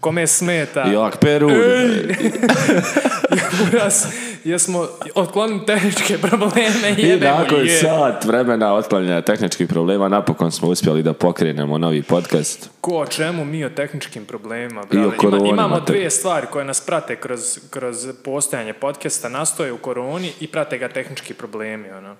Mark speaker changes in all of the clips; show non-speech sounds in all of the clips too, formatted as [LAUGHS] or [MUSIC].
Speaker 1: Kome smeta? [LAUGHS]
Speaker 2: Jak Peru.
Speaker 1: Kuras, jesmo otklonili tehničke probleme i
Speaker 2: I
Speaker 1: jedemo
Speaker 2: nakon
Speaker 1: je.
Speaker 2: sat vremena otklanjanja tehničkih problema napokon smo uspjeli da pokrenemo novi podcast.
Speaker 1: Ko o čemu mi o tehničkim problemima,
Speaker 2: o
Speaker 1: brale.
Speaker 2: koroni,
Speaker 1: imamo
Speaker 2: mater.
Speaker 1: dvije stvari koje nas prate kroz, kroz postojanje podcasta, nastoje u koroni i prate ga tehnički problemi, ono.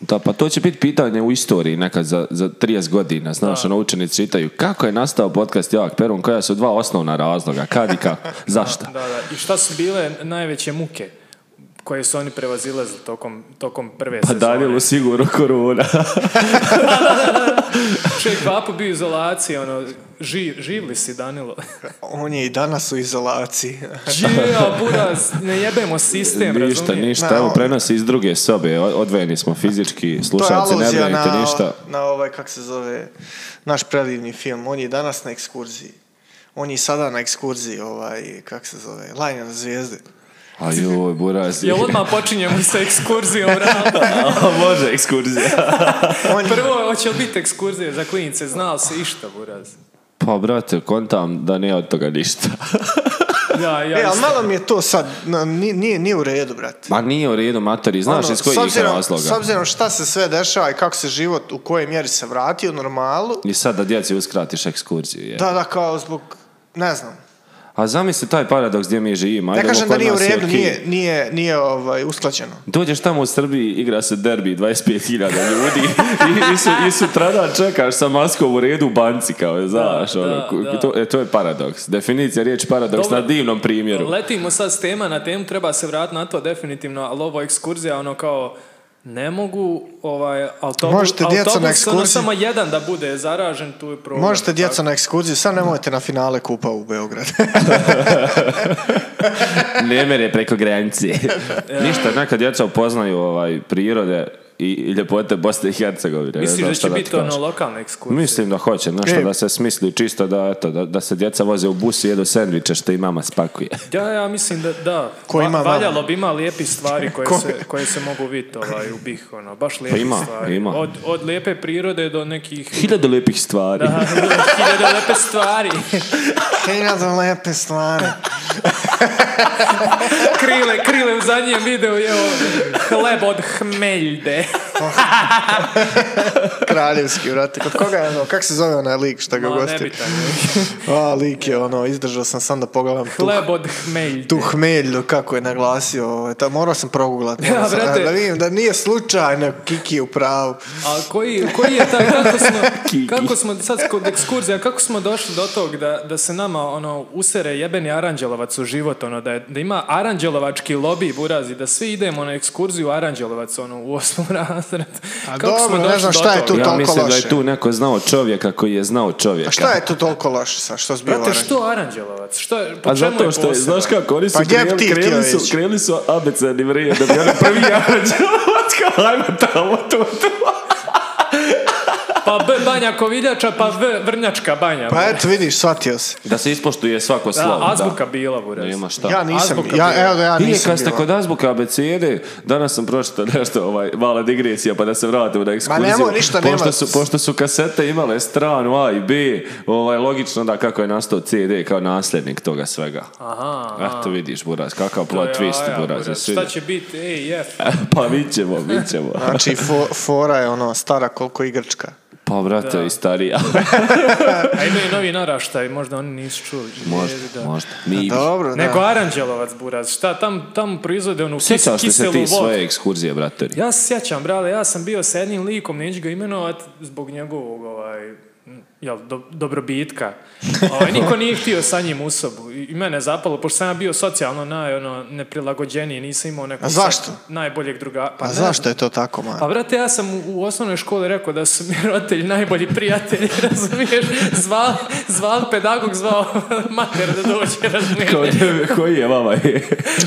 Speaker 2: Da, pa to će biti pitanje u istoriji nekad za, za 30 godina. Znaš, ono, učenici čitaju kako je nastao podcast Jak Perun, koja su dva osnovna razloga, kad i
Speaker 1: [LAUGHS]
Speaker 2: kako, zašto.
Speaker 1: Da, da. I šta su bile najveće muke koje su oni prevazilazili tokom, tokom prve
Speaker 2: Pa
Speaker 1: sezone?
Speaker 2: Danilu sigurno korona.
Speaker 1: Čovjek vapo bio u izolaciji, ono, živ, živli si
Speaker 2: [LAUGHS]
Speaker 1: Danilo.
Speaker 3: On je i danas u izolaciji.
Speaker 1: Žija, buraz, ne jebemo sistem,
Speaker 2: ništa,
Speaker 1: razumiješ?
Speaker 2: ništa,
Speaker 3: Na,
Speaker 2: evo
Speaker 3: ovo-
Speaker 2: prenosi iz druge sobe, o- odvojeni smo fizički,
Speaker 3: To je
Speaker 2: slušalci, ne
Speaker 3: aluzija
Speaker 2: brinite
Speaker 3: na,
Speaker 2: ništa.
Speaker 3: na ovaj, kak se zove, naš predivni film. On je i danas na ekskurziji. On je i sada na ekskurziji, ovaj, kak se zove, Lajna na zvijezde.
Speaker 1: [LAUGHS]
Speaker 2: A joj, buraz.
Speaker 1: Jel odmah počinjemo sa ekskurzijom, realno?
Speaker 2: A, [LAUGHS] Može ekskurzija.
Speaker 3: On je-
Speaker 1: Prvo, hoće li biti ekskurzije za klinice, znao se išta, buraz.
Speaker 2: Pa, brate, kontam da nije od toga ništa.
Speaker 1: Da, ja
Speaker 3: E, ali
Speaker 1: isto.
Speaker 3: malo mi je to sad, na- ni- nije, nije u redu, brate.
Speaker 2: Ma nije u redu, matori, znaš
Speaker 3: Ono,
Speaker 2: iz kojih
Speaker 3: s obzirom-
Speaker 2: razloga?
Speaker 3: S obzirom šta se sve dešava i kako se život, u kojoj mjeri se vrati u normalu,
Speaker 2: I sad da djeci uskratiš ekskurziju. Je.
Speaker 3: da, da, kao zbog, ne znam,
Speaker 2: A zamisli taj paradoks gdje mi živimo.
Speaker 3: Ne
Speaker 2: Ajdemo,
Speaker 3: kažem
Speaker 2: kod
Speaker 3: da nije u
Speaker 2: nas je
Speaker 3: redu,
Speaker 2: ok.
Speaker 3: nije, nije, nije ovaj, usklađeno.
Speaker 2: Dođeš tamo u Srbiji, igra se derbi, 25.000 ljudi i, i, su, i sutradan čekaš sa maskom u redu u banci, kao, znaš,
Speaker 1: Da,
Speaker 2: ono,
Speaker 1: da,
Speaker 2: ku-
Speaker 1: da.
Speaker 2: To, e, to je paradoks. Definicija riječi paradoks
Speaker 1: Dobro.
Speaker 2: na divnom primjeru.
Speaker 1: Letimo sad s tema na temu, treba se vratiti na to definitivno, ali ovo ekskurzija, ono kao, ne mogu, ovaj, autobus,
Speaker 3: Možete djeca na
Speaker 1: autobus, ono,
Speaker 3: ekskurziju.
Speaker 1: samo jedan da bude zaražen, tu je problem.
Speaker 3: Možete djeca na ekskurziju, sad nemojte na finale kupa u
Speaker 1: [LAUGHS]
Speaker 3: Beograd.
Speaker 2: ne mere preko
Speaker 3: [LAUGHS]
Speaker 2: granice. Ništa, neka djeca upoznaju ovaj, prirode i, i ljepote Bosne i Hercegovine. ne
Speaker 1: Misliš
Speaker 2: znam
Speaker 1: da
Speaker 2: šta
Speaker 1: će
Speaker 2: ti
Speaker 1: biti ono
Speaker 2: kažem.
Speaker 1: lokalne ekskurzije?
Speaker 2: Mislim da hoće, znaš,
Speaker 3: E.
Speaker 2: da se smisli čisto da, eto, da, da se djeca voze u busu i jedu sendviče što i mama spakuje.
Speaker 1: Ja, ja mislim da, da.
Speaker 3: Ko
Speaker 1: Va-
Speaker 3: ima mama?
Speaker 1: valjalo bi ima lijepi stvari koje,
Speaker 3: Ko-
Speaker 1: se, koje se mogu vidjeti ovaj, u Bih, ono, baš lijepi
Speaker 2: Pa ima,
Speaker 1: stvari.
Speaker 2: ima.
Speaker 1: Od, od lijepe prirode do nekih...
Speaker 2: [LAUGHS] Hiljadu lijepih stvari.
Speaker 1: Da, hiljade lijepe stvari.
Speaker 3: Hiljadu lepe stvari.
Speaker 1: Krile, krile u zadnjem videu jeo hleb od hmeljde.
Speaker 3: Kraljevski, brate. Kod koga je ono, kak se zove onaj lik šta ga
Speaker 1: Ma,
Speaker 3: gosti?
Speaker 1: nebitan.
Speaker 3: A, lik je ono, izdržao sam sam da pogledam tu,
Speaker 1: Hleb od hmeljde.
Speaker 3: tu hmelju, kako je naglasio. Ovaj, ta, morao sam proguglati.
Speaker 1: Ja,
Speaker 3: ono, sad,
Speaker 1: brate.
Speaker 3: Da vidim da nije slučajno Kiki je u pravu.
Speaker 1: A koji, koji je taj, kako smo,
Speaker 2: Kiki.
Speaker 1: kako smo sad kod ekskurzija, kako smo došli do tog da, da se nama ono, usere jebeni aranđelovac u život, ono, da, je, da ima aranđelovački lobby burazi, da svi idemo na ekskurziju u aranđelovac ono, u osmom razred.
Speaker 3: A dobro, ne znam šta je tu
Speaker 2: Ja
Speaker 3: toliko
Speaker 2: mislim da
Speaker 3: loše.
Speaker 2: je tu neko znao čovjeka koji je znao čovjeka.
Speaker 3: A šta je tu toliko loše sa što zbio
Speaker 1: Brate, što aranđelovac? Što je, po
Speaker 2: A
Speaker 1: čemu
Speaker 2: zato
Speaker 1: je
Speaker 2: što, je,
Speaker 1: poseban?
Speaker 2: znaš kako, oni su
Speaker 3: Pa gdje bi
Speaker 2: kreli,
Speaker 3: ti htio
Speaker 2: kreli su,
Speaker 3: ići?
Speaker 2: kreli su abecednim redom, da bi oni prvi [LAUGHS] aranđelovac, kao ajmo tamo, to, to.
Speaker 1: Pa B banja Koviljača, pa V vrnjačka banja.
Speaker 3: Pa eto, vidiš, shvatio se.
Speaker 2: Da se ispoštuje svako
Speaker 1: da,
Speaker 2: slovo.
Speaker 1: azbuka bila,
Speaker 2: Da.
Speaker 1: buraz.
Speaker 2: Nema šta.
Speaker 3: Ja nisam,
Speaker 1: Azbuka
Speaker 3: ja,
Speaker 1: bila.
Speaker 3: evo da ja
Speaker 2: Ili
Speaker 3: Pa nisam
Speaker 2: kad ste
Speaker 3: bio.
Speaker 2: kod azbuka abecede, danas sam pročitao nešto, ovaj, mala digresija, pa da se vratimo na ekskurziju.
Speaker 3: nemoj, ništa nema.
Speaker 2: pošto su, pošto su kasete imale stranu A i B, ovaj, logično da kako je nastao CD kao nasljednik toga svega.
Speaker 1: Aha.
Speaker 2: Eto vidiš, Buraz, kakav
Speaker 1: To
Speaker 2: plot
Speaker 1: je
Speaker 2: twist,
Speaker 1: jaja,
Speaker 2: Buraz.
Speaker 1: buraz.
Speaker 2: jesi
Speaker 1: Šta
Speaker 2: vidio?
Speaker 1: će biti? Ej, F.
Speaker 2: [LAUGHS] pa vidit ćemo, vidit ćemo.
Speaker 3: Znači, fo- fora je ono, stara koliko i grčka.
Speaker 2: Pa, brate, i starija.
Speaker 1: A imaju novi naraštaj, možda oni nisu čuli.
Speaker 2: [LAUGHS] možda,
Speaker 1: Jezi da.
Speaker 2: možda. Nije.
Speaker 3: Dobro, da.
Speaker 1: Nego Aranđelovac, Buraz, šta tam, tam proizvode onu kis,
Speaker 2: Sjećaš li se
Speaker 1: kiselu
Speaker 2: ti
Speaker 1: vodu.
Speaker 2: svoje ekskurzije, bratori?
Speaker 1: Ja se sjećam, brale, ja sam bio sa jednim likom, neću ga imenovati zbog njegovog ovaj, m, jel, do-
Speaker 3: [LAUGHS]
Speaker 1: dobrobitka. Ovaj, niko nije htio sa njim u sobu. I i mene je zapalo, pošto sam ja bio socijalno naj, ono, neprilagođeniji, nisam imao nekog
Speaker 3: A zašto?
Speaker 1: sad najboljeg druga.
Speaker 3: Pa
Speaker 1: ne
Speaker 3: zašto je to tako, man?
Speaker 1: Pa vrate, ja sam u, u osnovnoj školi rekao da su mi roditelji najbolji prijatelji, [LAUGHS] razumiješ? Zval, zval pedagog, zvao mater da dođe,
Speaker 2: Kao,
Speaker 1: razumiješ?
Speaker 2: koji je vama?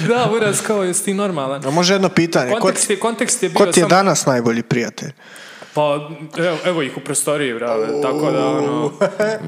Speaker 1: Da, uraz, kao, jesi ti normalan?
Speaker 3: A može jedno pitanje, E, ko,
Speaker 1: Kontekst je, kontekst je bio
Speaker 3: ko ti je
Speaker 1: samo-
Speaker 3: danas najbolji prijatelj?
Speaker 1: Pa, evo, evo ih u prostoriji, brale, tako da, ono,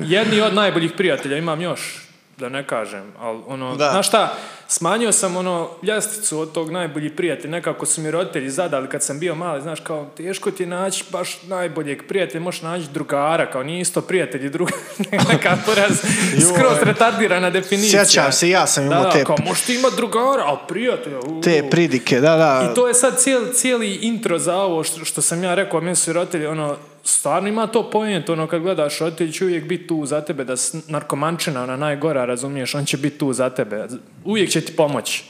Speaker 1: jedni od najboljih prijatelja, imam još da ne kažem, ali ono,
Speaker 3: Da.
Speaker 1: znaš šta, smanjio sam ono ljestvicu od tog najbolji prijatelj, nekako su mi roditelji zadali kad sam bio mali, znaš, kao teško ti je naći baš najboljeg prijatelja, možeš naći drugara, kao nije isto prijatelj i drugar, [LAUGHS] neka poraz, skroz retardirana definicija.
Speaker 3: Sjećam se, ja sam
Speaker 1: Da,
Speaker 3: imao
Speaker 1: da,
Speaker 3: te,
Speaker 1: kao možeš ti imat drugara, a prijatelja, u.
Speaker 3: te pridike, da, da.
Speaker 1: I to je sad cijeli, cijeli intro za ovo što, što sam ja rekao, a meni su roditelji, ono, stvarno ima to point, ono, kad gledaš, roditelji će uvijek biti tu za tebe, da s- narkomančina, ona najgora, razumiješ, on će biti tu za tebe, uvijek će ti pomoći.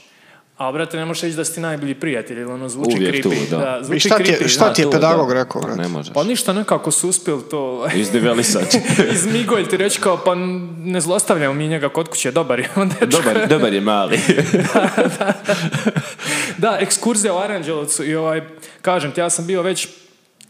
Speaker 1: A, brate, ne možeš reći da si ti najbolji prijatelj, jer ono, zvuči
Speaker 2: Uvijek tu,
Speaker 1: creepy.
Speaker 2: da.
Speaker 1: zvuči
Speaker 3: I šta ti je-
Speaker 1: creepy,
Speaker 3: šta
Speaker 1: da.
Speaker 2: A,
Speaker 3: ti je
Speaker 2: to,
Speaker 3: pedagog
Speaker 2: da.
Speaker 3: rekao,
Speaker 2: Pa
Speaker 3: brate?
Speaker 2: Ne možeš.
Speaker 1: Pa ništa, nekako su uspjeli to [LAUGHS]
Speaker 2: Izdevelisač.
Speaker 1: izmigolj ti reći kao, pa ne zlostavljamo mi njega kod kuće, dobar je [LAUGHS] on dečko.
Speaker 2: dobar, dobar je mali.
Speaker 1: Da, ekskurzija u Aranđelovcu i ovaj, kažem ti, ja sam bio već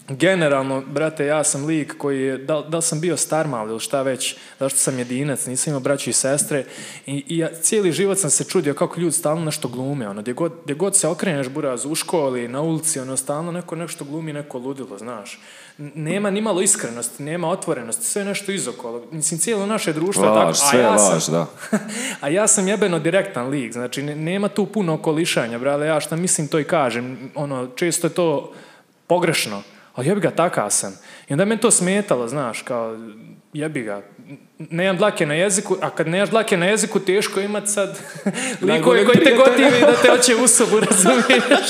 Speaker 1: generalno, brate, ja sam lik koji je, da, da li sam bio starmal ili šta već, zašto sam jedinac, nisam imao braću i sestre i, i ja, cijeli život sam se čudio kako ljudi stalno nešto glume, ono, gdje god, gdje god se okreneš buraz u školi, na ulici, ono, stalno neko nešto glumi, neko ludilo, znaš. N- Nema ni malo iskrenosti, nema otvorenosti, sve je nešto izokolo. Mislim, cijelo naše društvo je tako,
Speaker 2: Laž, sve
Speaker 1: a
Speaker 2: je
Speaker 1: ja sam,
Speaker 2: laž, da.
Speaker 1: [LAUGHS] a ja sam jebeno direktan lik, znači ne- nema tu puno okolišanja, brale, ja šta mislim to i kažem, ono, često je to pogrešno, ali jebi ga, takav sam. I onda me to smetalo, znaš, kao, jebi ga, n- nemam dlake na jeziku, a kad nemaš dlake na jeziku, teško je imat sad likove
Speaker 2: Najboljeg
Speaker 1: koji te
Speaker 2: prijatelja.
Speaker 1: gotivi da te hoće u sobu, [LAUGHS] razumiješ?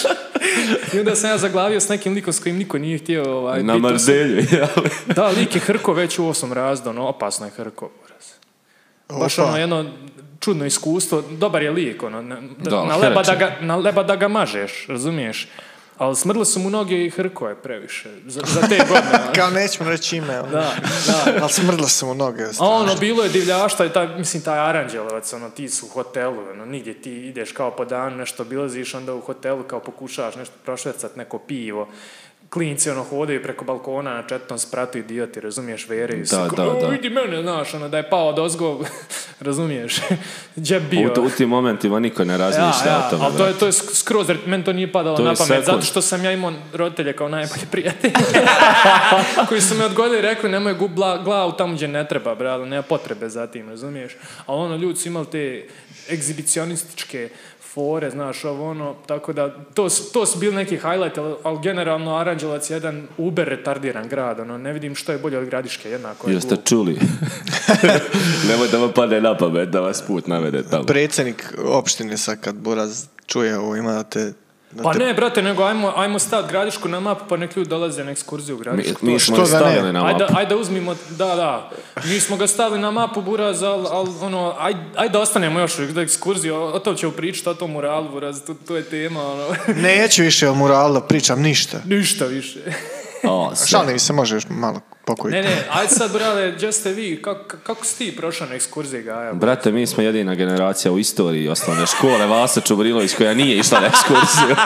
Speaker 1: I onda sam ja zaglavio s nekim likom s kojim niko nije htio ovaj, biti
Speaker 2: Na
Speaker 1: u sobi.
Speaker 2: [LAUGHS] Marzelju, jel?
Speaker 1: Da, lik je Hrko već u osam razdu, ono, opasno je Hrko. Baš
Speaker 3: Opa.
Speaker 1: ono jedno čudno iskustvo, dobar je lik, ono, na,
Speaker 2: Da,
Speaker 1: na, leba, da
Speaker 2: hereče.
Speaker 1: ga, na leba da ga mažeš, razumiješ? Ali smrdle su mu noge i Hrko je previše, za, za
Speaker 2: [LAUGHS]
Speaker 1: te godine. ono.
Speaker 3: Kao nećemo reći ime, ono.
Speaker 1: da, da.
Speaker 3: ali smrdla sam u noge.
Speaker 1: A ono, bilo je divljaštva i taj, mislim, taj aranđelovac, ono, ti su u hotelu, ono, nigdje ti ideš kao po danu, nešto obilaziš, onda u hotelu kao pokušavaš nešto prošvercat, neko pivo. Klinci, ono, hodaju preko balkona na četvrtom spratu i dio ti, razumiješ, veraju se.
Speaker 2: Da,
Speaker 1: kao,
Speaker 2: da,
Speaker 1: "O,
Speaker 2: da.
Speaker 1: Vidi mene, znaš, ono, da je pao od ozgo, [LAUGHS] razumiješ, [LAUGHS] džep bio.
Speaker 2: U, u tim momentima niko ne
Speaker 1: Ja,
Speaker 2: razmišlja
Speaker 1: ja,
Speaker 2: o tome.
Speaker 1: ali to je, to je sk- skroz, re- meni to nije padalo
Speaker 2: To je
Speaker 1: na pamet,
Speaker 2: sekund.
Speaker 1: zato što sam ja imao roditelje kao najbolje
Speaker 2: [LAUGHS]
Speaker 1: prijatelje, koji su me odgodili i rekli nemoj gubla glavu tamo gdje ne treba, brale, nema potrebe za tim, razumiješ? Ali ono, ljudi su imali te egzibicionističke fore, znaš, ovo ono, tako da, to, su- to su bili neki highlight, ali, ali generalno Aranđelovac je jedan uber retardiran grad, ono, ne vidim što je bolje od Gradiške, jednako je
Speaker 2: Jeste
Speaker 1: glupo. [LAUGHS]
Speaker 2: čuli? Nemoj da vam padne na pamet, da vas put navede tamo.
Speaker 3: Predsjednik opštine sad kad Buraz čuje ovo, ima da te... Da
Speaker 1: Pa
Speaker 3: te-
Speaker 1: ne, brate, nego ajmo, ajmo staviti Gradišku na mapu, pa nek ljudi dolaze na ekskurziju u
Speaker 2: Mi,
Speaker 1: Gradišku.
Speaker 2: mi
Speaker 1: to-
Speaker 2: smo
Speaker 3: što
Speaker 2: je
Speaker 3: da ne?
Speaker 2: stavili na mapu.
Speaker 1: Ajde, ajde uzmimo, da, da. Mi smo ga stavili na mapu Buraz, ali al, ono, ajde, ajde ostanemo još do ekskurzije, o, o tom ćemo pričati, o tom muralu Buraz, to, to je tema, ono, [LAUGHS]
Speaker 3: Neću više o muralu da pričam ništa.
Speaker 1: ništa više.
Speaker 2: O, sve.
Speaker 3: Šalim se, može još malo pokojiti.
Speaker 1: Ne, ne, ajde sad, brale, gdje ste vi, kako, kako si ti prošao na ekskurziji, Gaja?
Speaker 2: Brate, mi smo jedina generacija u istoriji osnovne škole Vasa Čubrilović koja nije išla na
Speaker 1: [LAUGHS]
Speaker 2: ekskurziju.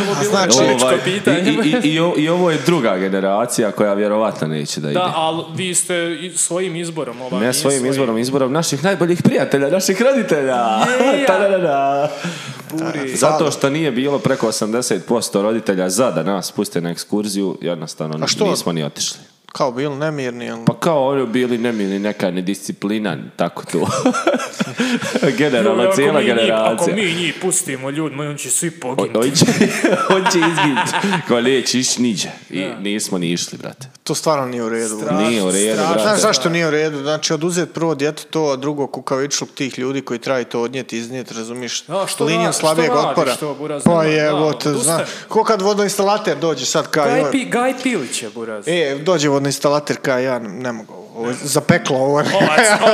Speaker 1: Bilo
Speaker 3: znači,
Speaker 1: je retoričko
Speaker 2: Ovaj,
Speaker 1: pitanje.
Speaker 2: i, i, i, o- i ovo je druga generacija koja vjerovatno neće da ide.
Speaker 1: Da, ali vi ste i svojim izborom, ovaj,
Speaker 2: Ne
Speaker 1: nije
Speaker 2: svojim
Speaker 1: svoj-
Speaker 2: izborom, izborom naših najboljih prijatelja, naših roditelja.
Speaker 1: Je,
Speaker 2: Ta-da-da-da.
Speaker 1: Buri.
Speaker 2: Zato što nije bilo preko 80% roditelja za da nas puste na ekskurziju, jednostavno
Speaker 3: A što?
Speaker 2: nismo ni otišli.
Speaker 3: Kao bilo nemirni, ali...
Speaker 2: Pa kao ono bili nemili neka nedisciplina, tako to. [LAUGHS] Generalno,
Speaker 1: Joj, ako
Speaker 2: cijela
Speaker 1: mi njih- Ako
Speaker 2: generacija.
Speaker 1: mi njih pustimo, ljudi, moji, oni će svi poginuti.
Speaker 2: On [LAUGHS] će, on će izginuti. Kao neće ići niđe. I nismo ni išli, brate.
Speaker 3: To stvarno nije u redu.
Speaker 1: Strašno.
Speaker 2: Nije u redu,
Speaker 1: strašno.
Speaker 2: brate.
Speaker 3: Znaš zašto nije u redu? Znači, oduzeti prvo djeteto, to, a drugo kukavičluk tih ljudi koji traju to odnijeti, iznijeti, razumiješ?
Speaker 1: Da, što
Speaker 3: Linijom
Speaker 1: ra- što
Speaker 3: slabijeg
Speaker 1: radiš
Speaker 3: otpora.
Speaker 1: to, Buraz,
Speaker 3: pa
Speaker 1: nemoj, da,
Speaker 3: je, te,
Speaker 1: odustani.
Speaker 3: znaš. Ko kad vodoinstalater dođe sad kao...
Speaker 1: Gaj,
Speaker 3: joj,
Speaker 1: pi, Gaj Pilić je, Buraz.
Speaker 3: E, dođe vodoinstalater kao ja, ne mogu ovo. Ovo je zapeklo ovo.
Speaker 1: Ova,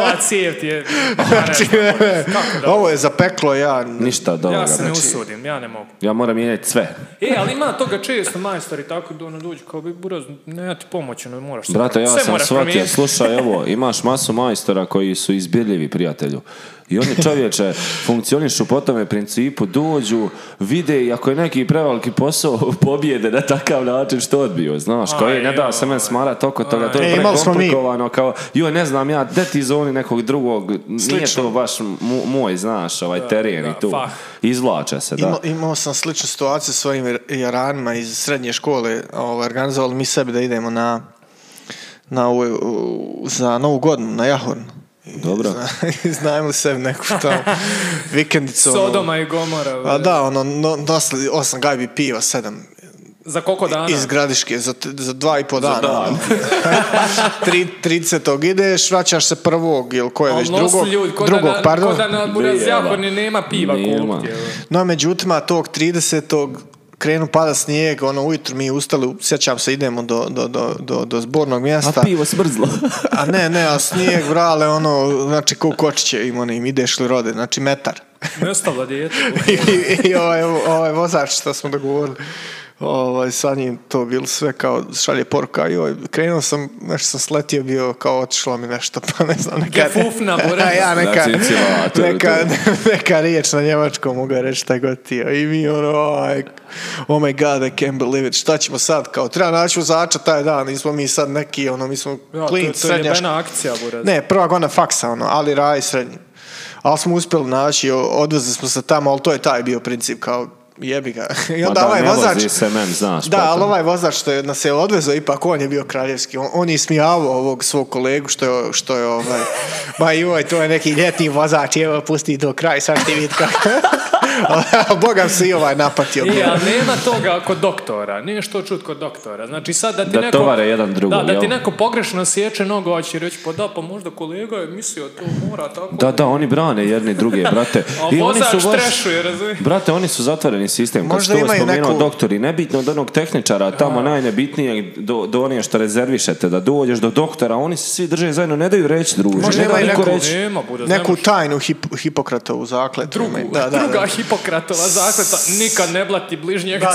Speaker 1: ova cijev ti je...
Speaker 3: [LAUGHS] Znači, ne, ne.
Speaker 1: Kako da-
Speaker 3: Ovo je zapeklo ja.
Speaker 2: Ništa od ovoga,
Speaker 1: Ja se ne
Speaker 3: znači-
Speaker 2: brate.
Speaker 1: usudim, ja ne mogu.
Speaker 2: Ja moram mijenjati sve.
Speaker 1: E, ali ima toga često, majstori tako da ono dođu kao bi buraz, ne ja ti pomoći, ne moraš se
Speaker 2: Brate, ja
Speaker 1: promijeniti. Sve
Speaker 2: sam
Speaker 1: moraš
Speaker 2: shvatio,
Speaker 1: promijeniti.
Speaker 2: slušaj, evo, imaš masu majstora koji su izbirljivi prijatelju. I oni čovječe funkcionišu po tome principu, dođu, vide i ako je neki preveliki posao [LAUGHS] pobjede na takav način što odbiju, znaš, koji ne da se men smarat oko toga, to
Speaker 3: Aj,
Speaker 2: je
Speaker 3: E, imali smo mi.
Speaker 2: prekomplikovano, kao, joj, ne znam ja, de ti zoni nekog drugog, nije
Speaker 3: Slično.
Speaker 2: to baš mu- moj, znaš, ovaj teren
Speaker 1: da,
Speaker 2: i tu,
Speaker 1: fah.
Speaker 2: izvlače se, da.
Speaker 3: Ima- imao sam sličnu situaciju s svojim jaranima iz srednje škole. Ovaj, organizovali mi sebi da idemo na, na ovaj, u- za Novu godinu, na Jahorn. I
Speaker 2: Dobro.
Speaker 3: zna- [LAUGHS] Iznajmili sebi
Speaker 1: [LAUGHS]
Speaker 3: neku tamo vikendicu. ono.
Speaker 1: Sodoma i Gomora.
Speaker 3: A
Speaker 1: bre.
Speaker 3: da, ono, no, nosili osam gajbi piva, sedam
Speaker 1: Za koliko dana?
Speaker 3: iz Gradiške za, t- za dva i po dana. ono.
Speaker 1: [LAUGHS]
Speaker 2: dan.
Speaker 3: Tri, 30. ideš, vraćaš se prvog ili koje već
Speaker 1: Al nosi
Speaker 3: drugog,
Speaker 1: Ono, ljudi, ko
Speaker 3: drugog
Speaker 1: da, na-
Speaker 3: pardon.
Speaker 1: Ko da na
Speaker 2: Bijeva.
Speaker 1: Burazjakorni nema piva
Speaker 2: Nema.
Speaker 1: kupiti. evo.
Speaker 3: No, međutim, a tog 30. krenu pada snijeg, ono, ujutro mi ustali, sjećam se, idemo do, do, do, do, do zbornog mjesta.
Speaker 2: A pivo smrzlo.
Speaker 3: A ne, ne, a snijeg, vrale, ono, znači, ko kočiće im onim, ideš li rode, znači metar.
Speaker 1: Nestalo
Speaker 3: [LAUGHS]
Speaker 1: dijete.
Speaker 3: I, i, i ovaj, ovaj vozač što smo dogovorili. Ovaj, sa njim to bilo sve kao šalje poruka i ovaj, krenuo sam, nešto sam sletio bio kao otišlo mi nešto, [LAUGHS] pa ne znam, neka...
Speaker 1: Gefufna, Boris.
Speaker 3: [LAUGHS] A ja neka,
Speaker 2: Znači, insinuator je
Speaker 3: neka, [LAUGHS] neka riječ na njemačkom mogu ja reći šta god ti je. I mi ono, aj, oh my god, I can't believe it. Šta ćemo sad? Kao, treba naći vozača taj dan, nismo mi sad neki, ono, mi smo
Speaker 1: Ja, to,
Speaker 3: klinci,
Speaker 1: to je
Speaker 3: srednja
Speaker 1: jebena akcija, Buraz.
Speaker 3: ne, prva godina faksa, ono, ali raj srednji. Ali smo uspjeli naći, o- odvezli smo se tamo, ali to je taj bio princip, kao jebi ga. [LAUGHS] I onda
Speaker 2: Ma da,
Speaker 3: ovaj
Speaker 2: ne
Speaker 3: vozač...
Speaker 2: vozi se men, znaš.
Speaker 3: Da,
Speaker 2: potom.
Speaker 3: ali ovaj vozač što je nas je odvezao, ipak on je bio kraljevski. On, on je ismijavao ovog svog kolegu što je, što je
Speaker 2: [LAUGHS]
Speaker 3: ovaj, ma joj, to je neki ljetni vozač, evo, pusti do kraj, sad ti vidi kako.
Speaker 2: [LAUGHS]
Speaker 3: [LAUGHS] Bogam se i ovaj napatio.
Speaker 1: I, ali nema toga kod doktora. Nije što čut kod doktora. Znači sad da ti
Speaker 2: Da
Speaker 1: neko...
Speaker 2: tovare jedan drugog,
Speaker 1: Da, da ti
Speaker 2: jel?
Speaker 1: neko pogrešno sječe nogu, hoće reći, pa da, pa možda kolega je mislio to mora tako.
Speaker 2: Da, da, oni brane jedni
Speaker 1: [LAUGHS]
Speaker 2: druge, brate.
Speaker 1: A
Speaker 2: I oni
Speaker 1: vozač
Speaker 2: su baš-
Speaker 1: trešuje, razumiješ?
Speaker 2: Brate, oni su zatvoreni sistem. Kad
Speaker 3: Možda
Speaker 2: ste ovo
Speaker 3: imaju
Speaker 2: spomenuo,
Speaker 3: neku-
Speaker 2: doktori, nebitno od onog tehničara, tamo najnebitnije do, do onih što rezervišete, da dođeš do doktora, oni se svi drže zajedno, ne daju reći druže.
Speaker 3: Možda
Speaker 2: ne da
Speaker 3: imaju
Speaker 2: niko
Speaker 3: neku-
Speaker 2: reći.
Speaker 1: Nema, Buraz,
Speaker 3: Neku
Speaker 1: nemaš.
Speaker 3: tajnu hip, Hipokratovu zakletu.
Speaker 1: Drugu,
Speaker 3: da, da, da.
Speaker 1: druga Hipokratova zakleta, nikad ne blati bližnjega.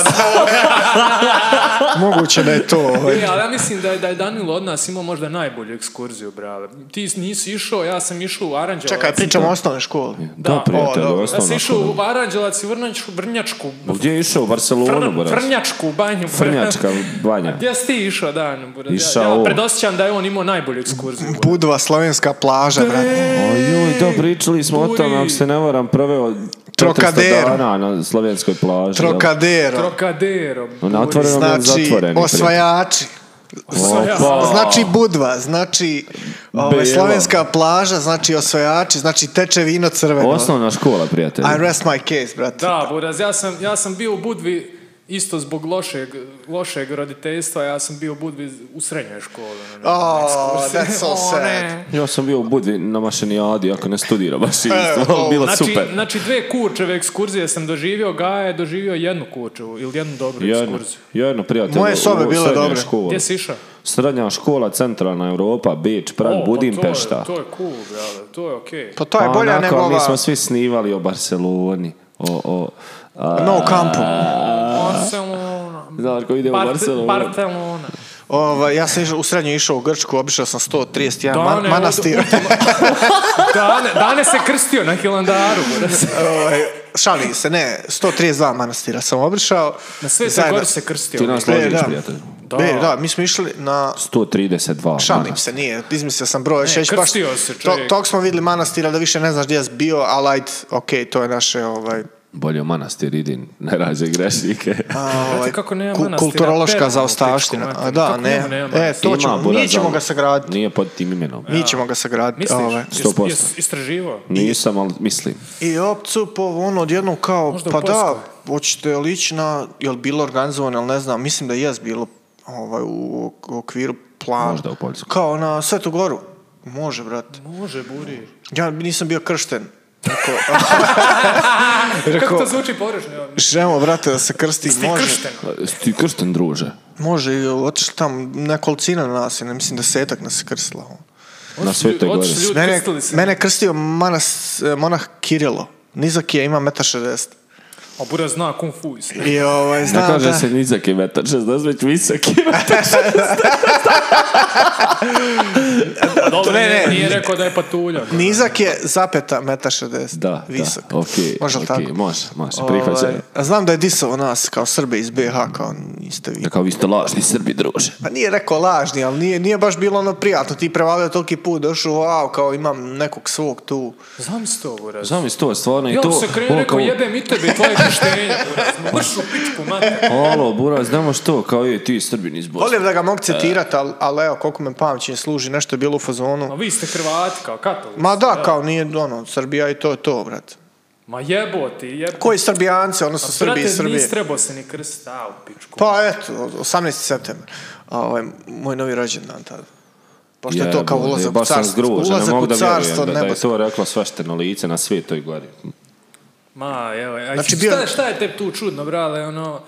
Speaker 3: Moguće da je to.
Speaker 2: [LAUGHS]
Speaker 3: Ovaj.
Speaker 1: E, ali ja mislim da je, da je Danilo od nas imao možda najbolju ekskurziju, brale. Ti nisi išao, ja sam išao u Aranđelovac.
Speaker 3: Čekaj,
Speaker 2: ovaj,
Speaker 3: pričamo o osnovnoj školi.
Speaker 2: Da,
Speaker 1: Da.
Speaker 2: prijatelj,
Speaker 3: O, dobro.
Speaker 1: Ja sam
Speaker 2: osnovno.
Speaker 1: išao u Aranđelac i u Vrnjačku, Vrnjačku,
Speaker 2: Pa Gdje je išao? U Barcelonu,
Speaker 1: Frn,
Speaker 2: brate.
Speaker 1: Frnjačku banju.
Speaker 2: Frnjačka banja.
Speaker 1: Gdje si ti išao, Dan? Buraz?
Speaker 2: Išao
Speaker 1: Ja, ja
Speaker 2: ovo.
Speaker 1: predosjećam da je on imao najbolju ekskurziju. Buraz.
Speaker 3: Budva, slovenska plaža, brate.
Speaker 2: Ojoj, da, pričali smo o tome,
Speaker 1: Buri.
Speaker 2: ako se ne varam, proveo 400
Speaker 3: Trocadero.
Speaker 2: dana na slovenskoj plaži. jel?
Speaker 3: Trokadero.
Speaker 1: Trokadero.
Speaker 2: Na otvorenom ili
Speaker 3: Znači,
Speaker 2: zatvorenom.
Speaker 3: osvajači.
Speaker 1: Osvajač.
Speaker 2: Opa.
Speaker 3: Znači Budva, znači ovaj,
Speaker 2: Belo.
Speaker 3: slovenska plaža, znači osvajači, znači teče vino crveno.
Speaker 2: Osnovna škola, prijatelj.
Speaker 3: I rest my case, brate.
Speaker 1: Da, Buraz, ja sam, ja sam bio u Budvi isto zbog lošeg, lošeg roditeljstva, ja sam bio u Budvi u srednjoj školi. ono, na
Speaker 3: Oh,
Speaker 1: ekskurziji.
Speaker 3: that's so
Speaker 1: O,
Speaker 3: sad.
Speaker 1: ne.
Speaker 2: Ja sam bio u Budvi na mašinijadi, ako ne studira baš
Speaker 3: o,
Speaker 2: isto. Bilo
Speaker 1: E, Znači,
Speaker 2: super.
Speaker 1: znači dve kurčeve ekskurzije sam doživio, Gaja je doživio jednu kurčevu ili jednu dobru
Speaker 2: Jedno,
Speaker 1: ekskurziju.
Speaker 2: jedno prijatelj.
Speaker 3: Moje sobe bile dobre.
Speaker 2: Škola.
Speaker 1: Gdje si išao?
Speaker 2: Srednja škola, centralna Europa, Beč, Prag,
Speaker 1: O, pa
Speaker 2: Budimpešta.
Speaker 1: To je, to je cool, brale, to je okej.
Speaker 3: Pa to je
Speaker 2: Pa
Speaker 3: bolja
Speaker 2: onako,
Speaker 3: nego ova...
Speaker 2: Mi smo svi snivali o Barceloni. O, o, a,
Speaker 3: No kampu.
Speaker 1: Barcelona.
Speaker 2: Znaš ko ide u
Speaker 1: Barte-
Speaker 2: Barcelonu.
Speaker 1: Barcelona.
Speaker 3: Ovaj, ja sam išao, u srednju išao u Grčku, obišao sam 131
Speaker 1: Da,
Speaker 3: man,
Speaker 1: ne,
Speaker 3: manastir.
Speaker 1: Dane, Dane se krstio na Hilandaru. pa brate.
Speaker 3: Ovaj, šalim se, ne, 132 manastira sam obišao.
Speaker 1: Na sve se
Speaker 3: Zajedno-
Speaker 1: gore se krstio.
Speaker 2: Ti nas
Speaker 3: E,
Speaker 2: ložiš,
Speaker 3: da.
Speaker 2: prijatelj.
Speaker 1: Da.
Speaker 3: Ne, da, mi smo išli na
Speaker 2: 132.
Speaker 3: Šalim se, nije, izmislio sam broj, šeć baš...
Speaker 1: krstio se čovjek.
Speaker 3: tog smo vidjeli manastira da više ne znaš gdje je bio, ali ajde, okej, to je naše, ovaj,
Speaker 2: Bolje u manastir idi, ne rađe grešnike.
Speaker 3: a, ovaj,
Speaker 1: Znate kako nema
Speaker 3: ku-
Speaker 1: manastira?
Speaker 3: kulturološka
Speaker 1: Perna u
Speaker 3: zaostavština.
Speaker 1: Pišti,
Speaker 3: A,
Speaker 1: mater.
Speaker 3: da,
Speaker 1: Kako
Speaker 3: ne,
Speaker 1: njemu nema
Speaker 3: e, to
Speaker 2: Ima,
Speaker 3: ćemo,
Speaker 2: Buraz,
Speaker 3: mi ćemo
Speaker 2: ali
Speaker 3: ga sagraditi.
Speaker 2: Nije pod tim imenom.
Speaker 3: Mi ćemo ga sagraditi.
Speaker 1: Misliš?
Speaker 3: Ovaj.
Speaker 1: Jes-
Speaker 2: 100%.
Speaker 1: jes istraživao?
Speaker 2: Nisam, ali mislim.
Speaker 3: I opcu po ono odjednom kao,
Speaker 1: Možda u
Speaker 3: pa da,
Speaker 1: Poljskoj.
Speaker 3: hoćete li ići na, jel bilo organizovano, jel ne znam, mislim da jes bilo ovaj, u u okviru plana.
Speaker 2: Možda u Poljskoj.
Speaker 3: Kao na Svetu Goru. Može, brate.
Speaker 1: Može, buri.
Speaker 3: Ja nisam bio kršten.
Speaker 1: Kako to zvuči pogrešno? ja?
Speaker 3: Želimo, brate, da se krsti,
Speaker 1: Ti
Speaker 3: može.
Speaker 1: kršten.
Speaker 2: Jesi Ti kršten, druže.
Speaker 3: Može, i otišli tam nekolicina nas, je, ne mislim desetak nas je krstila.
Speaker 2: Na Svetoj Gori.
Speaker 1: Otišli ljudi,
Speaker 3: Mene,
Speaker 1: krstili se.
Speaker 3: mene je krstio manas, eh, monah Kirilo. Nizak je, ima 1,60
Speaker 1: A Buraz zna kung fu. isto.
Speaker 3: I ovaj,
Speaker 2: Ne
Speaker 3: znam
Speaker 2: kaže
Speaker 3: da...
Speaker 2: se nizak je metar 60, već visok je
Speaker 3: [LAUGHS]
Speaker 2: metar.
Speaker 1: Pa dobro,
Speaker 3: Ne, ne.
Speaker 1: nije- nije rekao da je patuljak.
Speaker 3: Nizak je zapeta 1,60
Speaker 2: Da,
Speaker 3: Visok.
Speaker 2: da, okej.
Speaker 3: Može li
Speaker 2: okej,
Speaker 3: tako?
Speaker 2: Može, može, prihvaćaj.
Speaker 3: Ovaj, a znam da je disovo nas kao Srbe iz BiH, kao niste vi.
Speaker 2: Da kao vi ste lažni Srbi, druže.
Speaker 3: Pa nije rekao lažni, ali nije, nije baš bilo ono prijatno. Ti prevalio toliki put, došao, wow, kao imam nekog svog tu.
Speaker 1: Zamisli to, Buraz.
Speaker 2: Znam iz to, stvarno, i
Speaker 1: Ja
Speaker 2: to...
Speaker 1: se krenuo,
Speaker 2: ono
Speaker 1: rekao,
Speaker 2: kao-
Speaker 1: jebem i tebe i tvoje poštenja, buraz. Ma Mršu pičku, mater.
Speaker 2: Alo, Buraz, znamo što, kao je ti Srbin iz Bosne.
Speaker 3: Volim da ga mogu
Speaker 1: E.
Speaker 3: citirati, ali, ali evo, koliko me pamćenje služi, nešto je bilo u fazonu.
Speaker 1: Ma vi ste Hrvati kao katolici.
Speaker 3: Ma da, kao nije, ono, Srbija i to je to, brate.
Speaker 1: Ma jeboti, jeboti.
Speaker 3: Koji Srbijance, odnosno Srbi
Speaker 1: Brate,
Speaker 3: iz Srbije?
Speaker 1: nisi trebao se ni krstiti, a u pičku.
Speaker 3: Pa eto, 18. september. A, ovaj, moj novi rođendan tada. Pošto je to kao
Speaker 2: Jebote,
Speaker 3: ulazak u
Speaker 2: baš sam
Speaker 3: carstvo.
Speaker 2: zgrožen, ne
Speaker 3: Ulazak
Speaker 2: mogu
Speaker 3: u
Speaker 2: da
Speaker 3: carstvo,
Speaker 2: vjerujem da, da
Speaker 3: nebo.
Speaker 2: je to rekla svašte na lice, na svijet toj glavi.
Speaker 1: Ma, evo, aj,
Speaker 3: Znači,
Speaker 1: šta,
Speaker 3: bio-
Speaker 1: šta je te tu čudno, brale, ono...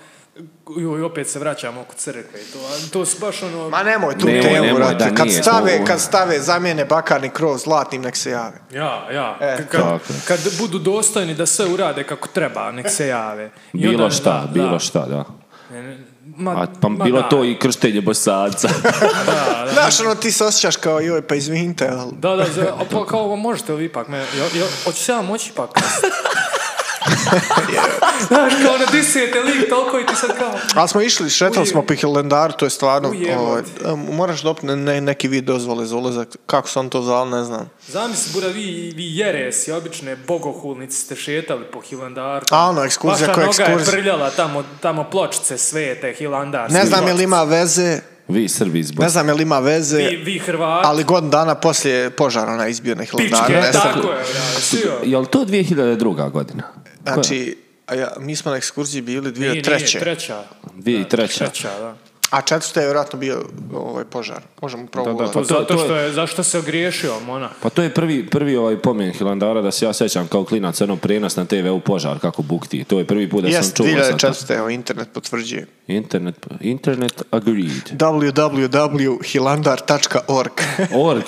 Speaker 1: Joj, opet se vraćamo oko crkve i to. a To su baš ono...
Speaker 3: Ma nemoj tu
Speaker 2: Nemoj,
Speaker 3: temu,
Speaker 2: nemoj,
Speaker 3: brate.
Speaker 2: da
Speaker 3: Kad
Speaker 2: nije
Speaker 3: stave,
Speaker 2: to.
Speaker 3: kad stave zamjene bakarni krov zlatnim, nek se jave.
Speaker 1: Ja, ja.
Speaker 3: E,
Speaker 1: K- kad,
Speaker 2: tako je.
Speaker 1: kad budu dostojni da sve urade kako treba, nek se jave. I
Speaker 2: Bilo
Speaker 1: onda-
Speaker 2: šta,
Speaker 1: da,
Speaker 2: bilo
Speaker 1: da.
Speaker 2: šta, da.
Speaker 1: Ne, ne, Ma,
Speaker 2: A pa
Speaker 1: ma
Speaker 2: bilo
Speaker 1: da,
Speaker 2: to i krštenje
Speaker 3: [LAUGHS]
Speaker 2: bosanca.
Speaker 3: Znaš, ono, ti se osjećaš kao, joj, pa izvinite, ali...
Speaker 1: Da, da, za- a pa kao ovo možete li ipak me, jel, jel, hoću se ja moći
Speaker 2: [LAUGHS]
Speaker 1: ipak? Znaš, kao ono, ne disijete lik toliko i ti sad kao,
Speaker 3: Ali smo išli, šetali
Speaker 1: Ujeb-
Speaker 3: smo po kalendaru, to je stvarno...
Speaker 1: Ujebote.
Speaker 3: ovaj, em, moraš dobiti ne- ne- neki vid dozvole za ulazak. Kako sam to zvali, ne znam.
Speaker 1: zamisli bura vi, vi jeresi, obične bogohulnici ste šetali po Hilandaru.
Speaker 3: A ono, ekskurzija
Speaker 1: Vaša
Speaker 3: koja
Speaker 1: noga
Speaker 3: ekskurzija.
Speaker 1: je prljala tamo, tamo pločice svete, Hilandarske.
Speaker 3: Ne znam je li
Speaker 1: pločice.
Speaker 3: ima veze,
Speaker 2: Vi Srbi iz
Speaker 3: ne
Speaker 2: Bosne.
Speaker 3: znam je li ima veze,
Speaker 1: Vi, vi Hrvati,
Speaker 3: ali godin dana poslije požara na izbio na Hilandaru.
Speaker 1: pičke,
Speaker 3: nestao.
Speaker 1: tako je, ja, sio.
Speaker 2: Jel to 2002. godina? Koja?
Speaker 3: Znači, a ja, mi smo na ekskurziji bili dvije
Speaker 1: Nije,
Speaker 3: treće,
Speaker 1: Nije, treća.
Speaker 2: 2003.
Speaker 1: Treća, da.
Speaker 3: a četvrta je vjerojatno bio ovaj požar. Možemo
Speaker 2: Da, da,
Speaker 3: probati.
Speaker 1: To,
Speaker 2: Pa to-
Speaker 1: zato
Speaker 2: to je-
Speaker 1: što je, zašto se ogriješio, mona.
Speaker 2: Pa to je prvi, prvi ovaj pomen Hilandara da se ja sjećam kao klinac, ono prenos na TV u požar kako bukti. To je prvi put da sam
Speaker 3: Jest,
Speaker 2: čuo. sam to.
Speaker 3: 2004. Evo, internet potvrđuje.
Speaker 2: Internet, internet
Speaker 3: [LAUGHS]
Speaker 2: agreed.
Speaker 3: www.hilandar.org
Speaker 2: Org.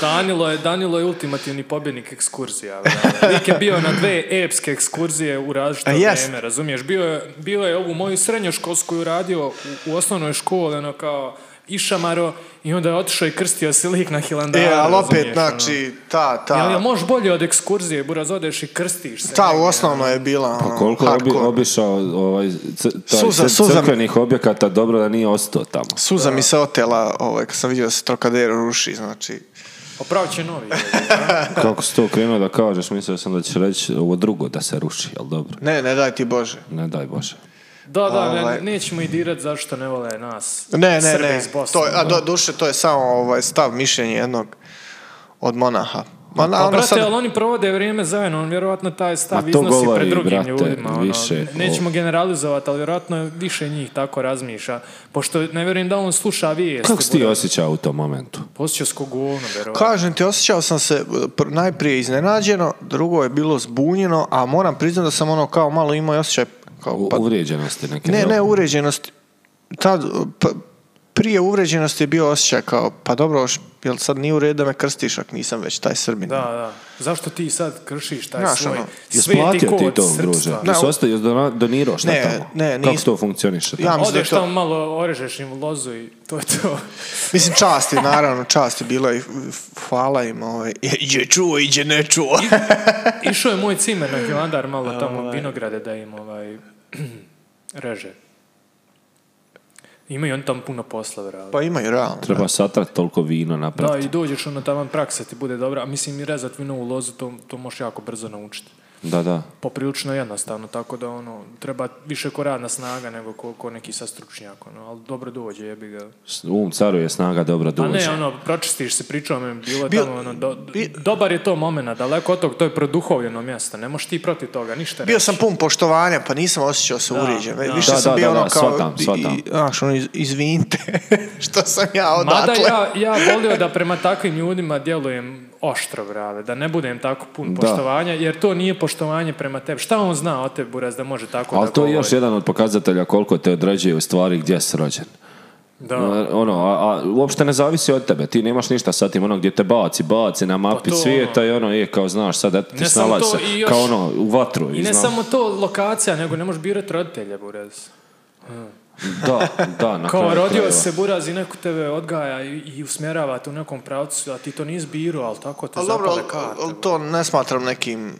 Speaker 1: Danilo je, Danilo je ultimativni pobjednik ekskurzija. brate. Lik je bio na dve epske ekskurzije u različito
Speaker 3: A jest.
Speaker 1: vrijeme, razumiješ? Bio je, bilo je ovu moju srednjoškolsku ju radio u, u osnovnoj školi, ono kao išamaro i onda je otišao i krstio se lik na Hilandaru.
Speaker 3: E, ali opet,
Speaker 1: razumiješ, ono.
Speaker 3: znači, ta,
Speaker 1: Jel, jel
Speaker 3: ta,
Speaker 1: možeš bolje od ekskurzije, buraz, odeš i krstiš se.
Speaker 3: ta
Speaker 1: negdje,
Speaker 3: u
Speaker 1: ono.
Speaker 3: osnovno je bila, ono,
Speaker 2: Koliko je obi,
Speaker 3: hardcore.
Speaker 2: obišao ovaj, c, taj
Speaker 3: Suza,
Speaker 2: set
Speaker 3: suza.
Speaker 2: crkvenih objekata, dobro da nije ostao tamo.
Speaker 3: Suza mi se otela, ovaj, kad sam vidio da se Trocadero ruši, znači.
Speaker 1: Opravit će novi.
Speaker 2: Kako si to krenuo da kažeš, mislio sam da ćeš reći ovo drugo da se ruši, jel dobro?
Speaker 3: Ne, ne daj ti Bože.
Speaker 2: Ne daj Bože.
Speaker 1: Da, da, ne,
Speaker 3: Ovaj.
Speaker 1: nećemo i dirat zašto ne vole nas.
Speaker 3: Ne, ne,
Speaker 1: Srbe
Speaker 3: ne.
Speaker 1: iz Bosne.
Speaker 3: To, je- a do, duše, to je samo ovaj stav, mišljenje jednog od monaha. Ma, na, ono
Speaker 1: Pa brate,
Speaker 3: sad,
Speaker 1: ali oni provode vrijeme zajedno, on vjerojatno taj stav
Speaker 2: Ma to
Speaker 1: iznosi
Speaker 2: govori,
Speaker 1: pred drugim
Speaker 2: brate,
Speaker 1: ljudima. ono.
Speaker 2: više
Speaker 1: Nećemo generalizovati, ali vjerojatno više njih tako razmišlja. Pošto ne vjerujem da on sluša vijest.
Speaker 2: Kako si ti osjećao u tom momentu?
Speaker 1: Osjećao se ko govno, vjerojatno.
Speaker 3: kažem ti, osjećao sam se eh, pr- najprije iznenađeno, drugo je bilo zbunjeno, a moram priznati da sam ono kao malo imao i osjećaj kao,
Speaker 2: U,
Speaker 3: pa
Speaker 2: uvrijeđenosti neke?
Speaker 3: Ne,
Speaker 2: jel?
Speaker 3: ne, uređenost. Tad, pa, prije uređenosti je bio osjećaj kao, pa dobro, š- jel sad nije u redu da me krstiš ako nisam već taj srbin.
Speaker 1: Da, da. Zašto ti sad kršiš taj
Speaker 3: Znaš,
Speaker 1: svoj
Speaker 3: ono,
Speaker 2: Jesi
Speaker 1: sveti
Speaker 2: platio ti
Speaker 1: kod
Speaker 2: to, druže?
Speaker 1: srpstva?
Speaker 2: Jesi
Speaker 3: Ne,
Speaker 2: ostao, jesi dona- donirao šta
Speaker 3: Ne,
Speaker 2: tamo?
Speaker 3: ne,
Speaker 2: Kako
Speaker 3: nisam.
Speaker 2: to funkcioniše? tamo?
Speaker 3: Ja mislim da je
Speaker 1: Odeš
Speaker 3: to-
Speaker 1: tamo malo orežeš im lozu i to je to.
Speaker 3: Mislim, čast je, naravno, čast je bila i f- f- hvala im, ovaj, [LAUGHS] iđe čuo, iđe ne čuo.
Speaker 1: Išao je moj cimer na Hilandar malo tamo vinograde da im ovaj, [CLEARS THROAT] reže. Imaju oni tamo puno posla, brate.
Speaker 3: Pa imaju, realno.
Speaker 2: Treba satrat toliko vino
Speaker 1: Da,
Speaker 2: napraviti.
Speaker 1: i dođeš ono taman praksa ti bude dobra. A mislim i rezat vino u lozu, to, to možeš jako brzo naučiti.
Speaker 2: Da, da.
Speaker 1: Poprilično jednostavno, tako da ono, treba više ko radna snaga nego ko, ko neki sastručnjak, ono, ali dobro dođe, jebi ga.
Speaker 2: S- Um caruje snaga dobra
Speaker 1: A
Speaker 2: duže.
Speaker 1: ne, ono, pročistiš se, pričao me, bilo je
Speaker 3: Bil-
Speaker 1: tamo, ono, do-
Speaker 3: bi-
Speaker 1: dobar je to momena, daleko od tog, to je produhovljeno mjesto, ne možeš ti protiv toga, ništa ne.
Speaker 3: Bio sam pun poštovanja, pa nisam osjećao se
Speaker 1: Da,
Speaker 3: uvrijeđen.
Speaker 1: da.
Speaker 3: Više
Speaker 2: Da,
Speaker 3: sam
Speaker 2: da,
Speaker 3: bio
Speaker 2: da,
Speaker 3: ono
Speaker 2: da,
Speaker 3: kao,
Speaker 2: shvatam,
Speaker 3: i-
Speaker 2: shvatam.
Speaker 3: i- znaš, ono, iz- izvinite, [LAUGHS] što sam ja
Speaker 1: Mada
Speaker 2: Pa
Speaker 3: odatle.
Speaker 2: dakle.
Speaker 1: ja, ja volio da prema takvim ljudima djelujem oštro, brale, da ne budem tako pun
Speaker 2: Da.
Speaker 1: poštovanja, jer to nije poštovanje prema tebi. Šta on zna o tebi, Buraz, da može tako
Speaker 2: Ali
Speaker 1: da
Speaker 2: to je
Speaker 1: govori?
Speaker 2: još jedan od pokazatelja koliko te određuje u stvari gdje si rođen.
Speaker 1: Da.
Speaker 2: A, Ono, a, a uopšte ne zavisi od tebe, ti nemaš ništa sa tim, ono gdje te baci, baci na
Speaker 1: Pa
Speaker 2: mapi
Speaker 1: to,
Speaker 2: svijeta i ono, je, kao znaš, sad eto ti
Speaker 1: Ne samo
Speaker 2: snalazi
Speaker 1: to,
Speaker 2: se,
Speaker 1: i još-
Speaker 2: kao ono, u vatru.
Speaker 1: I ne
Speaker 2: znaš.
Speaker 1: samo to lokacija, nego ne možeš birati roditelje, Buraz.
Speaker 2: Da, da,
Speaker 1: [LAUGHS]
Speaker 2: na
Speaker 1: Kao
Speaker 2: kraju
Speaker 1: rodio
Speaker 2: krajeva.
Speaker 1: se Buraz i neko tebe odgaja i, i usmjerava te u nekom pravcu, a ti to nisi birao, ali tako te
Speaker 3: Ali dobro,
Speaker 1: zapale
Speaker 3: al-
Speaker 1: karte.
Speaker 3: al to ne smatram nekim,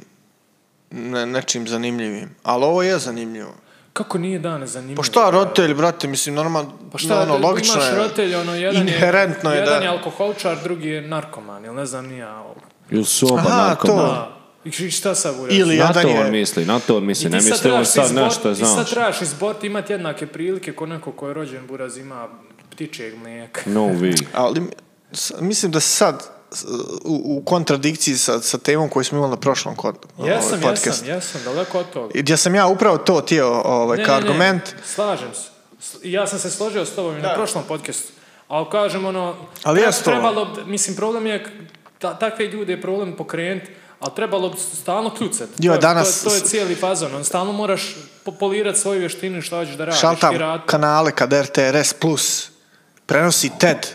Speaker 3: ne, nečim zanimljivim. Ali ovo je zanimljivo.
Speaker 1: Kako nije dane zanimljivo?
Speaker 3: Pa šta roditelj, brate, mislim, normalno,
Speaker 1: Pa šta,
Speaker 3: ono, logično
Speaker 1: imaš
Speaker 3: je.
Speaker 1: roditelj, ono, jedan,
Speaker 3: Inherentno
Speaker 1: je,
Speaker 3: je
Speaker 1: jedan
Speaker 3: da-
Speaker 1: je alkoholčar, drugi je narkoman, ili ne znam, ovaj. nija...
Speaker 2: Ili su oba
Speaker 3: Aha,
Speaker 2: narkomani.
Speaker 3: to.
Speaker 1: Pa, I šta sad uraš?
Speaker 3: Ili
Speaker 2: Na to
Speaker 3: jedan
Speaker 2: on
Speaker 3: je...
Speaker 2: misli, na to on misli. Ne
Speaker 1: ti
Speaker 2: misli on
Speaker 1: trebaš
Speaker 2: sad
Speaker 1: izbor-
Speaker 2: nešto,
Speaker 1: Ti sad
Speaker 2: znaš.
Speaker 1: trebaš izboriti imati jednake prilike ko neko ko je rođen buraz ima ptičeg mlijeka.
Speaker 2: No, vi.
Speaker 3: Ali mi- s- mislim da sad s- u, u kontradikciji sa, sa temom koju smo imali na prošlom kod,
Speaker 1: Jesam,
Speaker 3: ovaj, podcast.
Speaker 1: jesam, jesam, daleko od toga.
Speaker 3: Gdje sam ja upravo to tio ovaj,
Speaker 1: Ne,
Speaker 3: kao
Speaker 1: ne, ne,
Speaker 3: argument.
Speaker 1: slažem se. S- Ja sam se složio s tobom i na prošlom podcastu. Ali kažem, ono,
Speaker 3: Ali
Speaker 1: tre-
Speaker 3: jest to.
Speaker 1: trebalo, bi- mislim, problem je, k- ta, takve ljude je problem pokrenuti, ali trebalo bi stalno kljucati.
Speaker 3: Jo,
Speaker 1: to, je-
Speaker 3: danas-
Speaker 1: to, je- to je cijeli fazon. On stalno moraš po- polirati svoju vještinu šta hoćeš da radiš.
Speaker 3: šaltam
Speaker 1: i rad-
Speaker 3: kanale kad RTRS Plus prenosi TED.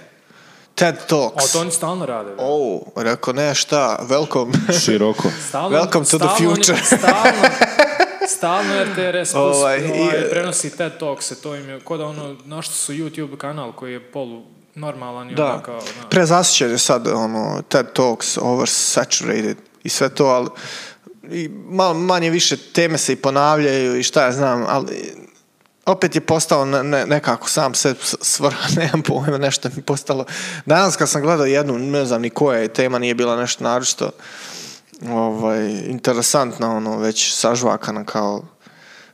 Speaker 3: TED Talks.
Speaker 1: A to oni stalno rade. bre.
Speaker 3: Oh, rekao, ne, šta, welcome. [LAUGHS]
Speaker 2: Široko.
Speaker 1: Stalno,
Speaker 3: Welcome to the
Speaker 1: stalno oni-
Speaker 3: future.
Speaker 1: stalno,
Speaker 3: [LAUGHS]
Speaker 1: stalno RTRS plus,
Speaker 3: Ovaj,
Speaker 1: ovaj,
Speaker 3: i-
Speaker 1: prenosi TED Talks, to im je ko da ono, našli su YouTube kanal koji je polu normalan i
Speaker 3: da,
Speaker 1: ono kao, znaš.
Speaker 3: prezasićen je sad ono, TED Talks, oversaturated i sve to, ali i malo manje više teme se i ponavljaju i šta ja znam, ali opet je postao ne, ne- nekako sam se svrha, [LAUGHS] nemam pojma, nešto mi postalo. Danas kad sam gledao jednu, ne znam ni koja je tema, nije bila nešto naročito ovaj, interesantna, ono, već sažvakana kao,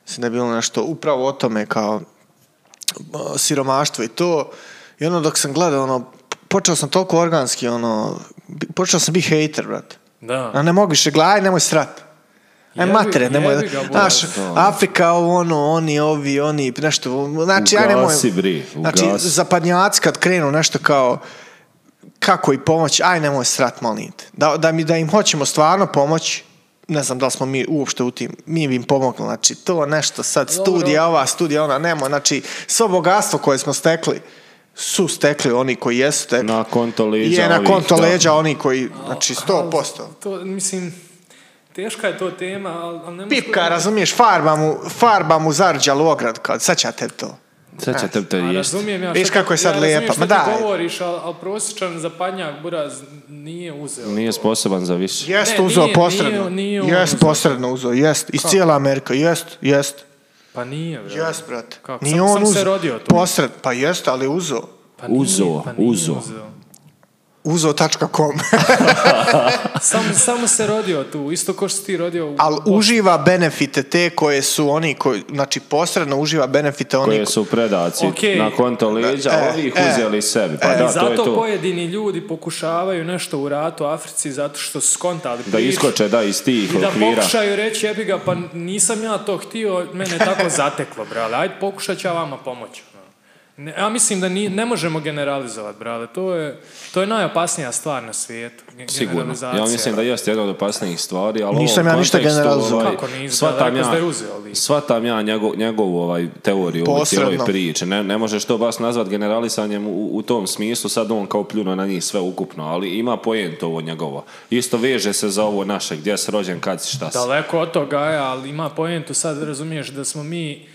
Speaker 3: mislim da je bilo nešto upravo o tome kao a, siromaštvo i to. I ono dok sam gledao, ono, počeo sam toliko organski, ono, bi- počeo sam biti hejter, brate.
Speaker 1: Da.
Speaker 3: A ne mogu više gledaj, nemoj srat. Aj
Speaker 1: Jebi-
Speaker 3: matere, nemoj,
Speaker 1: jebi ga, Boris,
Speaker 3: znaš,
Speaker 2: ono.
Speaker 3: Afrika, ovo, ono, oni, ovi, oni, nešto, znači, ja nemoj,
Speaker 2: Ugasi, bri,
Speaker 3: znači,
Speaker 2: ugasi.
Speaker 3: zapadnjaci kad krenu nešto kao, kako i pomoć, aj nemoj srat, molim te. Da, da, mi, da im hoćemo stvarno pomoć, ne znam da li smo mi uopšte u tim, mi bi im pomogli, znači to nešto sad,
Speaker 1: Dobro.
Speaker 3: studija ova, studija ona, nemoj, znači svo bogatstvo koje smo stekli, su stekli oni koji jesu stekli.
Speaker 2: Na konto leđa.
Speaker 3: je na
Speaker 2: ovih,
Speaker 3: konto
Speaker 2: da.
Speaker 3: leđa oni koji, znači 100%.
Speaker 1: To, mislim, teška je to tema, ali, ali ne možeš-
Speaker 3: Pipka, razumiješ, farba mu, farba mu zarđalo ograd, kad saćate to.
Speaker 2: Sad će te- te
Speaker 1: Eh, A
Speaker 2: jest.
Speaker 1: razumijem ja
Speaker 3: Viš
Speaker 1: šta ti-
Speaker 3: kako je sad
Speaker 1: ja razumijem
Speaker 3: lijepa,
Speaker 1: šta
Speaker 3: ma
Speaker 1: ti
Speaker 3: daj.
Speaker 1: govoriš, ali, ali prosječan zapadnjak buraz nije uzeo.
Speaker 2: Nije sposoban za više.
Speaker 3: Jest
Speaker 1: Ne,
Speaker 3: uzeo
Speaker 1: nije,
Speaker 3: posredno.
Speaker 1: nije- nije on
Speaker 3: jest
Speaker 1: uzeo.
Speaker 3: posredno uzeo, jest. Iz cijela Amerika, jest, jest.
Speaker 1: Pa nije, bre.
Speaker 3: Jest, brate.
Speaker 1: Kako?
Speaker 3: Nije
Speaker 1: Sam-
Speaker 3: on
Speaker 1: sam se
Speaker 3: uzeo.
Speaker 1: rodio tu.
Speaker 3: Posred, pa jest, ali uzeo.
Speaker 1: Pa nije,
Speaker 2: Uzo,
Speaker 1: pa nije
Speaker 2: uzo.
Speaker 1: uzeo.
Speaker 3: [LAUGHS] Uzeo.com.
Speaker 1: Samo, samo se rodio tu, isto ko što si ti rodio u...
Speaker 3: ali uživa benefite te koje su oni koji, znači posredno uživa benefite oni
Speaker 2: Koje su predaci
Speaker 1: Okej.
Speaker 2: na konto leđa,
Speaker 3: E,
Speaker 2: ovih
Speaker 3: e.
Speaker 2: uzeli sebi. Pa da, to
Speaker 1: zato
Speaker 2: je to.
Speaker 1: pojedini ljudi pokušavaju nešto u ratu u Africi zato što su skontali
Speaker 2: Da
Speaker 1: priču
Speaker 2: iskoče, da, iz tih
Speaker 1: i da
Speaker 2: okvira.
Speaker 1: pokušaju reći jebi ga pa nisam ja to htio, mene je tako zateklo brale, ajde pokušat ću ja vama pomoći. ono. Ne, ja mislim da ni, ne možemo generalizovati, brale. To je, to je najopasnija stvar na svijetu. ge-
Speaker 2: Sigurno.
Speaker 1: generalizacija.
Speaker 2: Ja mislim da jeste jedna od opasnijih stvari, ali
Speaker 3: Nisam
Speaker 2: ovo u
Speaker 3: ja ništa
Speaker 2: kontekstu,
Speaker 3: generalizovao.
Speaker 2: ovaj,
Speaker 1: Kako nisi,
Speaker 2: shvatam
Speaker 1: da, rekao si da je
Speaker 2: ja-
Speaker 1: uzeo lik.
Speaker 2: Shvatam ja njegov, njegovu ovaj, teoriju u
Speaker 3: Posredno.
Speaker 2: cijeloj priči. Ne, ne možeš to baš nazvat generalisanjem u, u tom smislu, sad on kao pljuno na njih sve ukupno, ali ima pojent ovo njegovo. Isto veže se za ovo naše, gdje si rođen, kad si, šta si.
Speaker 1: Daleko od toga je, ali ima pojentu sad, razumiješ da smo mi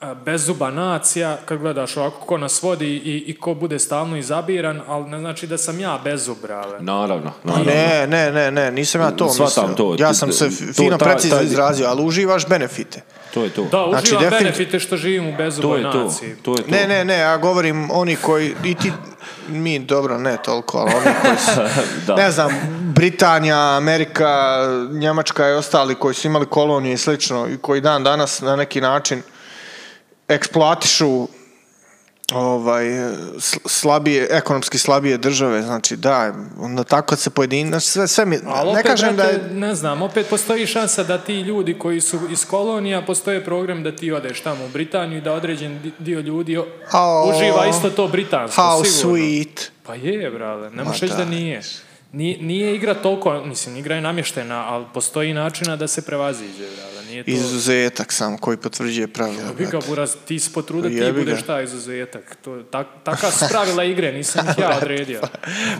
Speaker 1: a, bezuba nacija, kad gledaš ovako ko nas vodi i, i ko bude stalno izabiran, ali ne znači da sam ja bezub, brale.
Speaker 2: Naravno, naravno.
Speaker 3: Ne, ne, ne, ne, nisam ja to
Speaker 2: Shvatam
Speaker 3: mislio.
Speaker 2: to.
Speaker 3: Ja sam se
Speaker 2: To-
Speaker 3: f- fino
Speaker 2: ta-
Speaker 3: precizno
Speaker 2: taj-
Speaker 3: izrazio, ali uživaš benefite.
Speaker 2: To je to.
Speaker 1: Da, uživam
Speaker 3: Znači, definitiv-
Speaker 1: benefite što živim u
Speaker 2: to
Speaker 1: bezuboj
Speaker 2: je to.
Speaker 1: naciji.
Speaker 2: To je to.
Speaker 3: Ne, ne, ne, ja govorim oni koji, i ti, mi dobro, ne toliko, ali oni
Speaker 1: [LAUGHS]
Speaker 3: koji su,
Speaker 2: [LAUGHS] Da.
Speaker 3: ne znam, Britanija, Amerika, Njemačka i ostali koji su imali kolonije i slično i koji dan danas na neki način eksploatišu ovaj, sl- slabije, ekonomski slabije države, znači da, onda tako kad se pojedini, znači sve, sve mi,
Speaker 1: Ali
Speaker 3: ne
Speaker 1: opet,
Speaker 3: kažem da
Speaker 1: brate,
Speaker 3: je,
Speaker 1: ne znam, opet postoji šansa da ti ljudi koji su iz kolonija, postoje program da ti odeš tamo u Britaniju i da određen di- dio ljudi o-
Speaker 3: Ao.
Speaker 1: uživa isto to britansko,
Speaker 3: how
Speaker 1: sigurno.
Speaker 3: sweet,
Speaker 1: Pa je, brale, ne možeš
Speaker 3: Ma
Speaker 1: reći da
Speaker 3: da.
Speaker 1: nije. Nije, nije igra toliko, mislim, igra je namještena, ali postoji načina da se prevaziđe, brale. Nije to...
Speaker 3: izuzetak sam koji potvrđuje dakle. pravilo.
Speaker 1: Jebi ga, buraz, ti se potrude, ti
Speaker 3: Jebi ga.
Speaker 1: budeš taj izuzetak. To, tak, taka su pravila igre, nisam
Speaker 3: [LAUGHS]
Speaker 1: ih ja odredio.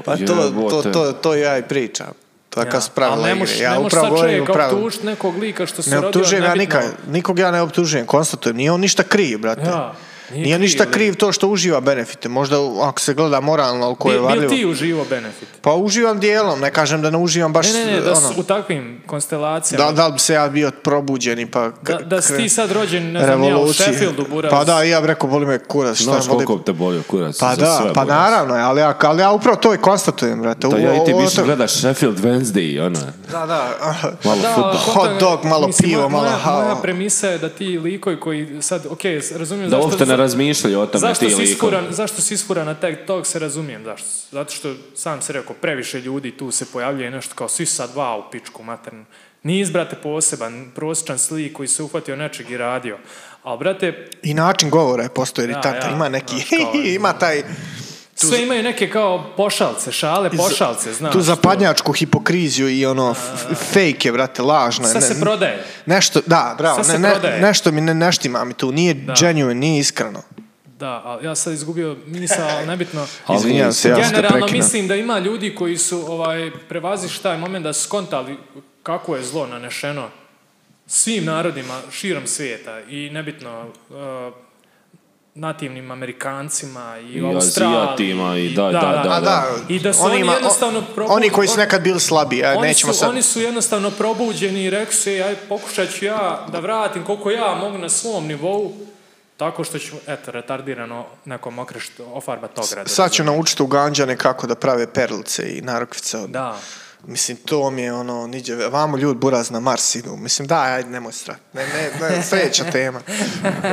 Speaker 3: Pa to, to,
Speaker 2: Jebote.
Speaker 3: to, to ja i pričam. Taka su pravila
Speaker 1: ali ne
Speaker 3: igre.
Speaker 1: možeš,
Speaker 3: Ja
Speaker 1: ne možeš
Speaker 3: upravo
Speaker 1: sad
Speaker 3: govorim o
Speaker 1: čovjeka
Speaker 3: pravilu.
Speaker 1: optužiti nekog lika što se
Speaker 3: Ne
Speaker 1: rodio
Speaker 3: optužujem ja
Speaker 1: nebitno.
Speaker 3: nikad, nikog ja ne optužujem, konstatujem, nije on ništa kriv, brate.
Speaker 1: Ja. Nije
Speaker 3: Nije,
Speaker 1: kriv,
Speaker 3: ništa
Speaker 1: ali-
Speaker 3: kriv to što uživa benefite. Možda u- ako se gleda moralno, ali ko je
Speaker 1: Bil- Bil
Speaker 3: varljivo.
Speaker 1: ti uživo benefit?
Speaker 3: Pa uživam dijelom, ne kažem da ne uživam baš...
Speaker 1: Ne, ne, ne, da
Speaker 3: ono,
Speaker 1: su u takvim konstelacijama.
Speaker 3: da, da bi se ja bio probuđeni pa... k-
Speaker 1: Da, da si
Speaker 3: kre-
Speaker 1: ti sad rođen, ne znam, ja, u
Speaker 3: revolucije.
Speaker 1: Sheffieldu, Buras.
Speaker 3: Pa da, i ja bi rekao, boli me kurac, šta
Speaker 2: Znaš
Speaker 3: me boli-
Speaker 2: koliko te bolio kurac
Speaker 3: Pa
Speaker 2: za sve
Speaker 3: da, pa
Speaker 2: bolio.
Speaker 3: naravno, ali ja, ali ja upravo to i konstatujem, brate.
Speaker 2: Da
Speaker 3: U-
Speaker 2: ja i ti
Speaker 3: ovo-
Speaker 2: više
Speaker 3: to-
Speaker 2: gledaš Sheffield Wednesday, ono,
Speaker 3: Da, da.
Speaker 2: malo
Speaker 1: Da,
Speaker 2: fudbal.
Speaker 1: kontam-
Speaker 3: Hot dog, malo
Speaker 1: mislim,
Speaker 3: pivo,
Speaker 1: moja-
Speaker 3: malo
Speaker 1: moja-
Speaker 3: hao.
Speaker 1: Moja premisa je da ti likovi koji sad, ok, razumijem
Speaker 2: Da
Speaker 1: zašto...
Speaker 2: uopšte ne razmišljaju o tome ti
Speaker 1: Zašto si,
Speaker 2: likovi.
Speaker 1: iskuran, zašto si iskuran na tag talk se razumijem, zašto? Zato što sam se rekao, previše ljudi tu se pojavljuje nešto kao svi sad, wow, pičku maternu. Nije izbrate poseban, prosječan slik koji se uhvatio nečeg i radio. Ali, brate,
Speaker 3: I način govora je postoji
Speaker 1: ja,
Speaker 3: iritantan. Ima neki,
Speaker 1: znaš, kao-
Speaker 3: [LAUGHS] ima taj,
Speaker 1: sve imaju neke kao pošalce, šale, pošalce, znaš.
Speaker 3: tu
Speaker 1: to.
Speaker 3: zapadnjačku hipokriziju i ono, f- fake je, brate, lažno je.
Speaker 1: Sve
Speaker 3: ne-
Speaker 1: se prodaje.
Speaker 3: Nešto, da, bravo,
Speaker 1: Sve se
Speaker 3: ne, ne-
Speaker 1: prodaje.
Speaker 3: nešto mi ne, neštima mi tu, nije genuine, nije iskreno.
Speaker 1: Pa Da, ali ja sam izgubio misao, ali
Speaker 3: [LAUGHS]
Speaker 1: nebitno.
Speaker 2: Ali
Speaker 3: Izvinjavam se, ja
Speaker 1: [LAUGHS]
Speaker 3: sam te
Speaker 1: Generalno
Speaker 3: prekinuo.
Speaker 1: mislim da ima ljudi koji su ovaj, prevaziš taj moment da su skontali kako je zlo nanešeno svim narodima širom svijeta i nebitno eh, nativnim Amerikancima i,
Speaker 2: I
Speaker 1: Australijima.
Speaker 2: Azijatima i da, da, da,
Speaker 3: A Pa da,
Speaker 1: I da su oni,
Speaker 3: onima- o-
Speaker 1: jednostavno probu-
Speaker 3: Oni koji su
Speaker 1: on-
Speaker 3: nekad bili slabi, a
Speaker 1: oni
Speaker 3: nećemo
Speaker 1: su,
Speaker 3: sad...
Speaker 1: oni su jednostavno probuđeni i rekli su, aj, pokušat ću ja da vratim koliko ja mogu na svom nivou, tako što ću, eto, retardirano nekom okrešt, ofarbat ogradu.
Speaker 3: Sad ću naučiti uganđane kako da prave perlice i narukvice od...
Speaker 1: Da.
Speaker 3: Mislim, to mi je ono, niđe, vamo ljud buraz na Mars idu. Mislim, da, ajde, nemoj strat. Ne, ne,
Speaker 1: [LAUGHS]
Speaker 3: ne, sljedeća tema.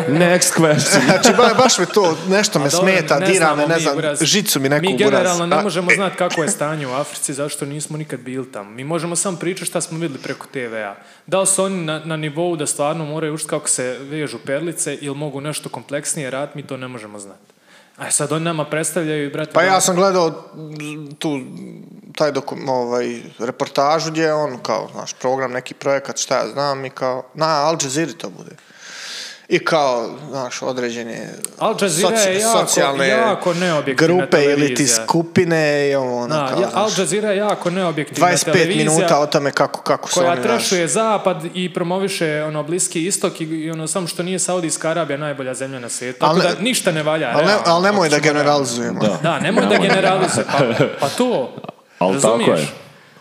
Speaker 2: Next question.
Speaker 3: Znači, ba- baš me to, nešto me
Speaker 1: Dobro,
Speaker 3: Pa smeta, dira
Speaker 1: znamo
Speaker 3: me, ne
Speaker 1: mi,
Speaker 3: znam,
Speaker 1: Buraz.
Speaker 3: žicu mi neku
Speaker 1: Mi
Speaker 3: buraz.
Speaker 1: generalno ne
Speaker 3: A, e.
Speaker 1: možemo znati kako je stanje u Africi, zašto nismo nikad bili tamo. Mi možemo samo pričati šta smo vidjeli preko TV-a. Da li su oni na, na nivou da stvarno moraju učiti kako se vežu perlice ili mogu nešto kompleksnije raditi, mi to ne možemo znati. A sad oni nama predstavljaju, brate...
Speaker 3: Pa
Speaker 1: da-
Speaker 3: ja sam gledao tu taj dokum, ovaj, reportažu gdje je on kao, znaš, program, neki projekat, šta ja znam, i kao, na Al Jazeera to bude. I kao, znaš, određene
Speaker 1: Al Jazeera je
Speaker 3: soci-
Speaker 1: jako- jako neobjektivna
Speaker 3: grupe ili ti
Speaker 1: televizija.
Speaker 3: skupine i ovo, ono,
Speaker 1: Da,
Speaker 3: kao,
Speaker 1: ja- Al
Speaker 3: znaš,
Speaker 1: Jazeera je jako neobjektivna
Speaker 3: 25
Speaker 1: televizija
Speaker 3: minuta o tome kako, kako se
Speaker 1: koja
Speaker 3: oni, znaš,
Speaker 1: trešuje zapad i promoviše ono bliski istok i, i ono samo što nije Saudijska Arabija najbolja zemlja na svijetu. Tako
Speaker 3: Al ne-
Speaker 1: da ništa ne valja.
Speaker 3: Ali, ne,
Speaker 1: realno.
Speaker 3: ali nemoj
Speaker 1: Znači,
Speaker 3: da generalizujemo.
Speaker 1: Da, nemoj da generalizuje. Pa,
Speaker 2: [LAUGHS]
Speaker 1: pa to.
Speaker 2: Al tako
Speaker 1: razumiješ?
Speaker 2: je.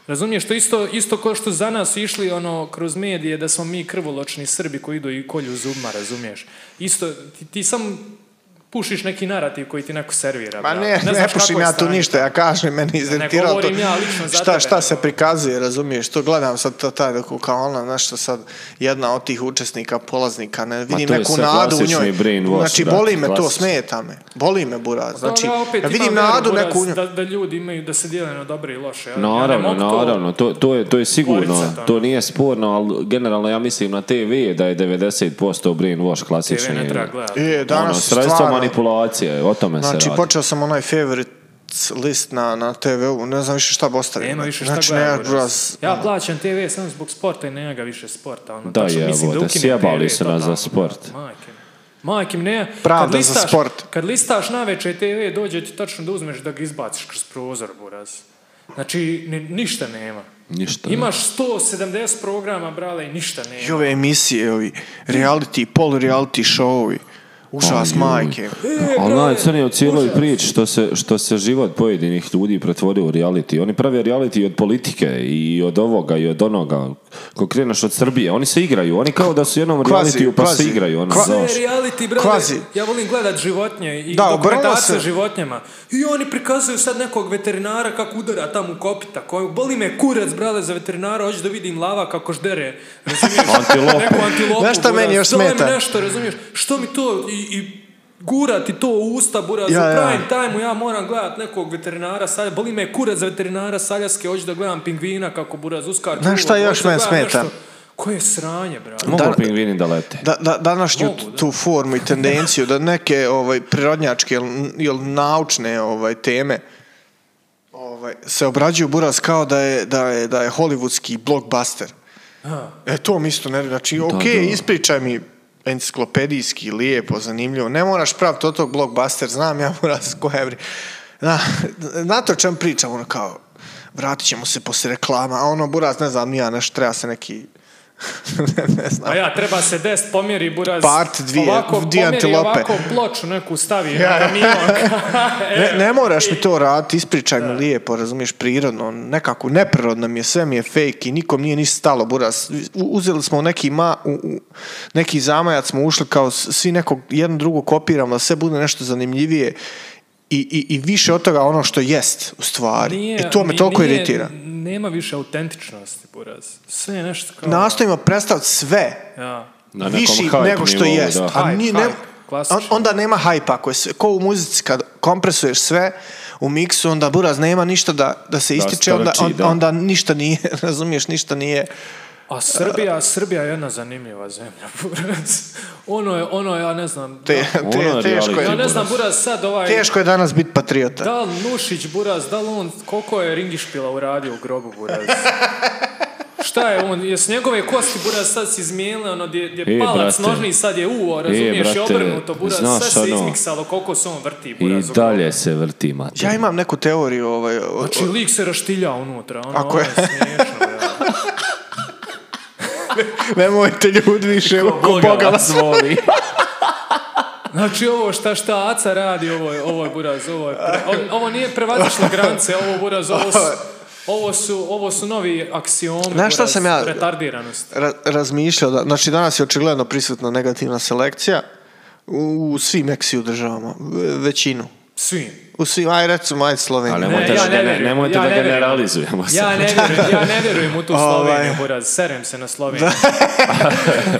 Speaker 1: Razumiješ, to isto, isto kao što za nas išli ono, kroz medije da smo mi krvoločni Srbi koji idu i kolju zubma, razumiješ? Isto, ti, ti sam pušiš neki narativ koji ti neko servira.
Speaker 3: Ma
Speaker 1: brate.
Speaker 3: Pa ne, ne,
Speaker 1: znaš
Speaker 3: pušim
Speaker 1: kako je
Speaker 3: ja tu
Speaker 1: stanje.
Speaker 3: ništa, ja kažem, meni izdentirao to.
Speaker 1: govorim ja lično za
Speaker 3: šta,
Speaker 1: tebe,
Speaker 3: šta se
Speaker 1: nego-
Speaker 3: prikazuje, razumiješ, to gledam sad to, taj doku, kao ona, znaš što sad, jedna od tih učesnika, polaznika, ne vidim
Speaker 2: to je
Speaker 3: neku
Speaker 2: sve
Speaker 3: nadu u
Speaker 2: klasični
Speaker 3: njoj.
Speaker 2: brainwash,
Speaker 3: Znači,
Speaker 2: brate,
Speaker 3: boli me to,
Speaker 2: klasični.
Speaker 3: smeta me, boli me buraz.
Speaker 1: Zato
Speaker 3: Znači,
Speaker 1: ja opet
Speaker 3: ja
Speaker 1: imam
Speaker 3: vidim
Speaker 1: vjeru,
Speaker 3: nadu
Speaker 1: Buraz,
Speaker 3: neku u njoj.
Speaker 1: Da, da ljudi imaju, da se dijele na dobre i loše. Ja, ja ne
Speaker 2: Naravno,
Speaker 1: mogu to-
Speaker 2: naravno, to, to, je, to je sigurno,
Speaker 1: Borica, to-
Speaker 2: to nije sporno, ali generalno ja mislim na TV da je 90% brainwash
Speaker 1: TV
Speaker 2: klasični.
Speaker 1: ne treba gledati.
Speaker 3: E,
Speaker 2: Ono,
Speaker 3: danas,
Speaker 2: sredstvo
Speaker 3: stvarno,
Speaker 2: manipulacije, o tome se
Speaker 3: znači,
Speaker 2: radi.
Speaker 3: počeo sam onaj favorite list na, na TV-u, ne znam više šta bi ostavio.
Speaker 1: Nema više šta
Speaker 3: znači,
Speaker 1: gledam,
Speaker 3: ne,
Speaker 1: Buraz.
Speaker 3: buraz,
Speaker 1: Ja plaćam TV samo zbog sporta i nema ga više sporta. Ono,
Speaker 2: Da,
Speaker 1: tačno,
Speaker 2: jebo,
Speaker 1: mislim
Speaker 2: da
Speaker 1: ukinem
Speaker 2: sjebali
Speaker 1: TV
Speaker 2: su nas
Speaker 1: totalno,
Speaker 2: za sport.
Speaker 1: Majke mi. Majke mi, ne.
Speaker 3: Pravda
Speaker 1: kad
Speaker 3: za
Speaker 1: listaš,
Speaker 3: sport.
Speaker 1: Kad listaš naveče TV, dođe ti tačno da uzmeš da ga izbaciš kroz prozor, buraz. Znači, ni- ništa nema.
Speaker 2: Ništa. ne.
Speaker 1: Imaš 170 programa, brale, i ništa
Speaker 3: I
Speaker 1: nema.
Speaker 3: ove emisije, ovi reality, polu-reality showovi. Užas
Speaker 2: Aj, joj.
Speaker 3: majke.
Speaker 2: Ali najcrnije u cijeloj priči što se, što se život pojedinih ljudi pretvorio u reality. Oni prave reality i od politike i od ovoga i od onoga. Ko kreneš od Srbije, oni se igraju. Oni kao da su u jednom
Speaker 3: Kvazi,
Speaker 2: realitiju pa se
Speaker 3: kvazi.
Speaker 2: igraju. Ono,
Speaker 3: Kva-
Speaker 1: Sve je
Speaker 2: znaš.
Speaker 1: reality, brale,
Speaker 3: Kvazi.
Speaker 1: ja volim gledat životinje i
Speaker 3: Da,
Speaker 1: dokumentarce
Speaker 3: obrnulo
Speaker 1: o
Speaker 3: se.
Speaker 1: životinjama. I oni prikazuju sad nekog veterinara kako udara tamo u kopita. Koju, boli me kurac, brale, za veterinara, hoću da vidim lava kako ždere. Razumiješ?
Speaker 2: Antilopu.
Speaker 1: Neku antilopu.
Speaker 3: Znaš šta
Speaker 1: buraz.
Speaker 3: meni još
Speaker 1: Zove mi
Speaker 3: smeta?
Speaker 1: nešto, razumiješ? Što mi to i, i gura ti to u usta, buraz,
Speaker 3: Ja,
Speaker 1: u
Speaker 3: ja.
Speaker 1: prime time ja moram gledat nekog veterinara, salja, boli me kurac za veterinara saljaske, hoću da gledam pingvina kako buraz uskar.
Speaker 3: Znaš šta još meni smeta?
Speaker 1: Koje sranje, brale.
Speaker 2: Mogu
Speaker 3: Da-
Speaker 2: pingvini da lete.
Speaker 3: Da, da, današnju
Speaker 1: Mogu, da.
Speaker 3: tu formu i tendenciju da neke ovaj prirodnjačke ili, ili naučne ovaj teme ovaj se obrađuju buraz kao da je da je da je hollywoodski blockbuster. E to mi isto ne, znači ok,
Speaker 2: da.
Speaker 3: ispričaj mi enciklopedijski, lijepo, zanimljivo. Ne moraš praviti od tog blockbuster, znam ja [LAUGHS] buraz koja je. vri- Na, na to čem pričam, ono kao, vratit ćemo se poslije reklama, a ono buraz, ne znam, ni ja nešto, treba se neki [LAUGHS] ne znam.
Speaker 1: Pa ja, treba se dest pomjeri buraz.
Speaker 3: Part dvije,
Speaker 1: ovako,
Speaker 3: dvije
Speaker 1: pomjeri
Speaker 3: antilope.
Speaker 1: Ovako ploču neku stavi. Ja.
Speaker 3: [LAUGHS] Ne, ne moraš mi to raditi, ispričaj mi lijepo, razumiješ, prirodno, nekako neprirodno mi je, sve mi je fake i nikom nije ništa stalo, buras. U- Uzeli smo neki, ma, u, u- neki zamajac, smo ušli kao s- svi nekog, jedno drugo kopiramo, da sve bude nešto zanimljivije i, i, i više od toga ono što jest, u stvari. I to me toliko iritira.
Speaker 1: Nema više autentičnosti, buraz. Sve je nešto kao...
Speaker 3: Nastojimo predstaviti sve
Speaker 1: Ja.
Speaker 2: Na nekom
Speaker 3: viši
Speaker 2: hype
Speaker 3: nego što
Speaker 2: nivou,
Speaker 3: jest.
Speaker 2: da.
Speaker 3: A
Speaker 1: Hype,
Speaker 3: ni-
Speaker 1: hype,
Speaker 3: ne-
Speaker 1: klasično.
Speaker 3: on- onda nema hajpa. Ako je sve, ko u muzici kad kompresuješ sve u miksu, onda buraz nema ništa da, da se ističe, onda,
Speaker 2: strči,
Speaker 3: on-
Speaker 2: da.
Speaker 3: onda ništa nije, [LAUGHS] razumiješ, ništa nije.
Speaker 1: A Srbija, Srbija je jedna zanimljiva zemlja, buraz. Ono je, ono je, ja ne znam... da-
Speaker 3: Te,
Speaker 2: Ono
Speaker 3: te-
Speaker 2: je
Speaker 3: teško,
Speaker 1: ja
Speaker 2: reality.
Speaker 3: je,
Speaker 1: ne znam, buraz, sad ovaj...
Speaker 3: teško je danas biti patriota.
Speaker 1: Da li Nušić, buraz, da li on, koliko je ringišpila uradio u grobu,
Speaker 2: [LAUGHS]
Speaker 1: buraz? Šta je on, je s njegove kosti, buraz, sad si izmijenile, ono, gdje, gdje
Speaker 2: E,
Speaker 1: palac
Speaker 2: brate. E,
Speaker 1: nožni, sad je uo, razumiješ, i
Speaker 2: brate,
Speaker 1: obrnuto, buraz,
Speaker 2: znaš,
Speaker 1: sve se
Speaker 2: ono,
Speaker 1: izmiksalo, koliko se on vrti,
Speaker 2: I
Speaker 1: buraz. u grobu.
Speaker 2: dalje se vrti, mater.
Speaker 3: Ja imam neku teoriju ovaj, o-
Speaker 1: [LAUGHS]
Speaker 3: o-
Speaker 1: Znači, lik se raštilja unutra, ono,
Speaker 3: Ako
Speaker 1: Ako
Speaker 3: je-
Speaker 1: je... smiješno, ja.
Speaker 3: nemojte ljudi više oko Boga vas
Speaker 2: voli.
Speaker 1: [LAUGHS] Znači, ovo šta šta Aca radi, ovo je, ovo je buraz, ovo je... pre- ovo- ovo nije prevazišlo granice, ovo buraz, ovo su... Ovo su, ovo su novi aksiomi,
Speaker 3: Znaš šta
Speaker 1: buraz,
Speaker 3: sam ja-
Speaker 1: retardiranost.
Speaker 3: [LAUGHS] ra- razmišljao. Da, znači, danas je očigledno prisutna negativna selekcija u, u svim eksiju državama, ve- većinu.
Speaker 1: Svim.
Speaker 3: U svim, aj recimo, aj Sloveniju.
Speaker 2: Ali nemojte
Speaker 1: Ne,
Speaker 2: da
Speaker 1: ja ne
Speaker 2: gene-
Speaker 1: vjerujem,
Speaker 2: nemojte
Speaker 1: ja
Speaker 2: da
Speaker 1: ne vjerujem.
Speaker 2: generalizujemo sad.
Speaker 1: Ja ne, vjerujem, ja ne vjerujem u tu
Speaker 3: [LAUGHS] Ovaj.
Speaker 1: Sloveniju, buraz. Serem se na
Speaker 3: [LAUGHS]
Speaker 1: Sloveniju.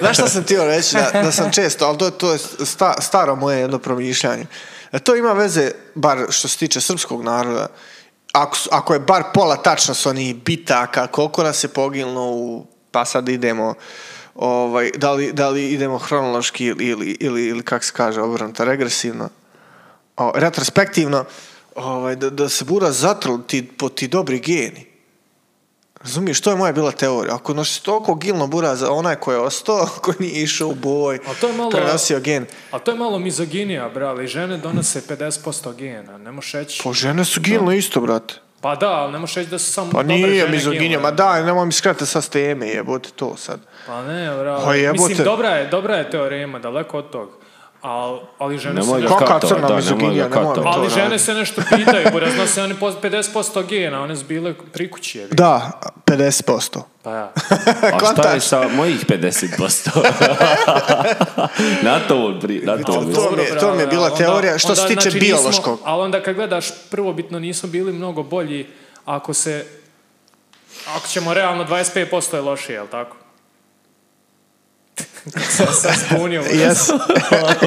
Speaker 3: Znaš šta sam htio reći? Da, da sam često, ali to, to je sta- staro moje jedno promišljanje. Da to ima veze, bar što se tiče srpskog naroda, ako, su- ako je bar pola tačno su oni bitaka, koliko nas je poginulo u... Pa sad idemo... Ovaj, da, li, da li idemo hronološki ili, ili, ili, ili kako se kaže, obrnuto, regresivno? O, retrospektivno, ovaj, da, da se bura zatrl ti, po ti dobri geni. Razumiješ, to je moja bila teorija. Ako nosi toliko gilno bura za onaj ko je ostao, [LAUGHS] ko nije išao u boj,
Speaker 1: A to je malo-
Speaker 3: prenosio gen.
Speaker 1: A to je malo mizoginija, brale. Žene donose 50% gena. Ne možeš reći...
Speaker 3: Pa žene su gilne isto, brate.
Speaker 1: Pa da, ali ne možeš reći da su samo
Speaker 3: Pa
Speaker 1: dobre
Speaker 3: nije
Speaker 1: žene
Speaker 3: mizoginija,
Speaker 1: ginule.
Speaker 3: ma daj, nemoj mi skratiti sa teme, jebote to sad.
Speaker 1: Pa ne,
Speaker 3: Pa
Speaker 1: brale.
Speaker 3: jebote.
Speaker 1: Mislim, dobra je, dobra je teorema, daleko od tog. Al, ali žene
Speaker 2: Nemoj
Speaker 1: se...
Speaker 2: ga
Speaker 1: nešto-
Speaker 3: Kakva
Speaker 2: katovat,
Speaker 3: crna
Speaker 2: da,
Speaker 3: mizoginija,
Speaker 2: nemoj ga
Speaker 3: nemoj me
Speaker 2: katovat.
Speaker 3: to
Speaker 1: Ali
Speaker 3: raditi.
Speaker 1: žene se nešto pitaju, buraz. Nose oni po 50% gena, one su bile pri kući. jebi.
Speaker 3: Da, 50%.
Speaker 1: [LAUGHS] Pa ja.
Speaker 2: A šta je
Speaker 3: Kontaš.
Speaker 2: sa mojih
Speaker 3: [LAUGHS]
Speaker 2: 50%? na to on pri... Na to
Speaker 1: Ali
Speaker 2: on
Speaker 3: to-
Speaker 1: dobro,
Speaker 3: mi je- to mi
Speaker 1: brale,
Speaker 3: je bila
Speaker 1: ali
Speaker 3: teorija što se tiče biološkog.
Speaker 1: znači, Nismo, ali onda kad gledaš, prvobitno nismo bili mnogo bolji ako se, ako ćemo realno 25% je lošije, jel tako? [LAUGHS] Sam sam spunio.
Speaker 3: Jes,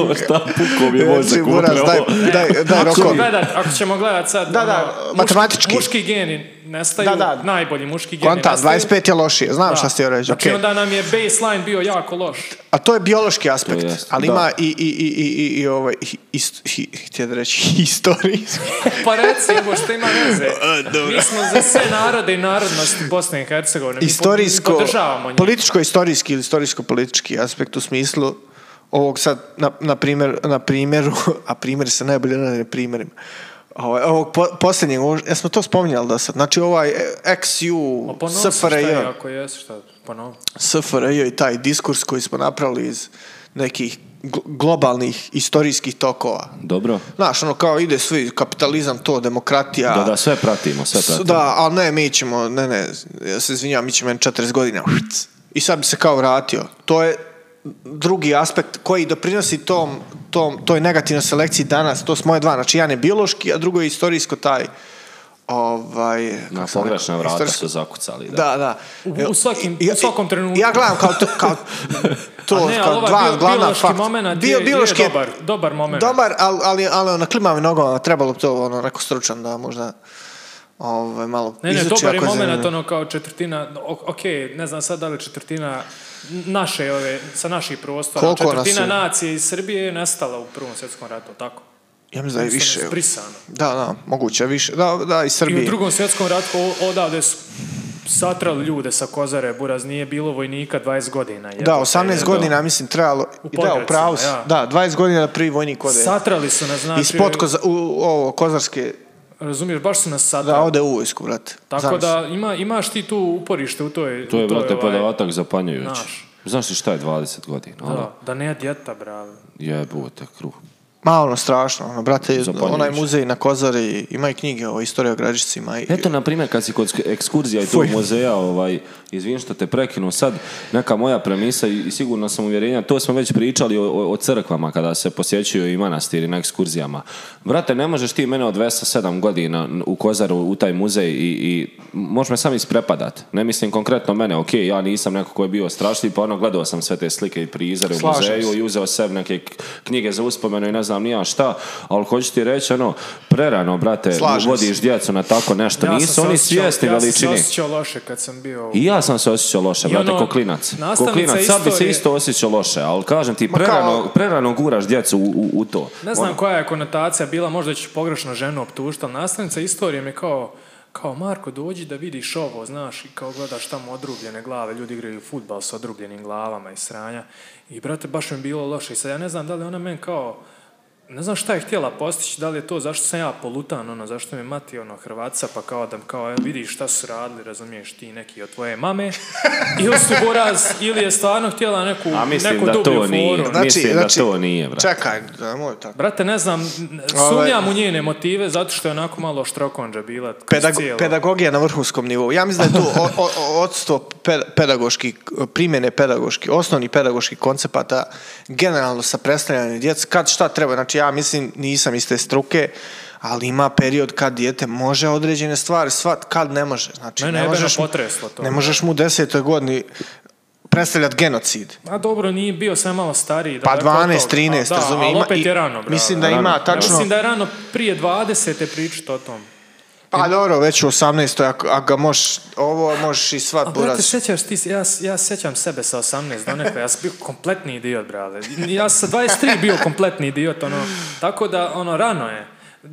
Speaker 2: Ovo [LAUGHS] šta pukom je
Speaker 3: Reci,
Speaker 2: mozak
Speaker 3: Buras, daj,
Speaker 2: upravo.
Speaker 3: Znači, daj, daj
Speaker 1: Ako ćemo
Speaker 3: rokovi.
Speaker 1: gledat, ako ćemo gledat sad,
Speaker 3: Da, da,
Speaker 1: ono, muški-
Speaker 3: matematički.
Speaker 1: muški geni nestaju,
Speaker 3: Da, da.
Speaker 1: najbolji muški geni
Speaker 3: Konta,
Speaker 1: nestaju.
Speaker 3: 25 je lošije, znam šta ste joj reći.
Speaker 1: Znači
Speaker 3: okej.
Speaker 1: onda nam je baseline bio jako loš.
Speaker 3: A to je biološki aspekt,
Speaker 2: To jest,
Speaker 3: ali
Speaker 2: da.
Speaker 3: ima i, i, i, i, i, i ovaj, hi- ist, hi, htio da reći, [LAUGHS] historijski.
Speaker 1: Pa reci, Ivo, što ima veze?
Speaker 3: [LAUGHS] A, dobro.
Speaker 1: Mi smo za sve narode i narodnosti Bosne i Hercegovine. Mi po- Mi
Speaker 3: Istorijsko,
Speaker 1: podržavamo njih.
Speaker 3: političko-istorijski ili istorijsko-politički aspekt u smislu ovog sad, na, na, primjer, na primjeru, [LAUGHS] a primjer se najbolje radi na primjerima, ovaj, ovog po, posljednjeg, ovo- jesmo to spominjali da sad, znači ovaj e, XU,
Speaker 1: Pa ponosi šta
Speaker 3: SFRJ,
Speaker 1: je, ako jesi, šta, ponovi.
Speaker 3: SFRJ i taj diskurs koji smo napravili iz nekih gl- globalnih istorijskih tokova.
Speaker 2: Dobro.
Speaker 3: Znaš, ono kao ide svi, kapitalizam to, demokratija.
Speaker 2: Da, da, sve pratimo, sve
Speaker 3: S-
Speaker 2: pratimo.
Speaker 3: Da, ali ne, mi ćemo, ne, ne, ja se izvinjam, mi ćemo 40 godina. I sad bi se kao vratio. To je drugi aspekt koji doprinosi tom, tom, toj negativnoj selekciji danas. To su moje dva. Znači, jedan je biološki, a drugo je istorijsko taj ovaj...
Speaker 2: Na
Speaker 3: kako sam
Speaker 2: pogrešna
Speaker 3: rekao,
Speaker 2: vrata
Speaker 3: istorijsko-
Speaker 2: su zakucali. Da.
Speaker 3: Da, da.
Speaker 1: U- u svakim-
Speaker 3: Ja-
Speaker 1: u svakom trenutku.
Speaker 3: Ja gledam kao to,
Speaker 1: [LAUGHS]
Speaker 3: kao to,
Speaker 1: A ne, ali
Speaker 3: kao
Speaker 1: ovaj
Speaker 3: dva
Speaker 1: bio,
Speaker 3: glavna
Speaker 1: biološki
Speaker 3: faktora.
Speaker 1: moment
Speaker 3: Bio
Speaker 1: je,
Speaker 3: biološki
Speaker 1: je
Speaker 3: je
Speaker 1: dobar, dobar moment.
Speaker 3: Dobar, ali, ali, ali ono, klimavim nogama, trebalo bi to ono, neko stručan da možda ovaj, malo
Speaker 1: Ne, ne,
Speaker 3: izuči
Speaker 1: dobar je
Speaker 3: ako zanima.
Speaker 1: moment, ono kao četvrtina, o- ok, ne znam sad da li četvrtina naše ove, sa naših prostora,
Speaker 3: Koliko nas
Speaker 1: četvrtina
Speaker 3: je?
Speaker 1: nacije iz Srbije je nestala u Prvom svjetskom ratu, tako?
Speaker 3: Ja mislim da je više. evo.
Speaker 1: Brisano.
Speaker 3: Da, da, moguće više. Da, da, iz
Speaker 1: I u
Speaker 3: Srbije.
Speaker 1: drugom svjetskom ratu o- odavde su satrali ljude sa kozare, buraz, nije bilo vojnika 20 godina. E, jebote,
Speaker 3: Da, 18
Speaker 1: je.
Speaker 3: godina, mislim, trebalo... I da, u
Speaker 1: Podgoricama,
Speaker 3: pravu si.
Speaker 1: ja.
Speaker 3: Da, 20 godina da prvi vojnik ode.
Speaker 1: Satrali su nas, znači...
Speaker 3: Ispod koza, u, ovo, kozarske
Speaker 1: Razumiješ, baš su nas sad.
Speaker 3: Da, ode u vojsku, brate.
Speaker 1: Tako
Speaker 3: Znaš.
Speaker 1: da ima, imaš ti tu uporište u toj...
Speaker 2: To je,
Speaker 1: u toj,
Speaker 2: brate,
Speaker 1: ovaj,
Speaker 2: podatak zapanjujući.
Speaker 1: znaš.
Speaker 2: Znaš li šta je 20 godina? Ono,
Speaker 1: Da, da ne djeta, bravo.
Speaker 2: jebote, kruh.
Speaker 3: Ma ono, strašno, ono, brate,
Speaker 2: Zapanjujuće.
Speaker 3: onaj muzej na Kozari, ima i knjige o istoriji o Gradišcima i...
Speaker 2: Eto, na primjer, kad si kod sk- ekskurzija i tog muzeja, ovaj, izvin što te prekinu sad, neka moja premisa i i sigurno sam uvjerenja, to smo već pričali o, o- o crkvama kada se posjećuju i manastiri na ekskurzijama. Brate, ne možeš ti mene od 207 godina n- u Kozaru, u taj muzej i, i možeš me sam isprepadat. Ne mislim konkretno mene, ok, ja nisam neko koji je bio strašljiv, pa ono, gledao sam sve te slike i prizore u
Speaker 3: Slažem
Speaker 2: muzeju
Speaker 3: se.
Speaker 2: i uzeo sebi neke k- knjige za uspomenu i ne znam ni ja šta, ali hoću ti reći, ono, prerano, brate,
Speaker 3: Slažem se.
Speaker 2: vodiš djecu na tako nešto,
Speaker 1: Ja sam
Speaker 2: nisu
Speaker 1: se
Speaker 2: oni
Speaker 1: osjećao-
Speaker 2: svjesni
Speaker 1: Ja sam
Speaker 2: veličine.
Speaker 1: se osjećao loše kad sam bio...
Speaker 2: I ja sam se osjećao loše,
Speaker 1: I
Speaker 2: brate,
Speaker 1: ono,
Speaker 2: ko klinac. Ko
Speaker 1: nastavnica
Speaker 2: klinac, sad bi se
Speaker 1: istorije-
Speaker 2: isto osjećao loše, ali kažem ti,
Speaker 3: Ma kao-
Speaker 2: prerano, prerano guraš djecu u, u, u to.
Speaker 1: Ne znam
Speaker 2: Ono,
Speaker 1: koja je konotacija bila, možda ću pogrešno ženu optužiti, ali nastavnica istorije mi je kao kao Marko dođi da vidiš ovo, znaš, i kao gledaš tamo odrubljene glave, ljudi igraju futbal s odrubljenim glavama i sranja. I brate, baš mi je bilo loše. I sad ja ne znam da li ona meni kao, ne znam šta je htjela postići, da li je to, zašto sam ja polutan, ono, zašto mi je mati, ono, Hrvatica, pa kao da kao, e, vidiš šta su radili, razumiješ ti neki od tvoje
Speaker 2: [LAUGHS]
Speaker 1: mame, ili su buraz, ili je stvarno htjela neku,
Speaker 2: Ono, A mislim
Speaker 1: neku
Speaker 2: da
Speaker 1: dublju
Speaker 2: to nije.
Speaker 1: foru.
Speaker 2: Mislim da to nije, brate.
Speaker 3: Znači, Čekaj, nemoj tako.
Speaker 1: Brate, ne znam, n-
Speaker 3: Ovaj-
Speaker 1: sumnjam u njene motive zato što je onako malo štrokonđa bila. kroz
Speaker 3: Pedago-
Speaker 1: cijelo.
Speaker 3: pedagogija na vrhunskom nivou. Ja mislim da je tu o- o- o- odstvo pe- pedagoški, primjene pedagoški, osnovni pedagoški koncepata generalno sa predstavljanjem djece, kad šta treba. Znači ja mislim, nisam iz te struke, ali ima period kad dijete može određene stvari svat, kad ne može. Znači,
Speaker 1: Mene
Speaker 3: ne,
Speaker 1: je
Speaker 3: možeš,
Speaker 1: jebeno potreslo to.
Speaker 3: ne možeš mu u desetoj godini predstavljati genocid.
Speaker 1: A dobro, nije bio sam malo stariji.
Speaker 3: Pa
Speaker 1: daleko od
Speaker 3: 12,
Speaker 1: toga.
Speaker 3: 13,
Speaker 1: Pa da,
Speaker 3: razumije,
Speaker 1: ali
Speaker 3: ima
Speaker 1: opet
Speaker 3: i-
Speaker 1: je rano, brate.
Speaker 3: Mislim da
Speaker 2: Rano,
Speaker 3: ima
Speaker 2: rano.
Speaker 3: tačno...
Speaker 1: Mislim da je rano prije 20. pričati o tom.
Speaker 3: Pa dobro, već u 18. ako, ako ga možeš, ovo možeš i
Speaker 1: A
Speaker 3: svat
Speaker 1: brate,
Speaker 3: Pa buraz.
Speaker 1: sjećaš ti, se- ja, ja sjećam sebe sa 18 donekle, ja sam bio kompletni idiot, brate. Ja sam sa 23 bio kompletni idiot, ono, tako da, ono, rano je.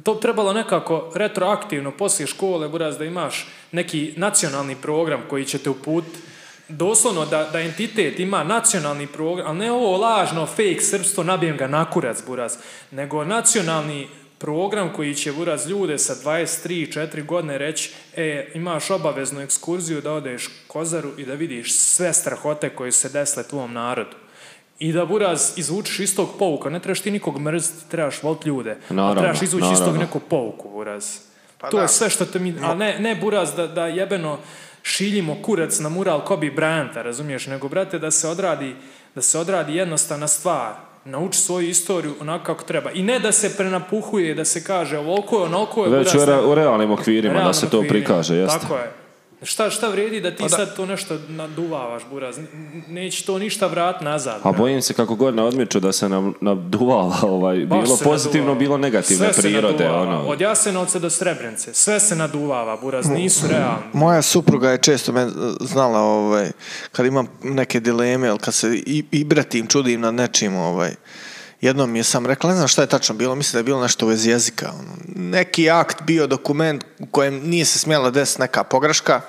Speaker 1: To bi trebalo nekako retroaktivno, poslije škole, buraz, da imaš neki nacionalni program koji će te uput doslovno da, da entitet ima nacionalni program, ali ne ovo lažno fake srpstvo, nabijem ga na kurac, buraz, nego nacionalni program koji će buraz ljude sa 23-4 godine reći e, imaš obaveznu ekskurziju da odeš Kozaru i da vidiš sve strahote koje su se desile tvom narodu. I da buraz izvučiš iz tog pouka. Ne trebaš ti nikog mrziti, trebaš volt ljude. ali
Speaker 2: Naravno,
Speaker 1: trebaš izvući iz tog
Speaker 2: naravno.
Speaker 1: neku pouku, buraz.
Speaker 3: Pa
Speaker 1: to
Speaker 3: da.
Speaker 1: je sve što te mi... A ne, ne buraz da, da jebeno šiljimo kurac na mural Kobe Bryanta, razumiješ? Nego, brate, da se odradi, da se odradi jednostavna stvar. Nauči svoju istoriju onako kako treba. I ne da se prenapuhuje, da se kaže ovoliko je, onoliko je,
Speaker 2: Već u,
Speaker 1: buraz,
Speaker 2: re-
Speaker 1: ne-
Speaker 2: u realnim okvirima da
Speaker 1: realnim
Speaker 2: se to
Speaker 1: okvirima.
Speaker 2: prikaže, jeste.
Speaker 1: Tako je. Šta, šta vrijedi da ti
Speaker 3: Pa da.
Speaker 1: sad to nešto naduvavaš, buraz? N- n- Neće to ništa vrat nazad.
Speaker 2: A pa
Speaker 1: brate.
Speaker 2: bojim se kako god ne odmiču da se nam naduvala ovaj,
Speaker 1: Baš
Speaker 2: bilo
Speaker 1: se
Speaker 2: pozitivno,
Speaker 1: naduvava.
Speaker 2: bilo negativne
Speaker 1: Sve se
Speaker 2: prirode.
Speaker 1: naduvava.
Speaker 2: Ono.
Speaker 1: Od Jasenovca do Srebrenice. Sve se naduvava, buraz.
Speaker 3: Mm.
Speaker 1: Nisu realni.
Speaker 3: Moja supruga je često me znala ovaj, kad imam neke dileme ili kad se i, i bratim, čudim nad nečim ovaj, jednom mi je sam rekla, ne znam šta je tačno bilo, mislim da je bilo nešto u vezi jezika. Ono. Neki akt bio dokument u kojem nije se smjela desiti neka pogreška,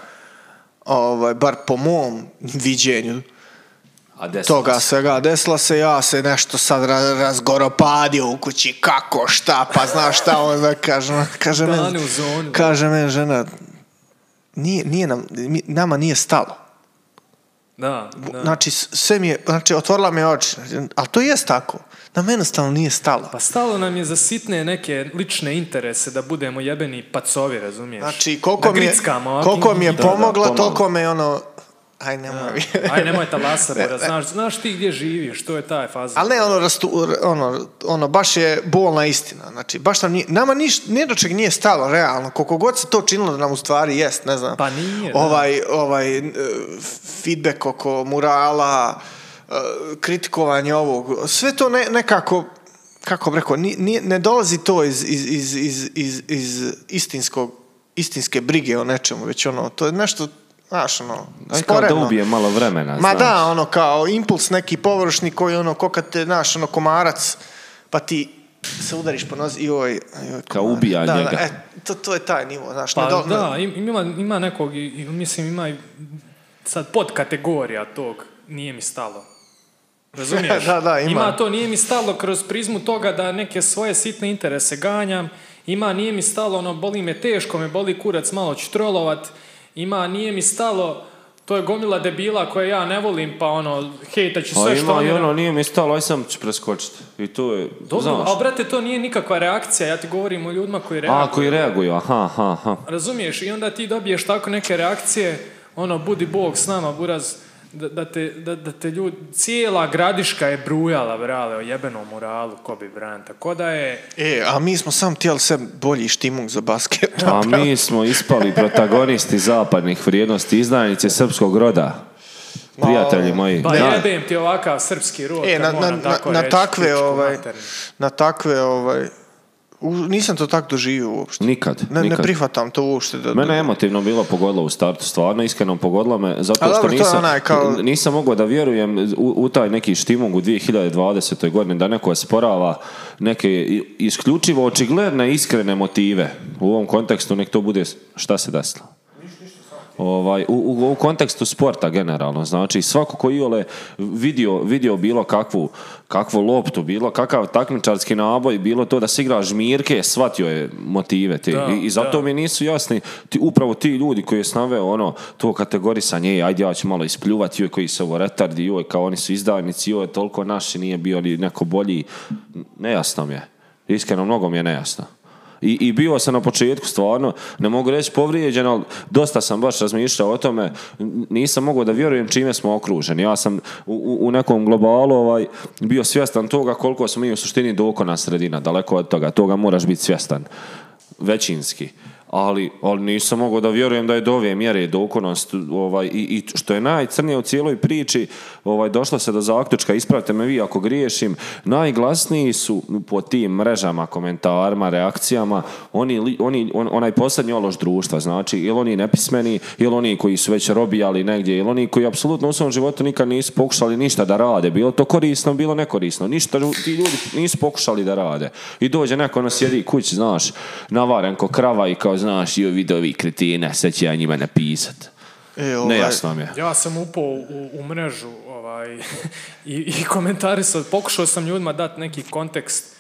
Speaker 3: ovaj, bar po mom viđenju
Speaker 2: A desilo
Speaker 3: toga
Speaker 2: se.
Speaker 3: svega desilo se, ja se nešto sad ra- razgoropadio u kući, kako, šta, pa znaš šta, onda kaže, kaže
Speaker 1: Dane
Speaker 3: meni,
Speaker 1: u zoni.
Speaker 3: kaže meni žena, nije, nije nam, mi- nama nije stalo.
Speaker 1: Da, da.
Speaker 3: Znači, s- sve mi je, znači, otvorila mi je oči, ali to jest tako, nam jednostavno nije stalo.
Speaker 1: Pa stalo nam je za sitne neke lične interese da budemo jebeni pacovi, razumiješ?
Speaker 3: Znači, koliko,
Speaker 1: da
Speaker 3: mi je,
Speaker 1: grickamo, a?
Speaker 3: koliko mi je
Speaker 2: Da, da,
Speaker 3: pomogla,
Speaker 2: pomalo.
Speaker 3: toliko me je ono, aj nemoj više.
Speaker 1: Aj, nemoj ta lasa,
Speaker 3: [LAUGHS]
Speaker 1: bora, znaš, znaš ti gdje živiš, to je taj faza.
Speaker 3: Ali ne, ono, rastu, r- ono, ono, baš je bolna istina. Znači, baš nam nije, nama niš, ni do čeg nije stalo, realno. Koliko god se to činilo da nam u stvari jest, ne znam.
Speaker 1: Pa nije, da.
Speaker 3: Ovaj, ovaj, n- e, feedback oko murala, e, kritikovanje ovog, sve to ne, nekako, kako bi rekao, ni- nije- ne dolazi to iz, iz, iz, iz, iz, iz istinskog, istinske brige o nečemu, već ono, to je nešto, znaš, ono,
Speaker 2: Aj, kao da
Speaker 3: sporedno.
Speaker 2: ubije malo vremena,
Speaker 3: Ma
Speaker 2: znaš.
Speaker 3: da, ono kao impuls neki površni koji ono ko kad te naš ono komarac pa ti se udariš po nozi i oj, joj,
Speaker 2: Kao
Speaker 3: komarac.
Speaker 2: ubija
Speaker 3: da,
Speaker 2: njega.
Speaker 3: Da, e, to, to je taj nivo, znaš.
Speaker 1: Pa
Speaker 3: ne do- ne-
Speaker 1: da, im- ima, ima nekog, i- i- mislim, ima i sad podkategorija tog, nije mi stalo. Razumiješ?
Speaker 2: [LAUGHS]
Speaker 3: Da, da, ima.
Speaker 1: to, nije mi stalo kroz prizmu toga da neke svoje sitne interese ganjam ima nije mi stalo, ono, boli me teško, me boli kurac, malo ću trolovat, ima nije mi stalo, to je gomila debila koje ja ne volim, pa ono, hejtat ću
Speaker 2: A
Speaker 1: sve što
Speaker 2: ima
Speaker 1: oni
Speaker 2: i
Speaker 1: rade.
Speaker 2: ono, nije mi stalo, aj sam ću preskočiti. I to je,
Speaker 1: Dobro,
Speaker 2: znaš.
Speaker 1: ali brate, to nije nikakva reakcija, ja ti govorim o ljudima koji
Speaker 2: A,
Speaker 1: reaguju.
Speaker 2: koji reaguju, aha, aha, aha.
Speaker 1: Razumiješ, i onda ti dobiješ tako neke reakcije, ono, budi bog s nama, buraz, da, da te, da, da te ljudi, cijela gradiška je brujala, brale, o jebenom muralu Kobe Bryanta, ko da je,
Speaker 3: E, a mi smo sam tijeli sve bolji štimung za basket. [LAUGHS]
Speaker 2: A mi smo ispali protagonisti zapadnih vrijednosti, izdajnice srpskog roda. Prijatelji moji.
Speaker 1: pa
Speaker 2: da.
Speaker 1: jebem ti ovakav srpski rod, kad
Speaker 3: E, na, na,
Speaker 1: moram
Speaker 3: na,
Speaker 1: tako
Speaker 3: na
Speaker 1: reći,
Speaker 3: takve,
Speaker 1: pičku
Speaker 3: ovaj,
Speaker 1: maternu.
Speaker 3: na takve, ovaj, u- nisam to tako doživio uopšte.
Speaker 2: Nikad,
Speaker 3: Ne, ne
Speaker 2: nikad.
Speaker 3: prihvatam to uopšte. Da,
Speaker 2: Mene je emotivno bilo pogodilo u startu, stvarno iskreno pogodilo me, zato
Speaker 3: A
Speaker 2: što
Speaker 3: dobro, to je
Speaker 2: nisam,
Speaker 3: onaj kao-
Speaker 2: n- nisam mogao da vjerujem u, u taj neki štimung u 2020. godini, da neko sporava neke i- isključivo očigledne iskrene motive. U ovom kontekstu nek to bude s- šta se desilo. Ovaj, u, u, u kontekstu sporta generalno, znači svako ko iole vidio, vidio bilo kakvu, kakvu loptu, bilo kakav takmičarski naboj, bilo to da se igra žmirke, shvatio je motive te.
Speaker 1: Da,
Speaker 2: I, i zato
Speaker 1: da.
Speaker 2: mi nisu jasni ti, upravo ti ljudi koji je snaveo ono, to kategorisanje, ej, ajde ja ću malo ispljuvati, joj koji se ovo retardi, joj kao oni su izdajnici, joj toliko naši nije bio ni neko bolji, nejasno mi je, iskreno mnogo mi je nejasno. I, I bio sam na početku stvarno, ne mogu reći povrijeđen, ali dosta sam baš razmišljao o tome, N- nisam mogao da vjerujem čime smo okruženi. Ja sam u, u- u nekom globalu ovaj, bio svjestan toga koliko smo mi u suštini dokona sredina, daleko od toga, toga moraš biti svjestan većinski. Ali, ali nisam mogao da vjerujem da je do ove mjere dokonost ovaj, i, i što je najcrnije u cijeloj priči ovaj, došlo se do zaključka, ispravite me vi ako griješim, najglasniji su po tim mrežama, komentarima, reakcijama, oni, li- oni on- onaj posljednji ološ društva, znači ili oni nepismeni, ili oni koji su već robijali negdje, ili oni koji apsolutno u svom životu nikad nisu pokušali ništa da rade, bilo to korisno, bilo nekorisno, ništa lu- ti ljudi nisu pokušali da rade. I dođe neko ono sjedi kući, znaš, navaren ko krava i kao znaš, joj vide ovi kretine, sad ću ja njima napisat.
Speaker 3: E, ovaj,
Speaker 2: Nejasno mi je.
Speaker 1: Ja sam upao u, u mrežu ovaj, i, i komentari sam, pokušao sam ljudima dati neki kontekst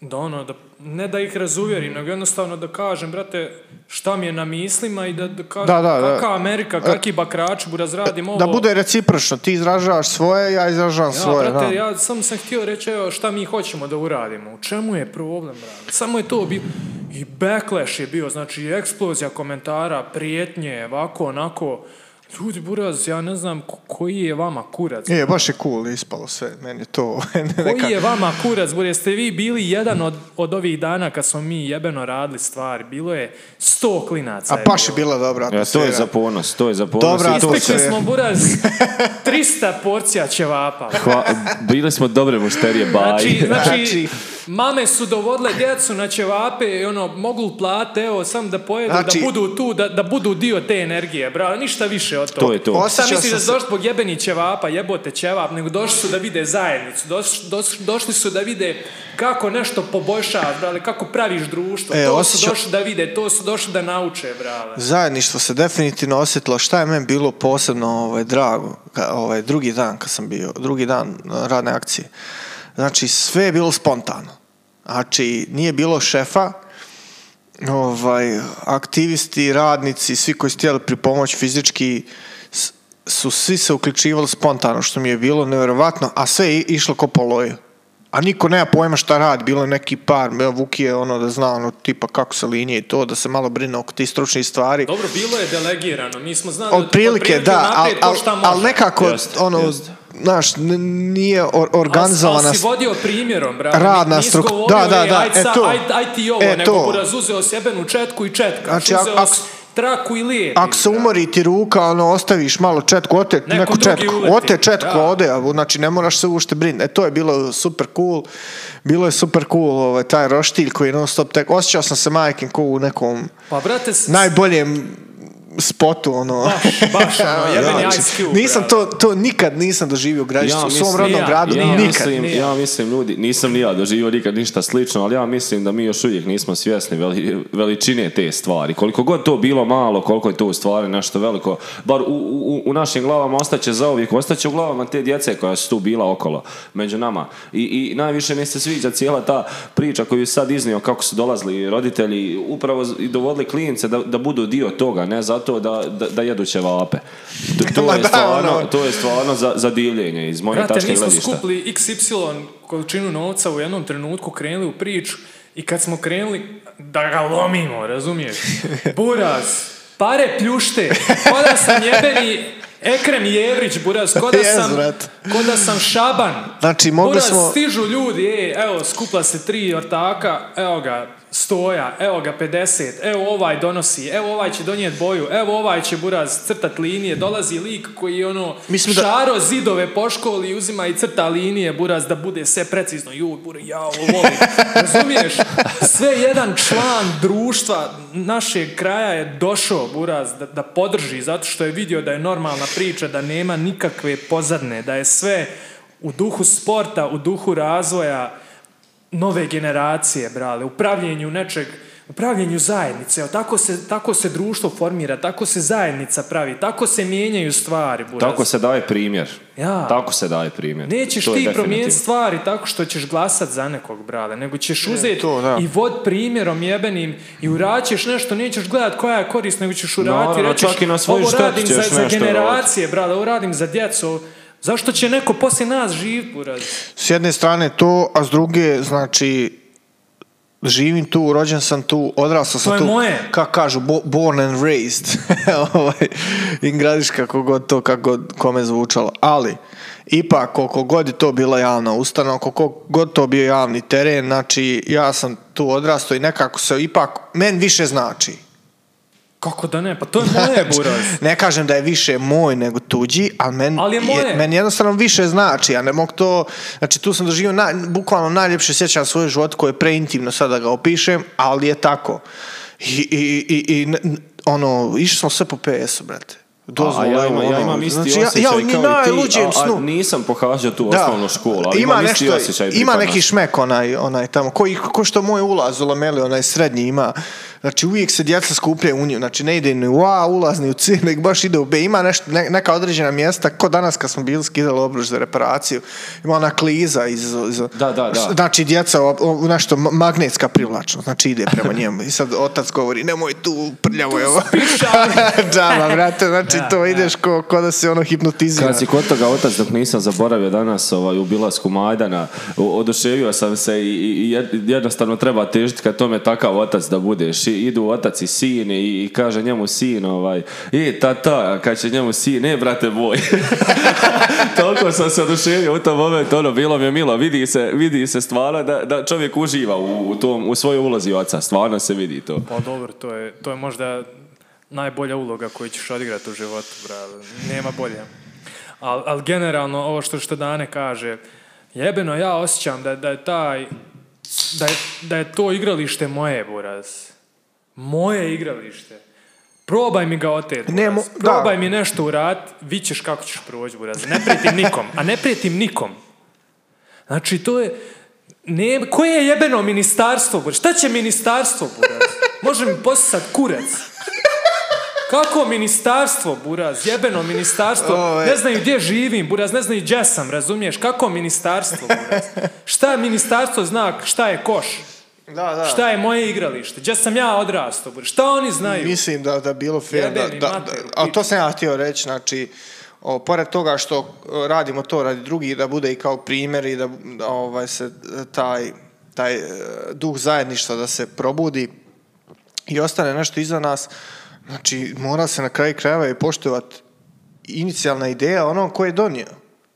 Speaker 1: da ono, da, ne da ih razuvjerim,
Speaker 3: Mhm.
Speaker 1: nego jednostavno da kažem, brate, šta mi je na mislima i da, da kažem
Speaker 3: Da, da, da.
Speaker 1: kaka Amerika, kaki bakrač, bu razradim ovo.
Speaker 3: Da bude recipročno, ti izražavaš svoje, ja izražavam
Speaker 1: Ja,
Speaker 3: svoje.
Speaker 1: brate,
Speaker 3: da.
Speaker 1: ja sam sam htio reći evo, šta mi hoćemo da uradimo, u čemu je problem, brate? Samo je to bio, i backlash je bio, znači eksplozija komentara, prijetnje, ovako, onako, ljudi, buraz, ja ne znam ko- koji je vama kurac.
Speaker 3: E, baš je cool ispalo sve, meni je to [LAUGHS] neka...
Speaker 1: Koji je vama kurac, bude ste vi bili jedan od, od ovih dana kad smo mi jebeno radili stvari, bilo je sto klinaca.
Speaker 3: A
Speaker 1: je
Speaker 3: baš je
Speaker 1: bilo.
Speaker 3: bila dobra
Speaker 2: Ja, E, to
Speaker 3: atmosfera.
Speaker 2: je za ponos, to je za ponos.
Speaker 3: Dobra,
Speaker 2: i to
Speaker 3: ispekli
Speaker 2: će-
Speaker 1: Ispekli
Speaker 3: se-
Speaker 1: smo buraz 300 porcija ćevapa.
Speaker 2: Hva- bili smo dobre mušterije, baj. [LAUGHS]
Speaker 1: Znači,
Speaker 3: Znači-
Speaker 1: znači, mame su dovodile djecu na ćevape i ono, mogu plate, evo, sam da pojedu,
Speaker 3: Znači-
Speaker 1: da budu tu, da, da budu dio te energije, bravo, ništa više od toga.
Speaker 2: To je to.
Speaker 1: Šta
Speaker 3: Osjećao
Speaker 1: Pa misliš
Speaker 3: sam
Speaker 1: da
Speaker 3: se-
Speaker 1: su došli zbog jebenih ćevapa, jebote ćevap, nego došli su da vide zajednicu, doš- doš- došli su da vide kako nešto poboljšaš, brale, kako praviš društvo,
Speaker 3: E,
Speaker 1: to
Speaker 3: osjećao-
Speaker 1: su došli da vide, to su došli da nauče, brale.
Speaker 3: Zajedništvo se definitivno osjetilo. Šta je meni bilo posebno ovaj, drago, ka- ovaj, drugi dan kad sam bio, drugi dan eh, radne akcije. Znači, sve je bilo spontano. Znači, nije bilo šefa, ovaj, aktivisti, radnici, svi koji su htjeli pripomoć fizički, s- su svi se uključivali spontano, što mi je bilo nevjerovatno, a sve je i- išlo ko po loju. A niko nema pojma šta radi, bilo je neki par, evo, Vuki je ono da zna ono tipa kako se linije i to, da se malo brine oko tih stručnih stvari.
Speaker 1: Dobro, bilo je delegirano, mi smo znali
Speaker 3: Otprilike, da, ali
Speaker 1: unaprijed ko šta može.
Speaker 3: nekako,
Speaker 2: Jeste,
Speaker 3: ono,
Speaker 2: jeste.
Speaker 3: znaš, n- nije or-
Speaker 1: Al-
Speaker 3: organizovana...
Speaker 1: al si vodio primjerom, brate.
Speaker 3: radna
Speaker 1: Nisi
Speaker 3: strukt-
Speaker 1: govorio,
Speaker 3: da, da,
Speaker 1: e,
Speaker 3: da,
Speaker 1: aj,
Speaker 3: e,
Speaker 1: sa-
Speaker 3: to.
Speaker 1: aj, aj ti ovo,
Speaker 3: E,
Speaker 1: nego
Speaker 3: to.
Speaker 1: buraz uzeo sjebenu četku i četka.
Speaker 3: Znači,
Speaker 1: Znači,
Speaker 3: ak-
Speaker 1: uzeo
Speaker 3: ak-
Speaker 1: s- traku i lijepi.
Speaker 3: Ako se
Speaker 1: brate.
Speaker 3: umori ti ruka, ono, ostaviš malo četku, ote
Speaker 1: Neko
Speaker 3: neku
Speaker 1: drugi
Speaker 3: četku,
Speaker 1: uleti,
Speaker 3: ote četku,
Speaker 1: da.
Speaker 3: ode, a, znači ne moraš se ušte brinuti. E, to je bilo super cool, bilo je super cool ovaj, taj roštilj koji je non stop tek, osjećao sam se majkim ko u nekom
Speaker 1: Pa, brate, s-
Speaker 3: najboljem spotu, ono. [LAUGHS] znači,
Speaker 1: Baš, baš, ono, jebeni
Speaker 2: Ja,
Speaker 1: Ice Cube.
Speaker 3: Nisam
Speaker 1: brate.
Speaker 3: to, to nikad nisam doživio građanstvo u svom
Speaker 2: mislim-
Speaker 3: rodnom
Speaker 1: ja,
Speaker 3: gradu,
Speaker 2: Ja
Speaker 1: Nikad.
Speaker 2: mislim,
Speaker 1: Nikad.
Speaker 2: ja mislim, ljudi, nisam ni ja doživio nikad ništa slično, ali ja mislim da mi još uvijek nismo svjesni veli- veličine te stvari. Koliko god to bilo malo, koliko je to u stvari nešto veliko, bar u, u, u našim glavama ostaće zauvijek, ostaće u glavama te djece koja su tu bila okolo, među nama. I, i najviše mi se sviđa cijela ta priča koju je sad iznio, kako su dolazili roditelji, upravo z- i dovodili klince da, da budu dio toga, ne zato da, da, da jedu ćevape. To, to,
Speaker 3: Ma
Speaker 2: je
Speaker 3: [LAUGHS] da,
Speaker 2: stvarno,
Speaker 3: ono.
Speaker 2: to je stvarno za, za divljenje iz moje
Speaker 1: Brate,
Speaker 2: tačke
Speaker 1: mi smo
Speaker 2: gledišta.
Speaker 1: skupili XY količinu novca u jednom trenutku krenuli u priču i kad smo krenuli da ga lomimo,
Speaker 3: [LAUGHS]
Speaker 1: razumiješ? Buraz, pare pljušte, ko da sam jebeni Ekrem Jevrić, Buraz, ko da
Speaker 3: [LAUGHS] Jes,
Speaker 1: sam,
Speaker 3: brate.
Speaker 1: ko da sam Šaban.
Speaker 3: Znači, mogli
Speaker 1: Buraz,
Speaker 3: smo-
Speaker 1: stižu ljudi, e, evo, skupla se tri ortaka, evo ga, stoja, evo ga 50, evo ovaj donosi, evo ovaj će donijeti boju, evo ovaj će buraz crtat linije, dolazi lik koji je ono
Speaker 3: Mislim da-
Speaker 1: šaro zidove po školi i uzima i crta linije buraz da bude sve precizno, ju, bur, ja ovo volim, razumiješ? Sve jedan član društva našeg kraja je došao buraz da, da podrži zato što je vidio da je normalna priča, da nema nikakve pozadne, da je sve u duhu sporta, u duhu razvoja, nove generacije, brale, u pravljenju nečeg, u pravljenju zajednice. Evo, tako, se, tako se društvo formira, tako se zajednica pravi, tako se mijenjaju stvari, buraz.
Speaker 2: Tako se daje primjer.
Speaker 1: Ja.
Speaker 2: Tako se daje primjer.
Speaker 1: Nećeš
Speaker 2: To je
Speaker 1: ti
Speaker 2: definitivno.
Speaker 1: promijeniti stvari tako što ćeš glasat za nekog, brale, nego ćeš uzeti
Speaker 3: to, da.
Speaker 1: i vod primjerom jebenim i uraćeš nešto, nećeš gledat koja je korist, nego ćeš urati i
Speaker 2: Naravno,
Speaker 1: rećeš,
Speaker 2: čak i na svoju
Speaker 1: ovo
Speaker 2: štetu
Speaker 1: radim
Speaker 2: ćeš
Speaker 1: za, za
Speaker 2: nešto
Speaker 1: generacije, brale, ovo radim za djecu, zašto će neko poslije nas živjeti, buraz?
Speaker 3: S jedne strane to, a s druge, znači, živim tu, rođen sam tu, odrastao sam
Speaker 1: To je
Speaker 3: tu.
Speaker 1: moje.
Speaker 3: Kako kažu, bo- born and raised. [LAUGHS] Ovaj, Ingradiš kako god to, kako god kome zvučalo. Ali, ipak, koliko god je to bila javna ustanova, koliko god to bio javni teren, znači, ja sam tu odrastao i nekako se ipak, men više znači.
Speaker 1: Kako da ne, pa to je
Speaker 2: [LAUGHS]
Speaker 1: moje,
Speaker 2: Znači,
Speaker 1: buraz.
Speaker 3: Ne kažem da je više moj nego tuđi, ali meni,
Speaker 1: Ali je moje.
Speaker 3: meni jednostavno više znači. Ja ne mogu to... Znači, tu sam doživio naj, bukvalno najljepše sjećam svoj život koje je preintimno sad da ga opišem, ali je tako. I, i, i, i n- n- ono, išli smo sve po PS-u, brate. Dozvolu,
Speaker 2: A ja,
Speaker 3: evo,
Speaker 2: imam, ja
Speaker 3: ono,
Speaker 2: imam isti
Speaker 3: znači,
Speaker 2: osjećaj
Speaker 3: ja, ja,
Speaker 2: kao
Speaker 3: ni
Speaker 2: i ti,
Speaker 3: najluđem
Speaker 2: a, a
Speaker 3: snu.
Speaker 2: nisam pohađao tu osnovnu školu, ali
Speaker 3: ima
Speaker 2: imam isti
Speaker 3: nešto,
Speaker 2: osjećaj
Speaker 3: ima
Speaker 2: pripadnosti.
Speaker 3: neki šmek onaj, onaj tamo, koji, ko što moj ulaz u Lameli, onaj srednji ima, znači uvijek se djeca skupljaju u nju, znači ne ide ni u A ulaz, ni u C, [LAUGHS] nek baš ide u B, ima nešto, ne- neka određena mjesta, ko danas kad smo bili skidali obruč za reparaciju, ima ona kliza iz, iz
Speaker 2: Da, da, da.
Speaker 3: znači djeca, o- o- nešto ma- magnetska privlačnost, znači ide prema njemu i sad otac govori, nemoj tu, prljavo je ovo. [LAUGHS] Džaba, brate, znači to ideš ko, ko da se ono hipnotizira.
Speaker 2: Kad si kod toga otac, dok nisam zaboravio danas ovaj, u bilasku Majdana, o- oduševio sam se i, i- i jed- jednostavno treba težiti kad tome takav otac da budeš. I, idu otac i sin i, i kaže njemu sin, ovaj, e tata, a kad će njemu sin, e brate moj. [LAUGHS] Toliko sam se oduševio u tom momentu, ono, bilo mi je milo. Vidi se, vidi se stvarno da, da čovjek uživa u, u tom, u svojoj ulozi oca. Stvarno se vidi to.
Speaker 1: Pa dobro, to je, to je možda najbolja uloga koju ćeš odigrati u životu, bravo. Nema bolje. Ali al generalno, ovo što što Dane kaže, jebeno ja osjećam da, da je taj, da je, da je to igralište moje, Buraz. Moje igralište. Probaj mi ga otet,
Speaker 3: Ne,
Speaker 1: Buraz.
Speaker 3: mo- da.
Speaker 1: Probaj mi nešto urat, vićeš kako ćeš proći, Buraz. Ne prijetim nikom, a ne prijetim nikom. Znači, to je... Ne, koje je jebeno ministarstvo, Buraz? Šta će ministarstvo, Buraz? Može mi posisat kurac. Kako ministarstvo, Buraz? Jebeno ministarstvo.
Speaker 3: Ove.
Speaker 1: Ne znaju gdje živim, Buraz. Ne znaju gdje sam, razumiješ? Kako ministarstvo, Buraz? Šta ministarstvo zna šta je koš?
Speaker 3: Da, da.
Speaker 1: Šta je moje igralište? Gdje sam ja odrastao, Buraz? Šta oni znaju?
Speaker 3: Mislim da da bilo fair, da,
Speaker 1: Jebeni
Speaker 3: da, da,
Speaker 1: materu,
Speaker 3: a
Speaker 1: ti-
Speaker 3: to sam ja htio reći, znači, o, pored toga što e, radimo to radi drugih, da bude i kao primjer i da, da, ovaj se e, taj, taj e, duh zajedništva da se probudi i ostane nešto iza nas, znači mora se na kraju krajeva i poštovati inicijalna ideja onog ko je donio.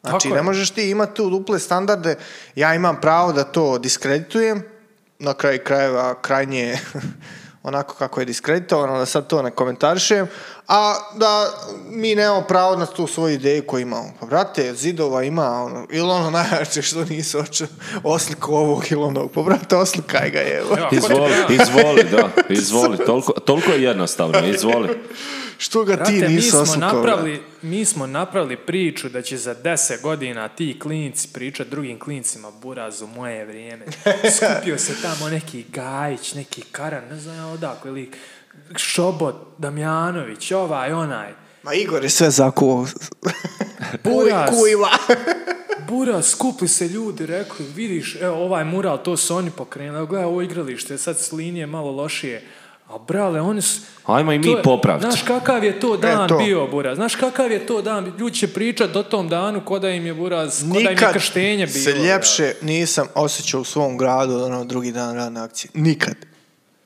Speaker 3: Znači,
Speaker 1: Tako je.
Speaker 3: ne možeš ti imati tu duple standarde, ja imam pravo da to diskreditujem, na kraju krajeva krajnje [LAUGHS] onako kako je diskreditovano, da sad to ne komentarišem, a da mi nemamo pravo na tu svoju ideju koju imamo. Pa brate, zidova ima, ono, ili ono najjače što nisu oču, osliku ovog ili onog, pa brate, oslikaj ga je.
Speaker 1: Evo, ko ti
Speaker 2: Izvoli,
Speaker 1: treba?
Speaker 2: izvoli, da, izvoli. Toliko, toliko je jednostavno, izvoli.
Speaker 3: Što ga ti
Speaker 1: Brate, mi
Speaker 3: nisi
Speaker 1: smo,
Speaker 3: osukao? brate?
Speaker 1: napravili, mi smo napravili priču da će za 10 godina ti klinci pričat drugim klincima burazu moje vrijeme. Skupio se tamo neki Gajić, neki Karan, ne znam ja odakle, lik. Šobot, Damjanović, ovaj, onaj.
Speaker 3: Ma Igor je sve zakuo.
Speaker 1: Buraz,
Speaker 3: Kujva.
Speaker 1: buraz, skupli se ljudi, rekli, vidiš, evo ovaj mural, to su oni pokrenuli, evo gledaj ovo igralište, sad s linije malo lošije. A brale, oni su...
Speaker 2: Ajmo i mi
Speaker 1: To je-
Speaker 2: popraviti.
Speaker 1: Znaš kakav je to dan
Speaker 3: E, to.
Speaker 1: bio, Buraz? Znaš kakav je to dan? Ljudi će pričat o tom danu ko da im je Buraz, ko da im je
Speaker 3: Nikad
Speaker 1: krštenje bilo.
Speaker 3: se
Speaker 1: brate.
Speaker 3: ljepše nisam osjećao u svom gradu od ono drugi dan radne akcije. Nikad.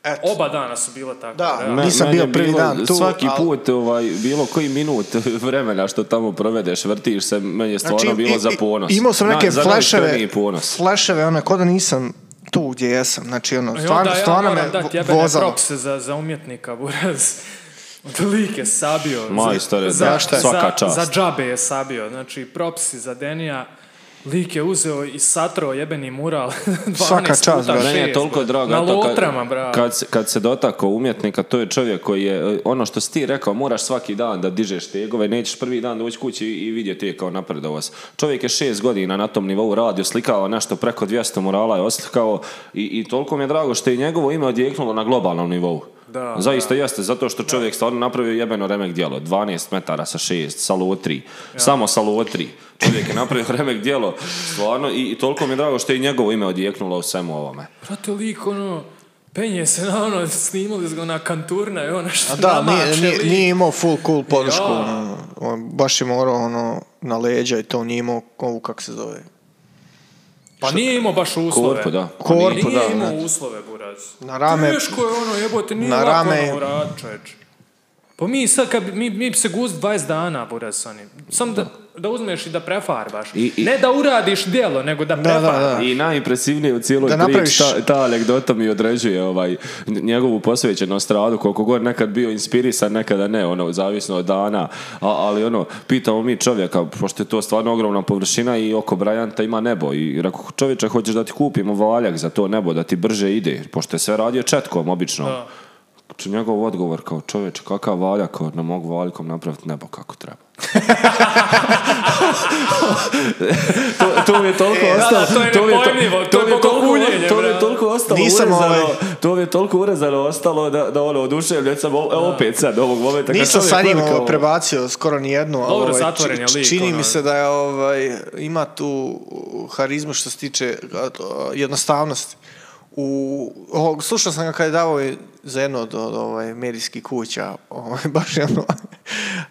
Speaker 3: Eto.
Speaker 1: Oba dana su bila tako.
Speaker 3: Da.
Speaker 1: realno.
Speaker 2: Me-
Speaker 3: Nisam
Speaker 2: meni
Speaker 3: bio
Speaker 2: je
Speaker 3: prvi
Speaker 2: bilo
Speaker 3: dan tu,
Speaker 2: Svaki
Speaker 3: ali-
Speaker 2: put, ovaj, bilo koji minut [LAUGHS] vremena što tamo provedeš, vrtiš se, meni je stvarno bilo
Speaker 3: Znači, i-
Speaker 2: za
Speaker 3: i-
Speaker 2: ponos.
Speaker 3: Imao sam neke
Speaker 2: Na- za najiskreniji
Speaker 3: fleševe,
Speaker 2: ponos.
Speaker 3: fleševe, ono, ko da nisam tu gdje jesam. Znači, ono,
Speaker 1: Pa I
Speaker 3: stvarno,
Speaker 1: onda ja
Speaker 3: stvarno
Speaker 1: moram
Speaker 3: me
Speaker 1: dati
Speaker 3: vo-
Speaker 1: jebene
Speaker 3: vozalo.
Speaker 1: propse za, za umjetnika, Buraz. [LAUGHS] Lik je sabio.
Speaker 2: Majstore,
Speaker 3: da, šta je?
Speaker 2: svaka čast.
Speaker 1: Za, džabe je sabio. Znači, propsi za Denija. Lik je uzeo i satro jebeni mural. [LAUGHS] 12
Speaker 3: Svaka čast,
Speaker 1: puta
Speaker 3: brate.
Speaker 2: Meni je
Speaker 1: šest,
Speaker 2: toliko
Speaker 1: brate.
Speaker 2: drago.
Speaker 1: Na
Speaker 2: eto, kad-
Speaker 1: lotrama, bravo.
Speaker 2: Kad, se- kad se dotako umjetnika, to je čovjek koji je, e, ono što si ti rekao, moraš svaki dan da dižeš tegove, nećeš prvi dan doći kući i, i vidjeti je kao napredovo si. Čovjek je šest godina na tom nivou radio, slikao nešto preko 200 murala je oslikao i, i toliko mi je drago što je njegovo ime odjeknulo na globalnom nivou.
Speaker 1: Da,
Speaker 2: Zaista jeste, zato što čovjek stvarno napravio jebeno remek djelo. 12 metara sa 6, sa lotri. Samo sa lotri. Čovjek je napravio [LAUGHS] remek djelo, stvarno, i, i toliko mi je drago što je njegovo ime odjeknulo u svemu ovome.
Speaker 1: Prate lik, ono, penje se na ono, snimali su ga na kanturna i ono što
Speaker 3: A da, nije,
Speaker 1: namače
Speaker 3: nije,
Speaker 1: lik.
Speaker 3: nije imao full cool podršku.
Speaker 1: Ja.
Speaker 3: ono, on baš je morao ono, na leđa i to nije imao ovu, kak se zove.
Speaker 1: Pa nije imao baš uslove.
Speaker 2: Korpu, da.
Speaker 3: Korpu,
Speaker 1: Pa Nije
Speaker 3: da, znači.
Speaker 1: imao
Speaker 3: ne.
Speaker 1: uslove, buraz.
Speaker 3: Na rame-
Speaker 1: Teško je ono, jebote, nije
Speaker 3: Na
Speaker 1: lako
Speaker 3: rame-
Speaker 1: ono uradit, čovječ. Pa mi sad, kad, bi- mi, mi bi se gust 20 dana, buraz, s onim. Sam da, da uzmeš i da prefarbaš.
Speaker 2: I- i-
Speaker 1: Ne da uradiš djelo, nego da
Speaker 3: Da, da,
Speaker 1: prefarbaš.
Speaker 3: da.
Speaker 2: I najimpresivnije u cijeloj
Speaker 3: Da napraviš-
Speaker 2: priči, ta, ta anegdota mi određuje ovaj, n- njegovu posvećenost radu, koliko god nekad bio inspirisan, nekada ne, ono, zavisno od dana, A- ali ono, pitamo mi čovjeka, pošto je to stvarno ogromna površina i oko Brajanta ima nebo i rekao, čovječe, hoćeš da ti kupimo valjak za to nebo, da ti brže ide, pošto je sve radio četkom, obično.
Speaker 1: Da.
Speaker 2: Č- Njegov odgovor kao čovječ, kakav valjak, kao, ne mogu valjkom napraviti nebo kako treba. to, to mi je toliko
Speaker 1: E, da,
Speaker 2: ostalo.
Speaker 1: da, to je
Speaker 2: mi to-
Speaker 1: nepojmljivo, to
Speaker 2: to
Speaker 1: je
Speaker 2: mi toliko-
Speaker 1: bogohuljenje,
Speaker 2: To mi je
Speaker 1: brate.
Speaker 2: toliko ostalo
Speaker 3: Nisam
Speaker 2: urezano,
Speaker 3: ovaj-
Speaker 2: to mi je toliko urezano ostalo da, da ono, oduševljen sam o- evo opet sad ovog momenta. kad
Speaker 3: Nisam
Speaker 2: Dakle, čovjek
Speaker 3: sa njim
Speaker 2: gleda
Speaker 3: ovo
Speaker 2: kao-
Speaker 3: prebacio skoro nijednu, ali
Speaker 1: Dobro,
Speaker 3: ovaj,
Speaker 1: zatvoren
Speaker 3: či-
Speaker 1: je lik,
Speaker 3: čini
Speaker 1: ono.
Speaker 3: mi se da je ovaj, ima tu harizmu što se tiče a, to, jednostavnosti. U, o, slušao sam ga kad je davao i za jedno od, od, ovaj, medijskih kuća, ovaj, [LAUGHS] baš je ono,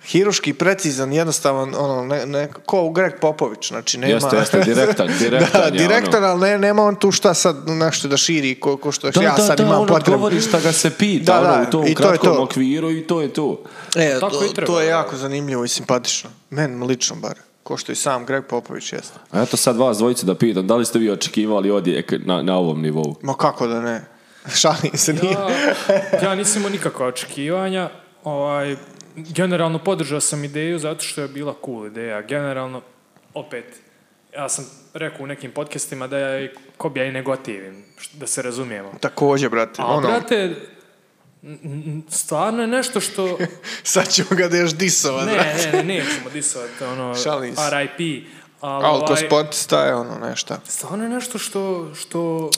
Speaker 3: hiruški precizan, jednostavan, ono, ne, ne, ko Greg Popović, znači nema...
Speaker 2: Jeste, jeste,
Speaker 3: [LAUGHS]
Speaker 2: direktan, direktan
Speaker 3: da,
Speaker 2: je, ono.
Speaker 3: direktan, ali ne, nema on tu šta sad nešto da širi, ko, ko što
Speaker 2: Da,
Speaker 3: znači, ja
Speaker 2: da,
Speaker 3: sad
Speaker 2: da,
Speaker 3: imam
Speaker 2: on
Speaker 3: potrebu.
Speaker 2: odgovori ono šta ga se pita,
Speaker 3: Da,
Speaker 2: ono,
Speaker 3: da,
Speaker 2: u tom
Speaker 3: i to je
Speaker 2: kratkom
Speaker 3: to.
Speaker 2: okviru i to je to.
Speaker 3: E,
Speaker 1: Pa Tako
Speaker 3: to,
Speaker 1: i treba,
Speaker 3: to je
Speaker 1: da.
Speaker 3: jako zanimljivo i simpatično. Meni lično bar. Ko što i sam Greg Popović jeste.
Speaker 2: A eto sad vas dvojicu da pitam, da li ste vi očekivali odjek na, na ovom nivou?
Speaker 3: Ma kako da ne? [LAUGHS] Šalim se, nije. [LAUGHS]
Speaker 1: Ja, ja nisam imao nikakva očekivanja. Ovaj, generalno podržao sam ideju zato što je bila cool ideja. Generalno, opet, ja sam rekao u nekim podcastima da ja i kobija i negotivim, št- da se razumijemo.
Speaker 3: Također, brate.
Speaker 1: A,
Speaker 3: ono,
Speaker 1: Pa, brate, n- n- stvarno je nešto
Speaker 3: [LAUGHS]
Speaker 1: što...
Speaker 3: [LAUGHS] Sad ćemo ga da još disovat,
Speaker 1: Ne,
Speaker 3: brate.
Speaker 1: ne, ne, nećemo disovati, ono,
Speaker 3: Šalim se.
Speaker 1: RIP. Ali,
Speaker 3: Ali to
Speaker 1: ovaj,
Speaker 3: sportista je ono nešta.
Speaker 1: stvarno je nešto što, što,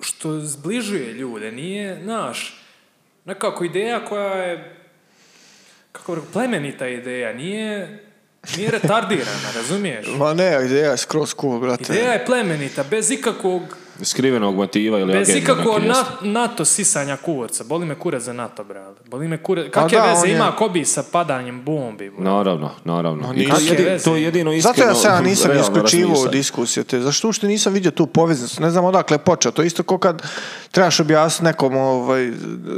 Speaker 1: što zbližuje ljude, nije, znaš, nekako ideja koja je, kako bih rekao, plemenita ideja, nije, nije retardirana,
Speaker 3: [LAUGHS]
Speaker 1: razumiješ?
Speaker 3: Ma ne, ideja je skroz cool, brate.
Speaker 1: Ideja je plemenita, bez ikakvog,
Speaker 2: Skrivenog motiva ili
Speaker 1: bez
Speaker 2: agende
Speaker 1: ikakvog
Speaker 2: neke, jeste?
Speaker 1: na, NATO sisanja kurca. Boli me kurac za NATO, brate. Boli me kurac.
Speaker 2: Pa
Speaker 1: Kakve
Speaker 3: da, on
Speaker 1: veze
Speaker 3: je-
Speaker 1: ima Kobi sa padanjem bombi? bro?
Speaker 2: Naravno, naravno. I to,
Speaker 1: nisu.
Speaker 2: jedin-
Speaker 1: Kakve
Speaker 2: to je jedino iskreno.
Speaker 3: Zato ja se ja
Speaker 2: [LAUGHS]
Speaker 3: nisam
Speaker 2: realno
Speaker 3: isključivao u
Speaker 2: razmišljanje.
Speaker 3: diskusije te. Zašto uopšte nisam vidio tu poveznicu? Ne znam odakle je počeo. To je isto ko kad trebaš objasniti nekom, ovaj,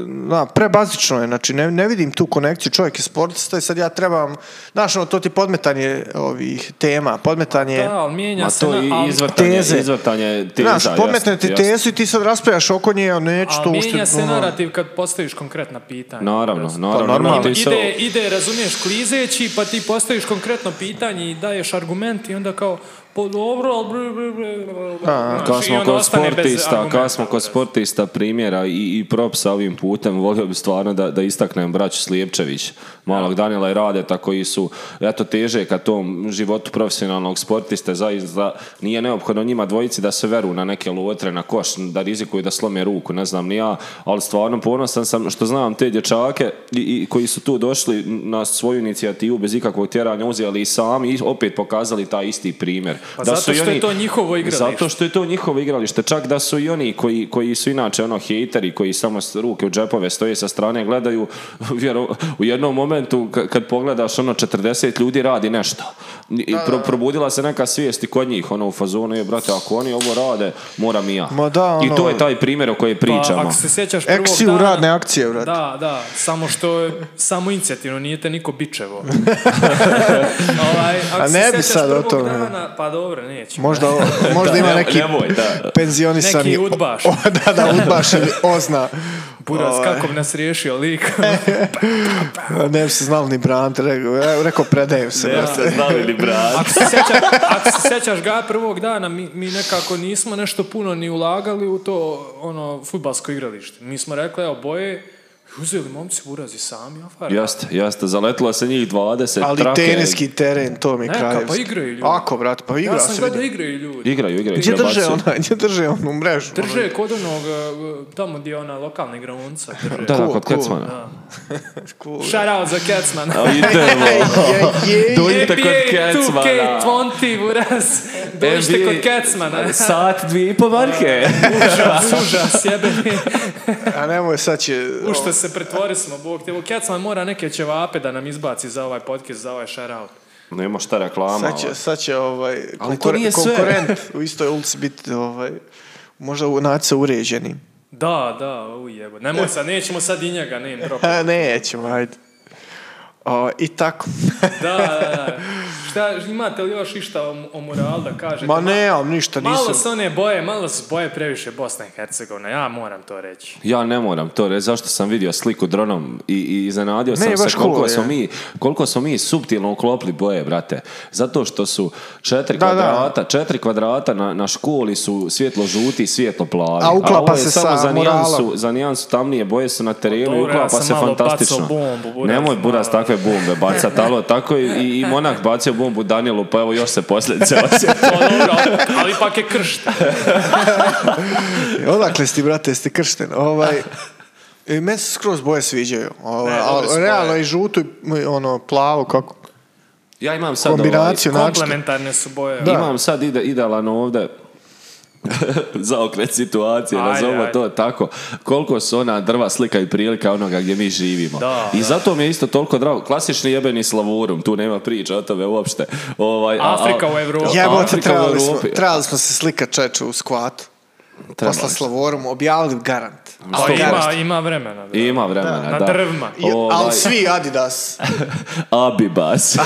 Speaker 3: na, prebazično je. Znači, ne, ne vidim tu konekciju. Čovjek je sportista i sad ja trebam... Znaš, ono, to ti je podmetanje ovih tema, podmetanje...
Speaker 1: Da, ali mijenja
Speaker 2: Ma
Speaker 1: se...
Speaker 2: to
Speaker 1: na-
Speaker 2: i
Speaker 1: ali-
Speaker 2: izvrtanje,
Speaker 3: Teze.
Speaker 2: izvrtanje teza.
Speaker 3: Znaš, podmetne
Speaker 2: jasno,
Speaker 3: ti
Speaker 2: jasno.
Speaker 3: tezu i ti sad raspravljaš oko nje, ja neću to
Speaker 1: Ali
Speaker 3: uopšte...
Speaker 1: mijenja se
Speaker 3: ono,
Speaker 1: narativ kad postaviš konkretna pitanja.
Speaker 2: Naravno,
Speaker 1: Brate.
Speaker 2: naravno.
Speaker 3: Pa normalno.
Speaker 2: naravno.
Speaker 1: Ide, ide, razumiješ, klizeći, pa ti postaviš konkretno pitanje i daješ argument i onda kao, po dobro, ali... br- br- br- br- br-
Speaker 3: A,
Speaker 1: znaš,
Speaker 2: Kad
Speaker 1: i
Speaker 2: smo
Speaker 1: onda
Speaker 2: kod
Speaker 1: ostane bez
Speaker 2: sportista,
Speaker 1: argumenta,
Speaker 2: kad smo kod
Speaker 1: brate.
Speaker 2: sportista primjera i, i propsa ovim putem, volio bi stvarno da, da istaknem braću Slijepčević, malog Danila i Radeta koji su, eto, teže ka tom životu profesionalnog sportiste, zaista nije neophodno njima dvojici da se veru na neke lotre, na koš, da rizikuju da slome ruku, ne znam ni ja, ali stvarno ponosan sam što znam te dječake i, i koji su tu došli na svoju inicijativu bez ikakvog tjeranja uzeli i sami i opet pokazali taj isti primjer.
Speaker 1: Pa zato
Speaker 2: i
Speaker 1: što je to njihovo igralište.
Speaker 2: Zato što je to njihovo igralište. Čak da su i oni koji, koji su inače ono hejteri, koji samo s- ruke u džepove stoje sa strane, gledaju [LAUGHS] vjero- u jednom momentu ka- kad pogledaš ono 40 ljudi radi nešto. I pro- probudila se neka svijest i kod njih ono u fazonu je brate ako oni ovo rade, moram i ja.
Speaker 3: Ma da,
Speaker 2: I
Speaker 3: ono-
Speaker 2: to je taj primjer o kojem
Speaker 1: Pa,
Speaker 2: pričamo.
Speaker 1: ako se sjećaš prvog
Speaker 3: Eksiju
Speaker 1: dana...
Speaker 3: radne akcije, brate.
Speaker 1: Da, da, samo što je samo inicijativno, nije te niko
Speaker 3: [LAUGHS]
Speaker 1: bičevo. ovaj, ako
Speaker 3: A
Speaker 1: se
Speaker 3: ne bi
Speaker 1: sjećaš
Speaker 3: sad o
Speaker 1: prvog
Speaker 3: tome.
Speaker 1: Dana, pa dobro, nećemo.
Speaker 3: Možda,
Speaker 2: [LAUGHS]
Speaker 3: možda ima neki
Speaker 2: Nemoj, da.
Speaker 3: penzionisani...
Speaker 1: Neki udbaš.
Speaker 3: [LAUGHS] O, da, da, udbaš ili ozna.
Speaker 1: Buras,
Speaker 3: Ovaj.
Speaker 1: kako bi nas riješio
Speaker 3: [LAUGHS]
Speaker 1: lik.
Speaker 3: Ne bi se znali ni brant, rekao, rekao predajem se. brate.
Speaker 2: znali ni
Speaker 1: Ako se sjećaš, ako se sjećaš ga prvog dana, mi, mi nekako nismo nešto puno ni ulagali u to ono futbalsko igralište. Mi smo rekli, evo, boje, uzeli momci burazi sami, afar.
Speaker 2: Jeste, jeste, zaletilo se njih 20
Speaker 3: Ali
Speaker 2: trake.
Speaker 3: teniski teren, to mi je
Speaker 1: Neka,
Speaker 3: kraljevski.
Speaker 1: pa igraju ljudi.
Speaker 3: Ako, brate, pa igra
Speaker 1: ja sam
Speaker 3: se.
Speaker 1: gledao
Speaker 3: vidi.
Speaker 1: igraju ljudi.
Speaker 2: Igraju, igraju.
Speaker 3: Gdje drže ono?
Speaker 2: prebacuju.
Speaker 3: ona, gdje drže onu mrežu? Ono,
Speaker 1: Drže kod onog, eh, tamo gdje je ona lokalna igraonica. Drže.
Speaker 2: Da, da,
Speaker 3: Cool,
Speaker 2: kod
Speaker 3: cool.
Speaker 2: Kecmana.
Speaker 3: [LAUGHS] Cool.
Speaker 1: Shout out za Kecmana.
Speaker 2: A
Speaker 3: [LAUGHS]
Speaker 2: idemo.
Speaker 3: Je, je,
Speaker 2: Dođite kod
Speaker 1: NBA
Speaker 2: Kecmana. E,
Speaker 1: 2K20, buraz. Dođite
Speaker 2: NBA
Speaker 1: kod
Speaker 2: [LAUGHS]
Speaker 1: Kecmana.
Speaker 2: Sat, dvije i po marke.
Speaker 1: Užas, užas, jebe.
Speaker 3: A nemoj, sad će...
Speaker 1: U što se pretvori smo, Bog te. Evo, Kecman mora neke ćevape da nam izbaci za ovaj podcast, za ovaj shoutout.
Speaker 2: Nema šta reklama.
Speaker 3: Sad će, sad će ovaj,
Speaker 2: Ali to
Speaker 3: konkure-
Speaker 2: nije sve.
Speaker 3: konkurent u istoj ulici biti ovaj, možda u naći se uređenim.
Speaker 1: Da, da, ujebo. Nemoj sad, nećemo sad i njega, ne, drop. Da,
Speaker 3: [LAUGHS] A nećemo, ajde. O, I tako.
Speaker 1: da, da. Šta, imate li još išta o, o moralu da kažete?
Speaker 3: Ma nemam ništa, nisam.
Speaker 1: Malo su one boje, malo su boje previše Bosna i Hercegovina, ja moram to reći.
Speaker 2: Ja ne moram to reći, zašto sam vidio sliku dronom i, i iznenadio sam
Speaker 3: Ne, baš
Speaker 2: se koliko,
Speaker 3: cool je.
Speaker 2: smo mi, koliko smo mi subtilno uklopili boje, brate. Zato što su četiri
Speaker 3: Da, da.
Speaker 2: kvadrata, četiri kvadrata na, na školi su svjetlo žuti i svjetlo plavi.
Speaker 3: A uklapa
Speaker 2: ovo je
Speaker 3: se
Speaker 2: samo
Speaker 3: sa
Speaker 2: za
Speaker 3: moralom.
Speaker 2: nijansu, za nijansu tamnije boje su na terenu i
Speaker 1: Pa Dobro, ja
Speaker 2: uklapa
Speaker 1: sam
Speaker 2: se
Speaker 1: malo
Speaker 2: fantastično.
Speaker 1: bacao bombu, Buras,
Speaker 2: Nemoj buras
Speaker 1: malo.
Speaker 2: takve bombe bacat, alo, tako je i, i monak bacio bombu Danielu, pa evo još [LAUGHS] se posljedice osjeti.
Speaker 1: To dobro, ali ipak je kršt.
Speaker 3: Znači, E, Odakle si ti, brate, jesi ti kršten?
Speaker 2: [LAUGHS]
Speaker 3: Ovaj, I meni se skroz boje sviđaju. Ovaj,
Speaker 1: Ne, dobre
Speaker 3: ali
Speaker 1: su boje.
Speaker 3: realno i žutu i ono, plavu, kako,
Speaker 2: Ja imam sad ovaj,
Speaker 3: kombinaciju načina.
Speaker 1: Komplementarne su boje.
Speaker 2: Imam sad ide, idealan [LAUGHS] ovdje zaokret situacije,
Speaker 1: Ajde,
Speaker 2: nazovimo
Speaker 1: ajde.
Speaker 2: to tako. Koliko su ona drva slika i prilika onoga gdje mi živimo.
Speaker 1: Da,
Speaker 2: I
Speaker 1: da.
Speaker 2: zato mi je isto toliko drago. Klasični jebeni slavurum, tu nema priče o tome uopšte. Ovaj, a- a-
Speaker 1: Afrika u Evropi.
Speaker 3: Jebote,
Speaker 2: Afrika u
Speaker 3: trebali smo,
Speaker 2: Evropi.
Speaker 3: trebali smo se slikat čeče u skvatu.
Speaker 2: Trebali smo.
Speaker 3: Posla slavorom, objavili garant.
Speaker 1: Pa ima,
Speaker 3: Garant.
Speaker 1: ima vremena. Da.
Speaker 2: Ima vremena, da.
Speaker 1: Na drvima.
Speaker 3: I-
Speaker 2: Ovaj,
Speaker 3: ali svi
Speaker 2: [LAUGHS]
Speaker 3: Adidas. [LAUGHS]
Speaker 2: Abibas.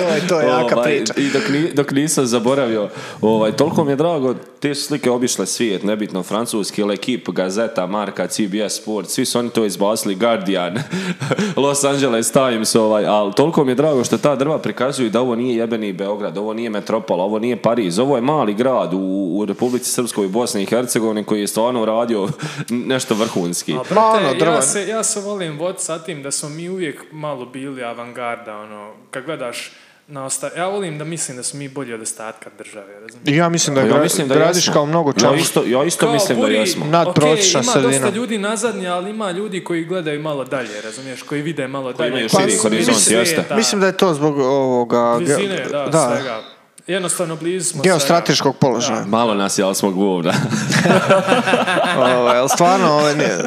Speaker 3: Joj, to je jaka
Speaker 2: Ovaj,
Speaker 3: priča.
Speaker 2: I dok, ni- dok nisam zaboravio, ovaj, toliko mi je drago, te su slike obišle svijet, nebitno francuski, L'Equipe, Gazeta, Marka, CBS Sport, svi su oni to izbacili, Guardian, [LAUGHS] Los Angeles Times, ovaj, ali toliko mi je drago što ta drva prikazuju da ovo nije jebeni Beograd, ovo nije metropola, ovo nije Pariz, ovo je mali grad u, u Republici Srpskoj i Bosni i Hercegovini koji je stvarno uradio [LAUGHS] nešto vrhunski.
Speaker 1: A,
Speaker 3: Ma,
Speaker 1: brate,
Speaker 3: ono,
Speaker 1: ja,
Speaker 3: drvan.
Speaker 1: se, ja se volim vod sa tim da smo mi uvijek malo bili avangarda, ono, kad gledaš na osta... Ja volim da mislim da smo mi bolji od ostatka države, razumiješ?
Speaker 3: I Ja mislim da,
Speaker 2: Pa
Speaker 3: ja
Speaker 2: ja mislim da
Speaker 3: gradiš
Speaker 2: jesmo.
Speaker 3: kao mnogo
Speaker 2: Ja
Speaker 3: čemu.
Speaker 2: isto, ja isto mislim da jesmo.
Speaker 3: Nadprosječna
Speaker 1: ima
Speaker 3: sredina.
Speaker 1: dosta ljudi nazadnje, ali ima ljudi koji gledaju malo dalje, razumiješ, koji vide malo dalje.
Speaker 2: imaju
Speaker 1: koji
Speaker 3: širi
Speaker 1: su
Speaker 2: horizont,
Speaker 1: svijeta,
Speaker 2: jeste.
Speaker 3: Mislim da je to zbog ovoga... ge-
Speaker 1: blizine, da, svega. Jednostavno blizu smo
Speaker 3: geostrateškog položaja.
Speaker 2: Malo nas je, ali smo govna.
Speaker 3: Ovaj, ali stvarno, ovaj,
Speaker 1: [LAUGHS]
Speaker 3: ne, e,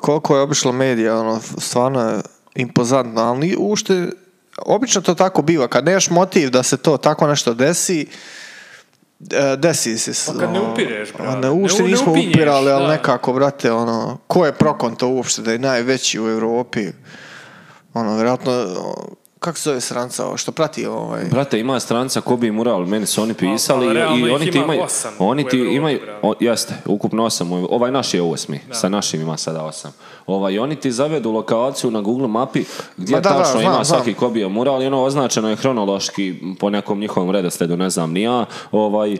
Speaker 3: koliko je obišlo medija, ono, stvarno je impozantno, ali ni- ušte, obično to tako biva. Kad nemaš motiv da se to tako nešto desi, e, desi se. s-
Speaker 1: Pa kad ne
Speaker 3: ono,
Speaker 1: upireš, brate.
Speaker 3: Ne, uopšte
Speaker 1: Ne- ne
Speaker 3: nismo
Speaker 1: upinješ,
Speaker 3: upirali, ali
Speaker 1: da.
Speaker 3: nekako, brate, ono, ko je prokonto uopšte da je najveći u Europi? Ono, vjerojatno, o, kako se zove sranca ovo, što
Speaker 2: [LAUGHS]
Speaker 3: prati ovaj... [LAUGHS]
Speaker 2: Brate, ima stranca ko bi mural, meni su oni pisali
Speaker 1: ali Pa, realno
Speaker 2: i, i
Speaker 1: ih
Speaker 2: oni ti
Speaker 1: ima
Speaker 2: imaju...
Speaker 1: osam
Speaker 2: Oni
Speaker 1: u
Speaker 2: ti
Speaker 1: Evropi,
Speaker 2: imaju...
Speaker 1: brate.
Speaker 2: o- jeste, ukupno osam. u- Ovaj naš je osmi, sa našim ima sada osam. Ovaj, oni ti zavedu lokaciju na Google mapi gdje
Speaker 3: Ma da, da,
Speaker 2: tačno ima
Speaker 3: znam, znam.
Speaker 2: svaki ko bio mural i ono označeno je hronološki po nekom njihovom redosledu, ne znam ni ja, ovaj,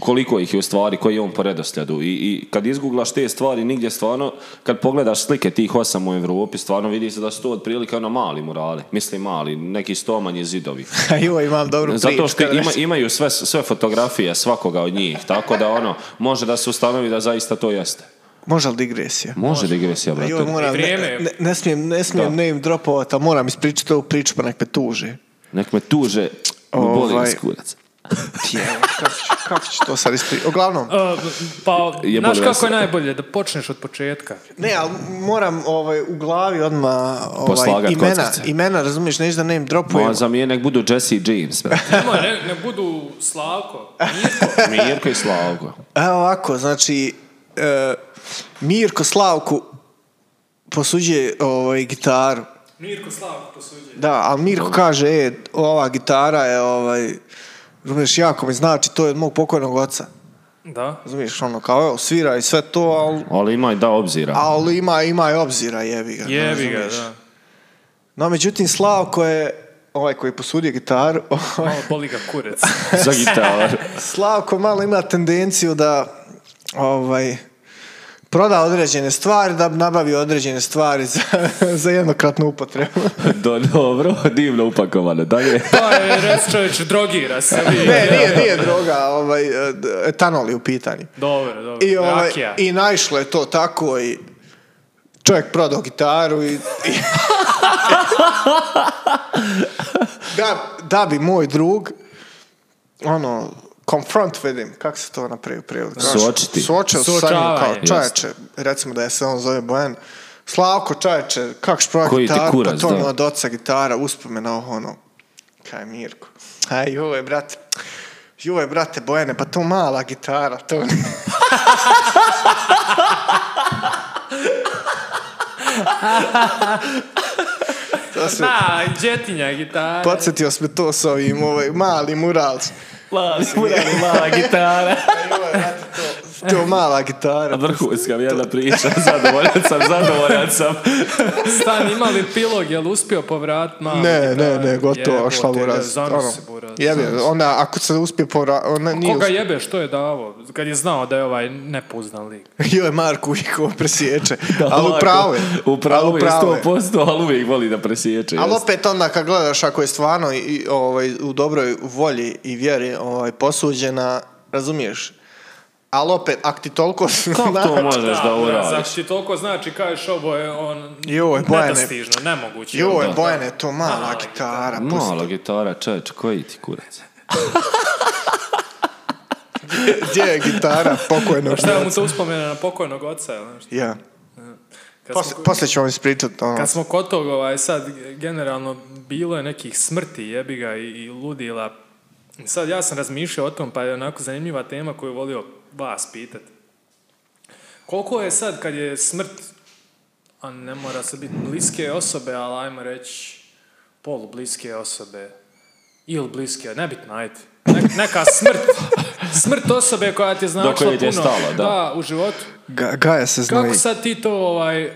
Speaker 2: koliko ih je u stvari, koji je on po redosledu. I, i kad izguglaš te stvari, nigdje stvarno, kad pogledaš slike tih osam u Europi, stvarno vidi se da su to otprilike ono mali murali. Mislim mali, neki sto manji zidovi.
Speaker 3: Joj, imam dobru priču.
Speaker 2: Zato što
Speaker 3: kad
Speaker 2: ima,
Speaker 3: reš-
Speaker 2: imaju sve, sve fotografije svakoga od njih, tako da ono, može da se ustanovi da zaista to jeste.
Speaker 3: Može li digresija?
Speaker 2: Može digresija, brate.
Speaker 3: Joj, moram,
Speaker 1: I
Speaker 3: ne,
Speaker 1: vrijeme je.
Speaker 3: ne, ne smijem, ne smijem name dropovat, a moram ispričati ovu priču, pa nek me tuže.
Speaker 2: Nek me tuže, me boli
Speaker 3: Ovaj.
Speaker 2: nas kurac.
Speaker 3: Pjevo, kako ću, kako ću to sad ispričati? Oglavnom,
Speaker 1: E, pa,
Speaker 2: Je
Speaker 1: znaš
Speaker 2: bolje
Speaker 1: kako je
Speaker 2: vas-
Speaker 1: najbolje? Da počneš od početka.
Speaker 3: Ne, ali moram ovaj, u glavi odmah ovaj,
Speaker 2: Poslagat
Speaker 3: imena,
Speaker 2: kockice.
Speaker 3: imena, razumiješ, neću da name dropujem.
Speaker 2: Ma, za mije nek budu Jesse i James, brate.
Speaker 1: Nemoj, ne, ne budu Slavko, Mirko.
Speaker 2: Mirko i Slavko.
Speaker 3: Evo E, ovako, znači, e, Mirko Slavku posuđuje ovaj, gitaru.
Speaker 1: Mirko Slavko posuđuje.
Speaker 3: Da, ali Mirko kaže, e, ova gitara je, ovaj, razumiješ, jako mi znači, to je od mog pokojnog oca.
Speaker 1: Da.
Speaker 3: Razumiješ, ono, kao, evo, svira i sve to, ali,
Speaker 2: Ali ima i da obzira.
Speaker 3: ali ima, ima i obzira, jebi ga.
Speaker 1: Jebi ga,
Speaker 3: razumiješ.
Speaker 1: da.
Speaker 3: No, međutim, Slavko je, ovaj koji je posudio gitaru, [LAUGHS] ovaj,
Speaker 1: Malo boli ga kurec.
Speaker 2: [LAUGHS] Za gitaru.
Speaker 3: Slavko malo ima tendenciju da ovaj proda određene stvari, da nabavi određene stvari za, [LAUGHS] za jednokratnu
Speaker 1: [LAUGHS]
Speaker 3: upotrebu.
Speaker 2: Do, dobro, divno upakovano. Dalje.
Speaker 1: Pa je, res čovječ, drogira se.
Speaker 3: [LAUGHS]
Speaker 1: vidi.
Speaker 3: Ne, nije, nije droga, ovaj, e, d- etanol je u pitanju.
Speaker 1: Dobro, dobro.
Speaker 3: I, ovaj,
Speaker 1: Rakija.
Speaker 3: I naišlo je to tako i čovjek prodao gitaru i... i-
Speaker 1: [LAUGHS]
Speaker 3: da, da bi moj drug ono, confront vidim, kako se to napravi prijevod? Kažu,
Speaker 2: Suočiti.
Speaker 3: Suočio se sa njim kao
Speaker 1: Suočavanje.
Speaker 3: čaječe, recimo da je se on zove Bojan, Slavko čaječe, kako ćeš prodati
Speaker 2: Koji ti
Speaker 3: gitaru,
Speaker 2: kurac,
Speaker 3: pa to
Speaker 2: da.
Speaker 3: mi od oca gitara, uspomena ovo, ono, kaj Mirko, aj joj brate, joj brate Bojane, pa to mala gitara, to to se,
Speaker 1: Na, džetinja gitara.
Speaker 3: podsjetio sam me to s ovim ovaj, mali mural.
Speaker 2: Mali, mala gitara.
Speaker 3: Joj, brate, to, to mala gitara.
Speaker 2: Vrhunska mi jedna [LAUGHS] priča. Zadovoljan sam, zadovoljan sam.
Speaker 1: Stan, ima li pilog, jel uspio povrat malo?
Speaker 3: Ne, ne, ne, gotovo, šla mu raz. ono,
Speaker 1: Zanosi buraz.
Speaker 3: Jebe, ona, ako se uspije pora... Ona nije
Speaker 1: Koga
Speaker 3: uspije.
Speaker 1: jebe, što je davo? Kad je znao da je ovaj nepoznan lik.
Speaker 3: [LAUGHS] Joj, Marko uvijek ovo presječe. ali
Speaker 2: Ovako,
Speaker 3: upravo je.
Speaker 2: U pravu
Speaker 3: Ali
Speaker 2: je,
Speaker 3: upravo je.
Speaker 2: 100%, ali uvijek voli da presječe.
Speaker 3: Ali
Speaker 2: jeste.
Speaker 3: opet onda kad gledaš ako je stvarno i- i, ovaj, u dobroj volji i vjeri ovaj, posuđena, razumiješ? Ali opet, ako ti toliko
Speaker 2: Kako to možeš da uradiš?
Speaker 1: Znači ti toliko znači, kažeš ovo je on
Speaker 3: Joj, Bojane.
Speaker 1: nedostižno, nemoguće.
Speaker 3: Joj,
Speaker 1: Da.
Speaker 3: Bojane, to mala gitara. pusti.
Speaker 2: Mala gitara, čeč, koji ti kurac?
Speaker 3: Gdje je gitara pokojnog?
Speaker 1: Šta je mu to uspomena na pokojnog oca, jel? nešto?
Speaker 3: Ja.
Speaker 1: Kad smo-
Speaker 3: Posle, poslije ću vam ispričat. Ono.
Speaker 1: Kad smo kod tog, ovaj, sad generalno bilo je nekih smrti jebiga i, i ludila. Sad ja sam razmišljao o tom, pa je onako zanimljiva tema koju je volio vas pitati. Koliko je sad kad je smrt, a ne mora se biti bliske osobe, ali ajmo reći polubliske osobe, ili bliske, nebitno, ajde. Ne- neka smrt, [LAUGHS] smrt osobe koja ti je značila
Speaker 2: koje ti
Speaker 1: puno
Speaker 2: je stalo, da.
Speaker 1: da, u životu.
Speaker 3: Ga, Gaja se znoji.
Speaker 1: Kako sad ti to ovaj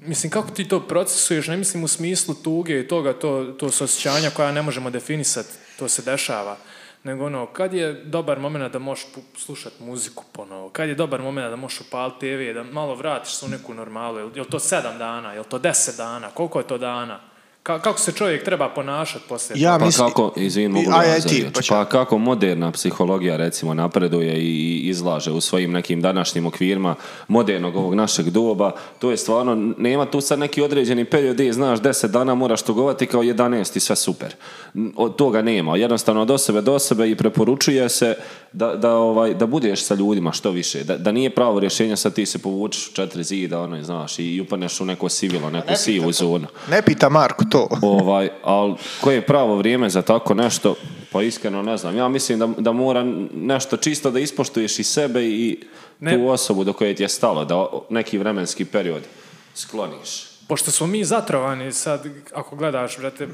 Speaker 1: Mislim, kako ti to procesuješ, ne mislim u smislu tuge i toga, to, to su osjećanja koja ne možemo definisati, to se dešava. Nego ono, kad je dobar moment da možeš pu- slušat muziku ponovo? Kad je dobar moment da možeš upaliti TV, da malo vratiš se u neku normalu? Jel, jel to sedam dana? Jel to deset dana? Koliko je to dana? Ka- kako se čovjek treba ponašati poslije?
Speaker 3: Ja
Speaker 2: Pa
Speaker 3: mislim...
Speaker 2: kako, izvin, mogu
Speaker 3: Aj,
Speaker 2: ja
Speaker 3: aj,
Speaker 2: za
Speaker 3: ti,
Speaker 2: riječ.
Speaker 3: pa ću.
Speaker 2: pa kako moderna psihologija recimo napreduje i i izlaže u svojim nekim današnjim okvirima modernog ovog našeg doba, to je stvarno, nema tu sad neki određeni period gdje znaš 10 dana moraš tugovati kao 11 i sve super. N- Od toga nema, jednostavno od osobe do osobe i preporučuje se da, da, ovaj, da budeš sa ljudima što više, da, da nije pravo rješenje sad ti se povučeš u četiri zida, ono, znaš, i upaneš u neko sivilo, neku sivu zonu.
Speaker 3: Ne pita Marko to.
Speaker 2: Ovaj, ali koje je pravo vrijeme za tako nešto, pa iskreno ne znam. Ja mislim da, da mora nešto čisto da ispoštuješ i sebe i
Speaker 1: Ne.
Speaker 2: tu osobu do koje ti je stalo, da o- neki vremenski period skloniš.
Speaker 1: pošto smo mi zatrovani sad, ako gledaš, brate,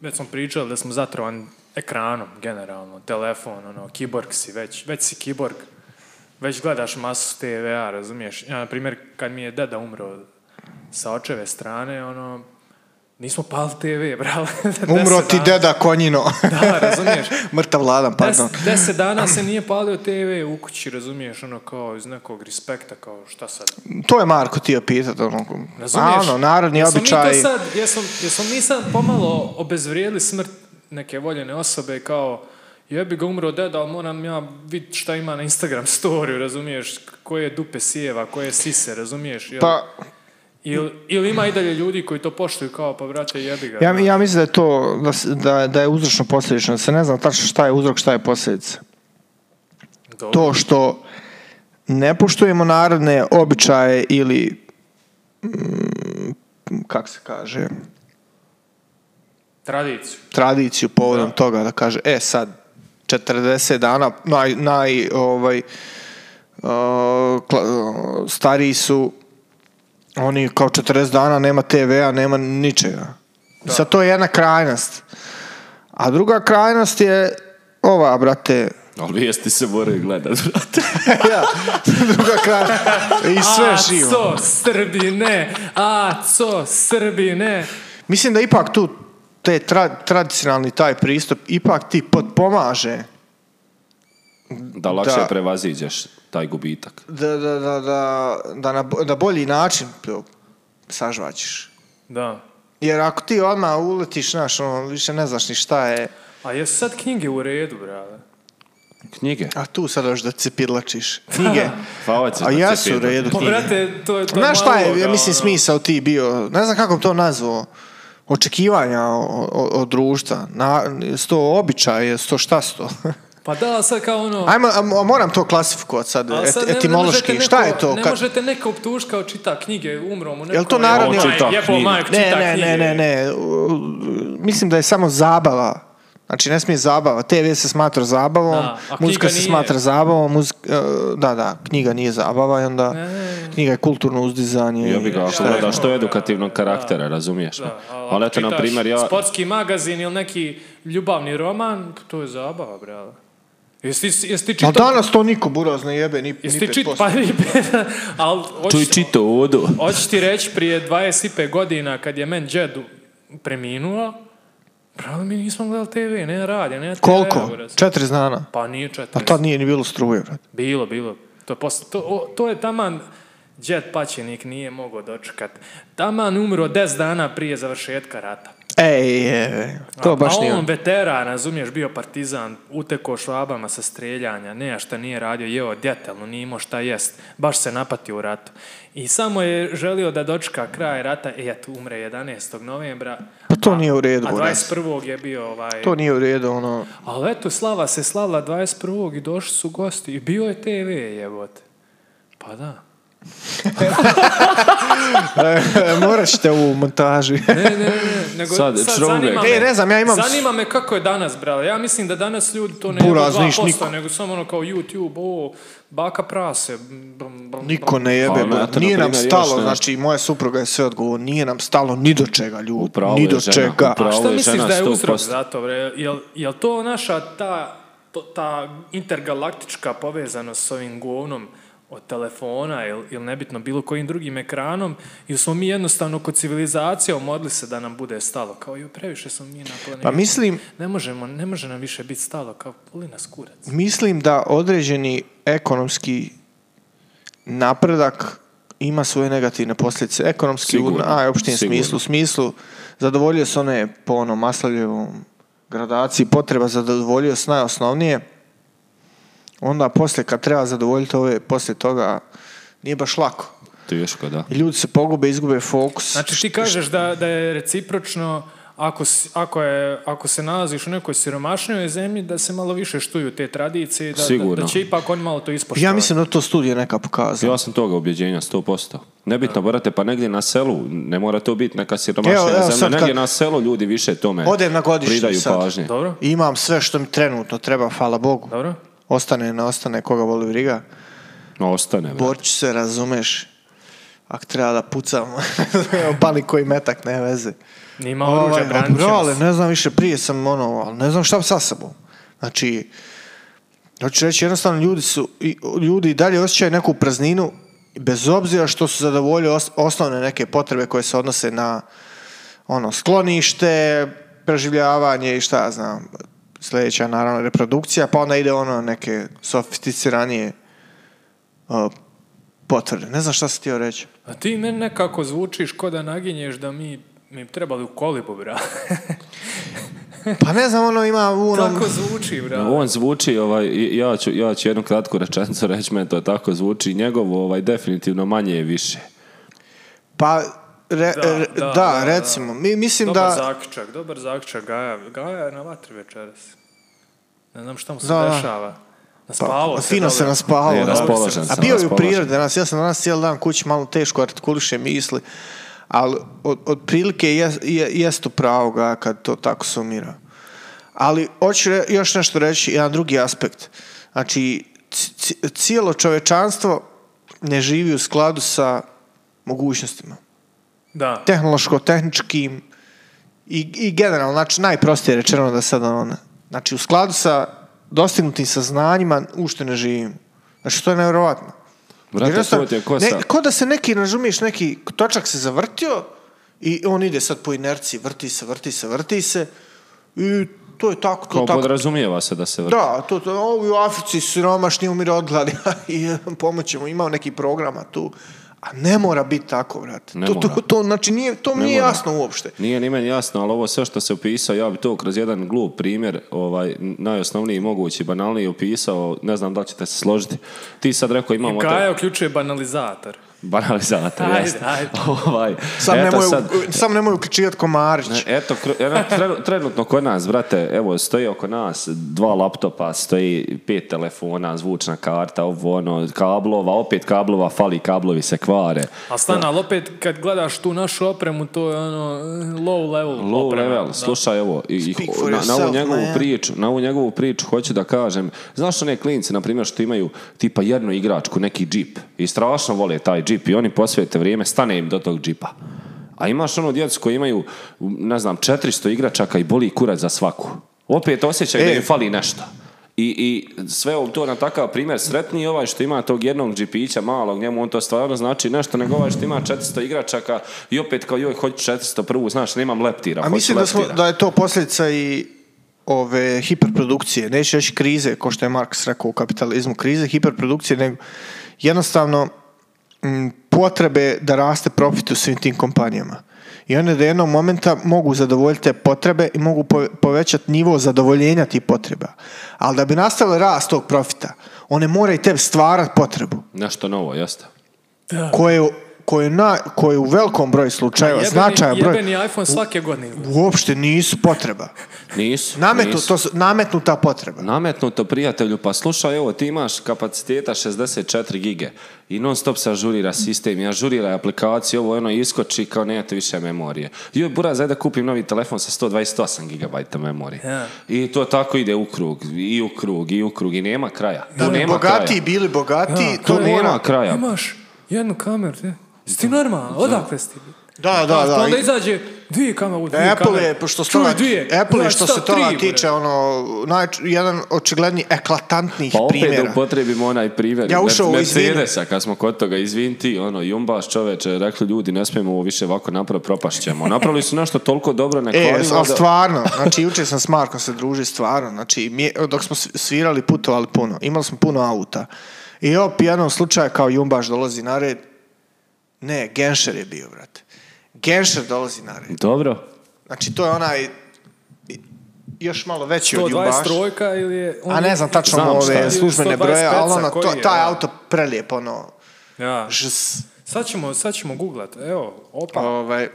Speaker 1: već smo pričali da smo zatrovani ekranom generalno, telefon, ono, kiborg si već, već si kiborg, već gledaš masu TV-a, razumiješ? Ja, na primjer, kad mi je deda umro sa očeve strane, ono, nismo pali TV, [LAUGHS] brale.
Speaker 3: Umro
Speaker 1: Deset
Speaker 3: ti
Speaker 1: dana-
Speaker 3: deda
Speaker 1: [LAUGHS]
Speaker 3: konjino.
Speaker 1: Da,
Speaker 3: [LAUGHS]
Speaker 1: razumiješ?
Speaker 3: Mrtav ladan, pardon.
Speaker 1: Des- deset dana se nije palio TV u kući, razumiješ, ono kao iz nekog respekta, kao šta sad,
Speaker 3: To je Marko ti je pitat, ono,
Speaker 1: razumiješ?
Speaker 3: a ono, narodni
Speaker 1: Jesmo mi to
Speaker 3: običaj.
Speaker 1: sad, jesmo, jesmo mi sad pomalo obezvrijedili smrt neke voljene osobe kao jebi ga umro deda, ali moram ja vidjeti šta ima na Instagram storiju, razumiješ, koje dupe sjeva, koje sise, razumiješ, jel?
Speaker 3: Pa,
Speaker 1: Ili, ili ima i dalje ljudi koji to poštuju kao, pa brate, jebi ga.
Speaker 3: ja, ja mislim da je to, da, s- da, da je uzročno posljedično, da se ne zna tačno šta je uzrok, šta je posljedica.
Speaker 1: ono, Dobro.
Speaker 3: to što ne poštujemo narodne običaje ili mm, kak se kaže
Speaker 1: Tradiciju.
Speaker 3: tradiciju povodom
Speaker 1: Da.
Speaker 3: toga da kaže e sad 40 dana naj, naj ovaj uh, kla- uh, stariji su oni kao 40 dana nema TV-a, nema ničega. Sad to je jedna krajnost. A druga krajnost je ova, [LAUGHS] brate,
Speaker 2: Ali vijesti se moraju gledat, brate.
Speaker 3: ja, druga krajnost. I sve živo.
Speaker 1: Aco, Srbine! Aco, Srbine!
Speaker 3: Mislim da ipak tu te tra- tradicionalni taj pristup ipak ti potpomaže
Speaker 2: Da lakše
Speaker 3: Da.
Speaker 2: prevaziđeš taj gubitak.
Speaker 3: da, da, da, da, da na bo- na bolji način to sažvaćiš.
Speaker 1: Da.
Speaker 3: Jer ako ti odmah uletiš, znaš, ono, više ne znaš ni šta je,
Speaker 1: A jesu sad knjige u redu, brale?
Speaker 2: Knjige.
Speaker 3: a tu sad još da cepidlačiš.
Speaker 1: [LAUGHS]
Speaker 3: Knjige.
Speaker 2: Hvala će
Speaker 3: a
Speaker 2: da
Speaker 3: ja
Speaker 2: se
Speaker 3: su u
Speaker 2: pita.
Speaker 3: redu
Speaker 1: Pa,
Speaker 3: knjige.
Speaker 1: brate, to je to
Speaker 3: Znaš šta je,
Speaker 1: uloga,
Speaker 3: ja mislim,
Speaker 1: ono.
Speaker 3: smisao ti bio, ne znam kako bi to nazvao, očekivanja o- o- od društva, na, sto običaje, sto šta sto.
Speaker 1: Pa da, ali sad kao ono...
Speaker 3: [LAUGHS] Ajmo, a, a moram to klasifikovati sad,
Speaker 1: ali
Speaker 3: et-
Speaker 1: sad ne- ne
Speaker 3: etimološki,
Speaker 1: možete
Speaker 3: šta je
Speaker 1: neko-
Speaker 3: to?
Speaker 1: Ne
Speaker 3: kad-
Speaker 1: možete neka optuž kao čita knjige, umro mu neko...
Speaker 3: Jel to narodni-
Speaker 1: jebo,
Speaker 2: On čita
Speaker 1: majk, jebo,
Speaker 2: knjige.
Speaker 1: majk,
Speaker 3: Ne,
Speaker 1: čita
Speaker 3: ne,
Speaker 1: knjige.
Speaker 3: ne, ne, ne. U, Mislim da je samo zabava. Znači, ne smije zabava. TV se smatra zabavom,
Speaker 1: Da, a
Speaker 3: muzika
Speaker 1: knjiga
Speaker 3: se
Speaker 1: nije.
Speaker 3: smatra zabavom, muzik- e, da, da, knjiga nije zabava i onda
Speaker 1: Ne, ne, ne.
Speaker 3: knjiga je kulturno uzdizanje.
Speaker 2: Ja bi ga
Speaker 3: i
Speaker 2: ako
Speaker 3: šta je.
Speaker 2: gledaš
Speaker 1: rekao,
Speaker 2: to
Speaker 1: da,
Speaker 2: edukativnog
Speaker 1: da,
Speaker 2: karaktera, razumiješ?
Speaker 1: Da, ali
Speaker 2: ali
Speaker 1: ako
Speaker 2: eto, na
Speaker 1: čitaš
Speaker 2: primjer, ja...
Speaker 1: Sportski magazin ili neki ljubavni roman, pa to je zabava, brale. Jesi ti, jesi ti
Speaker 3: Ali
Speaker 1: čitao-
Speaker 3: danas to niko buraz ne jebe, ni, ni
Speaker 1: Jesi ti
Speaker 3: 5%.
Speaker 1: čit, pa i [LAUGHS] pe- ali
Speaker 2: Čuj
Speaker 1: hoćeš-
Speaker 2: čito odu.
Speaker 1: Hoćeš ti reći, prije 25 godina, kad je men džed preminuo, pravo mi nismo gledali TV, ne radi, ne TV.
Speaker 3: Koliko?
Speaker 1: brate.
Speaker 3: 40 dana.
Speaker 1: Pa nije
Speaker 3: Pa
Speaker 1: 40.
Speaker 3: tad nije ni bilo struje, brate.
Speaker 1: Bilo, bilo. To, je posle- to, o, to je taman džed paćenik nije mogao dočekat. Taman umro 10 dana prije završetka rata.
Speaker 3: Ej, ej, to
Speaker 1: A-
Speaker 3: baš
Speaker 1: a pa
Speaker 3: nije.
Speaker 1: on veteran, razumiješ, bio partizan, uteko švabama sa streljanja, ne, šta nije radio, jeo djetelno, nije imao šta jest, baš se napatio u ratu. I samo je želio da dočka kraj rata, e, eto, umre 11. novembra.
Speaker 3: Pa to
Speaker 1: a-
Speaker 3: nije u redu,
Speaker 1: A
Speaker 3: buraz.
Speaker 1: 21. je bio ovaj...
Speaker 3: To nije u redu, ono... [LAUGHS]
Speaker 1: Ali eto, slava se slavila 21. i došli su gosti i bio je TV, jebote. Pa da.
Speaker 3: Morat ćete u montaži.
Speaker 1: [LAUGHS] Ne, ne, ne, ne, nego
Speaker 2: Sad,
Speaker 1: sad,
Speaker 2: črovek.
Speaker 1: zanima me.
Speaker 3: E, ne znam, ja imam-
Speaker 1: Zanima me kako je danas, brale. Ja mislim da danas ljudi to ne
Speaker 3: Buraz,
Speaker 1: jedu
Speaker 3: niš,
Speaker 1: 2%,
Speaker 3: niko.
Speaker 1: nego samo ono kao YouTube, o, baka prase. brum, brum, brum.
Speaker 3: Niko ne jebe,
Speaker 2: Pa,
Speaker 3: bro.
Speaker 2: znate, na
Speaker 3: nije nam
Speaker 2: primjer,
Speaker 3: stalo,
Speaker 2: još ne-
Speaker 3: znači moja supruga je sve odgovor, nije nam stalo ni do čega ljudi,
Speaker 2: Upravo
Speaker 3: ni
Speaker 2: je
Speaker 3: do
Speaker 2: žena,
Speaker 3: čega.
Speaker 2: upravo.
Speaker 1: A
Speaker 2: Pravo
Speaker 1: šta
Speaker 2: je
Speaker 1: misliš
Speaker 2: žena
Speaker 1: da je
Speaker 2: 100%.
Speaker 1: uzrok za to, bre? Jel, jel to naša ta, to- ta intergalaktička povezanost s ovim govnom od telefona ili il nebitno bilo kojim drugim ekranom ili smo mi jednostavno kod civilizacije omodli se da nam bude stalo kao ju previše smo mi na planeti
Speaker 3: Pa mislim,
Speaker 1: ne možemo ne može nam više biti stalo kao puli nas kurac
Speaker 3: mislim da određeni ekonomski napredak ima svoje negativne posljedice. Ekonomski
Speaker 2: Sigurno,
Speaker 3: u najopštijem
Speaker 2: sigurno.
Speaker 3: smislu, u smislu zadovoljio se one po onom Maslavljevom gradaciji potreba zadovoljio s najosnovnije, onda poslije kad treba zadovoljiti ove poslije toga nije baš lako.
Speaker 2: Teško, da.
Speaker 3: I Ljudi se pogube, izgube fokus.
Speaker 1: Znači ti kažeš da, da je recipročno ako, si- ako, je, ako se nalaziš u nekoj siromašnijoj zemlji da se malo više štuju te tradicije i da, da,
Speaker 2: Sigurno.
Speaker 1: da će ipak oni malo to ispoštovati.
Speaker 3: Ja mislim da to studija neka pokazala.
Speaker 2: Ja sam toga ubjeđenja, 100%. Nebitno, brate, pa negdje na selu, ne mora to biti neka
Speaker 3: Evo, evo,
Speaker 2: siromašnja zemlja,
Speaker 3: sad
Speaker 2: negdje
Speaker 3: kad-
Speaker 2: na selu ljudi više tome
Speaker 3: Odem na godišnji
Speaker 2: pridaju
Speaker 3: sad.
Speaker 2: pažnje.
Speaker 1: Dobro,
Speaker 3: Imam sve što mi trenutno treba, hvala Bogu.
Speaker 1: dobro.
Speaker 3: Ostane, ne ostane, koga voli briga.
Speaker 2: No, ostane, brate.
Speaker 3: Borć se, razumeš. Ako treba da pucam, [LAUGHS] pali koji metak, ne veze.
Speaker 1: Nima oruđa,
Speaker 3: Ovaj,
Speaker 1: branit
Speaker 3: bro,
Speaker 1: ćemo
Speaker 3: ali
Speaker 1: se.
Speaker 3: ne znam više, prije sam ono, ali ne znam šta sa sobom. Znači, hoću reći, jednostavno ljudi su, i- ljudi i dalje osjećaju neku prazninu, bez obzira što su zadovoljili os- osnovne neke potrebe koje se odnose na ono, sklonište, preživljavanje i šta ja znam, sljedeća naravno reprodukcija, pa onda ide ono neke sofisticiranije uh, potvrde. Ne znam šta si htio
Speaker 1: [LAUGHS]
Speaker 3: reći.
Speaker 1: A ti meni nekako zvučiš ko da naginješ da mi mi bi trebali u kolibu, bra. [LAUGHS]
Speaker 3: Pa ne znam, ono ima ono,
Speaker 1: Tako zvuči, bra.
Speaker 2: On zvuči, ovaj, i- ja, ću, ja ću jednu kratku rečenicu reći, meni to tako zvuči, njegov ovaj, definitivno manje je više.
Speaker 3: Pa, re-
Speaker 1: Da,
Speaker 3: re-
Speaker 1: da, da,
Speaker 3: da,
Speaker 1: da.
Speaker 3: recimo. Mi, mislim
Speaker 1: Dobar
Speaker 3: da...
Speaker 1: zaključak, dobar zaključak. Gaja, Gaja je na vatri večeras. Ne znam šta mu se
Speaker 3: Da, da.
Speaker 1: dešava. Naspavao se.
Speaker 3: Pa, Fino se
Speaker 1: dobro.
Speaker 3: naspavao.
Speaker 2: E,
Speaker 3: da.
Speaker 2: raspoložen
Speaker 3: A
Speaker 2: sam,
Speaker 3: bio je u
Speaker 2: raspoložen.
Speaker 3: prirodi danas. Ja sam danas cijeli dan kući malo teško artikuliše misli. Ali od, od prilike jest, je, jest u pravu ga kad to tako sumira. Ali hoću re- još nešto reći, jedan drugi aspekt. Znači, c- c- cijelo čovečanstvo ne živi u skladu sa mogućnostima.
Speaker 1: Da.
Speaker 3: tehnološko-tehničkim i, i generalno, znači najprostije rečeno da sad ono, znači u skladu sa dostignutim saznanjima ušte ne živim. Znači to je nevjerovatno.
Speaker 2: Brate, to
Speaker 3: Jednostavno,
Speaker 2: ti je kosa.
Speaker 3: ne, ko da se neki, razumiješ, neki točak se zavrtio i on ide sad po inerciji, vrti se, vrti se, vrti se i to je tako, to
Speaker 2: Kao
Speaker 3: je tako.
Speaker 2: podrazumijeva se da se vrti.
Speaker 3: Da, to, to, ovi u Africi siromašni umire od [LAUGHS] gladi i pomoćemo, imao neki programa tu. A ne mora biti tako, brate.
Speaker 2: Ne
Speaker 3: to, to,
Speaker 2: mora.
Speaker 3: to, znači, nije, to mi
Speaker 2: Ne
Speaker 3: nije
Speaker 2: mora.
Speaker 3: jasno uopšte.
Speaker 2: Nije ni meni jasno, ali ovo sve što se opisao, ja bi to kroz jedan glup primjer, ovaj, najosnovniji mogući, banalniji opisao, ne znam da li ćete se složiti. Ti sad rekao imamo... te-
Speaker 1: Gaja uključuje banalizator.
Speaker 2: Banalizator,
Speaker 1: Ajde,
Speaker 2: jasno.
Speaker 1: ajde.
Speaker 2: [LAUGHS] ovaj,
Speaker 3: Sam
Speaker 2: eto
Speaker 3: nemoj,
Speaker 2: sad-
Speaker 3: sam nemoj uključivati komarić.
Speaker 2: Eto, kru- evo, trenu- trenutno kod nas, brate, evo, stoji oko nas dva laptopa, stoji pet telefona, zvučna karta, ovo ono, kablova, opet kablova, fali, kablovi se kvare.
Speaker 1: A stan, ali opet kad gledaš tu našu opremu, to je ono eh, low level
Speaker 2: Low
Speaker 1: oprema.
Speaker 2: level,
Speaker 1: Da.
Speaker 2: slušaj ovo, i, i-
Speaker 3: Speak for
Speaker 2: na, na ovu
Speaker 3: yourself,
Speaker 2: njegovu
Speaker 3: man.
Speaker 2: priču, na ovu njegovu priču hoću da kažem, znaš one klinci, na primjer, što imaju tipa jednu igračku, neki džip, i strašno vole taj džip i oni posvete vrijeme, stane im do tog džipa. A imaš ono djecu koji imaju, ne znam, 400 igračaka i boli kurac za svaku. Opet osjećaj da
Speaker 3: E.
Speaker 2: im fali nešto. I, I sve ovo to na takav primjer sretni je ovaj što ima tog jednog džipića malog, njemu on to stvarno znači nešto, nego ovaj što ima 400 igračaka i opet kao joj, hoću 400 prvu, znaš, nemam leptira,
Speaker 3: A
Speaker 2: hoću
Speaker 3: mislim da, smo,
Speaker 2: leptira.
Speaker 3: da je to posljedica i ove hiperprodukcije, neću reći krize, ko što je Marks rekao u kapitalizmu, krize, hiperprodukcije, nego jednostavno m, potrebe da raste profit u svim tim kompanijama. I one do jednog momenta mogu zadovoljiti te potrebe i mogu pove- povećati nivo zadovoljenja tih potreba. Ali da bi nastala rast tog profita, one moraju tebi stvarati potrebu
Speaker 2: Nešto novo, jeste.
Speaker 3: koje, koje, na, koje u velikom broju slučajeva,
Speaker 1: Jebeni-
Speaker 3: značajan broj,
Speaker 1: Jebeni iPhone svake godine.
Speaker 3: uopšte nisu potreba.
Speaker 2: Nisu.
Speaker 3: Nametu,
Speaker 2: nisu.
Speaker 3: to su nametnuta potreba.
Speaker 2: Nametnuto, prijatelju, pa slušaj, evo, ti imaš kapaciteta 64 gige i non stop se ažurira sistem i ažurira aplikaciju, ovo ono iskoči kao nemate više memorije. Joj, buraz, ajde da kupim novi telefon sa 128 gigabajta memorije.
Speaker 1: Ja.
Speaker 2: I to tako ide u krug, i u krug, i u krug, i nema kraja. Tu nema
Speaker 3: bogati [LAUGHS]
Speaker 2: kraja.
Speaker 3: bili bogati,
Speaker 1: Da,
Speaker 3: to
Speaker 2: Tu nema
Speaker 3: mora.
Speaker 2: kraja.
Speaker 1: Imaš jednu kameru, te. Jesi ti normalan? Odakle si ti?
Speaker 3: Da,
Speaker 1: Da,
Speaker 3: da,
Speaker 1: pa
Speaker 3: da.
Speaker 1: onda
Speaker 3: i-
Speaker 1: izađe dvije kamere u dvije
Speaker 3: Apple
Speaker 1: kamere.
Speaker 3: je, pošto se
Speaker 1: Čuj,
Speaker 3: toga,
Speaker 1: dvije.
Speaker 3: Apple je
Speaker 1: Znači,
Speaker 3: što
Speaker 1: šta
Speaker 3: se toga
Speaker 1: tri, bre?
Speaker 3: tiče, ono, naj, jedan očigledni eklatantnih
Speaker 2: Pa opet da
Speaker 3: primjera.
Speaker 2: upotrijebimo onaj primjer
Speaker 3: Ja
Speaker 2: Mer-
Speaker 3: ušao u izvinu.
Speaker 2: Mercedesa, kad smo kod toga, izvin ti, ono, jumbaš čoveče, rekli ljudi, ne smijemo ovo više ovako napraviti, propašćemo. Napravili su nešto toliko dobro, ne
Speaker 3: E,
Speaker 2: kvarimo
Speaker 3: ali
Speaker 2: da-
Speaker 3: stvarno, znači jučer sam s Markom se družio, stvarno, znači mi- dok smo svirali, putovali puno, imali smo puno auta. I opet jednom slučaju kao Jumbaš dolazi na red, ne, Genšer je bio, brate. Genšer dolazi na red.
Speaker 2: Dobro.
Speaker 3: Znači to je onaj još malo veći od Jumbaša.
Speaker 1: 123 ili je... ono- on
Speaker 3: A ne znam tačno
Speaker 2: Znam šta je.
Speaker 3: ove službene broje, ali
Speaker 1: 125-ca
Speaker 3: ono, to,
Speaker 1: koji je,
Speaker 3: taj
Speaker 1: da.
Speaker 3: auto prelijep, ono,
Speaker 1: Ja.
Speaker 3: žs,
Speaker 1: Sad ćemo, sad ćemo googlat. Evo,
Speaker 2: Pa.
Speaker 1: opa.
Speaker 3: ovaj,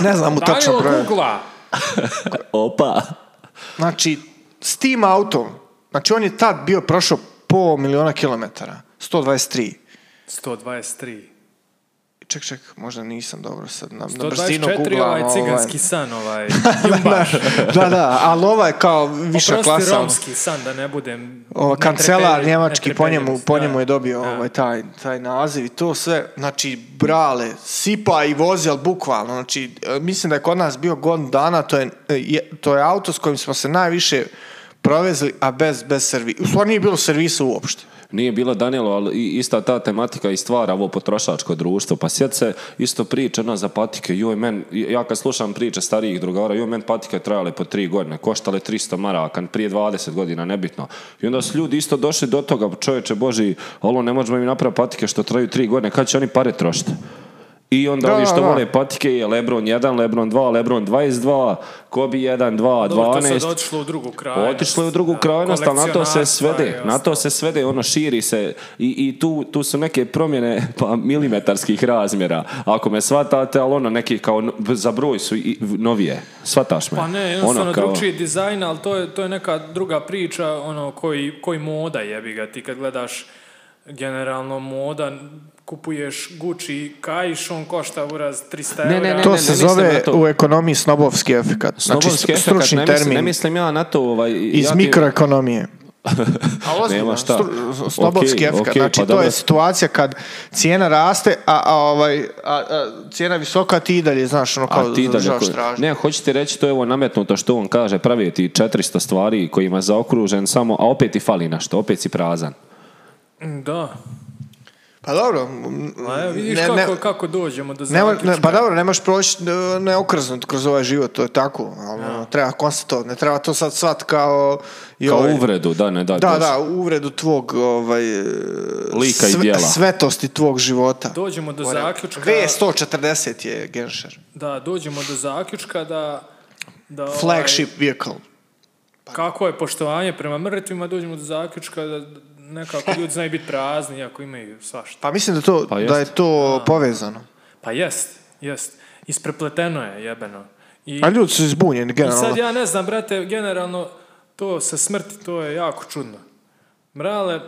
Speaker 3: ne znam mu tačno
Speaker 1: Danilo
Speaker 3: broje.
Speaker 1: googla.
Speaker 2: Opa.
Speaker 3: Znači, s tim autom, znači on je tad bio prošao po miliona kilometara, 123.
Speaker 1: 123.
Speaker 3: Ček, ček, možda nisam dobro sad na, na brzinu
Speaker 1: 124
Speaker 3: googlam,
Speaker 1: ovaj
Speaker 3: [LAUGHS]
Speaker 1: ciganski san, ovaj jumbaš.
Speaker 3: da, da, ali ovo je kao viša
Speaker 1: Oprosti,
Speaker 3: klasa. ono.
Speaker 1: romski san, da ne budem...
Speaker 3: O,
Speaker 1: ne
Speaker 3: Ono, kancelar
Speaker 1: treperi-
Speaker 3: njemački,
Speaker 1: ne
Speaker 3: po njemu,
Speaker 1: treperi-
Speaker 3: po
Speaker 1: da. Pa
Speaker 3: njemu je dobio ovaj, taj, taj naziv i to sve. Znači, brale, sipa i vozi, ali bukvalno. Znači, e, mislim da je kod nas bio godin dana, to je, e, je- to je auto s kojim smo se najviše provezli, a bez, bez servisa. U stvari nije bilo servisa uopšte.
Speaker 2: Nije bilo Danilo, ali i- ista ta tematika i stvara ovo potrošačko društvo. Pa sjeti se isto priča ona za patike. Joj, men, ja kad slušam priče starijih drugara, joj, men patike trajale po tri godine, koštale 300 maraka, prije 20 godina, nebitno. I onda su ljudi isto došli do toga, čovječe Boži, alo, ne možemo im napraviti patike što traju tri godine, kad će oni pare trošiti? I onda
Speaker 3: Da,
Speaker 2: ovi što
Speaker 3: da.
Speaker 2: vole patike je Lebron 1, Lebron 2, Lebron 22, Kobe 1,
Speaker 1: Dobro,
Speaker 2: 2,
Speaker 1: to je
Speaker 2: 12.
Speaker 1: sad otišlo u drugu krajnost.
Speaker 2: Otišlo je u drugu
Speaker 1: da,
Speaker 2: krajnost, ali na to se
Speaker 1: kolekcionarstva
Speaker 2: svede.
Speaker 1: i
Speaker 2: Na
Speaker 1: ostalo.
Speaker 2: to se svede, ono širi se i, i tu, tu su neke promjene [LAUGHS] pa, milimetarskih razmjera. Ako me shvatate, ali ono neki kao n- za broj su i, novije. Shvataš me? Ono
Speaker 1: Pa ne, jednostavno drugčiji dizajn, ali to je, to je neka druga priča, ono, koji, koji moda jebi ga. Ti kad gledaš generalno moda, kupuješ Gucci kajš, on košta uraz 300
Speaker 2: Ne, ne,
Speaker 1: eura.
Speaker 2: ne,
Speaker 3: To
Speaker 2: ne,
Speaker 3: se
Speaker 2: mislim na
Speaker 3: zove
Speaker 2: to.
Speaker 3: u ekonomiji snobovski efekat. Znači,
Speaker 2: Snobovski
Speaker 3: stru-
Speaker 2: efekat,
Speaker 3: stručni
Speaker 2: ne mislim,
Speaker 3: termin
Speaker 2: ne mislim ja na to. Ovaj,
Speaker 3: iz
Speaker 2: ja ti-
Speaker 3: mikroekonomije.
Speaker 2: Nema šta.
Speaker 3: Stru- Snobovski
Speaker 2: Okej,
Speaker 3: efekat.
Speaker 2: okej,
Speaker 3: znači,
Speaker 2: pa
Speaker 3: to
Speaker 2: dobro.
Speaker 3: je situacija kad cijena raste, a, a, ovaj, a, a cijena visoka, a ti i dalje, znaš, ono kao
Speaker 2: A ti da
Speaker 3: žaš
Speaker 2: neko-
Speaker 3: traži.
Speaker 2: Ne, hoćete reći to je ovo nametnuto što on kaže, pravi ti 400 stvari kojima je zaokružen samo, a opet ti fali nešto, opet si prazan.
Speaker 1: Da.
Speaker 3: Pa dobro. m,
Speaker 1: Pa evo, vidiš
Speaker 3: ne-
Speaker 1: kako,
Speaker 3: ne-
Speaker 1: kako dođemo do
Speaker 3: ne mo- ne-
Speaker 1: zaključka.
Speaker 3: pa dobro, ne možeš proći e, neokrznut kroz ovaj život, to je tako. ali, ono, treba konstatovati, ne treba to sad svat kao...
Speaker 2: Kao
Speaker 3: joj,
Speaker 2: uvredu, da, ne daj
Speaker 3: Da,
Speaker 2: Bože.
Speaker 3: da, uvredu tvog ovaj, e,
Speaker 2: Lika i djela.
Speaker 3: svetosti tvog života.
Speaker 1: Dođemo do zaključka.
Speaker 3: V140 je Gensher.
Speaker 1: Da, dođemo do zaključka da... da ovaj,
Speaker 3: Flagship vehicle.
Speaker 1: kako je poštovanje prema mrtvima, dođemo do zaključka da nekako
Speaker 3: [LAUGHS]
Speaker 1: ljudi znaju biti prazni, iako imaju svašta.
Speaker 3: Pa mislim da, to,
Speaker 2: Pa
Speaker 3: da je
Speaker 2: jest.
Speaker 3: to povezano.
Speaker 1: Pa jest, jest. Isprepleteno je, jebeno. I,
Speaker 3: A ljudi su izbunjeni
Speaker 1: I
Speaker 3: generalno.
Speaker 1: sad ja ne znam, brate, generalno to sa smrti, to je jako čudno. Mrale,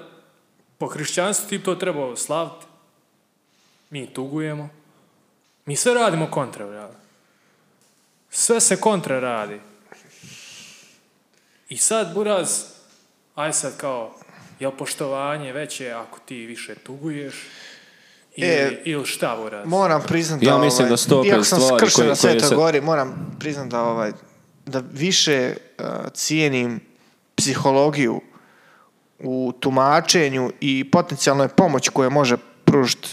Speaker 1: po hrišćanstvu ti bi to trebao slaviti. Mi tugujemo. Mi sve radimo kontra, brale. Sve se kontra radi. I sad, buraz, aj sad kao, jel poštovanje veće ako ti više tuguješ? Ili,
Speaker 3: E,
Speaker 1: ili šta, buraz?
Speaker 3: Moram priznat da... ovaj,
Speaker 2: Ja mislim da su to opet
Speaker 3: iako sam
Speaker 2: stvari
Speaker 3: skršen
Speaker 2: koje-
Speaker 3: na sve
Speaker 2: koje
Speaker 3: to
Speaker 2: se-
Speaker 3: govori, moram priznat da, ovaj, da više uh, cijenim psihologiju u tumačenju i potencijalnoj pomoć koje može pružiti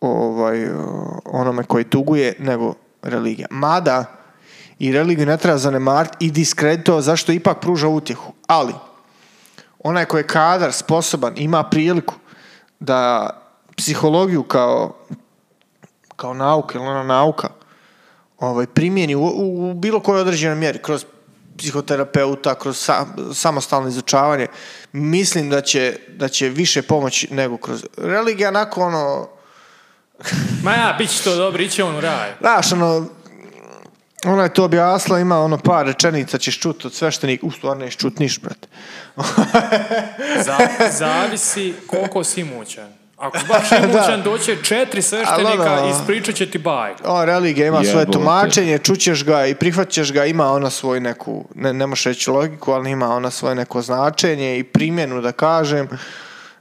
Speaker 3: ovaj, uh, onome koji tuguje nego religija. Mada i religiju ne treba zanemariti i diskredito zašto ipak pruža utjehu. Ali, onaj koji je kadar, sposoban, ima priliku da psihologiju kao kao nauka ili ona nauka ovaj, primjeni u, u- u bilo kojoj određenoj mjeri, kroz psihoterapeuta, kroz sa- samostalno izučavanje, mislim da će, da će više pomoći nego kroz religija, onako ono,
Speaker 1: Ma ja, bit će to dobro, iće on u raj.
Speaker 3: znaš, ono, ona je to objasnila, ima ono par rečenica ćeš čuti od sveštenika, u stvarno ne iščutniš, brate.
Speaker 1: Za, zavisi koliko si imućan.
Speaker 3: [LAUGHS]
Speaker 1: Ako si baš imućan, doće četiri sveštenika
Speaker 3: Ali ono-
Speaker 1: i ispričat će ti bajku.
Speaker 3: Ova religija ima svoje
Speaker 2: Jebote.
Speaker 3: tumačenje, čućeš ga i prihvaćaš ga, ima ona svoju neku, ne, ne možeš reći logiku, ali ima ona svoje neko značenje i primjenu, da kažem,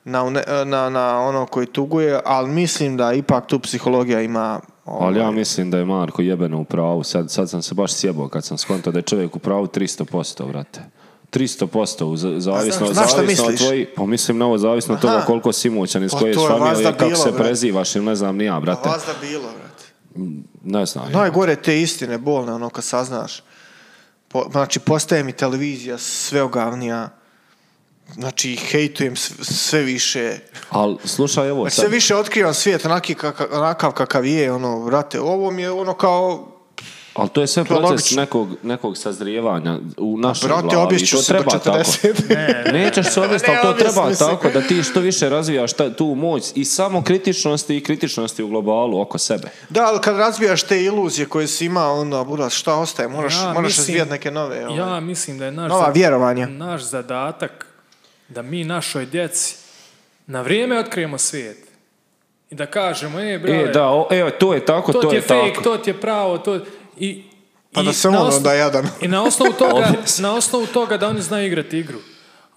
Speaker 3: na, une- na, na ono koji tuguje, ali mislim da ipak tu psihologija ima... ovaj,
Speaker 2: Ali ja mislim da je Marko jebeno u pravu. Sad, sad sam se baš sjebao kad sam skontao da je čovjek u pravu 300%, brate. 300% u za- zavisno,
Speaker 3: znaš- znaš šta
Speaker 2: zavisno od
Speaker 3: misliš?
Speaker 2: tvoji, pa mislim na ovo zavisno od toga
Speaker 3: Aha.
Speaker 2: koliko si imućan, iz
Speaker 3: Pa
Speaker 2: koje
Speaker 3: to je
Speaker 2: familije,
Speaker 3: vazda
Speaker 2: kako
Speaker 3: bilo,
Speaker 2: se
Speaker 3: brate.
Speaker 2: prezivaš ili ne znam ni ja, brate.
Speaker 3: Vas da bilo, brate.
Speaker 2: Ne znam. ja.
Speaker 3: Najgore te istine, bolne, ono kad saznaš. Po- znači, postaje mi televizija sve ogavnija, znači, hejtujem s- sve više,
Speaker 2: Ali slušaj ovo
Speaker 3: Sve
Speaker 2: sad.
Speaker 3: više otkrivam svijet onaki kaka, onakav kakav je, ono, vrate, ovo mi je ono kao,
Speaker 2: Ali to je sve
Speaker 3: To je
Speaker 2: proces
Speaker 3: logično.
Speaker 2: nekog, nekog sazrijevanja u našoj
Speaker 3: Pa brate,
Speaker 2: glavi. i
Speaker 3: obješću
Speaker 2: to
Speaker 3: se do
Speaker 2: treba tako.
Speaker 3: 40.
Speaker 2: [LAUGHS] Nećeš se odvesti,
Speaker 3: Ne,
Speaker 2: ali to treba
Speaker 3: objasni se.
Speaker 2: tako da ti što više razvijaš ta- tu moć i samo kritičnosti i kritičnosti u globalu oko sebe.
Speaker 3: [LAUGHS] da, ali kad razbijaš te iluzije koje si imao, onda, buraz, šta ostaje, moraš,
Speaker 1: Ja
Speaker 3: moraš
Speaker 1: mislim-
Speaker 3: razvijat neke nove, ovaj,
Speaker 1: Ja mislim da je naš,
Speaker 3: nova
Speaker 1: za-
Speaker 3: vjerovanja.
Speaker 1: naš zadatak da mi našoj djeci na vrijeme otkrijemo svijet. I da kažemo, e, brale,
Speaker 2: E, da, o, e, to je tako,
Speaker 1: to,
Speaker 2: to,
Speaker 1: ti je,
Speaker 2: je
Speaker 1: fake,
Speaker 2: tako.
Speaker 1: to ti je pravo, to... I,
Speaker 3: Pa
Speaker 1: i
Speaker 3: da se
Speaker 1: na
Speaker 3: on
Speaker 1: osnovu-
Speaker 3: onda jadan.
Speaker 1: I na osnovu
Speaker 3: [LAUGHS]
Speaker 1: toga,
Speaker 2: Ovdje si.
Speaker 1: na osnovu toga da oni znaju igrati igru.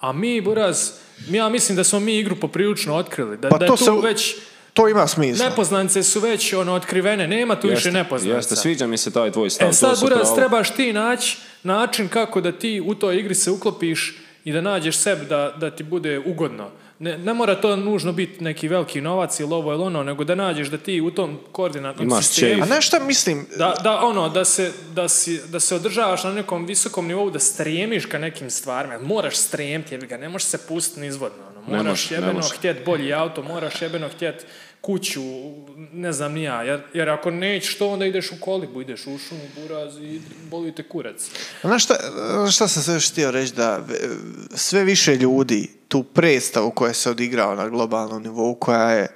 Speaker 1: A mi, Buraz, ja mislim da smo mi igru poprilično otkrili. Da,
Speaker 3: Pa
Speaker 1: da
Speaker 3: to
Speaker 1: je tu
Speaker 3: se-
Speaker 1: već
Speaker 3: To ima smisla.
Speaker 1: nepoznanice su već ono, otkrivene, nema tu više nepoznanica.
Speaker 2: Jeste, sviđa mi se taj tvoj stav.
Speaker 1: E
Speaker 2: to
Speaker 1: sad,
Speaker 2: si u
Speaker 1: Buraz,
Speaker 2: pravu.
Speaker 1: trebaš ti naći način kako da ti u toj igri se uklopiš i da nađeš sebi da, da ti bude ugodno. Ne, ne mora to nužno biti neki veliki novac ili ovo ili ono, nego da nađeš da ti u tom koordinatnom
Speaker 2: Imaš
Speaker 1: sistemu...
Speaker 2: čeif.
Speaker 3: A znaš šta mislim?
Speaker 1: Da, da, ono, da se, da, si, da se održavaš na nekom visokom nivou, da stremiš ka nekim stvarima. Moraš stremiti, jebi ga, ne možeš se pustiti nizvodno. Ono.
Speaker 2: Ne
Speaker 1: Moraš
Speaker 2: može, ne
Speaker 1: jebeno
Speaker 2: može.
Speaker 1: htjet bolji auto, moraš jebeno htjet kuću, ne znam ni ja. Jer, jer ako nećeš to, onda ideš u kolibu, ideš u šumu, buraz i boli te kurac.
Speaker 3: A Znaš šta, znaš šta sam sve još htio reći da e, sve više ljudi tu predstavu koja se odigrava na globalnom nivou, koja je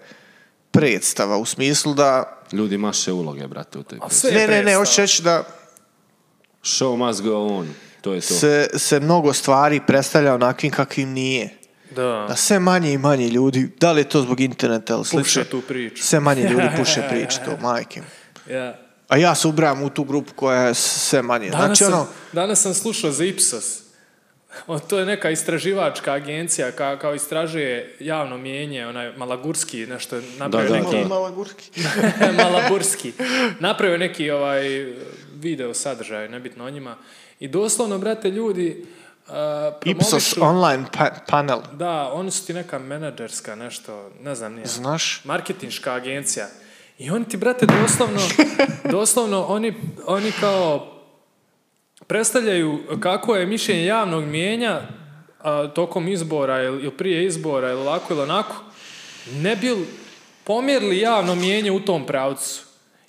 Speaker 3: predstava u smislu da...
Speaker 2: Ljudi maše uloge, brate, u toj priči.
Speaker 1: sve je
Speaker 3: Ne, ne, ne,
Speaker 1: predstava.
Speaker 3: hoću reći da
Speaker 2: Show must go on. To je to.
Speaker 3: se, se mnogo stvari predstavlja onakvim kakvim nije. Da
Speaker 1: Da.
Speaker 3: sve manje i manje ljudi, da li je to zbog interneta ili slično,
Speaker 1: Puše tu priču.
Speaker 3: sve manje
Speaker 1: [LAUGHS]
Speaker 3: ljudi puše priče to, majke. mi.
Speaker 1: Ja.
Speaker 3: A ja se ubrajam u tu grupu koja je sve manje.
Speaker 1: Danas,
Speaker 3: Znači ono,
Speaker 1: sam, danas sam slušao za Ipsos. O, to je neka istraživačka agencija ka, kao istražuje javno mijenje, onaj Malagurski, nešto je napravio
Speaker 2: Da,
Speaker 1: neki-
Speaker 2: da.
Speaker 3: Malo gurki.
Speaker 1: [LAUGHS] Malaburski. Napravio neki ovaj video sadržaj, nebitno o njima. I doslovno, brate, ljudi uh, promovišu...
Speaker 3: [LAUGHS] Ipsos online pa- panel,
Speaker 1: Da, oni su ti neka menadžerska nešto, ne znam nije.
Speaker 3: znaš?
Speaker 1: Marketinška agencija. I oni ti, brate,
Speaker 3: [LAUGHS]
Speaker 1: doslovno, doslovno oni, oni kao predstavljaju kako je mišljenje javnog mijenja a, tokom izbora ili, ili prije izbora ili ovako ili onako, ne bi li pomjerili javno mijenje u tom pravcu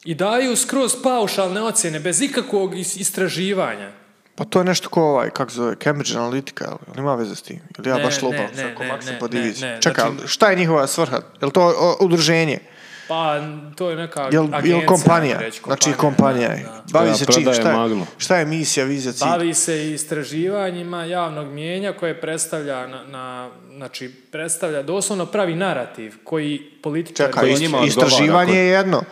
Speaker 1: i daju skroz paušalne ocjene bez ikakvog is- istraživanja.
Speaker 3: Pa to je nešto ko ovaj, kako se zove, Cambridge Analytica, ali on ima veze s tim? Ili ja
Speaker 1: Ne,
Speaker 3: baš
Speaker 1: ne,
Speaker 3: lupam
Speaker 1: ne,
Speaker 3: sa ko
Speaker 1: ne,
Speaker 3: maksim
Speaker 1: ne,
Speaker 3: po
Speaker 1: ne,
Speaker 3: diviziji.
Speaker 1: ne,
Speaker 3: Čekaj,
Speaker 1: znači-
Speaker 3: ali šta je njihova svrha? Je li to o, udruženje?
Speaker 1: Pa, to je neka
Speaker 3: Je li, je
Speaker 1: agencija.
Speaker 3: li kompanija?
Speaker 1: ajmo reći,
Speaker 3: Znači kompanija
Speaker 1: da,
Speaker 3: je.
Speaker 1: da.
Speaker 3: Bavi
Speaker 2: Koja
Speaker 3: se čim,
Speaker 2: prodaje
Speaker 3: šta je,
Speaker 2: maglu.
Speaker 3: šta je misija, vizija, cilj?
Speaker 1: Bavi se i istraživanjima javnog mijenja koje predstavlja, na, na- znači, predstavlja doslovno pravi narativ koji političari...
Speaker 3: Čekaj,
Speaker 2: koji
Speaker 3: ist-
Speaker 2: njima odgovara,
Speaker 3: istraživanje
Speaker 2: koji-
Speaker 3: je jedno,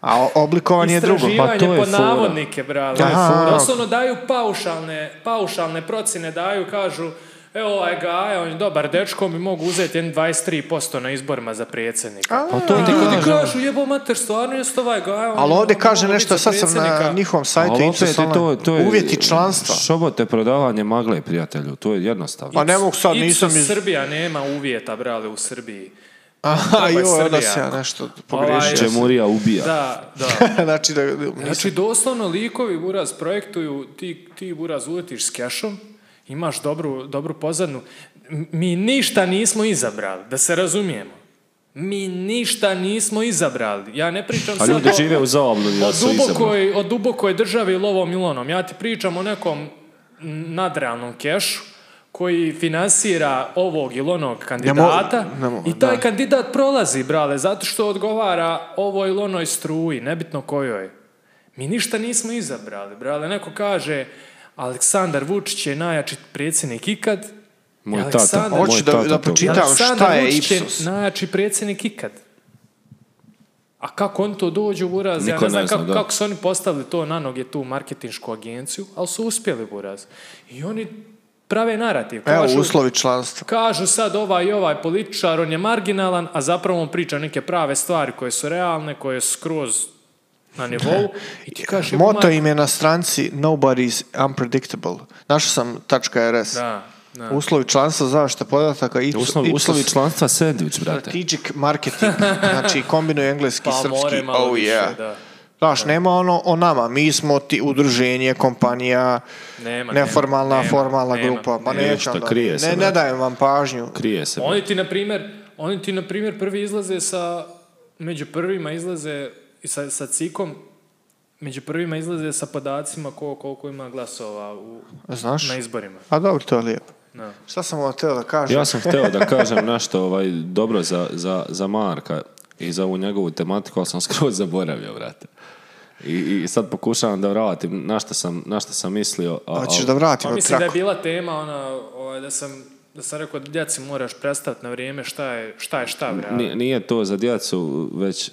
Speaker 3: a o- oblikovanje je drugo.
Speaker 1: Istraživanje
Speaker 2: Pa to je
Speaker 1: pod
Speaker 2: fora.
Speaker 1: navodnike, brale.
Speaker 3: Aha.
Speaker 1: Doslovno daju paušalne, paušalne procjene, daju, kažu, evo ovaj gaja, on je dobar dečko, mi mogu uzeti jedan 23% na izborima za predsjednika.
Speaker 2: Pa to ti
Speaker 1: Ljudi
Speaker 2: kažem.
Speaker 1: kažu, jebo mater, stvarno je ovaj gaja. on-
Speaker 3: Ali ovdje
Speaker 1: on
Speaker 3: kaže
Speaker 1: mogu biti
Speaker 3: nešto,
Speaker 1: za
Speaker 3: sad sam na
Speaker 1: predsjednika."
Speaker 3: njihovom sajtu
Speaker 2: Ali opet
Speaker 3: Ipsos
Speaker 2: je
Speaker 3: online,
Speaker 2: to, to je...
Speaker 3: uvjeti članstva.
Speaker 2: Šobote prodavanje magle, prijatelju. To je jednostavno.
Speaker 3: Pa ne mogu sad, nisam
Speaker 1: Ipsos
Speaker 3: iz...
Speaker 1: Srbija nema uvjeta, brale, u Srbiji.
Speaker 3: Aha,
Speaker 1: Srbija.
Speaker 3: joj, onda se ja nešto
Speaker 1: Ovaj,
Speaker 3: pogriješio.
Speaker 2: Džemurija ubija.
Speaker 1: Da,
Speaker 2: [LAUGHS]
Speaker 1: da.
Speaker 3: [LAUGHS] znači, da,
Speaker 1: Znači, doslovno likovi buraz projektuju, ti, ti buraz uletiš s kešom, imaš dobru, dobru pozadnu. M- Mi ništa nismo izabrali, da se razumijemo. Mi ništa nismo izabrali. Ja ne pričam
Speaker 2: A
Speaker 1: sad
Speaker 2: ljudi
Speaker 1: o-
Speaker 2: žive u zaobludi
Speaker 1: o
Speaker 2: da su izabrani.
Speaker 1: dubokoj, o dubokoj državi lovom ilonom. Ja ti pričam o nekom nadrealnom kešu koji finansira ovog ili onog kandidata
Speaker 3: ne mogu,
Speaker 1: i taj
Speaker 3: da.
Speaker 1: kandidat prolazi, brale, zato što odgovara ovoj ili onoj struji, nebitno kojoj. Mi ništa nismo izabrali, brale. Neko kaže Aleksandar Vučić je najjači predsjednik ikad.
Speaker 2: Moj tata,
Speaker 1: Aleksandar-
Speaker 2: moj
Speaker 3: Hoću da-
Speaker 2: tata
Speaker 3: da
Speaker 2: to-
Speaker 3: pročitam. Pitam, šta
Speaker 1: Aleksandar
Speaker 3: je
Speaker 1: Vučić je
Speaker 3: Ipsos?
Speaker 1: najjači predsjednik ikad. A kako oni to dođu, Buraz, ja
Speaker 2: Niko
Speaker 1: ne znam
Speaker 2: ne zna,
Speaker 1: kako,
Speaker 2: da.
Speaker 1: kako su oni postavili to na noge, tu marketinšku agenciju, ali su uspjeli, Buraz. I oni prave narativ.
Speaker 3: Evo,
Speaker 1: Kažu,
Speaker 3: uslovi članstva.
Speaker 1: kažu sad ovaj i ovaj političar, on je marginalan, a zapravo on priča neke prave stvari koje su realne, koje su skroz na nivou. I
Speaker 3: [LAUGHS]
Speaker 1: ti kažeš,
Speaker 3: Moto
Speaker 1: "Ma-
Speaker 3: im je na stranci Nobody's unpredictable. Našao sam .rs.
Speaker 1: Da, da.
Speaker 3: Uslovi članstva, zaštita podataka, Ips-
Speaker 2: Uslovi,
Speaker 3: Ipsos
Speaker 2: uslovi članstva sandvič, brate.
Speaker 3: strategic
Speaker 1: [LAUGHS]
Speaker 3: marketing. Znači, kombinuje engleski i
Speaker 1: Pa
Speaker 3: srpski.
Speaker 1: more malo
Speaker 3: oh,
Speaker 1: više,
Speaker 3: yeah.
Speaker 1: da.
Speaker 3: Znaš, nema ono o nama. Mi smo ti udruženje, kompanija,
Speaker 1: Nema,
Speaker 3: neformalna,
Speaker 1: nema, nema,
Speaker 3: formalna
Speaker 1: nema.
Speaker 3: grupa. Ma
Speaker 2: Nema.
Speaker 3: neću
Speaker 2: Ništa,
Speaker 3: onda.
Speaker 2: krije
Speaker 3: Ne,
Speaker 2: se,
Speaker 3: ne
Speaker 2: brate.
Speaker 3: dajem vam pažnju.
Speaker 2: Krije se.
Speaker 1: Oni ti, na primjer, oni ti, na primjer, prvi izlaze sa, među prvima izlaze i sa, sa cikom, među prvima izlaze sa podacima ko, koliko ima glasova u,
Speaker 3: Znaš?
Speaker 1: na izborima.
Speaker 3: A dobro, to je lijepo.
Speaker 1: Da.
Speaker 3: Šta sam ovo teo da kažem?
Speaker 2: Ja sam hteo da kažem nešto ovaj, dobro za, za, za Marka i za ovu njegovu tematiku, ali sam skroz zaboravio, brate. I, i sad pokušavam da vratim na šta sam, na šta sam mislio. a-
Speaker 3: Hoćeš
Speaker 2: a-
Speaker 3: da
Speaker 1: Pa
Speaker 3: vratimo
Speaker 1: mislim da je
Speaker 3: traku.
Speaker 1: bila tema ona, ovaj, da sam da sam rekao da djeci moraš predstaviti na vrijeme šta je šta, je šta bre, ali-
Speaker 2: Nije, nije to za djecu već...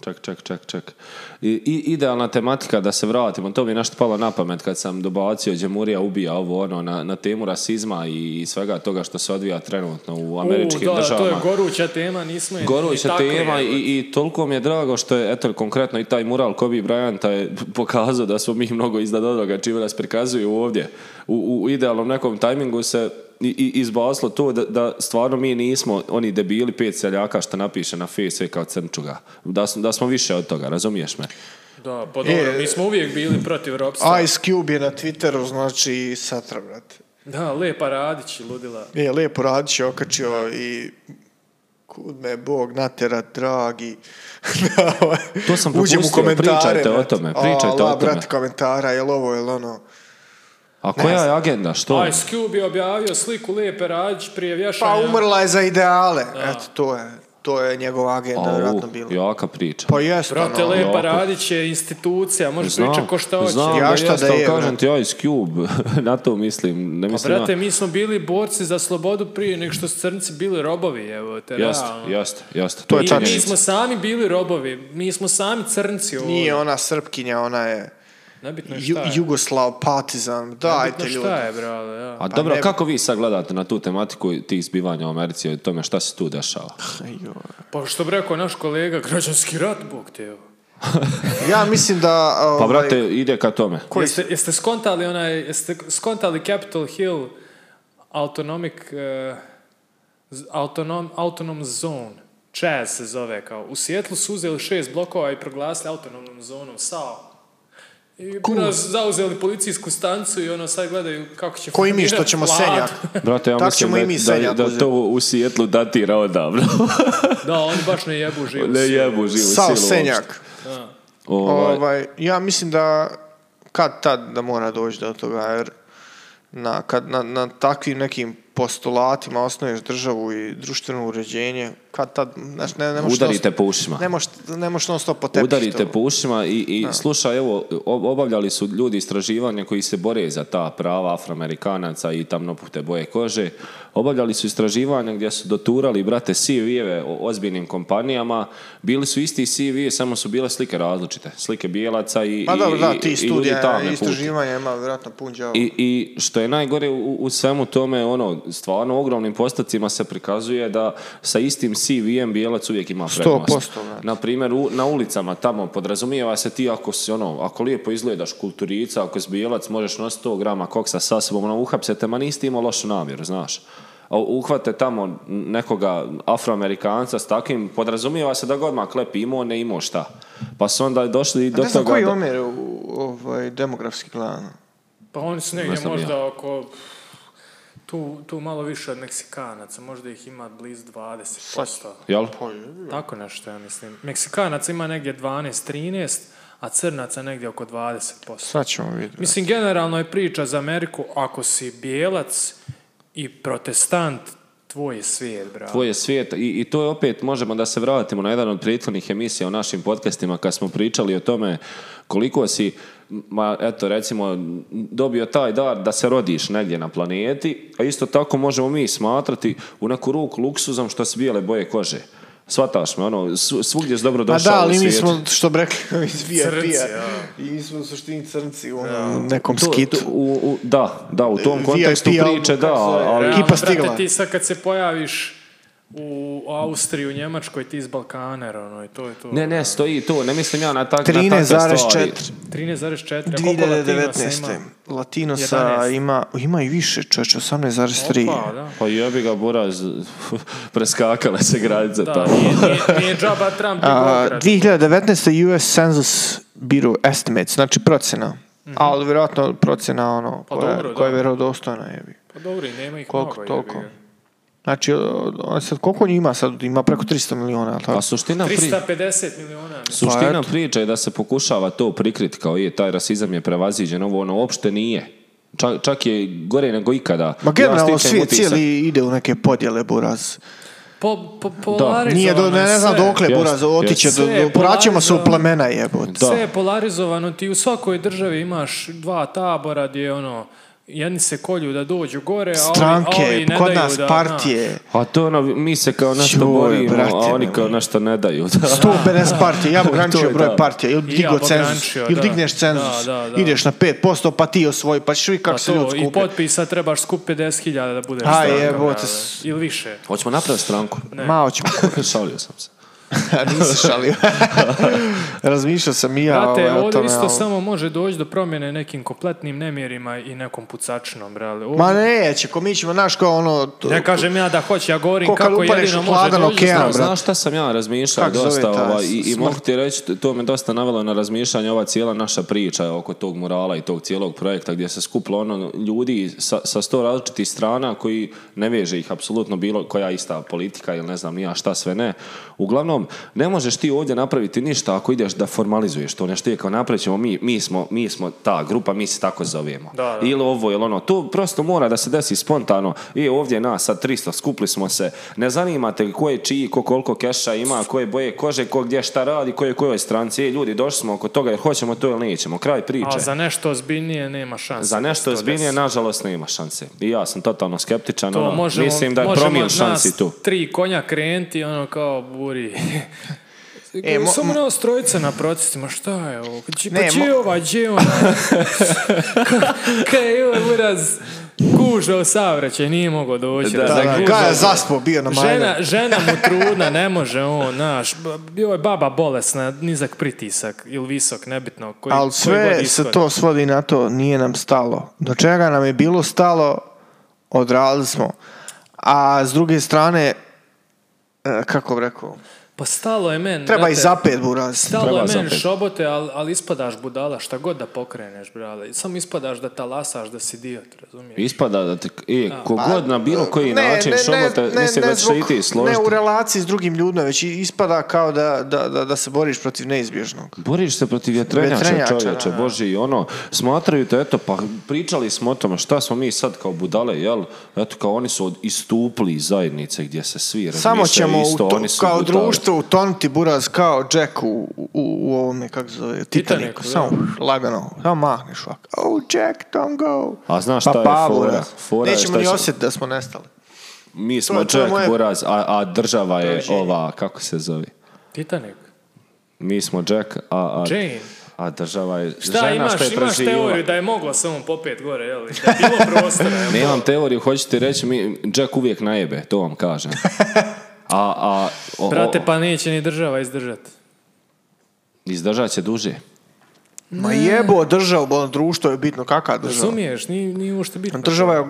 Speaker 2: Čak, čak, čak, čak. I, i- idealna tematika da se vratimo. To mi je nešto palo na pamet kad sam dobacio Đemurija ubija ovo ono na, na temu rasizma i svega toga što se odvija trenutno u američkim
Speaker 1: U, da,
Speaker 2: državama.
Speaker 1: to je goruća tema, nismo E, je ni
Speaker 2: Goruća
Speaker 1: takli,
Speaker 2: tema
Speaker 1: evo.
Speaker 2: i, i toliko mi je drago što je, eto, konkretno i taj mural Kobe Bryanta je pokazao da smo mi mnogo iznad onoga čime nas prikazuju ovdje. U, u idealnom nekom tajmingu se i, i izbaslo to da, da stvarno mi nismo oni debili pet seljaka što napiše na face sve kao crnčuga. Da, smo- da smo više od toga, razumiješ me?
Speaker 1: Da, pa dobro,
Speaker 3: E,
Speaker 1: mi smo uvijek bili protiv ropstva.
Speaker 3: Ice Cube je na Twitteru, znači, satra, brate.
Speaker 1: Da, Lepa Radić i ludila.
Speaker 3: Je, lijepo Radić je okačio i kud me Bog natera, dragi.
Speaker 2: [LAUGHS] To sam
Speaker 3: [LAUGHS] Uđem u
Speaker 2: propustio,
Speaker 3: komentare.
Speaker 2: pričajte o
Speaker 3: brate.
Speaker 2: tome, pričajte
Speaker 3: Ala,
Speaker 2: o tome.
Speaker 3: brate, komentara, jel ovo, jel ono.
Speaker 2: A koja je agenda? Što?
Speaker 1: Ice Cube je objavio sliku Lepe Radić prije vješanja.
Speaker 3: Pa umrla je za ideale. Eto, to je, to je njegova agenda,
Speaker 2: Au,
Speaker 3: vjerojatno bila.
Speaker 2: Pa jaka priča.
Speaker 3: Pa jest,
Speaker 1: Brate,
Speaker 3: ono.
Speaker 1: Lepa
Speaker 2: ovako.
Speaker 1: Radić je institucija, možeš
Speaker 2: Znam,
Speaker 1: pričati ko šta hoće.
Speaker 2: Znam,
Speaker 3: Ja
Speaker 2: ja
Speaker 3: šta
Speaker 2: da
Speaker 3: da je,
Speaker 2: kažem ti Ice Cube, [LAUGHS] na to mislim, ne
Speaker 1: Pa
Speaker 2: mislim
Speaker 1: brate, mi smo bili borci za slobodu prije nego što su crnci bili robovi, evo te
Speaker 2: ja. Jeste,
Speaker 1: realno.
Speaker 2: jeste, jeste.
Speaker 3: To je
Speaker 1: Mi, mi
Speaker 3: činjenica.
Speaker 1: smo sami bili robovi, mi smo sami crnci ovdje.
Speaker 3: Nije ona srpkinja, ona je
Speaker 1: Nebitno je
Speaker 3: ju,
Speaker 1: šta je.
Speaker 3: Jugoslav partizan.
Speaker 1: Nebitno
Speaker 3: Dajte
Speaker 1: je
Speaker 3: ljudi.
Speaker 1: šta je, brale, ja.
Speaker 2: A dobro,
Speaker 3: ne bi-
Speaker 2: kako vi sad gledate na tu tematiku i tih zbivanja u Americi i o tome šta se tu dešava?
Speaker 1: Pa što bi rekao naš kolega, građanski rat, bog te evo.
Speaker 3: Ja mislim da...
Speaker 2: Pa
Speaker 3: ovaj,
Speaker 2: brate, ide ka tome.
Speaker 1: jeste, jeste skontali onaj, jeste skontali Capitol Hill autonomic, eh, z- autonom, autonom zone, Chaz se zove kao. U Sjetlu su uzeli šest blokova i proglasili autonomnom zonom, SAO. I ono, zauzeli policijsku stancu i ono sad gledaju kako će...
Speaker 3: Koji mi što ćemo
Speaker 1: funkcionirat vlad.
Speaker 3: senjak?
Speaker 2: Brate, ja
Speaker 3: Tako
Speaker 2: mislim
Speaker 3: ćemo i mi
Speaker 2: da, da,
Speaker 3: seljak
Speaker 2: da
Speaker 3: uzeti.
Speaker 2: to u Sijetlu datira odavno.
Speaker 1: [LAUGHS] Da, oni baš ne jebu živu.
Speaker 2: [LAUGHS] ne jebu živu silu.
Speaker 3: Sav
Speaker 2: uopšte.
Speaker 3: senjak.
Speaker 1: Da.
Speaker 2: Ovaj,
Speaker 3: Ovaj, ja mislim da kad tad da mora doći do toga, jer na, kad na, na takvim nekim postulatima osnuješ državu i društveno uređenje, kad tad, znaš, ne, ne možeš...
Speaker 2: udarite
Speaker 3: non-
Speaker 2: po ušima.
Speaker 3: Ne možeš, ne možeš non stop potepiti
Speaker 2: Udarite
Speaker 3: to.
Speaker 2: po ušima i, i slušaj, evo, ob- obavljali su ljudi istraživanje koji se bore za ta prava afroamerikanaca i tamnopute boje kože. Obavljali su istraživanja gdje su doturali, brate, CV-eve o ozbiljnim kompanijama. Bili su isti CV, samo su bile slike različite. Slike bijelaca i,
Speaker 3: Ma
Speaker 2: i-
Speaker 3: Pa dobro, da,
Speaker 2: i- i
Speaker 3: ti
Speaker 2: ljudi
Speaker 3: studija,
Speaker 2: tamne puti.
Speaker 3: istraživanja ima vjerojatno pun đavo.
Speaker 2: I, I što je najgore u, u svemu tome, ono, stvarno ogromnim postacima se prikazuje da sa istim CV-em bijelac uvijek ima prednost.
Speaker 3: 100%, brate.
Speaker 2: Na primjer, u- na ulicama tamo podrazumijeva se ti ako si ono, ako lijepo izgledaš kulturica, ako si bijelac, možeš nositi 100 grama koksa sa sobom, ono, uhapse te, ma nisi ti imao lošu namjeru, znaš. A uhvate tamo nekoga afroamerikanca s takvim, podrazumijeva se da ga odmah klepi, imao, ne imao šta. Pa su onda došli do
Speaker 3: ne znam
Speaker 2: toga...
Speaker 3: koji je
Speaker 2: da-
Speaker 3: omjer u, u ovaj, demografski gledano.
Speaker 1: Pa oni su
Speaker 2: Ne
Speaker 1: negdje
Speaker 2: znam
Speaker 1: možda
Speaker 2: ja.
Speaker 1: oko... Tu, tu malo više od Meksikanaca, možda ih ima blizu 20%.
Speaker 2: Jel?
Speaker 1: Tako nešto, ja mislim. Meksikanaca ima negdje 12-13, a crnaca negdje oko 20%.
Speaker 3: Sad ćemo vidjeti.
Speaker 1: Mislim, generalno je priča za Ameriku, ako si bijelac i protestant, tvoj je svijet, bravo.
Speaker 2: Tvoj je svijet I, i to je opet, možemo da se vratimo na jedan od prethodnih emisija u našim podcastima kad smo pričali o tome koliko si, ma, eto recimo, dobio taj dar da se rodiš negdje na planeti, a isto tako možemo mi smatrati u neku ruku luksuzom što su bijele boje kože. Svataš me, ono, svu- svugdje si dobro
Speaker 3: Pa
Speaker 2: došao
Speaker 3: da, ali
Speaker 2: u
Speaker 3: mi
Speaker 2: svijetu.
Speaker 3: smo, što bi rekli, [LAUGHS] iz
Speaker 1: Crnci,
Speaker 3: VIP-a.
Speaker 1: ja.
Speaker 3: I mi smo u suštini crnci u onom nekom
Speaker 2: To-
Speaker 3: skitu.
Speaker 2: to- u- u- da, da, u tom
Speaker 3: VIP
Speaker 2: kontekstu
Speaker 3: album,
Speaker 2: priče, da,
Speaker 3: kako se zove?
Speaker 2: ali...
Speaker 1: Realno,
Speaker 3: Ekipa
Speaker 1: brate,
Speaker 3: stigla.
Speaker 1: ti sad kad se pojaviš u Austriji, u Njemačkoj, ti iz Balkanera, ono, i to je to.
Speaker 2: Ne, ne, stoji to, ne mislim ja na, tak, na takve stvari.
Speaker 3: 13,4.
Speaker 1: 13,4, a koliko latinosa
Speaker 3: 2019.
Speaker 1: ima?
Speaker 3: Latinosa
Speaker 1: 11.
Speaker 3: ima, ima i više, čovječ, 18,3.
Speaker 1: Pa, da.
Speaker 2: Pa jebi ga, [LAUGHS] Boraz, preskakala se pa granica
Speaker 1: Da,
Speaker 2: tamo.
Speaker 1: nije, nije, nije džaba Trump i
Speaker 3: A,
Speaker 1: Gograt.
Speaker 3: 2019. US Census Bureau Estimates, znači procena. Ali vjerojatno procena ono,
Speaker 1: Mhm. Pa
Speaker 3: koja,
Speaker 1: dobro,
Speaker 3: koja je
Speaker 1: da.
Speaker 3: vjerodostojna. jebi.
Speaker 1: Pa dobro, i nema ih
Speaker 3: Koliko,
Speaker 1: mnogo. jebi
Speaker 3: toliko?
Speaker 1: ga.
Speaker 3: Znači, o- o- sad, koliko njih ima sad? Ima preko 300 miliona, jel
Speaker 2: A
Speaker 3: tako?
Speaker 2: suština, pri...
Speaker 1: 350 miliona. mislim.
Speaker 2: suština
Speaker 3: eto.
Speaker 2: priče je da se pokušava to prikriti kao je, taj rasizam je prevaziđen, ovo ono, uopšte nije. Čak, čak je gore nego ikada.
Speaker 3: Ma generalno
Speaker 2: Ja stičem
Speaker 3: svijet
Speaker 2: utisak-
Speaker 3: cijeli ide u neke podjele, buraz.
Speaker 1: Po, po,
Speaker 2: Da.
Speaker 3: Nije do, ne, ne znam
Speaker 1: sve.
Speaker 3: dokle
Speaker 2: Jeste,
Speaker 3: buraz, otiće,
Speaker 1: jeste.
Speaker 3: do,
Speaker 1: Sve pa je
Speaker 3: do, vraćamo se u
Speaker 1: polarizovano.
Speaker 3: plemena jebote.
Speaker 2: Da.
Speaker 1: Sve je polarizovano, ti u svakoj državi imaš dva tabora gdje ono jedni se kolju da dođu gore, a ovi- a ovi,
Speaker 3: Stranke,
Speaker 1: ne
Speaker 3: kod
Speaker 1: daju
Speaker 3: nas
Speaker 1: da,
Speaker 3: partije,
Speaker 2: A to ono, mi se kao nešto
Speaker 3: Joj,
Speaker 2: borimo,
Speaker 3: brate,
Speaker 2: a oni
Speaker 3: ne,
Speaker 2: kao
Speaker 3: ne.
Speaker 2: nešto ne daju. Da.
Speaker 3: 150 partija,
Speaker 1: [LAUGHS]
Speaker 3: ja bi
Speaker 2: To
Speaker 3: ograničio
Speaker 2: je da.
Speaker 3: broj partija, ili bi
Speaker 1: I ja
Speaker 3: digao
Speaker 1: bi
Speaker 3: cenzus,
Speaker 1: ograničio,
Speaker 3: ili
Speaker 1: da.
Speaker 3: digneš cenzus,
Speaker 1: Da, da, da.
Speaker 3: ideš na 5%, pa ti osvoji, pa ćeš vidjeti
Speaker 1: Pa
Speaker 3: kako se
Speaker 1: to,
Speaker 3: ljudi
Speaker 1: I
Speaker 3: skupe.
Speaker 1: potpisa trebaš skup 50.000 da bude
Speaker 3: A, jebote.
Speaker 1: Ili više.
Speaker 2: Hoćemo napraviti stranku.
Speaker 1: [LAUGHS]
Speaker 3: Malo ćemo,
Speaker 2: Šalio sam se.
Speaker 3: nisi šalio. Razmišljao sam i ja
Speaker 1: Brate,
Speaker 3: ovaj, o
Speaker 1: ovdje
Speaker 3: tome.
Speaker 1: isto
Speaker 3: ali-
Speaker 1: samo može doći do promjene nekim kompletnim nemjerima i nekom pucačnom, brale. Ovdje-
Speaker 3: Ma neće, ko mi ćemo, znaš, kao ono... to-
Speaker 1: Ne kažem ja da hoće, ja govorim
Speaker 3: Ko kad
Speaker 1: kako
Speaker 3: upadneš
Speaker 1: jedino
Speaker 3: u
Speaker 1: može
Speaker 3: hladan
Speaker 1: doći. do
Speaker 3: okean.
Speaker 1: toga.
Speaker 2: Znaš,
Speaker 3: brate.
Speaker 2: znaš šta sam ja razmišljao
Speaker 3: Kako zove
Speaker 2: dosta
Speaker 3: taj
Speaker 2: ovaj, i, i
Speaker 3: smrt?
Speaker 2: mogu ti reći, to me dosta navelo na razmišljanje ova cijela naša priča oko tog murala i tog cijelog projekta gdje se skuplo ono ljudi sa, sa sto različitih strana koji ne veže ih apsolutno bilo koja ista politika ili ne znam ni ja šta sve ne. Uglavnom, ne možeš ti ovdje napraviti ništa ako ideš da formalizuješ to nešto je kao napravit ćemo mi, mi, smo, mi smo ta grupa, mi se tako zovemo.
Speaker 1: Da, da.
Speaker 2: Ili ovo ili ono. To prosto mora da se desi spontano. I ovdje je nas sad 300, skupli smo se. Ne zanimate ko je čiji, ko koliko keša ima, koje boje kože, ko gdje šta radi, ko je kojoj stranci. E, ljudi, došli smo oko toga jer hoćemo to ili nećemo. Kraj priče.
Speaker 1: A za nešto ozbiljnije nema šanse.
Speaker 2: Za nešto
Speaker 1: da se to
Speaker 2: ozbiljnije,
Speaker 1: desi.
Speaker 2: nažalost, nema šanse. I ja sam totalno skeptičan.
Speaker 1: To
Speaker 2: ono,
Speaker 1: možemo-
Speaker 2: mislim da je
Speaker 1: možemo
Speaker 2: promil
Speaker 1: od
Speaker 2: šansi
Speaker 1: nas
Speaker 2: tu.
Speaker 1: tri konja krenti, ono kao buri.
Speaker 3: [LAUGHS] E,
Speaker 1: E,
Speaker 3: mo-
Speaker 1: Samo nas trojica na procesima, šta je ovo? Či,
Speaker 3: Ne,
Speaker 1: pa či
Speaker 3: mo-
Speaker 1: ova, či ona?
Speaker 3: [LAUGHS]
Speaker 1: Kaj je ovaj uraz gužao savraćaj, nije mogao doći.
Speaker 2: Da,
Speaker 3: Da, da,
Speaker 2: Zagužao
Speaker 3: Kaja
Speaker 2: se.
Speaker 3: zaspo bio na majne.
Speaker 1: Žena, žena mu trudna, ne može on, naš. Bio je baba bolesna, nizak pritisak ili visok, nebitno. Koji,
Speaker 3: Ali
Speaker 1: koji
Speaker 3: sve
Speaker 1: god
Speaker 3: se
Speaker 1: ishod.
Speaker 3: to svodi na to, nije nam stalo. Do čega nam je bilo stalo, odradili smo. A s druge strane, e, kako bi rekao,
Speaker 1: Pa stalo je men.
Speaker 3: treba i
Speaker 1: brate.
Speaker 3: zapet buraz.
Speaker 1: Stalo
Speaker 2: Treba
Speaker 1: je meni
Speaker 2: zapet.
Speaker 1: šobote, ali al ispadaš budala, šta god da pokreneš, brale. Samo ispadaš da talasaš, da si idiot, razumiješ?
Speaker 2: Ispada da te, e, kogod na bilo koji
Speaker 3: Pa,
Speaker 2: način šomote, mislim da ćeš se i ti složiti.
Speaker 3: Ne u relaciji s drugim ljudima, već i- ispada kao da, da, da, da se boriš protiv neizbježnog.
Speaker 2: Boriš se protiv vjetrenjača,
Speaker 3: Vjetrenjača,
Speaker 2: čovječe,
Speaker 3: da.
Speaker 2: bože i ono, smatraju te, eto, pa pričali smo o tome, šta smo mi sad kao budale, jel, eto, kao oni su od, istupli iz zajednice gdje se svi
Speaker 3: Samo
Speaker 2: razmišljaju
Speaker 3: ćemo u
Speaker 2: isto,
Speaker 3: to-
Speaker 2: oni su
Speaker 3: kao
Speaker 2: budale.
Speaker 3: društvo utonuti buraz kao Jack u, u, u ovome, kako se zove, Titaniku.
Speaker 1: Titaniku, da.
Speaker 3: Samo lagano, samo mahneš ovako. Oh, Jack, don't go.
Speaker 2: A znaš
Speaker 3: Pa
Speaker 2: šta je
Speaker 3: Pavlo,
Speaker 2: fora?
Speaker 3: raz.
Speaker 2: Fora je
Speaker 3: Nećemo
Speaker 2: šta
Speaker 3: ni
Speaker 2: će-
Speaker 3: osjetiti da smo nestali.
Speaker 2: mi smo
Speaker 3: to je
Speaker 2: Jack
Speaker 3: moje-
Speaker 2: Buraz, a, a država je
Speaker 3: Jane.
Speaker 2: ova, kako se zove?
Speaker 1: Titanic.
Speaker 2: Mi smo Jack, a, a,
Speaker 1: Jane.
Speaker 2: a država je
Speaker 1: Šta
Speaker 2: žena
Speaker 1: imaš,
Speaker 2: što je
Speaker 1: imaš
Speaker 2: preživjela.
Speaker 1: teoriju da je moglo samo popet gore, jel? Da je bilo prostora,
Speaker 2: [LAUGHS]
Speaker 1: jel?
Speaker 2: Nemam teoriju, hoću ti reći, mi, Jack uvijek najebe, to vam
Speaker 3: [LAUGHS]
Speaker 2: kažem. A, a, o- o-
Speaker 1: Brate, pa neće ni država izdržati.
Speaker 2: izdržat će duže.
Speaker 3: Ma jebo, država, ono društvo je bitno, kakva država?
Speaker 1: Razumiješ, nije, nije uopšte bitno.
Speaker 3: Država je,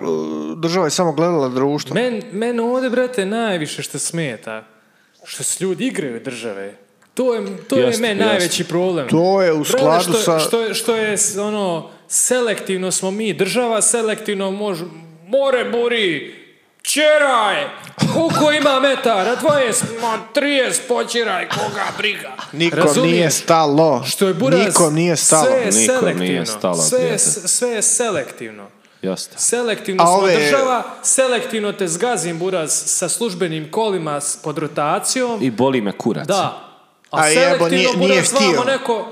Speaker 3: država je samo gledala društvo.
Speaker 1: Men, men ovdje, brate, najviše što smeta, što se ljudi igraju države. To je, to
Speaker 2: Jeste,
Speaker 1: je men
Speaker 2: jeste.
Speaker 1: najveći problem.
Speaker 3: To je u
Speaker 1: Brate,
Speaker 3: skladu
Speaker 1: što,
Speaker 3: sa-
Speaker 1: Što je, što je, s- ono, selektivno smo mi država, selektivno može... More buri! Čeraj! Koliko ima metara? 20, ma 30, počeraj, koga briga.
Speaker 3: Nikom
Speaker 1: Razumiješ?
Speaker 3: nije stalo.
Speaker 1: Što je buraz,
Speaker 3: Nikom nije stalo.
Speaker 1: Sve je
Speaker 2: Nikom
Speaker 1: selektivno.
Speaker 2: nije stalo,
Speaker 1: sve, je,
Speaker 2: prijatelj.
Speaker 1: s- sve je selektivno.
Speaker 2: Jeste.
Speaker 1: Selektivno
Speaker 3: A
Speaker 1: smo
Speaker 3: ove-
Speaker 1: država, selektivno te zgazim buraz sa službenim kolima s- pod rotacijom.
Speaker 2: I boli me kurac.
Speaker 1: Da. A,
Speaker 3: A jebo,
Speaker 1: selektivno
Speaker 3: nije-
Speaker 1: buraz
Speaker 3: nije
Speaker 1: vamo
Speaker 3: htio.
Speaker 1: neko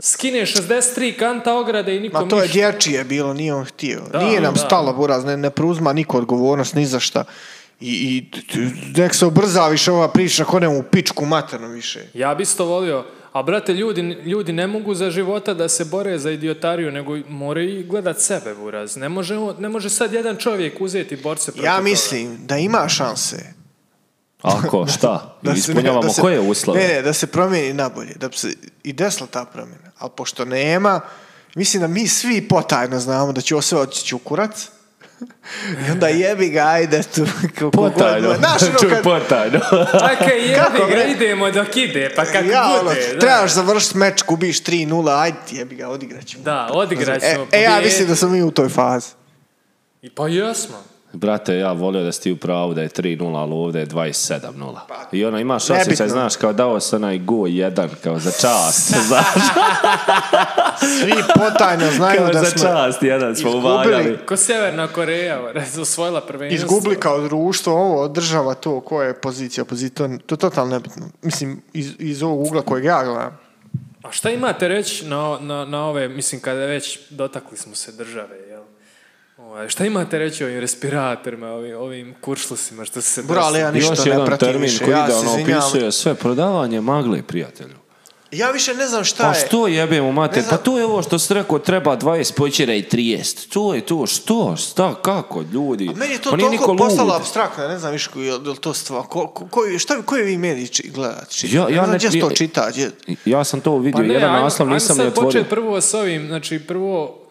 Speaker 1: skine 63 kanta ograde i nikom
Speaker 3: Ma to je
Speaker 1: ništa.
Speaker 3: dječije bilo, nije on htio.
Speaker 1: Da,
Speaker 3: nije nam
Speaker 1: da.
Speaker 3: stalo, buraz, ne, ne preuzma niko odgovornost ni za šta. I, i t- t- nek se obrza više ova priča, ako ne u pičku maternu više.
Speaker 1: Ja bi isto volio. A brate, ljudi, ljudi ne mogu za života da se bore za idiotariju, nego moraju i gledat sebe, buraz. Ne može, on- ne može sad jedan čovjek uzeti borce protiv
Speaker 3: Ja
Speaker 1: toga.
Speaker 3: mislim da ima šanse
Speaker 2: Ako, šta?
Speaker 3: [LAUGHS] da se,
Speaker 2: Ispunjavamo
Speaker 3: da se-
Speaker 2: koje uslove?
Speaker 3: Ne, ne, da se promijeni nabolje, da bi se i desila ta promjena. Ali pošto nema, mislim da mi svi potajno znamo da će ovo sve otići u kurac. [LAUGHS] I onda jebi ga, ajde tu. kako god.
Speaker 2: Potajno.
Speaker 3: Znaš, ono,
Speaker 2: [LAUGHS] Čuj,
Speaker 3: kad-
Speaker 2: potajno.
Speaker 3: [LAUGHS]
Speaker 1: Čekaj, jebi
Speaker 3: Kako,
Speaker 1: ga,
Speaker 3: bre?
Speaker 1: idemo dok ide, pa kako
Speaker 3: ja, ono,
Speaker 1: bude. da.
Speaker 3: trebaš završiti meč, kubiš 3-0, ajde ti jebi ga, odigrat ćemo.
Speaker 1: Da, odigrat
Speaker 3: E,
Speaker 1: ćemo.
Speaker 3: e, ja
Speaker 1: pobjedit.
Speaker 3: mislim da smo mi u toj fazi.
Speaker 1: I Pa jesmo.
Speaker 2: Brate, ja volio da si ti u pravu da je 3-0, ali ovdje je 27-0.
Speaker 3: Pa,
Speaker 2: I ono, imaš
Speaker 3: Nebitno.
Speaker 2: osjećaj, znaš, kao dao se onaj go 1, kao za čast.
Speaker 3: [LAUGHS]
Speaker 2: [LAUGHS] znaš,
Speaker 3: Svi potajno znaju
Speaker 2: kao
Speaker 3: da
Speaker 2: za
Speaker 3: smo
Speaker 2: čast, jedan smo
Speaker 3: izgubili.
Speaker 2: uvaljali.
Speaker 1: Ko Severna Koreja, bre, [LAUGHS] osvojila prvenstvo.
Speaker 3: izgubili kao društvo ovo, država to, koja je pozicija, pozicija, to je totalno nebitno. Mislim, iz, iz ovog ugla kojeg ja gledam.
Speaker 1: A šta imate reći na, na, na ove, mislim, kada već dotakli smo se države, jel? Ovaj, šta imate reći o ovim respiratorima, ovim, ovim kuršlusima što se...
Speaker 3: Bro, ali ja ništa
Speaker 2: Još
Speaker 3: ne
Speaker 2: jedan
Speaker 3: pratim
Speaker 2: termin
Speaker 3: više.
Speaker 2: koji
Speaker 3: Ja se
Speaker 2: idealno
Speaker 3: izvinjavam.
Speaker 2: opisuje sve. Prodavanje magle, prijatelju.
Speaker 3: Ja više ne znam šta
Speaker 2: Pa
Speaker 3: je.
Speaker 2: što jebemo mater?
Speaker 3: Ne
Speaker 2: Pa
Speaker 3: znam.
Speaker 2: to je ovo što si rekao, treba 20 počera i 30. To je to, što, šta, kako, ljudi?
Speaker 3: A Meni je to
Speaker 2: Pa nije
Speaker 3: toliko
Speaker 2: niko lud.
Speaker 3: postalo apstraktno, ne znam više koji je je li to stvar. Ko, ko, koji- šta, koji vi mediji či- gledate? Či,
Speaker 2: Ja- ja
Speaker 3: ne znam
Speaker 2: ne-
Speaker 3: gdje se to
Speaker 2: ja-
Speaker 3: čita, gdje-
Speaker 2: Ja sam to vidio, jedan
Speaker 1: Pa ajmo-
Speaker 2: naslov
Speaker 1: ajmo
Speaker 2: nisam
Speaker 1: sad
Speaker 2: ni otvorio.
Speaker 1: početi prvo s ovim, znači prvo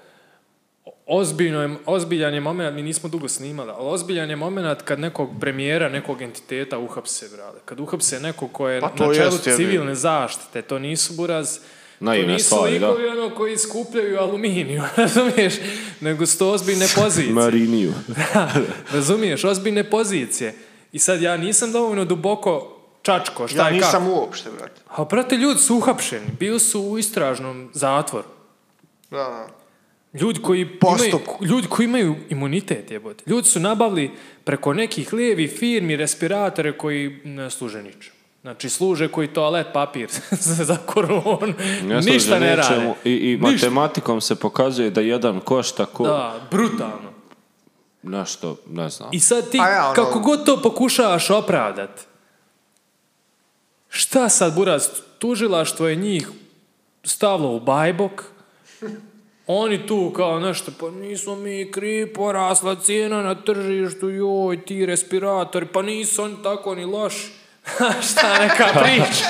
Speaker 1: ozbiljno je, ozbiljan je moment, mi nismo dugo snimali, ali ozbiljan je moment kad nekog premijera, nekog entiteta uhapse, brate. Kad uhapse nekog ko je
Speaker 3: Pa to
Speaker 1: na čelu
Speaker 3: jest, jebi.
Speaker 1: civilne zaštite, to nisu buraz, to
Speaker 2: Naivne
Speaker 1: nisu
Speaker 2: stvari, da.
Speaker 1: likovi ono koji skupljaju aluminiju, [LAUGHS] razumiješ? Nego su to
Speaker 3: [LAUGHS]
Speaker 1: ozbiljne pozicije.
Speaker 2: Mariniju.
Speaker 1: Da, razumiješ, ozbiljne pozicije. I sad ja nisam dovoljno duboko čačko, šta
Speaker 3: Ja
Speaker 1: i kako.
Speaker 3: nisam uopšte, brate.
Speaker 1: A brate, ljudi su uhapšeni, bili su u istražnom zatvoru.
Speaker 3: Da, da.
Speaker 1: Ljudi koji, imaju,
Speaker 3: Postupku.
Speaker 1: ljudi koji imaju imunitet jebote. Ljudi su nabavili preko nekih lijevih firmi respiratore koji ne služe ničem. Znači služe koji toalet papir [LAUGHS] za koronu.
Speaker 2: služe
Speaker 1: Ništa ne rade.
Speaker 2: ničemu. I, i
Speaker 1: Ništa.
Speaker 2: matematikom se pokazuje da jedan košta ko...
Speaker 1: Da, brutalno.
Speaker 2: Nešto, ne znam.
Speaker 1: I sad ti,
Speaker 3: A ja, ono-
Speaker 1: kako god to pokušavaš opravdat, šta sad, Buraz, tužilaštvo je njih stavilo u bajbok, oni tu kao nešto, pa nismo mi krivi, porasla cijena na tržištu, joj, ti respiratori, pa nisu oni tako ni loši. [LAUGHS] šta neka priča,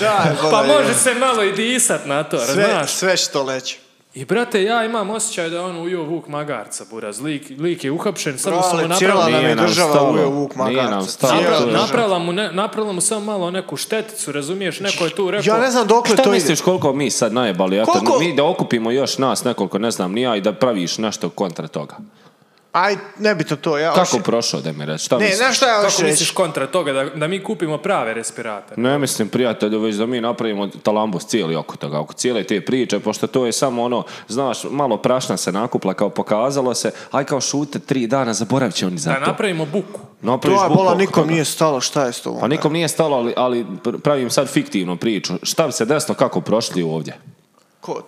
Speaker 3: Da,
Speaker 1: pa
Speaker 3: da,
Speaker 1: može
Speaker 3: je.
Speaker 1: se malo i disat na to,
Speaker 3: sve,
Speaker 1: znaš.
Speaker 3: sve što leće.
Speaker 1: I brate, ja imam osjećaj da je on ujo Vuk Magarca, buraz. Lik, lik je uhapšen, samo
Speaker 3: Bro,
Speaker 1: su mu
Speaker 3: ali
Speaker 1: napravili...
Speaker 3: cijela nam je
Speaker 2: Nije nam
Speaker 3: država
Speaker 2: stalo.
Speaker 3: ujeo vuk
Speaker 2: Nije
Speaker 3: magarca.
Speaker 2: nam stalo,
Speaker 3: Cijela
Speaker 2: to je-
Speaker 1: Napravila,
Speaker 3: država.
Speaker 1: napravila mu, ne, napravila mu samo malo neku šteticu, razumiješ? Neko je tu rekao...
Speaker 3: Ja ne znam dokle
Speaker 2: Šta
Speaker 3: to ide.
Speaker 2: misliš koliko mi sad najebali? Ja
Speaker 3: Koliko-
Speaker 2: mi da okupimo još nas nekoliko, ne znam, ni ja i da praviš nešto kontra toga.
Speaker 3: Aj, nebitno to, ja
Speaker 2: Kako
Speaker 3: hoću-
Speaker 2: prošao, da mi reći? Šta
Speaker 3: Ne,
Speaker 2: misliš?
Speaker 3: znaš šta ja
Speaker 1: Kako
Speaker 3: hoću
Speaker 1: misliš
Speaker 3: reći?
Speaker 1: kontra toga da, da mi kupimo prave respiratore?
Speaker 2: Ne mislim, prijatelju, već da mi napravimo talambus cijeli oko toga, oko cijele te priče, pošto to je samo ono, znaš, malo prašna se nakupla, kao pokazalo se, aj kao šute tri dana, zaboravit će oni za
Speaker 1: Da
Speaker 2: to.
Speaker 1: napravimo buku.
Speaker 2: Napraviš
Speaker 3: To je
Speaker 2: buku
Speaker 3: bola,
Speaker 2: oko
Speaker 3: nikom
Speaker 2: toga.
Speaker 3: nije stalo, šta je s tobom?
Speaker 2: Pa nikom nije stalo, ali, ali pravim sad fiktivnu priču. Šta bi se desilo, kako prošli ovdje?
Speaker 3: Ko?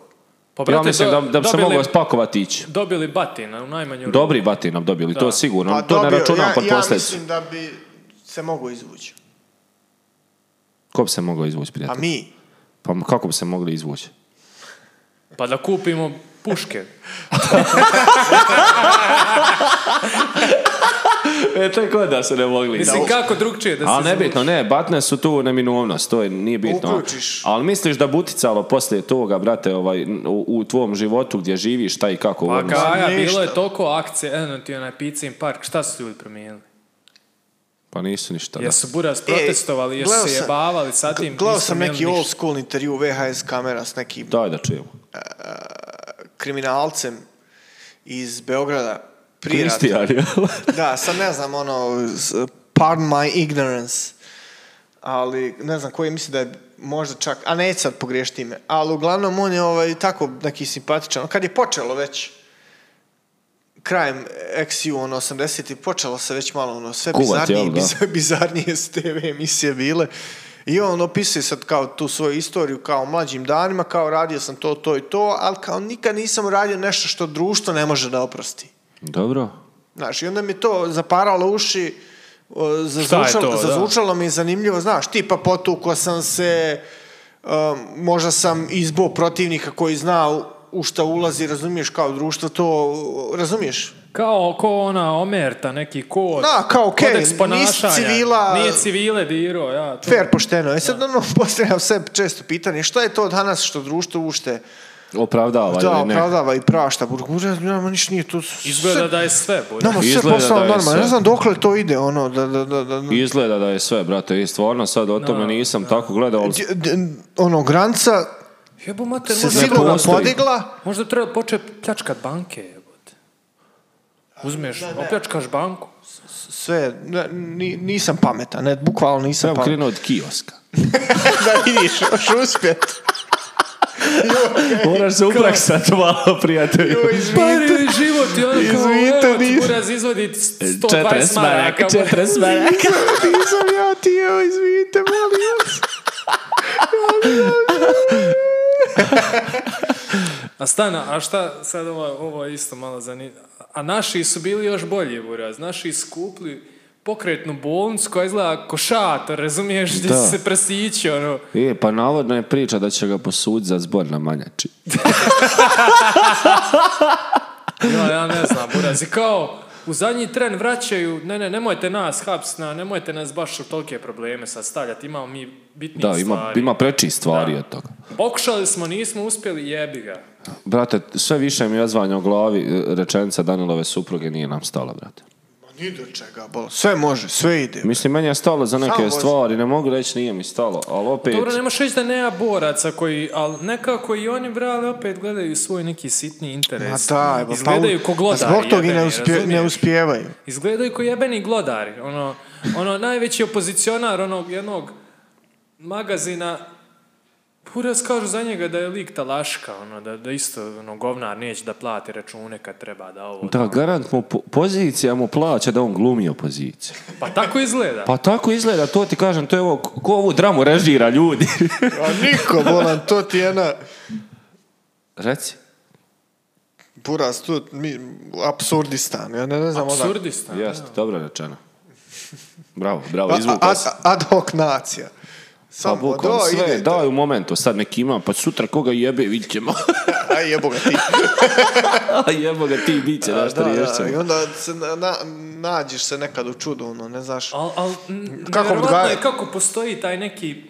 Speaker 1: Pa,
Speaker 2: ja mislim da,
Speaker 1: do-
Speaker 2: da bi se
Speaker 1: dobili-
Speaker 2: mogao spakovati i ići.
Speaker 1: Dobili batina u najmanju ruku.
Speaker 2: Dobri bati nam dobili, to sigurno.
Speaker 3: Pa
Speaker 2: to ne
Speaker 3: dobio,
Speaker 2: računam pod
Speaker 3: ja, ja
Speaker 2: posljedicu.
Speaker 3: mislim da bi se mogu izvući.
Speaker 2: Ko bi se mogao izvući,
Speaker 3: Pa
Speaker 2: prijatelj?
Speaker 3: mi,
Speaker 2: Pa m- kako bi se mogli izvući?
Speaker 1: Pa da kupimo puške.
Speaker 2: E, tako da se ne mogli.
Speaker 1: Mislim, kako drugčije da se...
Speaker 2: A
Speaker 1: izvuče?
Speaker 2: nebitno, ne, batne su tu neminovnost, to je, nije bitno.
Speaker 3: Uključiš.
Speaker 2: Ali misliš da bi uticalo poslije toga, brate, ovaj, u, u tvom životu gdje živiš, šta i kako?
Speaker 1: Pa
Speaker 2: ono?
Speaker 1: Gaja,
Speaker 3: ništa.
Speaker 1: bilo je toliko akcije, eno ti onaj pizza in park, šta su ljudi promijenili?
Speaker 2: Pa nisu ništa. da.
Speaker 1: Jesu buraz protestovali, jesu
Speaker 3: E, gledao
Speaker 1: se
Speaker 3: sam-
Speaker 1: jebavali, sad im
Speaker 3: gledao
Speaker 1: nisu
Speaker 3: sam
Speaker 1: promijenili
Speaker 3: neki
Speaker 1: ništa.
Speaker 3: old school intervju VHS kamera s nekim
Speaker 2: Daj da čujemo.
Speaker 3: kriminalcem iz Beograda prije rata.
Speaker 2: Kristijan, jel?
Speaker 3: Da, sad ne znam, ono, s- pardon my ignorance, ali ne znam koji misli da je možda čak, a neću sad pogriješiti ime, ali uglavnom on je ovaj, tako neki simpatičan. Kad je počelo već, krajem XU, ono, 80 počelo se već malo, ono, [LAUGHS] sve
Speaker 2: Kuvat,
Speaker 3: bizarnije,
Speaker 2: jel, da?
Speaker 3: biz- bizarnije su TV emisije bile. I on opisuje sad kao tu svoju istoriju kao u mlađim danima, kao radio sam to, to i to, ali kao nikad nisam radio nešto što društvo ne može da oprosti.
Speaker 2: [LAUGHS] Dobro.
Speaker 3: Znaš, i onda mi je to zaparalo uši, o,
Speaker 1: Šta je to,
Speaker 3: zazvučalo,
Speaker 1: da?
Speaker 3: zazvučalo mi je zanimljivo, znaš, tipa potukao sam se, um, možda sam izbo protivnika koji zna u- u šta ulazi, razumiješ, kao društvo to, razumiješ?
Speaker 1: Kao ko ona Omerta, neki kod.
Speaker 3: Da, kao okej,
Speaker 1: kodeks ponašanja.
Speaker 3: nisi civila-
Speaker 1: Nije civile dirao, ja. To...
Speaker 3: Fer pošteno. E sad, ono, [LAUGHS] postavljam sebi često pitanje, šta je to danas što društvo ušte
Speaker 2: Opravdava
Speaker 3: da
Speaker 2: ili Pa ne?
Speaker 3: opravdava i prašta? Burgura, nama ništa nije to... sve-
Speaker 1: Izgleda da je sve, bude.
Speaker 3: Nama sve
Speaker 2: Izgleda
Speaker 3: postalo
Speaker 2: da je
Speaker 3: normalno.
Speaker 2: sve.
Speaker 3: Ne znam dokle to ide, ono, da, da, da, da,
Speaker 2: Izgleda da je sve, brate, i stvarno sad o tome nisam tako gledao, ali
Speaker 3: D- d- ono, granca
Speaker 1: Jebo mater,
Speaker 3: se
Speaker 1: možda,
Speaker 2: ne
Speaker 3: sigurno
Speaker 2: postoji.
Speaker 3: podigla,
Speaker 1: možda treba početi pljačkat banke, jebote. Uzmeš, opljačkaš banku.
Speaker 3: sve, ne, ni- nisam pametan, ne, bukvalno nisam
Speaker 2: treba
Speaker 3: pametan.
Speaker 2: krenuo od kioska.
Speaker 3: da vidiš, još [LAUGHS] uspjet.
Speaker 2: [LAUGHS] Moraš se upraksat malo, prijatelju.
Speaker 1: Pari li život, i ono kao,
Speaker 3: Izvinite,
Speaker 1: evo ti
Speaker 3: nisam-
Speaker 1: buraz izvodi 120
Speaker 2: 40
Speaker 1: maraka.
Speaker 2: maraka, 40 maraka.
Speaker 3: nisam ja ti, evo, izvinite, molim vas.
Speaker 1: A stana, a šta, sad ovo, ovo je isto malo zanimljivo. A naši su bili još bolji, buraz. Naši skupli pokretnu bolnicu koja izgleda ko šator, razumiješ, gdje
Speaker 2: Da.
Speaker 1: su se prasići, ono.
Speaker 2: E, pa navodno je priča da će ga posuditi za zbor na manjači.
Speaker 1: Ja, ja ne znam, buraz. I kao, u zadnji tren vraćaju, ne, ne, nemojte nas hapsna, nemojte nas baš u tolike probleme sastavljati, imamo mi bitnije
Speaker 2: Da, ima,
Speaker 1: stvari.
Speaker 2: ima preči stvari
Speaker 1: Da.
Speaker 2: od toga.
Speaker 1: Pokušali smo, nismo uspjeli, jebi ga.
Speaker 2: Brate, sve više mi jazvanja u glavi e, rečenica Danilove supruge nije nam stala, brate.
Speaker 3: Ma Ni do čega, bol. Sve može, sve ide.
Speaker 2: Mislim, meni je stalo za neke
Speaker 3: Samo vozi.
Speaker 2: stvari, ne mogu reći nije mi stalo, ali opet...
Speaker 1: Dobro, nemaš reći da nema boraca koji, ali nekako i oni brali opet gledaju svoj neki sitni
Speaker 3: Ma
Speaker 1: interes.
Speaker 3: daj, pa,
Speaker 1: Izgledaju ko glodari.
Speaker 3: pa zbog toga i ne,
Speaker 1: jebeni,
Speaker 3: uspje- ne
Speaker 1: razumiješ?
Speaker 3: uspijevaju.
Speaker 1: Izgledaju ko jebeni glodari. Ono, ono najveći opozicionar onog jednog magazina Puras kažu za njega da je lik talaška, ono, da, da isto ono, govnar neće da plati račune kad treba da ovo.
Speaker 2: Da, garant mu po- pozicija mu plaća da on glumi opoziciju.
Speaker 1: Pa tako izgleda.
Speaker 2: Pa tako izgleda, to ti kažem, to je ovo, ko ovu dramu režira ljudi.
Speaker 3: A niko, bolan, to ti je jedna...
Speaker 2: [LAUGHS] Reci.
Speaker 3: Buras, tu, mi, absurdistan, ja ne, ne znam onak-
Speaker 1: Absurdistan.
Speaker 2: Jeste, dobro rečeno. Bravo, bravo,
Speaker 3: A-
Speaker 2: izvukao
Speaker 3: Ad,
Speaker 2: si.
Speaker 3: ad hoc nacija.
Speaker 2: Pa
Speaker 3: Samo
Speaker 2: bukvalno
Speaker 3: do,
Speaker 2: sve,
Speaker 3: idete.
Speaker 2: daj u momentu, sad neki ima, pa sutra koga jebe, vidit ćemo.
Speaker 3: Aj jebo ga ti.
Speaker 2: [LAUGHS] A jebo ga ti, bit će, da, što
Speaker 3: Da, da,
Speaker 2: riješit ćemo.
Speaker 3: I onda se na, na- nađeš se nekad u čudu, ono, ne znaš.
Speaker 1: Al, al, n-
Speaker 3: Kako
Speaker 1: nevjerovatno
Speaker 3: odgajati?
Speaker 1: je kako postoji taj neki,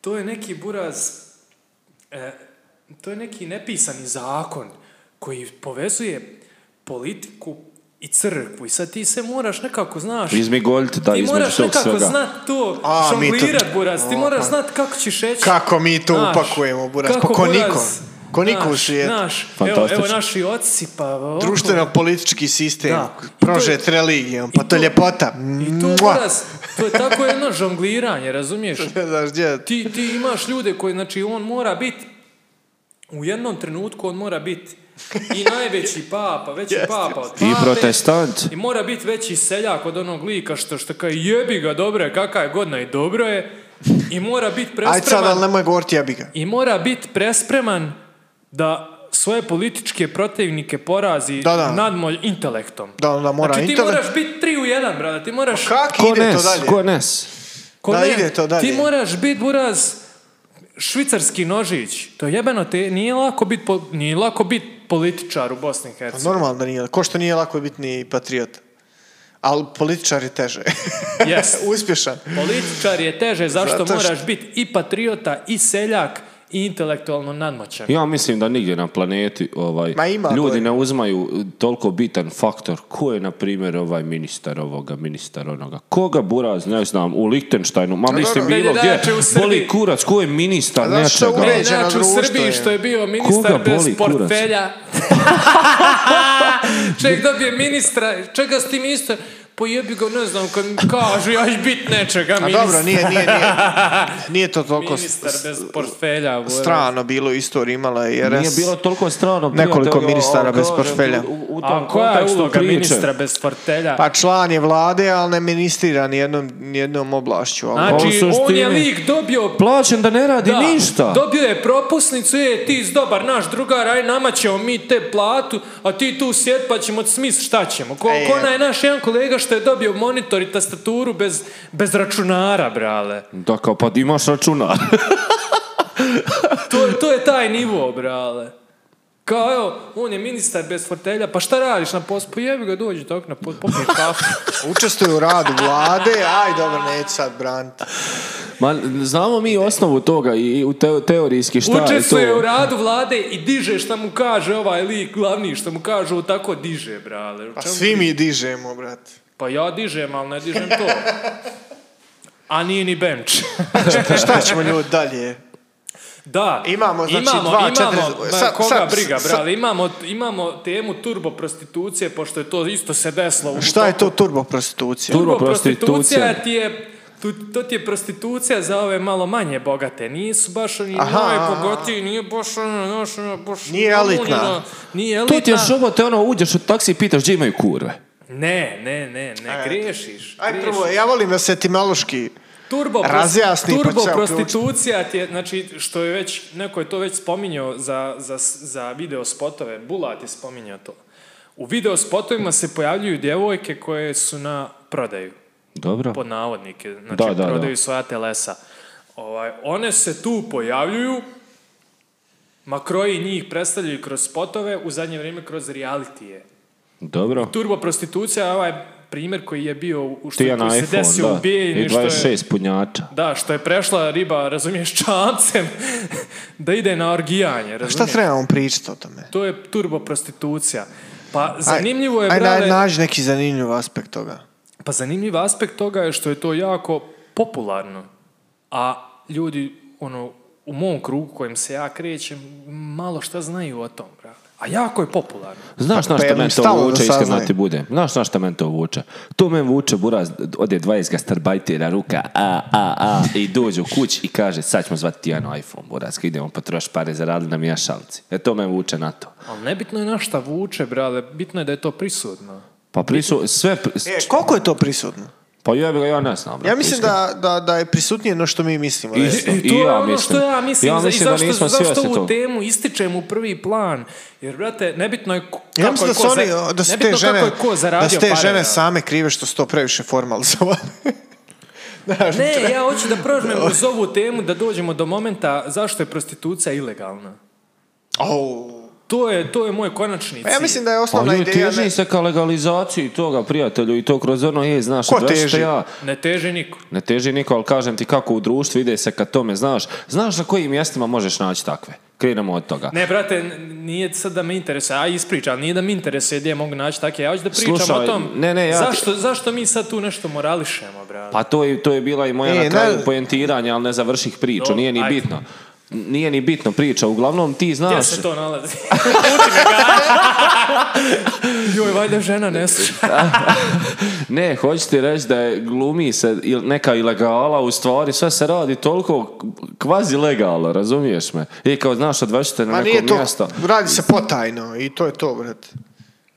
Speaker 1: to je neki buraz, e, to je neki nepisani zakon koji povezuje politiku i crkvu i sad ti se moraš nekako, znaš,
Speaker 2: Izmigoljiti, da,
Speaker 1: ti
Speaker 2: između
Speaker 1: moraš
Speaker 2: tog
Speaker 1: nekako
Speaker 2: svega.
Speaker 1: znat to,
Speaker 3: A, mi to-
Speaker 1: šonglirat buraz, ti
Speaker 3: O,
Speaker 1: moraš
Speaker 3: pa.
Speaker 1: znat kako ćeš reći.
Speaker 3: Kako mi to
Speaker 1: znaš,
Speaker 3: upakujemo, buraz, pa
Speaker 1: kako,
Speaker 3: ko
Speaker 1: buraz,
Speaker 3: niko. Ko niko u
Speaker 1: znaš,
Speaker 3: svijetu.
Speaker 1: znaš, evo,
Speaker 2: Fantastično.
Speaker 1: evo naši oci, pa ovako.
Speaker 3: Društveno-politički sistem,
Speaker 1: Da. I to je-
Speaker 3: prožet religijom, pa
Speaker 1: i
Speaker 3: to
Speaker 1: to-
Speaker 3: je ljepota.
Speaker 1: I to,
Speaker 3: Mua.
Speaker 1: buraz, to je tako jedno žongliranje, razumiješ?
Speaker 3: [LAUGHS] Ne [LAUGHS] znaš gdje.
Speaker 1: ti, ti imaš ljude koji, znači, on mora biti, u jednom trenutku on mora biti i najveći papa, veći
Speaker 3: Jeste.
Speaker 1: papa od pape.
Speaker 2: I protestant.
Speaker 1: I mora biti veći seljak od onog lika što, što kao jebi ga, dobro je, kakva je godina i dobro je. I mora biti
Speaker 3: Ajde sad, ali
Speaker 1: prespreman.
Speaker 3: nemoj govoriti jebi ga.
Speaker 1: I mora biti prespreman da svoje političke protivnike porazi
Speaker 3: Da, da.
Speaker 1: nadmoj intelektom.
Speaker 3: Da, onda mora
Speaker 1: znači, ti
Speaker 3: intelekt-
Speaker 1: moraš biti tri u jedan, brada. Ti moraš...
Speaker 3: Kako
Speaker 2: Ko
Speaker 3: ide to
Speaker 2: nes,
Speaker 3: dalje?
Speaker 2: ko nes.
Speaker 1: Ko
Speaker 3: Da,
Speaker 1: ne,
Speaker 3: ide to dalje.
Speaker 1: Ti moraš biti buraz švicarski nožić. To je jebeno te, nije lako biti po, nije lako bit političar u Bosni i
Speaker 3: Pa
Speaker 1: Hercegovini.
Speaker 3: Normalno da nije. Ko što nije lako biti ni patriot. Ali političar je teže. [LAUGHS]
Speaker 1: Jest.
Speaker 3: Uspješan.
Speaker 1: Političar je teže zašto
Speaker 3: Zato što-
Speaker 1: moraš biti i patriota i seljak i intelektualno nadmoćan.
Speaker 2: Ja mislim da nigdje na planeti ovaj,
Speaker 3: Ma ima,
Speaker 2: ljudi
Speaker 3: bolje.
Speaker 2: ne uzmaju toliko bitan faktor ko je, na primjer, ovaj ministar ovoga, ministar onoga. Koga buraz, ne znam, u Lichtensteinu, ma mislim
Speaker 1: dobro.
Speaker 2: bilo
Speaker 1: Ne, ne,
Speaker 2: gdje,
Speaker 1: znači, u Srbiji-
Speaker 2: boli kurac, ko je ministar
Speaker 3: A znaš šta
Speaker 2: nečega.
Speaker 3: uređeno
Speaker 1: Ne, znači u
Speaker 3: društvo
Speaker 1: Srbiji
Speaker 3: je.
Speaker 1: što je bio ministar
Speaker 2: Koga
Speaker 1: bez
Speaker 2: boli kurac?
Speaker 3: [LAUGHS]
Speaker 1: portfelja. Ček dobije ministra, čega si ti ministar? Pa jebi ga, ne znam, kad mi kažu, ja ću bit nečega
Speaker 3: A
Speaker 1: ministar.
Speaker 3: dobro, nije, nije,
Speaker 1: [LAUGHS]
Speaker 3: nije. Nije to toliko
Speaker 1: Ministar
Speaker 3: s-
Speaker 1: bez portfelja. buraz.
Speaker 3: strano bilo u istoriji imala je RS.
Speaker 2: Nije bilo toliko strano.
Speaker 3: Nekoliko
Speaker 2: prijatelja,
Speaker 3: ministara
Speaker 2: ali
Speaker 3: bez
Speaker 2: kažem,
Speaker 3: portfelja.
Speaker 2: U, u tom
Speaker 1: A koja je
Speaker 2: kontekstu
Speaker 1: uloga
Speaker 2: priče.
Speaker 1: ministra bez portfelja?
Speaker 3: Pa član je vlade, ali ne ministrira nijednom, nijednom oblašću. ali-
Speaker 2: Pa u
Speaker 1: znači, on
Speaker 2: suštini-
Speaker 1: je lik dobio
Speaker 2: Plaćen da ne radi
Speaker 1: da,
Speaker 2: ništa.
Speaker 1: Dobio je propusnicu, je ti si dobar naš drugar, aj nama ćemo mi te platu, a ti tu sjed pa ćemo smis šta ćemo. Ko,
Speaker 3: E,
Speaker 1: ko onaj naš jedan kolega što je dobio monitor i tastaturu bez, bez računara, brale.
Speaker 2: Da kao, pa imaš
Speaker 1: [LAUGHS]
Speaker 2: računar.
Speaker 1: To, to je taj nivo, brale. Kao, evo, on je ministar bez fortelja, pa šta radiš na poslu? Pa jebi ga, dođi tako na poslu, popije kafu.
Speaker 3: Učestvuje u radu vlade, aj dobro, neću sad braniti.
Speaker 2: Ma, znamo mi osnovu toga i u teo- teorijski šta je
Speaker 1: Učestvuje
Speaker 2: to.
Speaker 1: u radu vlade i diže šta mu kaže ovaj lik glavni, što mu kažu, tako diže, brale. U
Speaker 3: Pa
Speaker 1: čemu
Speaker 3: svi mi dižemo, brate.
Speaker 1: Pa ja dižem, ali ne dižem to. A nije ni bench.
Speaker 3: Čekaj, šta [LAUGHS] ćemo ljudi dalje?
Speaker 1: [LAUGHS] Da.
Speaker 3: Imamo, znači,
Speaker 1: imamo,
Speaker 3: dva,
Speaker 1: imamo,
Speaker 3: četiri-
Speaker 1: ma,
Speaker 3: sad-
Speaker 1: koga
Speaker 3: sad-
Speaker 1: briga,
Speaker 3: sad-
Speaker 1: brale, imamo, imamo temu turbo prostitucije, pošto je to isto se desilo. u
Speaker 3: Šta je
Speaker 1: toku-
Speaker 3: to turbo prostitucija?
Speaker 2: Tur-
Speaker 1: Turbo
Speaker 2: prostitucija?
Speaker 1: prostitucija ti je, tu- to ti je prostitucija za ove malo manje bogate. Nisu baš oni
Speaker 3: Aha.
Speaker 1: najbogatiji, nije baš ono, znaš, ono, baš...
Speaker 3: Nije elitna.
Speaker 1: ono, Nije
Speaker 2: To ti
Speaker 1: elitna.
Speaker 2: je šobo, te ono uđeš u taksi i pitaš gdje imaju kurve.
Speaker 1: Ne, ne, ne, ne, griješiš.
Speaker 3: Aj
Speaker 1: griješiš.
Speaker 3: prvo, ja volim da se etimološki
Speaker 1: Turbo, prost-
Speaker 3: Razjasni, pa
Speaker 1: turbo
Speaker 3: ćemo
Speaker 1: prostitucija ti je, znači, što je već, neko je to već spominjao za, za, za video spotove, Bulat je spominjao to. U video spotovima se pojavljuju djevojke koje su na prodaju,
Speaker 2: Dobro.
Speaker 1: pod navodnike, znači
Speaker 2: Da, da, da.
Speaker 1: prodaju svoja telesa. Ovaj, one se tu pojavljuju, makroji njih predstavljaju kroz spotove, u zadnje vrijeme kroz realitije.
Speaker 2: Dobro.
Speaker 1: Turbo prostitucija je ovaj primjer koji je bio u što,
Speaker 2: Ti ja na
Speaker 1: koji se
Speaker 2: iPhone,
Speaker 1: desio u
Speaker 2: da.
Speaker 1: Bijeljini,
Speaker 2: I
Speaker 1: što je-
Speaker 2: 26 punjača.
Speaker 1: da, što je prešla riba, razumiješ, čamcem, [LAUGHS] da ide na orgijanje,
Speaker 3: Šta
Speaker 1: razumiješ?
Speaker 3: trebamo pričati o tome?
Speaker 1: To je turbo prostitucija. Pa zanimljivo je,
Speaker 3: Aj,
Speaker 1: brale,
Speaker 3: aj, nađi neki zanimljiv aspekt toga.
Speaker 1: pa zanimljiv aspekt toga je što je to jako popularno. A ljudi, ono, u mom krugu kojem se ja krećem, malo šta znaju o tom, brale. A jako je popularno.
Speaker 2: Znaš
Speaker 3: Pa
Speaker 2: na
Speaker 3: je
Speaker 2: šta
Speaker 3: li
Speaker 2: men
Speaker 3: stalo da
Speaker 2: to vuče, iskreno
Speaker 3: saznaje?
Speaker 2: ti bude. Znaš na šta men to vuče. To men vuče, buraz, ode 20 gastarbajtera, ruka, a, a, a, i dođe u kuć i kaže, sad ćemo zvati ti jedan iPhone, buraz, kad idemo potroš pare, zaradili nam i ja šalci. E to men vuče na to.
Speaker 1: Ali nebitno je na šta vuče, brale, bitno je da je to prisutno.
Speaker 2: Pa prisu, sve, pri-
Speaker 3: E, koliko je to prisutno?
Speaker 2: pa jebe ga, ja ne znam.
Speaker 3: Ja
Speaker 2: brate,
Speaker 3: mislim
Speaker 2: iskreno.
Speaker 3: da, da, da je prisutnije no što mi mislimo. da je.
Speaker 2: Isto.
Speaker 1: I to
Speaker 2: I
Speaker 1: je
Speaker 2: ja
Speaker 1: ono
Speaker 2: mislim.
Speaker 1: što ja mislim,
Speaker 2: Ja
Speaker 1: za-
Speaker 2: mislim
Speaker 1: i
Speaker 2: da
Speaker 1: zašto,
Speaker 2: nismo
Speaker 1: zašto
Speaker 2: svjesni
Speaker 1: ovu
Speaker 2: toga.
Speaker 1: temu ističem u prvi plan. Jer, brate, nebitno je ko- kako
Speaker 3: Ja mislim da
Speaker 1: je
Speaker 3: su,
Speaker 1: ko,
Speaker 3: oni,
Speaker 1: za-
Speaker 3: da su te
Speaker 1: nebitno
Speaker 3: žene,
Speaker 1: kako je ko
Speaker 3: da
Speaker 1: zaradio
Speaker 3: su te
Speaker 1: pare,
Speaker 3: žene
Speaker 1: brate.
Speaker 3: same krive što su to previše formalizovali. Znaš,
Speaker 1: Ne, ja hoću da prožmem uz ovu temu da dođemo do momenta zašto je prostitucija ilegalna.
Speaker 3: au.
Speaker 1: To je, to je moj konačni
Speaker 3: Pa ja
Speaker 1: cilj.
Speaker 3: mislim da je
Speaker 2: Pa
Speaker 3: osnovna
Speaker 2: ljudi
Speaker 3: ideja... ne-
Speaker 2: teži se ka legalizaciji toga, prijatelju, i to kroz ono, je, znaš,
Speaker 3: Ko
Speaker 2: znaš šta
Speaker 3: teži?
Speaker 2: ja,
Speaker 1: Ne teži niko.
Speaker 2: Ne teži niko, ali kažem ti kako u društvu ide se ka tome, znaš, znaš na kojim mjestima možeš naći takve. Krenemo od toga.
Speaker 1: Ne, brate, n- nije sad da me interesuje, a ispričam, nije da me interesuje gdje mogu naći takve, ja hoću da pričam
Speaker 2: Slušaj,
Speaker 1: o tom.
Speaker 2: ne, ne, ja ti-
Speaker 1: zašto, zašto mi sad tu nešto morališemo, brate?
Speaker 2: Pa to je, to je bila i moja
Speaker 3: E,
Speaker 2: na kraju
Speaker 3: ne-
Speaker 2: pojentiranja, ali ne završih priču,
Speaker 1: Dobro,
Speaker 2: nije ni
Speaker 1: ajde.
Speaker 2: bitno. Nije ni bitno priča, uglavnom ti
Speaker 1: Gdje
Speaker 2: znaš...
Speaker 1: se to nalazi? [LAUGHS] Uči me ga. [LAUGHS] Joj, valjda žena ne sluša.
Speaker 2: Ne, hoću ti reći da je glumi se il- neka ilegala, u stvari sve se radi toliko kvazi legalno, razumiješ me? I kao, znaš, odvećete na
Speaker 3: Ma
Speaker 2: neko
Speaker 3: Pa nije to,
Speaker 2: mjesto.
Speaker 3: radi se potajno i to je to, brate.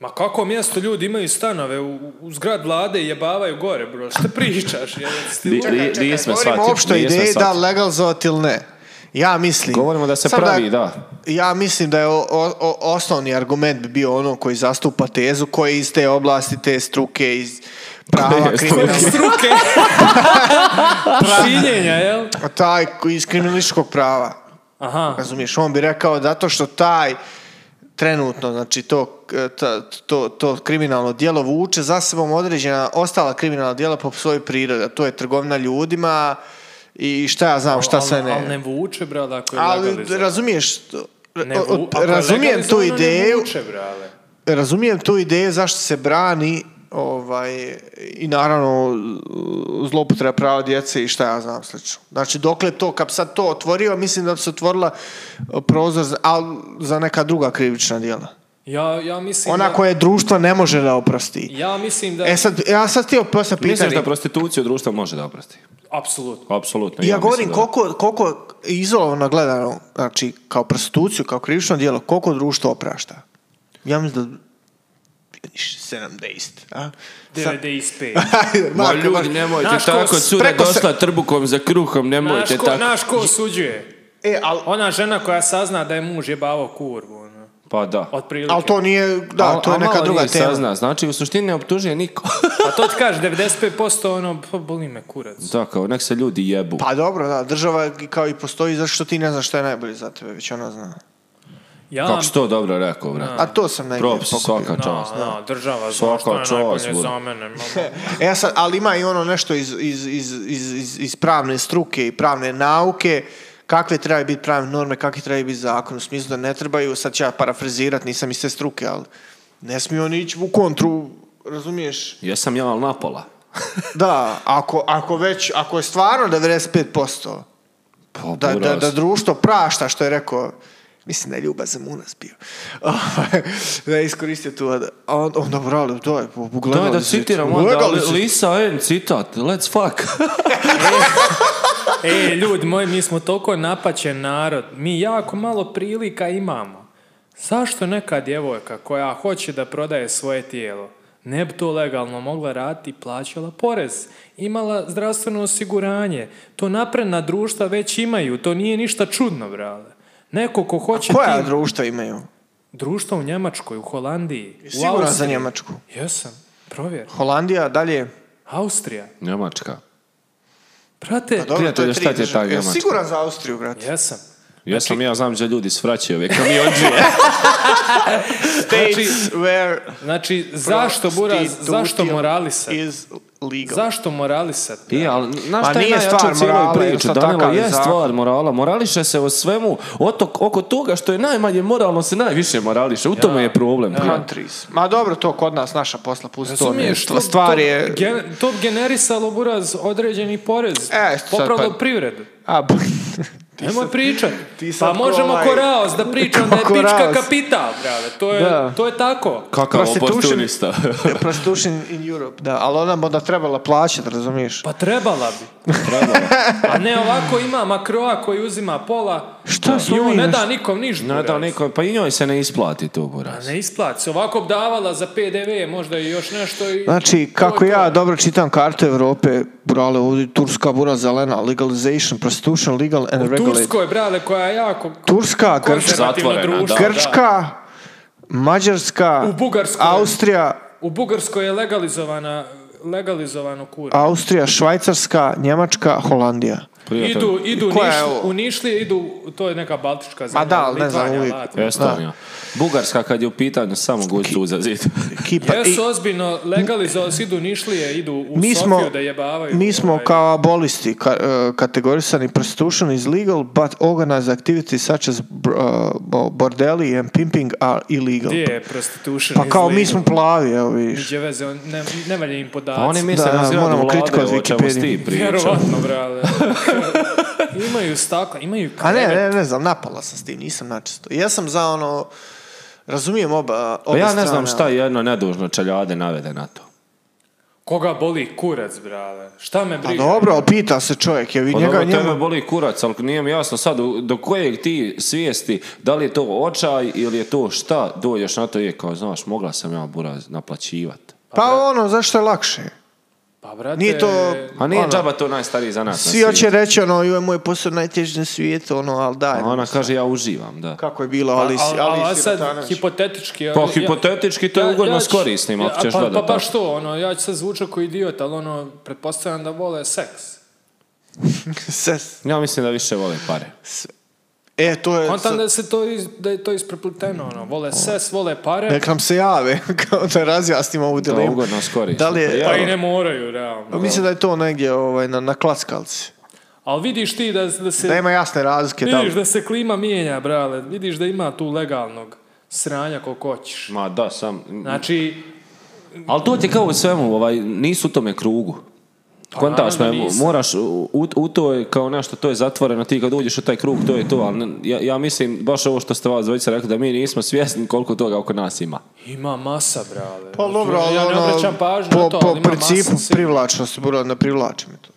Speaker 1: Ma kako mjesto ljudi imaju stanove u, u zgrad vlade i jebavaju gore, bro. Šta pričaš? jebote, si ti
Speaker 2: Di-
Speaker 1: lud?
Speaker 2: di- nismo
Speaker 3: Govorimo
Speaker 2: shvatili,
Speaker 3: opšto
Speaker 2: nismo
Speaker 3: ideje da
Speaker 2: shvatili.
Speaker 3: legalizovati ili ne. Ja mislim...
Speaker 2: Govorimo da se
Speaker 3: Sad
Speaker 2: pravi, da.
Speaker 3: Ja mislim da je o- o- o- osnovni argument bi bio ono koji zastupa tezu, koji iz te oblasti, te struke, iz
Speaker 2: [LAUGHS]
Speaker 3: prava,
Speaker 2: Koje struke?
Speaker 3: kriminala- [LAUGHS]
Speaker 1: Struke. Šiljenja, jel?
Speaker 3: taj koji iz kriminalističkog prava.
Speaker 1: Aha.
Speaker 3: Razumiješ, on bi rekao zato što taj trenutno, znači to, eh, ta- to, to kriminalno djelo vuče za sebom određena ostala kriminalna djela po svojoj prirodi, a to je trgovina ljudima i šta ja znam, šta
Speaker 1: Al-
Speaker 3: sve
Speaker 1: al ne
Speaker 3: ne.
Speaker 1: vuče, brale, ako je
Speaker 3: Ali
Speaker 1: legalizovano.
Speaker 3: razumiješ,
Speaker 1: Ne vu-
Speaker 3: od-
Speaker 1: ako je
Speaker 3: razumijem tu
Speaker 1: legalizovano, Ne
Speaker 3: ideju,
Speaker 1: vuče, brale.
Speaker 3: razumijem tu ideju zašto se brani ovaj, i naravno zloupotreba prava djece i šta ja znam slično. Znači dokle to, kad bi sad to otvorio, mislim da bi se otvorila eh, prozor za, al, za neka druga krivična djela.
Speaker 1: Ja, ja mislim
Speaker 3: Ona
Speaker 1: da...
Speaker 3: koje društvo ne može da oprosti.
Speaker 1: Ja mislim da...
Speaker 3: E sad, ja sad htio postaviti
Speaker 2: Misliš
Speaker 3: pitanje.
Speaker 2: da prostituciju društvo može da oprosti?
Speaker 1: Apsolutno.
Speaker 2: Apsolutno.
Speaker 3: Ja,
Speaker 2: mislim
Speaker 3: govorim
Speaker 2: da-
Speaker 3: koliko, koliko izolovno gledano, znači kao prostituciju, kao krivično djelo, koliko društvo oprašta. Ja mislim da 70. A? Sa-
Speaker 1: 95.
Speaker 2: Ma
Speaker 3: Marko, baš-
Speaker 2: ljudi, nemojte
Speaker 1: Naš ko-
Speaker 2: tako cure
Speaker 3: preko se-
Speaker 2: dosta trbukom za kruhom,
Speaker 1: Naš
Speaker 2: nemojte
Speaker 1: ko,
Speaker 2: tako.
Speaker 1: naš ko osuđuje?
Speaker 3: E, ali
Speaker 1: Ona žena koja sazna da je muž jebavao kurvu, ono.
Speaker 2: Pa da.
Speaker 1: Otprilike.
Speaker 3: al to nije, da,
Speaker 2: Al-
Speaker 3: to je
Speaker 2: a
Speaker 3: neka
Speaker 2: malo
Speaker 3: druga
Speaker 2: njih
Speaker 3: tema.
Speaker 2: Sazna. Znači, u suštini ne optužuje
Speaker 3: [LAUGHS]
Speaker 2: niko.
Speaker 1: Pa to ti kaže, 95% ono, pa boli me kurac.
Speaker 2: da, kao, nek se ljudi jebu.
Speaker 3: Pa dobro, da, država kao i postoji zašto ti ne znaš šta je najbolje za tebe, već ona zna.
Speaker 1: Ja,
Speaker 2: Kako si to dobro rekao, brate.
Speaker 3: A to sam negdje
Speaker 2: Props,
Speaker 3: pokupio.
Speaker 2: svaka čast.
Speaker 1: na, na, država zna
Speaker 2: Svaka
Speaker 1: što je
Speaker 2: čast,
Speaker 1: najbolje
Speaker 2: bura.
Speaker 1: za mene.
Speaker 2: [LAUGHS]
Speaker 1: mama.
Speaker 3: E sad, ali ima i ono nešto iz, iz, iz, iz, iz, iz pravne struke i pravne nauke, kakve trebaju biti pravne norme, kakvi trebaju biti zakon, u smislu da ne trebaju, sad ću ja parafrazirat, nisam iz te struke, ali ne smiju oni ići u kontru, razumiješ?
Speaker 2: Jesam ja, ali napola.
Speaker 3: Da, ako, ako već, ako je stvarno 95%,
Speaker 2: Pa,
Speaker 3: da, da,
Speaker 2: buraz.
Speaker 3: da društvo prašta što je rekao mislim da je Ljuba Zemunas bio [LAUGHS] Ovaj, da je iskoristio tu ad- a on, onda brale to je
Speaker 2: To
Speaker 3: ugledali
Speaker 2: je da
Speaker 3: su-
Speaker 2: citiram onda,
Speaker 3: ugledali su-
Speaker 2: Lisa N, citat, let's fuck. [LAUGHS]
Speaker 1: e, ljudi moji, mi smo toliko napaćen narod. Mi jako malo prilika imamo. Zašto neka djevojka koja hoće da prodaje svoje tijelo ne bi to legalno mogla raditi, plaćala porez, imala zdravstveno osiguranje. To napredna društva već imaju, to nije ništa čudno, brale. Neko ko hoće...
Speaker 3: Koja
Speaker 1: tim-
Speaker 3: društva imaju?
Speaker 1: Društva u Njemačkoj, u Holandiji, u
Speaker 3: Siguran za
Speaker 1: Austriji.
Speaker 3: Njemačku.
Speaker 1: Jesam, provjer.
Speaker 3: Holandija,
Speaker 2: E,
Speaker 3: dalje.
Speaker 1: Austrija.
Speaker 2: Njemačka.
Speaker 1: Brate,
Speaker 3: Pa Dobro,
Speaker 2: Prijatelju,
Speaker 3: to je tri
Speaker 2: šta ti je
Speaker 3: države.
Speaker 2: ta
Speaker 3: Jel
Speaker 2: Njemačka?
Speaker 3: Siguran za Austriju, brate.
Speaker 1: jesam.
Speaker 2: Ja
Speaker 3: Znači-
Speaker 2: sam ja znam da ljudi svraćaju ove kamionđije. Znači,
Speaker 3: States where
Speaker 1: Znači, zašto, Buraz, zašto moralisat?
Speaker 3: is legal.
Speaker 1: Zašto moralisat?
Speaker 2: I, ali, znaš šta
Speaker 3: Ma
Speaker 2: je
Speaker 3: Pa nije
Speaker 2: najjače
Speaker 3: stvar
Speaker 2: u cijeloj
Speaker 3: morala,
Speaker 2: priči,
Speaker 3: šta
Speaker 2: Danilo,
Speaker 3: takav je
Speaker 2: je
Speaker 3: zakon.
Speaker 2: stvar morala. Morališe se o svemu, otok, oko toga što je najmanje moralno se najviše morališe. U tome je problem. prijatelju.
Speaker 3: Countries. Ma dobro, to kod nas naša posla, pusti to. ne,
Speaker 1: Razumiješ,
Speaker 3: stva-
Speaker 1: to,
Speaker 3: stvar
Speaker 1: to,
Speaker 3: je...
Speaker 1: gen- to bi generisalo buraz određeni porez.
Speaker 3: E, sad
Speaker 1: popravilo
Speaker 3: pa-
Speaker 1: privredu.
Speaker 3: A, b- [LAUGHS]
Speaker 1: Nemoj pričat.
Speaker 3: ti sad
Speaker 1: Pa
Speaker 3: ko
Speaker 1: možemo
Speaker 3: ovaj-
Speaker 1: koraos
Speaker 3: [LAUGHS]
Speaker 1: da pričam da je
Speaker 3: Ko
Speaker 1: pička
Speaker 3: Koraos.
Speaker 1: kapital, brale. To je,
Speaker 3: Da.
Speaker 1: to je tako.
Speaker 2: Kakav
Speaker 3: Prostitution-
Speaker 2: oportunista.
Speaker 3: Prostitution in Europe, da, ali ona bi onda trebala plaćati, razumiješ?
Speaker 1: Pa trebala bi. A ne ovako ima makroa koji uzima pola
Speaker 3: Šta
Speaker 1: i
Speaker 3: smo
Speaker 1: on
Speaker 3: mi
Speaker 1: ne da
Speaker 3: nešto-
Speaker 1: nikom ništa.
Speaker 2: [LAUGHS] Ne da
Speaker 1: brate.
Speaker 2: niko, pa i njoj se ne isplati to, Buraz.
Speaker 1: Ne isplati se. Ovako bi davala za PDV možda i još nešto. I...
Speaker 3: Znači,
Speaker 1: To je
Speaker 3: kako
Speaker 1: to.
Speaker 3: ja dobro čitam kartu Europe, brale, ovdje je Turska bura zelena, legalization, prostitution, legal and regulated.
Speaker 1: Turskoj, brale, koja je jako...
Speaker 3: Turska, Grčka,
Speaker 1: konzervativno
Speaker 2: Zatvorena,
Speaker 1: društvo,
Speaker 2: da.
Speaker 3: Grčka, Mađarska,
Speaker 1: U Bugarskoj.
Speaker 3: Austrija,
Speaker 1: U Bugarskoj je legalizovana legalizovano kurva.
Speaker 3: Austrija, Švajcarska, Njemačka, Holandija.
Speaker 2: Prijatelju.
Speaker 1: Idu, idu
Speaker 3: Koja je
Speaker 1: Niš-
Speaker 3: ovo?
Speaker 1: u Nišli, idu, to je neka baltička zemlja.
Speaker 3: da, ali ne znam,
Speaker 1: Litvanja,
Speaker 3: uvijek.
Speaker 1: Latvija.
Speaker 2: Estonija. Bugarska kad je u pitanju samo gustu za zid.
Speaker 3: Kipar. Pa I-
Speaker 1: Jesu ozbiljno legalizovali, svi idu u Nišlije, idu u
Speaker 3: mi smo,
Speaker 1: Sofiju da jebavaju.
Speaker 3: mi smo
Speaker 1: ovaj.
Speaker 3: kao abolisti ka, e, kategorisani prostitution is legal, but organized activities such as br- e, bo- bordeli and pimping are illegal.
Speaker 1: Gdje je prostitution?
Speaker 3: Pa kao mi
Speaker 1: izlijevo?
Speaker 3: smo plavi, evo vidiš.
Speaker 1: Gdje veze, on- ne, ne valja im podaci.
Speaker 2: A Pa [LAUGHS] oni misle
Speaker 3: Da,
Speaker 2: nas radi
Speaker 3: moramo
Speaker 2: vlade,
Speaker 3: kritikovat
Speaker 2: o čemu si ti
Speaker 3: Wikipediju.
Speaker 2: pričao.
Speaker 1: [LAUGHS] Vjerovatno,
Speaker 3: [LAUGHS]
Speaker 1: brale. imaju stakla, imaju
Speaker 3: A ne,
Speaker 1: krevet.
Speaker 3: ne, ne znam, napala sam s tim, nisam načisto. Ja sam za ono, razumijem oba,
Speaker 2: Pa
Speaker 3: obe
Speaker 2: ja ne znam
Speaker 3: strane,
Speaker 2: šta
Speaker 3: ali-
Speaker 2: jedno nedužno čeljade navede na to.
Speaker 1: Koga boli kurac, brale? Šta me
Speaker 3: Pa
Speaker 1: briga?
Speaker 3: dobro, ali pita se čovjek, je vi
Speaker 2: Pa
Speaker 3: njega
Speaker 2: dobro, tebe
Speaker 3: njemu...
Speaker 2: boli kurac, ali nije mi jasno sad u- do kojeg ti svijesti, da li je to očaj ili je to šta, dođeš na to je kao, znaš, mogla sam ja buraz naplaćivat.
Speaker 3: Pa ono, zašto je lakše?
Speaker 1: Pa, brate,
Speaker 3: Nije to-
Speaker 2: A nije
Speaker 3: Ono.
Speaker 2: džaba to najstariji za nas. na
Speaker 3: Svi hoće
Speaker 2: svijetu.
Speaker 3: reći ono, joj, moj posao najteži na svijetu, ono, ali daj.
Speaker 2: A ona kaže, ja uživam, da.
Speaker 3: Kako je bilo, ali,
Speaker 1: Ali,
Speaker 3: ali,
Speaker 1: ali, sad,
Speaker 3: Sirotanović.
Speaker 1: hipotetički...
Speaker 2: Pa
Speaker 1: ali ja-
Speaker 2: hipotetički to je ugodno s
Speaker 1: ću-
Speaker 2: korisnim, ako
Speaker 1: ja-
Speaker 2: ćeš
Speaker 1: pa,
Speaker 2: gledat
Speaker 1: Pa
Speaker 2: tako.
Speaker 1: baš to, ono, ja ću sad zvučati koji idiot, ali ono, pretpostavljam da vole seks.
Speaker 3: [LAUGHS] Ses-
Speaker 2: Ja mislim da više vole pare.
Speaker 3: E, to je...
Speaker 1: Kontam
Speaker 3: sad-
Speaker 1: da, se to iz- da je to isprepleteno, ono, vole ses, vole pare,
Speaker 3: Nek nam se jave, [LAUGHS] kao da razjasnimo ovu
Speaker 2: Da,
Speaker 3: dilemu.
Speaker 2: ugodno s korisnim.
Speaker 3: Da li je- Pa
Speaker 2: Ja-
Speaker 1: pa i ne moraju, realno.
Speaker 3: Mislim da je to negdje ovaj, na, na klackalci.
Speaker 1: Ali vidiš ti da, da se...
Speaker 3: Da ima jasne razlike. Da,
Speaker 1: Vidiš da se klima mijenja, brale. Vidiš da ima tu legalnog sranja koliko hoćeš.
Speaker 2: Ma da, sam...
Speaker 1: Znači,
Speaker 2: Ali to ti je kao u svemu, ovaj, nisu u tome krugu. Kontaš me,
Speaker 1: naravno nisu.
Speaker 2: moraš, u, u to je kao nešto, to je zatvoreno, ti kad uđeš u taj krug, to je to, ali ne- ja, ja mislim, baš ovo što ste vas dvojica rekli, da mi nismo svjesni koliko toga oko nas ima.
Speaker 1: ima masa, brale. Znači,
Speaker 3: Pa dobro, ali
Speaker 1: ja ne
Speaker 3: ono,
Speaker 1: obraćam pažnju
Speaker 3: po,
Speaker 1: na to,
Speaker 3: po
Speaker 1: ali ima masa
Speaker 3: principu
Speaker 1: sigurno.
Speaker 3: privlačnosti, bro, ne privlači mi to.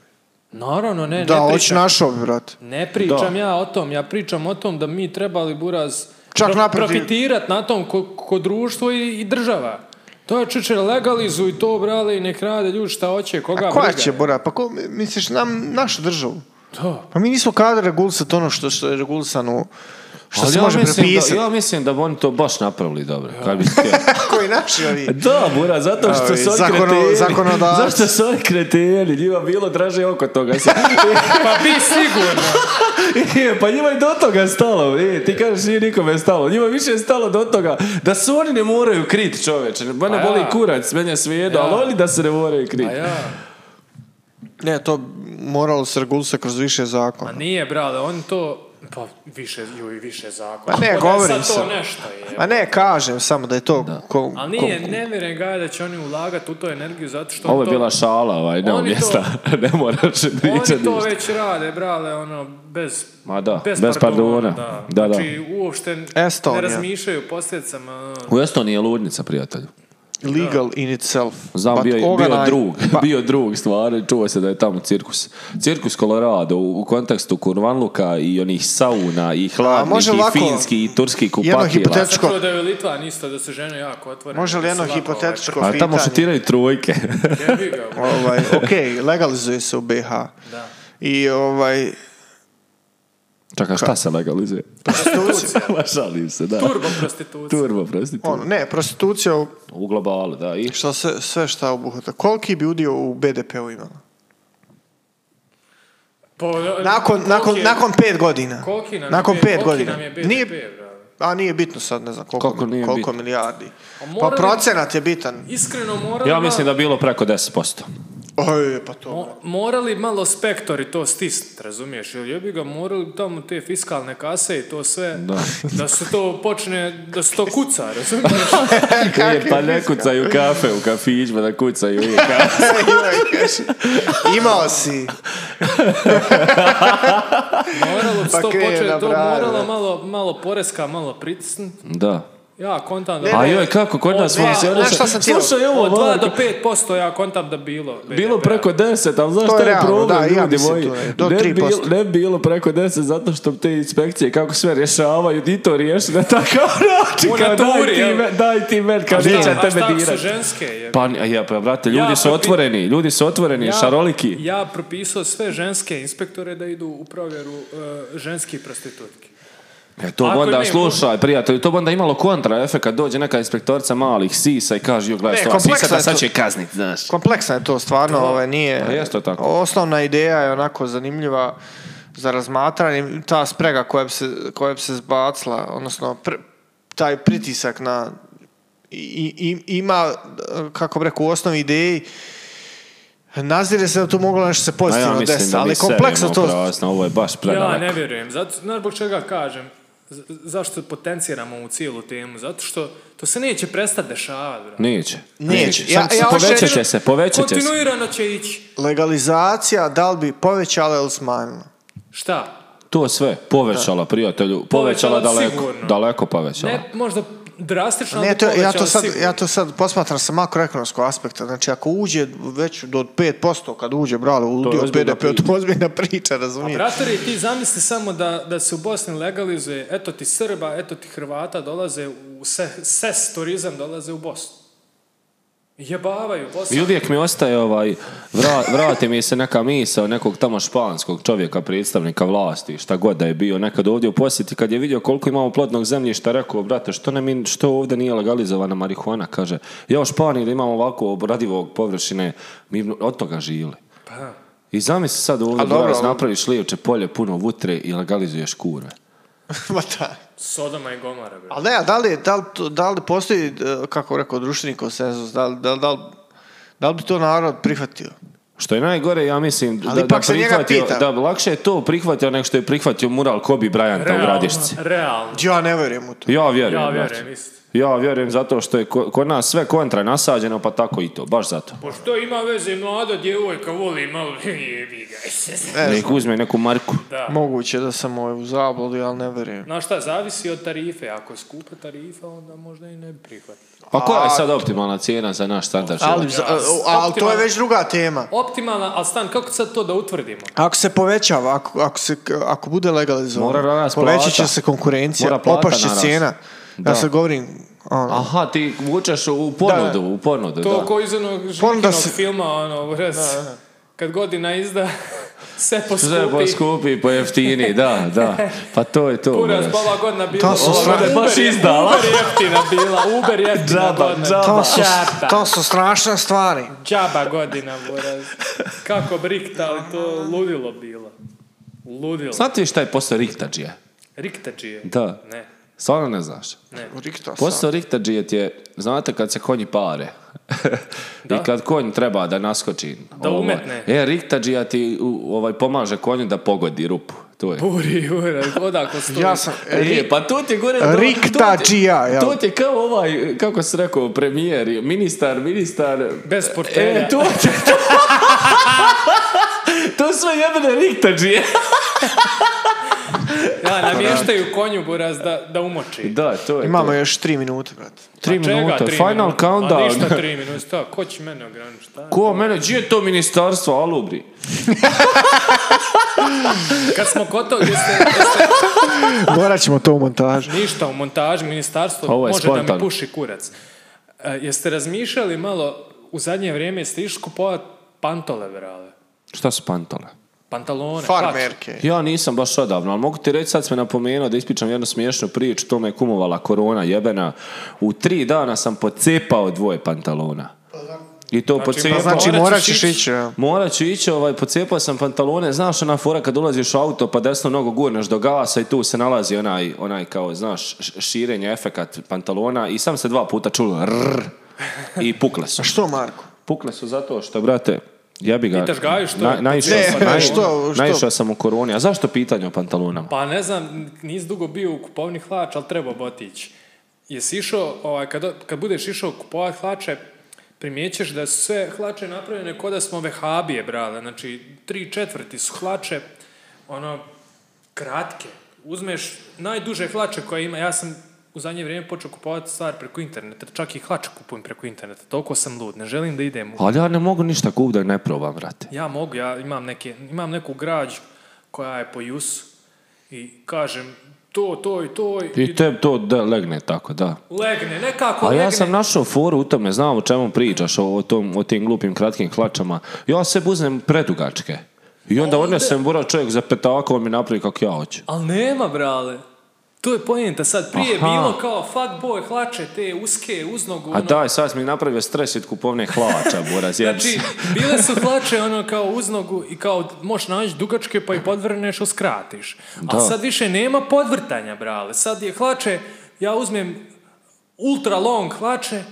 Speaker 1: Naravno, ne,
Speaker 3: Da,
Speaker 1: ne
Speaker 3: hoću
Speaker 1: pričam.
Speaker 3: našao bi, brate.
Speaker 1: Ne pričam ja o tom, ja pričam o tom da mi trebali buraz
Speaker 3: Čak naprotiv.
Speaker 1: profitirat na tom ko, ko društvo i, i država. To je čuče legalizuj to, brale, i nek rade ljudi šta hoće, koga
Speaker 3: A koja
Speaker 1: briga
Speaker 3: će,
Speaker 1: je.
Speaker 3: bora? Pa ko, misliš, nam, našu državu?
Speaker 1: To.
Speaker 3: Pa mi nismo kadri regulisati ono što, što je regulisano, što
Speaker 2: Ali
Speaker 3: se
Speaker 2: ja
Speaker 3: može
Speaker 2: mislim
Speaker 3: prepisati.
Speaker 2: Da, ja mislim da bi oni to baš napravili dobro, kad bi htjeli.
Speaker 3: [LAUGHS] Koji naši ovi?
Speaker 2: Da, Bura, zato što
Speaker 3: Ovi,
Speaker 2: su oni
Speaker 3: zakono-
Speaker 2: kreteni.
Speaker 3: zakonodavac.
Speaker 2: [LAUGHS] Zašto su oni kreteni? Njima bilo draže oko
Speaker 1: [LAUGHS]
Speaker 2: toga.
Speaker 1: Pa bi sigurno.
Speaker 2: [LAUGHS] E, pa njima je do toga stalo. E, ti kažeš nije nikome stalo. Njima više je stalo do toga da se oni ne moraju krit čoveče. Mene
Speaker 1: Pa ja.
Speaker 2: boli kurac, meni je svejedno,
Speaker 1: Ja.
Speaker 2: ali oni da se ne moraju krit.
Speaker 1: A ja,
Speaker 3: Ne, to moralo se regulisati kroz više
Speaker 1: a
Speaker 3: zakona.
Speaker 1: nije, brale, on to... Pa više, ju i više zakona.
Speaker 3: Pa ne,
Speaker 1: Ko da je
Speaker 3: govorim
Speaker 1: sad to
Speaker 3: sam.
Speaker 1: nešto je.
Speaker 3: Ma ne, kažem samo da je to... Ko,
Speaker 1: Ali
Speaker 3: ko-
Speaker 1: nije, ne vjerujem ga da će oni ulagati u to energiju zato što
Speaker 2: Ovo je
Speaker 1: to,
Speaker 2: bila šala, ovaj, nema
Speaker 1: Oni to-
Speaker 2: mjesta. [LAUGHS] ne moraš
Speaker 1: oni to
Speaker 2: pričati ništa.
Speaker 1: već rade, brale, ono, bez,
Speaker 2: Ma da, bez pardona. Da, da.
Speaker 1: Znači, uopšte
Speaker 3: Estonija.
Speaker 1: ne razmišljaju posljedicama. ono.
Speaker 2: U Estoniji je ludnica, prijatelju.
Speaker 3: Legal in itself.
Speaker 2: Znam,
Speaker 3: but
Speaker 2: bio, je- bio
Speaker 3: organized-
Speaker 2: drug, [LAUGHS]
Speaker 3: Pa,
Speaker 2: bio drug stvari, čuo se da je tamo cirkus. Cirkus Colorado u, u kontekstu Kurvanluka i onih sauna i hladnih
Speaker 3: može
Speaker 2: i
Speaker 3: ovako,
Speaker 2: finski i turski kupatila.
Speaker 3: hipotetičko-
Speaker 1: Tako da je Litvan isto da se žene jako otvorene.
Speaker 3: Pa, Može li
Speaker 1: da
Speaker 3: jedno
Speaker 1: se lako,
Speaker 3: hipotetičko
Speaker 2: A tamo
Speaker 3: pitanje?
Speaker 2: šutiraju trujke.
Speaker 1: ovaj, jebi ga, bro.
Speaker 3: Ovaj, ok, legalizuje se u BH.
Speaker 1: Da.
Speaker 3: I
Speaker 2: [LAUGHS]
Speaker 3: ovaj...
Speaker 2: Čekaj, šta se
Speaker 3: [LAUGHS]
Speaker 2: legalizuje?
Speaker 3: Prostitucija.
Speaker 2: Ma, šalim se, da.
Speaker 1: Turbo prostitucija.
Speaker 2: Turbo, prosti.
Speaker 3: Ono, ne, prostitucija u-
Speaker 2: U globalu, da. I
Speaker 3: šta se, sve šta obuhvata. Koliki bi udio u BDP-u imala?
Speaker 1: Po-
Speaker 3: Nakon,
Speaker 1: koliki
Speaker 3: nakon,
Speaker 1: je-
Speaker 3: nakon pet godina.
Speaker 1: koliki nam
Speaker 3: nakon
Speaker 1: je,
Speaker 3: pet
Speaker 1: koliki
Speaker 3: godina.
Speaker 1: nam je BDP,
Speaker 3: Nije,
Speaker 1: bro?
Speaker 3: a nije bitno sad, ne znam koliko,
Speaker 2: Koliko nije
Speaker 3: koliko
Speaker 2: bitno?
Speaker 3: milijardi. Pa
Speaker 1: morali-
Speaker 3: procenat je bitan.
Speaker 1: Iskreno morali
Speaker 2: ja mislim
Speaker 1: malo-
Speaker 2: da je bilo preko 10%.
Speaker 3: Oj, pa to. [LAUGHS]
Speaker 1: mo- morali malo spektori to stisnut, razumiješ? Jer jebi ga morali bi tamo te fiskalne kase i to sve,
Speaker 2: Da.
Speaker 1: da se to počne, da se to kuca,
Speaker 3: [LAUGHS]
Speaker 1: razumiješ?
Speaker 2: E, pa ne kucaju kafe u kafićima, da kucaju i
Speaker 3: [LAUGHS]
Speaker 2: kafe.
Speaker 3: Joj, kaže, Imao si.
Speaker 1: Moralo bi se
Speaker 3: Pa
Speaker 1: to
Speaker 3: krene
Speaker 1: početi,
Speaker 3: na
Speaker 1: to
Speaker 3: brave,
Speaker 1: moralo
Speaker 3: da.
Speaker 1: malo, malo poreska, malo pritisnut.
Speaker 2: Da.
Speaker 1: Ja kontam
Speaker 3: Ne,
Speaker 1: da...
Speaker 2: A
Speaker 3: ne.
Speaker 2: joj, kako kod nas
Speaker 1: dva-
Speaker 2: funkcioniše?
Speaker 3: znaš šta sam ti-
Speaker 2: Slušaj ovo,
Speaker 1: Od 2
Speaker 2: Marko.
Speaker 1: do 5% ja kontam da bilo.
Speaker 2: Bilo
Speaker 1: BDP-a.
Speaker 2: preko 10, ali znaš
Speaker 3: To
Speaker 2: šta
Speaker 3: je
Speaker 2: je
Speaker 3: realno, da, i
Speaker 2: problem,
Speaker 3: ja
Speaker 2: ljudi
Speaker 3: mislim
Speaker 2: moji?
Speaker 3: to je, do
Speaker 2: Ne bi
Speaker 3: 3%.
Speaker 2: bilo- Ne bi bilo preko 10 zato što te inspekcije kako sve rješavaju i to riješi na takav [LAUGHS] način.
Speaker 1: U
Speaker 2: Kao daj
Speaker 1: naturi,
Speaker 2: ti,
Speaker 1: jel?
Speaker 2: me, daj ti men, kao
Speaker 1: A šta-
Speaker 2: neće
Speaker 1: a
Speaker 2: tebe
Speaker 1: šta ako su
Speaker 2: dirati.
Speaker 1: ženske, jebi
Speaker 2: Pa, ni- ja, pa, brate, ljudi
Speaker 1: Ja,
Speaker 2: su
Speaker 1: pa,
Speaker 2: otvoreni, ljudi su otvoreni, šaroliki.
Speaker 1: Ja propisao sve ženske inspektore da idu u provjeru uh, ženskih prostitutki.
Speaker 2: E, to bi
Speaker 1: Ako
Speaker 2: onda,
Speaker 1: ne,
Speaker 2: slušaj, prijatelju, to bi onda imalo kontra kad dođe neka inspektorica malih sisa i kaže, jo, gledaj,
Speaker 3: Ne,
Speaker 2: što sisa,
Speaker 3: kompleksno
Speaker 2: da
Speaker 3: je
Speaker 2: sad
Speaker 3: to.
Speaker 2: će kaznit, znaš.
Speaker 3: Kompleksna je to stvarno, ovaj, nije...
Speaker 2: Pa jeste tako.
Speaker 3: Osnovna ideja je onako zanimljiva za razmatranje, ta sprega koja bi se, koja bi se zbacila, odnosno pr- taj pritisak na... I, i- ima, kako bi rekao, u osnovi ideji nazire se da tu moglo nešto se
Speaker 2: Ma
Speaker 3: pozitivno
Speaker 2: ja mislim
Speaker 3: desiti,
Speaker 2: da mi
Speaker 3: ali
Speaker 2: serimo
Speaker 3: kompleksno to...
Speaker 2: prasno, ovo je baš predaleko.
Speaker 1: Ja ne vjerujem. Zato, znaš zbog čega kažem? Z- zašto potenciramo ovu cijelu temu? Zato što to se neće prestati dešavati. brate.
Speaker 2: Neće.
Speaker 3: Neće. Ja-
Speaker 2: Ja,
Speaker 3: ja hoću
Speaker 2: povećat će
Speaker 3: reći-
Speaker 2: se, povećat će se.
Speaker 1: Kontinuirano će ići.
Speaker 3: Legalizacija, da li bi povećala ili smanjila?
Speaker 1: Šta?
Speaker 2: To sve povećala, prijatelju. Povećala,
Speaker 1: Povećala
Speaker 2: daleko.
Speaker 1: sigurno.
Speaker 2: Daleko povećala.
Speaker 1: Ne, možda drastično,
Speaker 3: Ne,
Speaker 1: ali
Speaker 3: to, ja, to
Speaker 1: povećala
Speaker 3: sad,
Speaker 1: sigurno.
Speaker 3: ja to sad posmatram sa makroekonomskog aspekta. Znači, ako uđe već do 5%, kad uđe, brale, u
Speaker 2: To je
Speaker 3: udio
Speaker 2: ozbiljna
Speaker 3: BDP, to je ozbiljna priča, razumiješ?
Speaker 1: Bratori, ti zamisli samo da, da se u Bosni legalizuje, eto ti Srba, eto ti Hrvata dolaze u se, ses turizam dolaze u Bosnu. Jebavaju Bosnu.
Speaker 2: I uvijek mi ostaje ovaj, vra- vrati mi se neka misa nekog tamo španskog čovjeka, predstavnika vlasti, šta god da je bio nekad ovdje u posjeti, kad je vidio koliko imamo plodnog zemljišta, rekao, brate, što, ne mi, što ovdje nije legalizovana marihuana, kaže, ja u Španiji da imamo ovako obradivog površine, mi od toga žili.
Speaker 1: Pa,
Speaker 2: I zamisli sad ovdje,
Speaker 3: A dobro,
Speaker 2: Boras,
Speaker 3: ali-
Speaker 2: napraviš lijevče polje puno vutre i legalizuješ kurve.
Speaker 3: [LAUGHS] Ma da.
Speaker 1: Sodoma i Gomara, bre.
Speaker 3: Ali ne, a da li, je- da, li, to- da li postoji, e, kako rekao, društveni konsenzus, da li, da, li- da li, da li bi to narod prihvatio?
Speaker 2: Što je najgore, ja mislim
Speaker 3: Ali
Speaker 2: da, da,
Speaker 3: ipak se njega
Speaker 2: prihvatio,
Speaker 3: pita.
Speaker 2: da lakše je to prihvatio nego što je prihvatio mural Kobi Bryanta u Gradišci.
Speaker 1: realno.
Speaker 3: Ja ne vjerujem u to.
Speaker 2: Ja vjerujem.
Speaker 1: Ja
Speaker 2: brate.
Speaker 1: vjerujem, isto.
Speaker 2: Ja vjerujem zato što je ko- kod nas sve kontra nasađeno, pa tako i to, baš zato.
Speaker 1: Pošto ima veze mlada djevojka, voli malo, [LAUGHS] jebi ga.
Speaker 3: Ne
Speaker 2: Nek
Speaker 3: znam.
Speaker 2: uzme neku marku.
Speaker 1: Da.
Speaker 3: Moguće da sam ovaj u zabludi, ali ne vjerujem.
Speaker 1: Znaš šta, zavisi od tarife. Ako je skupa tarifa, onda možda i ne bi prihvatio.
Speaker 2: Pa koja je sad optimalna cijena za naš standard?
Speaker 3: Ali,
Speaker 2: života?
Speaker 3: za- a- ali to je već druga tema.
Speaker 1: Optimalna, ali stan, kako sad to da utvrdimo?
Speaker 3: Ako se povećava, ako, ako, se, ako bude
Speaker 2: Mora
Speaker 3: legalizovano,
Speaker 2: rast
Speaker 3: povećat će
Speaker 2: plata.
Speaker 3: se konkurencija,
Speaker 2: Mora plata
Speaker 3: opašće
Speaker 2: narast.
Speaker 3: cijena.
Speaker 2: Da.
Speaker 3: Ja sad govorim, ono,
Speaker 2: Aha, ti vučeš u ponudu,
Speaker 3: Da, Pa
Speaker 2: u ponudu,
Speaker 1: To
Speaker 2: da.
Speaker 1: ko iz onog
Speaker 3: Onda
Speaker 1: Žikinog
Speaker 3: se-
Speaker 1: filma, ono, res, kad godina izda, [LAUGHS] se poskupi.
Speaker 2: Sve po skupi, po jeftini, da, da.
Speaker 1: [LAUGHS]
Speaker 2: Pa to je to.
Speaker 1: Kuras,
Speaker 2: moraš.
Speaker 1: pa ova godina bila,
Speaker 3: To su
Speaker 1: ova
Speaker 3: sve-
Speaker 1: godina
Speaker 2: baš
Speaker 1: Uber je-
Speaker 2: izdala.
Speaker 1: Uber jeftina bila, Uber jeftina
Speaker 2: Džaba,
Speaker 1: godina.
Speaker 2: džaba.
Speaker 3: To su,
Speaker 1: Džaba.
Speaker 3: to su strašne stvari.
Speaker 1: Džaba godina, buraz. Kako bi riktali, to ludilo bilo. Ludilo.
Speaker 2: Znate šta je posao Riktađije?
Speaker 1: Riktači je.
Speaker 2: Da.
Speaker 1: Ne.
Speaker 2: Stvarno ne znaš. Posao Riktađije ti je, znate kad se konji pare i kad konj treba da naskoči.
Speaker 1: Da
Speaker 2: ovaj,
Speaker 1: umetne.
Speaker 2: E, Riktađija ti u- ovaj, pomaže konju da pogodi rupu. To je.
Speaker 1: Buri, buraz, odakle stoji.
Speaker 3: Ja sam...
Speaker 2: E, pa to ti je gore...
Speaker 3: Riktađija, jel?
Speaker 2: To ti je kao ovaj, kako se rekao, premijer, ministar, ministar...
Speaker 1: Bez portfelja.
Speaker 2: E, to ti [LAUGHS] To sve jebene Riktađije.
Speaker 1: Ja, namještaju konju buraz da, da umoči.
Speaker 2: Da, to je
Speaker 3: Imamo
Speaker 2: to.
Speaker 3: još tri minute, brate.
Speaker 2: Tri
Speaker 1: Pa čega
Speaker 2: minuta,
Speaker 1: tri
Speaker 2: final
Speaker 1: minuta?
Speaker 2: countdown.
Speaker 1: Ma [LAUGHS] ništa tri minuta, ko će mene ograničiti? šta?
Speaker 2: Ko mene, gdje je to ministarstvo Alubri?
Speaker 1: Kad smo kod
Speaker 3: [LAUGHS]
Speaker 1: toga, jeste, jeste
Speaker 3: Morat ćemo to u montažu.
Speaker 1: ništa u montaži, ministarstvo
Speaker 2: Ovo je
Speaker 1: može da
Speaker 2: spontano.
Speaker 1: mi puši kurac. E, jeste razmišljali malo, u zadnje vrijeme jeste išli kupovat pantole, brale?
Speaker 2: Šta su pantole?
Speaker 1: Pantalone, plaće.
Speaker 3: Farmerke.
Speaker 2: Ja nisam baš odavno, ali mogu ti reći, sad sam napomenuo da ispičam jednu smiješnu priču, to me je kumovala korona jebena. U tri dana sam pocepao dvoje pantalona.
Speaker 3: Pa
Speaker 2: I to pocepao.
Speaker 1: pa
Speaker 3: Znači,
Speaker 1: Morat
Speaker 3: morat
Speaker 1: ćeš
Speaker 3: ćeš
Speaker 1: ići.
Speaker 3: ići. ja.
Speaker 2: Morat ću ići, ovaj, pocijepao sam pantalone, znaš ona fora kad ulaziš u auto pa desno nogu gurneš do gasa i tu se nalazi onaj, onaj kao, znaš, š- širenje efekat pantalona i sam se dva puta čulo rrrr i
Speaker 1: [LAUGHS]
Speaker 2: pukle su.
Speaker 3: Što, Marko?
Speaker 2: Pukle su zato što, brate, ja bi ga...
Speaker 1: Pitaš Gaju što je?
Speaker 2: naišao
Speaker 3: Ne,
Speaker 2: sam, nai-
Speaker 3: što- što?
Speaker 2: naišao sam u koroni. A zašto pitanje o pantalonama?
Speaker 1: Pa ne znam, nisi dugo bio u kupovni hlač, ali treba botić. Jesi išao, ovaj, kad, kad budeš išao kupovat hlače, primjećeš da su sve hlače napravljene kao da smo vehabije brale. Znači, tri četvrti su hlače, ono, kratke. Uzmeš najduže hlače koje ima. Ja sam u zadnje vrijeme počeo kupovati stvar preko interneta. Čak i hlače kupujem preko interneta. Toliko sam lud. Ne želim da idem u
Speaker 2: Ali ja ne mogu ništa kup da ne probam, brate.
Speaker 1: ja mogu, ja imam, neke, imam neku građu koja je po jusu i kažem to, to i to i,
Speaker 2: I te to da, legne tako, da.
Speaker 1: legne, nekako
Speaker 2: A
Speaker 1: legne.
Speaker 2: ja sam našao foru u tome, znam o čemu pričaš, o, o tom, o tim glupim kratkim hlačama. Ja se uznem predugačke. I onda odnesem bura čovjek za petako, on mi napravi kako ja hoću.
Speaker 1: Ali nema, brale. To je pojenta sad. Prije je
Speaker 2: Aha.
Speaker 1: bilo kao fuck boy, hlače te uske, uznogu.
Speaker 2: A
Speaker 1: ono.
Speaker 2: daj, sad si mi napravio stres od kupovne hlača,
Speaker 1: [LAUGHS]
Speaker 2: buraz, jeb
Speaker 1: Znači,
Speaker 2: se. [LAUGHS]
Speaker 1: bile su hlače ono kao uznogu i kao možeš naći dugačke pa i podvrneš, uskratiš.
Speaker 2: Da.
Speaker 1: Ali sad više nema podvrtanja, brale. Sad je hlače, ja uzmem ultra long hlače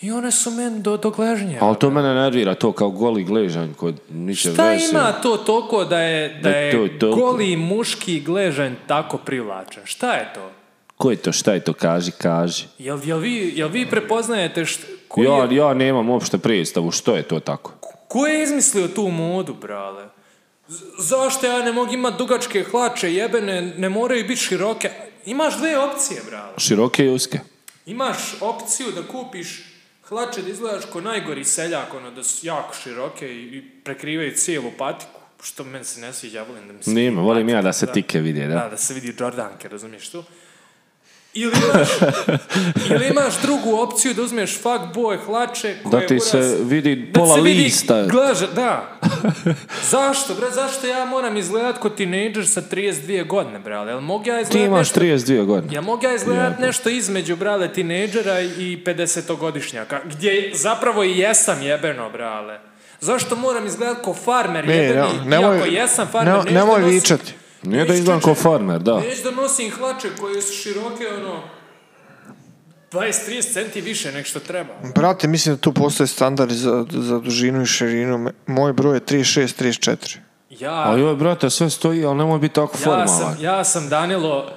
Speaker 1: i one su meni do, do gležnjeva.
Speaker 2: Ali to mene nervira, to kao goli gležanj kod niče
Speaker 1: Šta
Speaker 2: veze.
Speaker 1: ima to toliko da je, da
Speaker 2: eh, Da
Speaker 1: je
Speaker 2: to toliko.
Speaker 1: goli muški gležanj tako privlačan? Šta je to?
Speaker 2: Ko je to, šta je to, kaži, kaži.
Speaker 1: Jel, jel, vi, jel vi prepoznajete št, ko,
Speaker 2: Ja,
Speaker 1: je,
Speaker 2: ja nemam uopšte predstavu što je to tako.
Speaker 1: ko je izmislio tu modu, brale? Z- zašto ja ne mogu imat dugačke hlače, jebene, ne moraju biti široke? Imaš dve opcije, brale.
Speaker 2: Široke i uske.
Speaker 1: Imaš opciju da kupiš hlače da izgledaš ko najgori seljak, ono, da su jako široke i, i prekrivaju cijelu patiku, što meni se ne sviđa, ja volim da mi se
Speaker 2: Nima, volim ja da se
Speaker 1: Da.
Speaker 2: tike vidi, da.
Speaker 1: Da, da se vidi Jordanke, razumiješ tu? Ili imaš,
Speaker 2: [LAUGHS]
Speaker 1: ili imaš drugu opciju da uzmeš fuckboy hlače koje
Speaker 2: Da ti
Speaker 1: buraz-
Speaker 2: se vidi
Speaker 1: da
Speaker 2: pola
Speaker 1: se vidi
Speaker 2: lista.
Speaker 1: glaža-
Speaker 2: [LAUGHS]
Speaker 1: da. zašto, bre, zašto ja moram izgledat ko tinejdžer sa 32 godine, brale? Jel mogu ja
Speaker 2: Ti
Speaker 1: izgledat
Speaker 2: imaš
Speaker 1: nešto...
Speaker 2: 32 godine.
Speaker 1: Ja mogu ja izgledat
Speaker 2: Jebo.
Speaker 1: nešto između, brale, tinejdžera i 50-godišnjaka, gdje zapravo i jesam jebeno, brale. Zašto moram izgledat ko farmer
Speaker 3: Ne,
Speaker 1: jebeni?
Speaker 3: ne, nemoj-
Speaker 1: Iako jesam farmer,
Speaker 3: ne-
Speaker 1: neću
Speaker 3: nemoj
Speaker 1: da nosim-
Speaker 3: vičati.
Speaker 2: Nije da
Speaker 1: Neću
Speaker 2: izgledam ko farmer, da.
Speaker 1: Već da nosim hlače koje su široke, ono, 20-30 centi više nek što treba.
Speaker 3: Brate, mislim da tu postoje standardi za, za dužinu i širinu. Me- Moj broj je 36, 34.
Speaker 2: A
Speaker 1: Ja,
Speaker 2: joj, brate, sve stoji, ali nemoj biti tako
Speaker 1: ja,
Speaker 2: formalan.
Speaker 1: sam, ja sam Danilo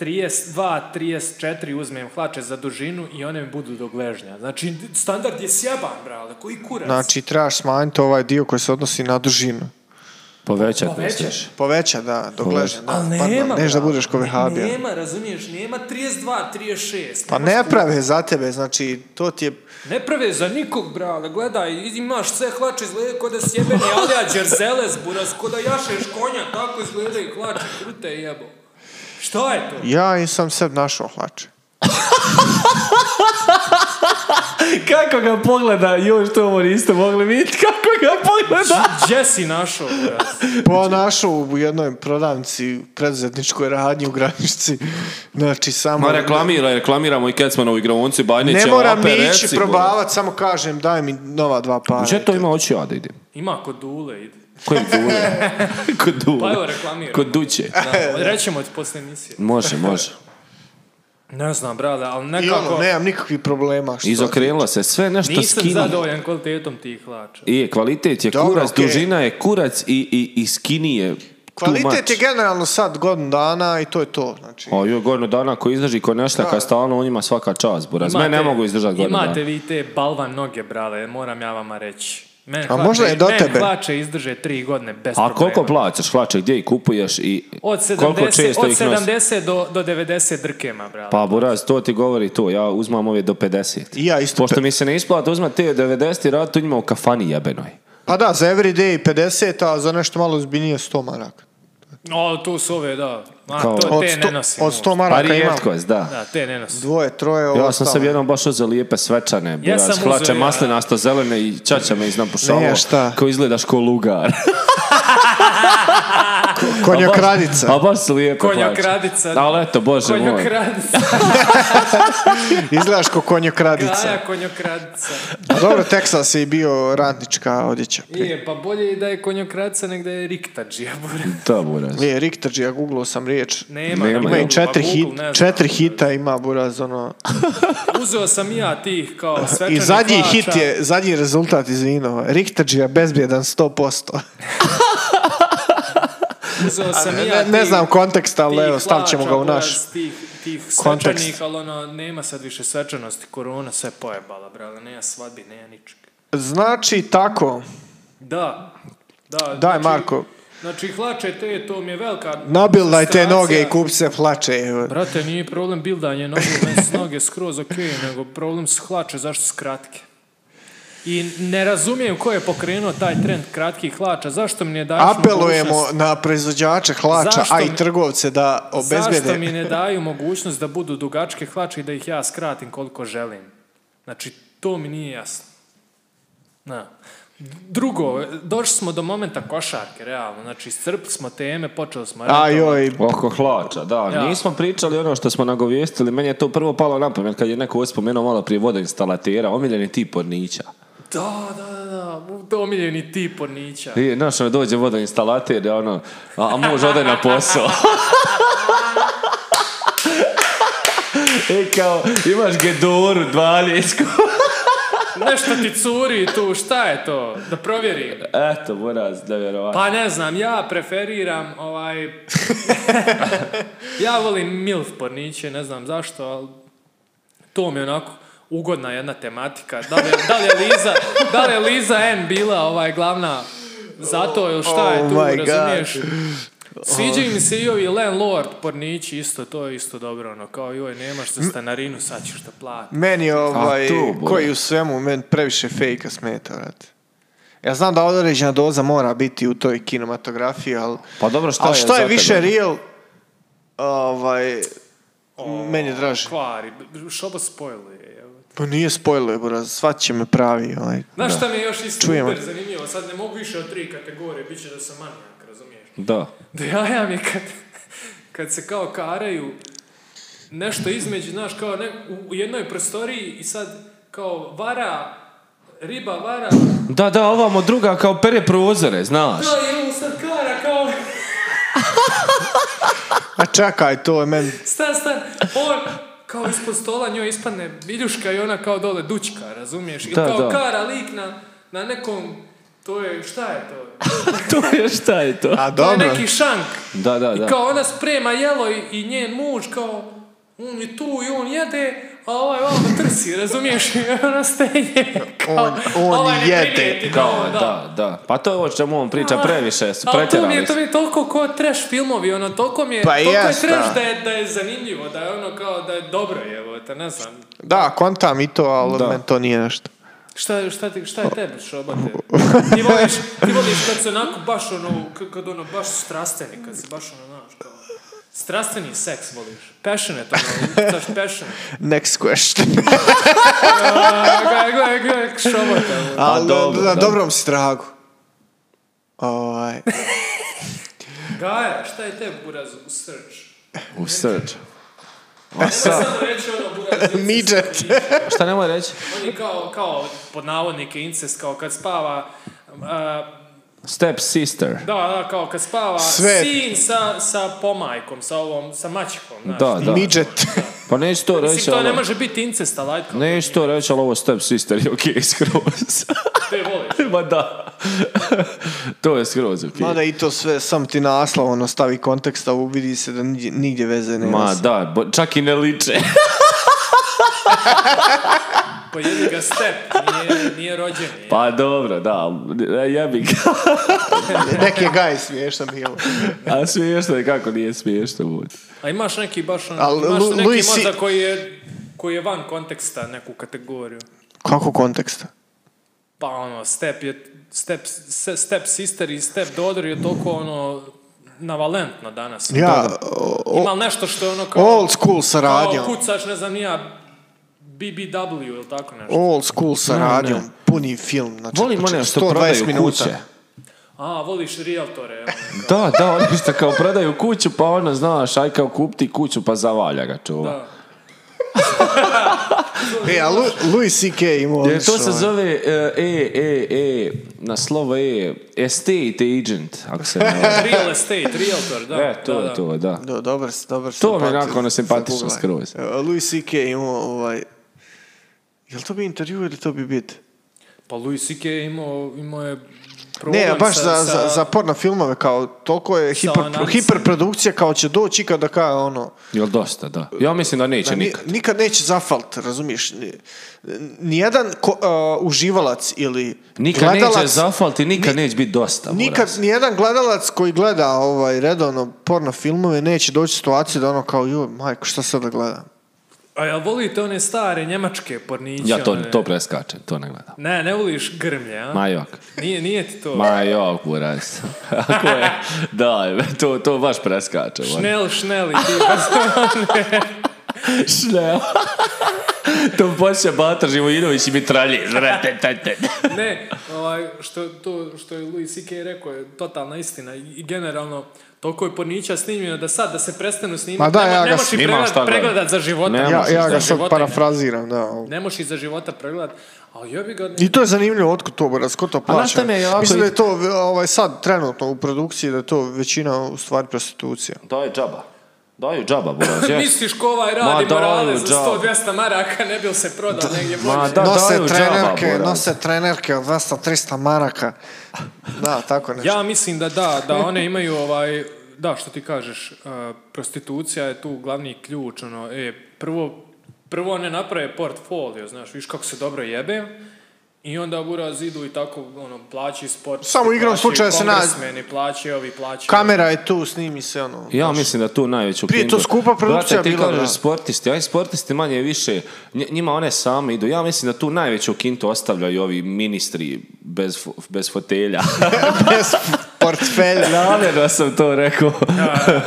Speaker 1: 32, 34 uzmem hlače za dužinu i one mi budu do gležnja. Znači, standard je sjaban, brale, koji kurac.
Speaker 3: Znači, trebaš smanjiti ovaj dio koji se odnosi na dužinu.
Speaker 2: Povećat
Speaker 1: Povećat.
Speaker 2: misliš.
Speaker 3: Poveća, da, do gležnja. Da,
Speaker 1: Ali
Speaker 3: pardon,
Speaker 1: nema,
Speaker 3: neš pa da
Speaker 1: brale.
Speaker 3: budeš ko vehabija.
Speaker 1: Nema, razumiješ, nema 32, 36.
Speaker 3: Pa ne prave za tebe, znači, to ti je...
Speaker 1: Ne prave za nikog, brale, gledaj, imaš sve hlače izgledaju k'o da sjebeni Alija Đerzeles, buraz, k'o da jašeš konja, tako izgledaju hlače, krute jebo. Šta je to?
Speaker 3: Ja i sam sebi našao hlače.
Speaker 2: Kako ga pogleda, još to ovo niste mogli vidjeti, kako ga pogleda.
Speaker 1: Gdje si našao, buraz?
Speaker 3: Pa našao u jednoj prodavnici, preduzetničkoj radnji u Granišci. Znači, samo...
Speaker 2: Ma reklamira, reklamiramo i Kecmanovu igravonci, Bajnića,
Speaker 3: Ne moram
Speaker 2: Ape,
Speaker 3: ni ići
Speaker 2: Reci, bro.
Speaker 3: probavat, samo kažem, daj mi nova dva para.
Speaker 2: Če to ima oči, ja da idem.
Speaker 1: Ima kod dule, ide.
Speaker 2: Kojim dule?
Speaker 1: [LAUGHS]
Speaker 2: Kod dule.
Speaker 1: Pa evo reklamiramo.
Speaker 2: Kod duće.
Speaker 1: Da, rećemo ti posle emisije.
Speaker 2: Može, može.
Speaker 1: Ne znam, brale, ali
Speaker 3: I ono,
Speaker 1: nekako
Speaker 3: nemam nikakvih problema. Što...
Speaker 2: Izokrenula se, sve nešto
Speaker 1: nisam
Speaker 2: skinu.
Speaker 1: zadovoljan kvalitetom tih hlača.
Speaker 2: I kvalitet je
Speaker 3: Dobro,
Speaker 2: kurac,
Speaker 3: okej.
Speaker 2: dužina je kurac i, i, i skini je too
Speaker 3: Kvalitet
Speaker 2: much.
Speaker 3: je generalno sad godinu dana i to je to. Znači,
Speaker 2: A joj, godinu dana ko izdrži ko neštaka stalno, on ima svaka čast, buraz. Me ne
Speaker 1: Imate-
Speaker 2: mogu izdržati godinu
Speaker 1: Imate
Speaker 2: dana.
Speaker 1: vi te balvan noge, brale, moram ja vama reći. Mene
Speaker 3: A možda je do
Speaker 1: mene
Speaker 3: tebe.
Speaker 1: hlače izdrže tri godine bez
Speaker 2: A koliko
Speaker 1: problema.
Speaker 2: plaćaš hlače, gdje ih kupuješ i
Speaker 1: Od
Speaker 2: koliko
Speaker 1: 70,
Speaker 2: često
Speaker 1: od
Speaker 2: ih nosiš?
Speaker 1: 70 do, do 90 drkema, brale.
Speaker 2: Pa Buraz, to ti govori to, ja uzmam ove do 50.
Speaker 3: I ja isto
Speaker 2: Pošto
Speaker 3: pe-
Speaker 2: mi se ne isplata uzmat te 90 i radit u njima u kafani jebenoj.
Speaker 3: Pa da, za everyday 50, a za nešto malo zbiljnije 100 maraka.
Speaker 1: O, tu su ove, da. Ma,
Speaker 2: Kao-
Speaker 1: to,
Speaker 3: Od
Speaker 1: te ne
Speaker 3: 100,
Speaker 1: nosim.
Speaker 3: od 100
Speaker 2: Pa
Speaker 3: maraka imam
Speaker 2: rijetkost, da.
Speaker 1: Da, te ne nosim.
Speaker 3: dvoje, troje, ovo
Speaker 2: Ja sam
Speaker 3: ostalo.
Speaker 2: sam jednom baš uzeo lijepe svečane,
Speaker 1: Ja
Speaker 2: buraz,
Speaker 1: sam uzeo,
Speaker 2: hlače
Speaker 1: ja.
Speaker 2: maslinasto zelene i čača me
Speaker 3: Ne,
Speaker 2: iznapušavao
Speaker 3: šta?
Speaker 2: kao izgledaš ko lugar.
Speaker 3: Konjokradica.
Speaker 2: A [LAUGHS] baš su lijepe hlače.
Speaker 1: Konjokradica.
Speaker 2: Ali eto, bože moj. [LAUGHS]
Speaker 1: Konjokradica,
Speaker 3: Izgledaš ko konjokradica.
Speaker 1: Gaja konjokradica.
Speaker 3: A dobro, Texas je bio radnička odjeća. prije.
Speaker 1: Je, pa bolje i da je konjokradica nego da je riktađija, bure.
Speaker 2: Da, buraz.
Speaker 3: Je, Rikterđi, ja googlao sam riječ.
Speaker 1: Nema,
Speaker 2: Nema.
Speaker 1: na
Speaker 3: Ima
Speaker 1: Google,
Speaker 3: i četiri,
Speaker 1: pa
Speaker 3: hit,
Speaker 1: Google, ne znam.
Speaker 3: četiri hita ima Buraz, ono...
Speaker 1: Uzeo sam i ja tih kao svečanih
Speaker 3: I zadnji
Speaker 1: hlača.
Speaker 3: hit je, zadnji rezultat, izvino. Rikterđi je bezbjedan 100%.
Speaker 1: Uzeo sam i ja
Speaker 3: Ne, ne
Speaker 1: tih-
Speaker 3: znam kontekst, ali
Speaker 1: tih
Speaker 3: evo, stavit ćemo ga
Speaker 1: hlača,
Speaker 3: u naš.
Speaker 1: buraz, Tih, tih
Speaker 3: kontekst.
Speaker 1: svečanih, ali ono, nema sad više svečanosti, korona sve pojebala, brale, nema svadbi, nema ničeg.
Speaker 3: Znači, tako,
Speaker 1: Da, da.
Speaker 3: daj Marko,
Speaker 1: Znači, hlače te, to mi je velika...
Speaker 3: nabildaj te
Speaker 1: frustracija.
Speaker 3: noge i kup se plače. evo.
Speaker 1: Brate, nije problem bildanje nogu, meni su noge skroz okej, nego problem su hlače, zašto su kratke? I ne razumijem ko je pokrenuo taj trend kratkih hlača, zašto mi ne daješ
Speaker 3: Apelujemo
Speaker 1: mogućnost-
Speaker 3: na proizvođače hlača,
Speaker 1: Zašto
Speaker 3: a
Speaker 1: mi-
Speaker 3: i trgovce da
Speaker 1: Zašto mi
Speaker 3: obezbjede.
Speaker 1: ne daju mogućnost da budu dugačke hlače i da ih ja skratim koliko želim? Znači, to mi nije jasno. Na. Drugo, došli smo do momenta košarke, realno. Znači, iscrpli smo teme, počeli smo...
Speaker 3: A
Speaker 1: ratovati.
Speaker 3: joj,
Speaker 2: Oko hlača, da.
Speaker 1: Ja.
Speaker 2: Nismo pričali ono što smo nagovijestili, meni je to prvo palo na pamet kad je neko ovo spomenuo malo prije vodoinstalatera, omiljeni tip od Nića.
Speaker 1: Da, da, da, da, to omiljeni tip od Nića.
Speaker 2: I, znaš, ono, dođe vodoinstalater, ja ono, a, a muž ode na posao. [LAUGHS] I E, kao, imaš gedoru 12.
Speaker 1: Nešto ti curi tu, šta je to? Da provjerim.
Speaker 2: [LAUGHS] Eto, buraz, da vjerovatno.
Speaker 1: Pa ne znam, ja preferiram ovaj... [LAUGHS] ja volim MILF porniće, ne znam zašto, ali to mi je onako ugodna jedna tematika. Da li, je- da li je Liza, da li je Liza N bila ovaj glavna zato ili šta je
Speaker 3: Oh
Speaker 1: tu,
Speaker 3: my God.
Speaker 1: razumiješ? Sviđaju mi se i ovi landlord pornići, isto, to je isto dobro, ono, kao joj, nemaš za stanarinu, sad ćeš da plati.
Speaker 3: Meni je ovaj,
Speaker 2: A to, Bore.
Speaker 3: koji u svemu, meni previše fejka smeta, vrati. Ja znam da određena doza mora biti u toj kinematografiji, ali...
Speaker 2: Pa dobro, šta
Speaker 3: ali
Speaker 2: je
Speaker 3: što
Speaker 2: za
Speaker 3: je više
Speaker 2: tebe?
Speaker 3: real, ovaj, meni je draže.
Speaker 1: Kvari, što ba spojluje, evo.
Speaker 3: Pa nije spoiler, buraz, svat će me pravi, ovaj.
Speaker 1: Znaš šta mi je još isto
Speaker 3: Čujemo.
Speaker 1: super zanimljivo? Sad ne mogu više od tri kategorije, bit će da sam manijak, razumiješ?
Speaker 2: Da.
Speaker 1: Da ja ja mi je kad, kad se kao karaju nešto između, znaš, kao ne, u- u jednoj prostoriji i sad kao vara, riba vara,
Speaker 2: Da, da, ovamo druga kao pere prozore, znaš.
Speaker 1: kao i ovo sad kara, kao,
Speaker 3: A čekaj, to je meni...
Speaker 1: stan, stan, on, kao ispod stola njoj ispadne biljuška i ona kao dole dućka, razumiješ? Ili
Speaker 2: Da,
Speaker 1: kao
Speaker 2: da.
Speaker 1: kara lik na, na nekom, to je, šta je to?
Speaker 2: [LAUGHS] to je šta je to?
Speaker 3: A
Speaker 1: To je
Speaker 3: dobro,
Speaker 1: neki šank.
Speaker 2: Da, da, da.
Speaker 1: I kao ona sprema jelo i, i njen muž kao on je tu i on jede, a ovaj ovamo trsi, razumiješ? I ona steje. Kao,
Speaker 3: On- on
Speaker 1: ovaj ne
Speaker 3: jede.
Speaker 1: primijeti, da,
Speaker 2: Kao,
Speaker 1: da.
Speaker 2: da, da. Pa to je ovo o čemu on priča, previše su,
Speaker 1: Ali to mi je,
Speaker 2: pretjerali
Speaker 1: to
Speaker 2: su.
Speaker 1: mi je toliko ko trash filmovi, ono, toliko mi je,
Speaker 3: Pa
Speaker 1: toliko je
Speaker 3: jest,
Speaker 1: trash
Speaker 3: da.
Speaker 1: da je, da je zanimljivo, da je ono kao, da je dobro, evo, te ne znam.
Speaker 3: da, kontam i to, ali
Speaker 2: Da.
Speaker 3: meni to nije nešto.
Speaker 1: Šta, šta, ti, šta je tebi, šobate? Ti voliš, ti voliš kad se onako baš ono, k- kad ono, baš strastveni, kad se baš ono, znaš, kao... Strastveni seks voliš. Passionate, ono, ucaš passionate.
Speaker 3: Next question.
Speaker 1: A, Gledaj, gledaj, gledaj, šobate.
Speaker 3: [LAUGHS]
Speaker 1: ono.
Speaker 3: Ali
Speaker 2: Pa dobro,
Speaker 3: na
Speaker 2: da.
Speaker 3: dobrom si tragu. Ovaj,
Speaker 1: Gaja, šta je tebi, Buraz, u search?
Speaker 2: U srč.
Speaker 1: Nema sad reći ono, Buraz, incest,
Speaker 3: Midget.
Speaker 2: Šta nemoj reći?
Speaker 1: On je kao, kao, pod navodnike, incest, kao kad spava... a,
Speaker 2: Step sister.
Speaker 1: da, da, kao kad spava
Speaker 3: Sve.
Speaker 1: sin sa, sa pomajkom, sa ovom, sa mačkom, znaš.
Speaker 2: Da, da. [LAUGHS]
Speaker 3: midget.
Speaker 2: Pa neću to reći,
Speaker 1: Mislim,
Speaker 3: Znači,
Speaker 1: to ne
Speaker 3: ono-
Speaker 2: ali...
Speaker 1: može biti incest, ali ajde, kao,
Speaker 2: Neću to reći, ali ovo step sister je okej skroz.
Speaker 1: te voliš.
Speaker 2: [LAUGHS] Ma da. [LAUGHS] to je skroz okej.
Speaker 3: Mada i to sve, sam ti naslov, ono, stavi konteksta, vidi se da nigdje, nigdje veze nema.
Speaker 2: Ma da, bo- čak i ne liče.
Speaker 1: Pa jebi ga step, nije, nije rođen. je.
Speaker 2: [LAUGHS] Pa dobro, da, e, jebi ga. [LAUGHS]
Speaker 3: Nek je gaj smiješno bilo.
Speaker 2: A smiješno je kako nije smiješno budi.
Speaker 1: A imaš neki baš ono,
Speaker 3: Al,
Speaker 1: imaš
Speaker 3: Lu-
Speaker 1: neki
Speaker 3: Louis C-
Speaker 1: možda koji je, koji je van konteksta neku kategoriju.
Speaker 3: Kako konteksta?
Speaker 1: Pa ono, step je, step, se- step sister i step daughter je toliko ono, navalentno danas.
Speaker 3: Ja, o- o-
Speaker 1: Ima li nešto što je ono kao...
Speaker 3: old school
Speaker 1: kao
Speaker 3: saradnjom.
Speaker 1: kucaš, ne znam, ni ja, BBW ili tako nešto.
Speaker 3: Old school saradnjom.
Speaker 2: Ne, ne.
Speaker 3: Puni film. Znači,
Speaker 2: Volim one
Speaker 3: znači,
Speaker 2: što
Speaker 3: 120
Speaker 2: prodaju
Speaker 3: minuta.
Speaker 2: kuće.
Speaker 1: A, voliš realtore. ono.
Speaker 2: Da, da, oni što kao prodaju kuću, pa ono, znaš, aj kao kupti kuću, pa zavalja ga čuva.
Speaker 1: Da.
Speaker 3: E, a Lu- Louis C.K. imao
Speaker 2: Jer to
Speaker 3: odlično,
Speaker 2: se
Speaker 3: ovaj.
Speaker 2: zove e, e, e, e, na slovo e, estate agent, ako se ne varam. [LAUGHS]
Speaker 1: Real estate, realtor, da.
Speaker 2: E, to
Speaker 1: da,
Speaker 2: je
Speaker 1: da.
Speaker 2: to, da.
Speaker 3: Do, dobar, dobar
Speaker 2: To mi je
Speaker 3: simpatič-
Speaker 2: onako ono simpatično
Speaker 3: zaguglaj.
Speaker 2: skroz.
Speaker 3: E, Louis C.K. imao ovaj... Jel to bi intervju ili to bi bit?
Speaker 1: Pa Louis C.K. je imao, imao je problem
Speaker 3: Ne, baš
Speaker 1: sa,
Speaker 3: za, za,
Speaker 1: sa-
Speaker 3: za porno filmove, kao toliko je hiper,
Speaker 1: analizom.
Speaker 3: hiperprodukcija kao će doći i kada kao ono...
Speaker 2: Jel dosta, da. Ja mislim da neće
Speaker 3: Da, ni-
Speaker 2: nikad.
Speaker 3: nikad neće zafalt, razumiješ? Ni- Nijedan ko- a, uživalac ili
Speaker 2: Nikad
Speaker 3: gledalac,
Speaker 2: neće zafalt i nikad
Speaker 3: Ni-
Speaker 2: neće biti dosta.
Speaker 3: nikad
Speaker 2: Boras.
Speaker 3: nijedan gledalac koji gleda ovaj redovno porno filmove neće doći u situaciju da ono kao joj majko šta sad da gledam.
Speaker 1: A jel volite one stare njemačke porniće?
Speaker 2: Ja to,
Speaker 1: one?
Speaker 2: to preskačem, to ne gledam.
Speaker 1: Ne, ne voliš grmlje, a?
Speaker 2: Ma jok.
Speaker 1: Nije, nije ti to.
Speaker 2: Ma jok,
Speaker 1: [LAUGHS]
Speaker 2: buraz. Ako je, da, to, to baš preskačem. ono.
Speaker 1: Šnel, šnel i ti. [LAUGHS]
Speaker 2: Šnel. [LAUGHS] to počne Bata Živojinović i mitralje.
Speaker 1: Ne, ovaj, što, to što je Louis C.K. rekao je totalna istina i generalno toliko je pornića snimljeno da sad da se prestanu
Speaker 3: Ma
Speaker 1: snimati
Speaker 3: da,
Speaker 1: ne,
Speaker 3: ja
Speaker 1: ne
Speaker 3: ga
Speaker 1: možeš i
Speaker 2: snimam,
Speaker 1: pregled-
Speaker 2: šta gledam.
Speaker 1: pregledat za života.
Speaker 2: Ne,
Speaker 1: Ne,
Speaker 3: Ja,
Speaker 2: možeš
Speaker 3: ja
Speaker 1: za
Speaker 3: ga sad
Speaker 1: života.
Speaker 3: parafraziram, da. ali-
Speaker 1: možeš iz za života pregledat, ali jebi ga...
Speaker 3: I to je zanimljivo, otkud to, brz, ko to plaća?
Speaker 2: znaš šta mi je jako-
Speaker 3: Mislim da je to ovaj, sad trenutno u produkciji, da je to većina u stvari prostitucija.
Speaker 2: Daj džaba. Daju džaba, [LAUGHS] buraz. jes.
Speaker 1: [LAUGHS] Misliš ko ovaj radi
Speaker 2: Ma,
Speaker 1: morale
Speaker 2: daju,
Speaker 1: za
Speaker 2: džabe.
Speaker 1: 100-200 maraka, ne bi li se prodao negdje
Speaker 2: Ma,
Speaker 1: bolje?
Speaker 2: da,
Speaker 3: nose
Speaker 2: daju džaba,
Speaker 3: trenerke,
Speaker 2: buraz.
Speaker 3: nose trenerke od 200-300 maraka. Da, tako nešto.
Speaker 1: Ja mislim da da, da one imaju ovaj, da što ti kažeš, eh, prostitucija je tu glavni ključ, ono, e, prvo, prvo one naprave portfolio, znaš, viš kako se dobro jebe, i onda buraz idu i tako, ono, plaći sport.
Speaker 3: Samo igrom slučaja se nađe.
Speaker 1: plaći ovi, plaći
Speaker 3: Kamera je tu, snimi se ono.
Speaker 2: Ja mislim da tu najveću
Speaker 3: Prije je to
Speaker 2: kindu-
Speaker 3: skupa produkcija
Speaker 2: Brate, ti
Speaker 3: bila, da.
Speaker 2: kažeš sportisti, aj sportisti manje više, nj- njima one same idu. Ja mislim da tu najveću kintu ostavljaju ovi ministri bez, fo- bez
Speaker 3: [LAUGHS]
Speaker 2: fotelja.
Speaker 3: [LAUGHS] Bez portfelja.
Speaker 2: Namjerno sam to rekao.
Speaker 1: ono,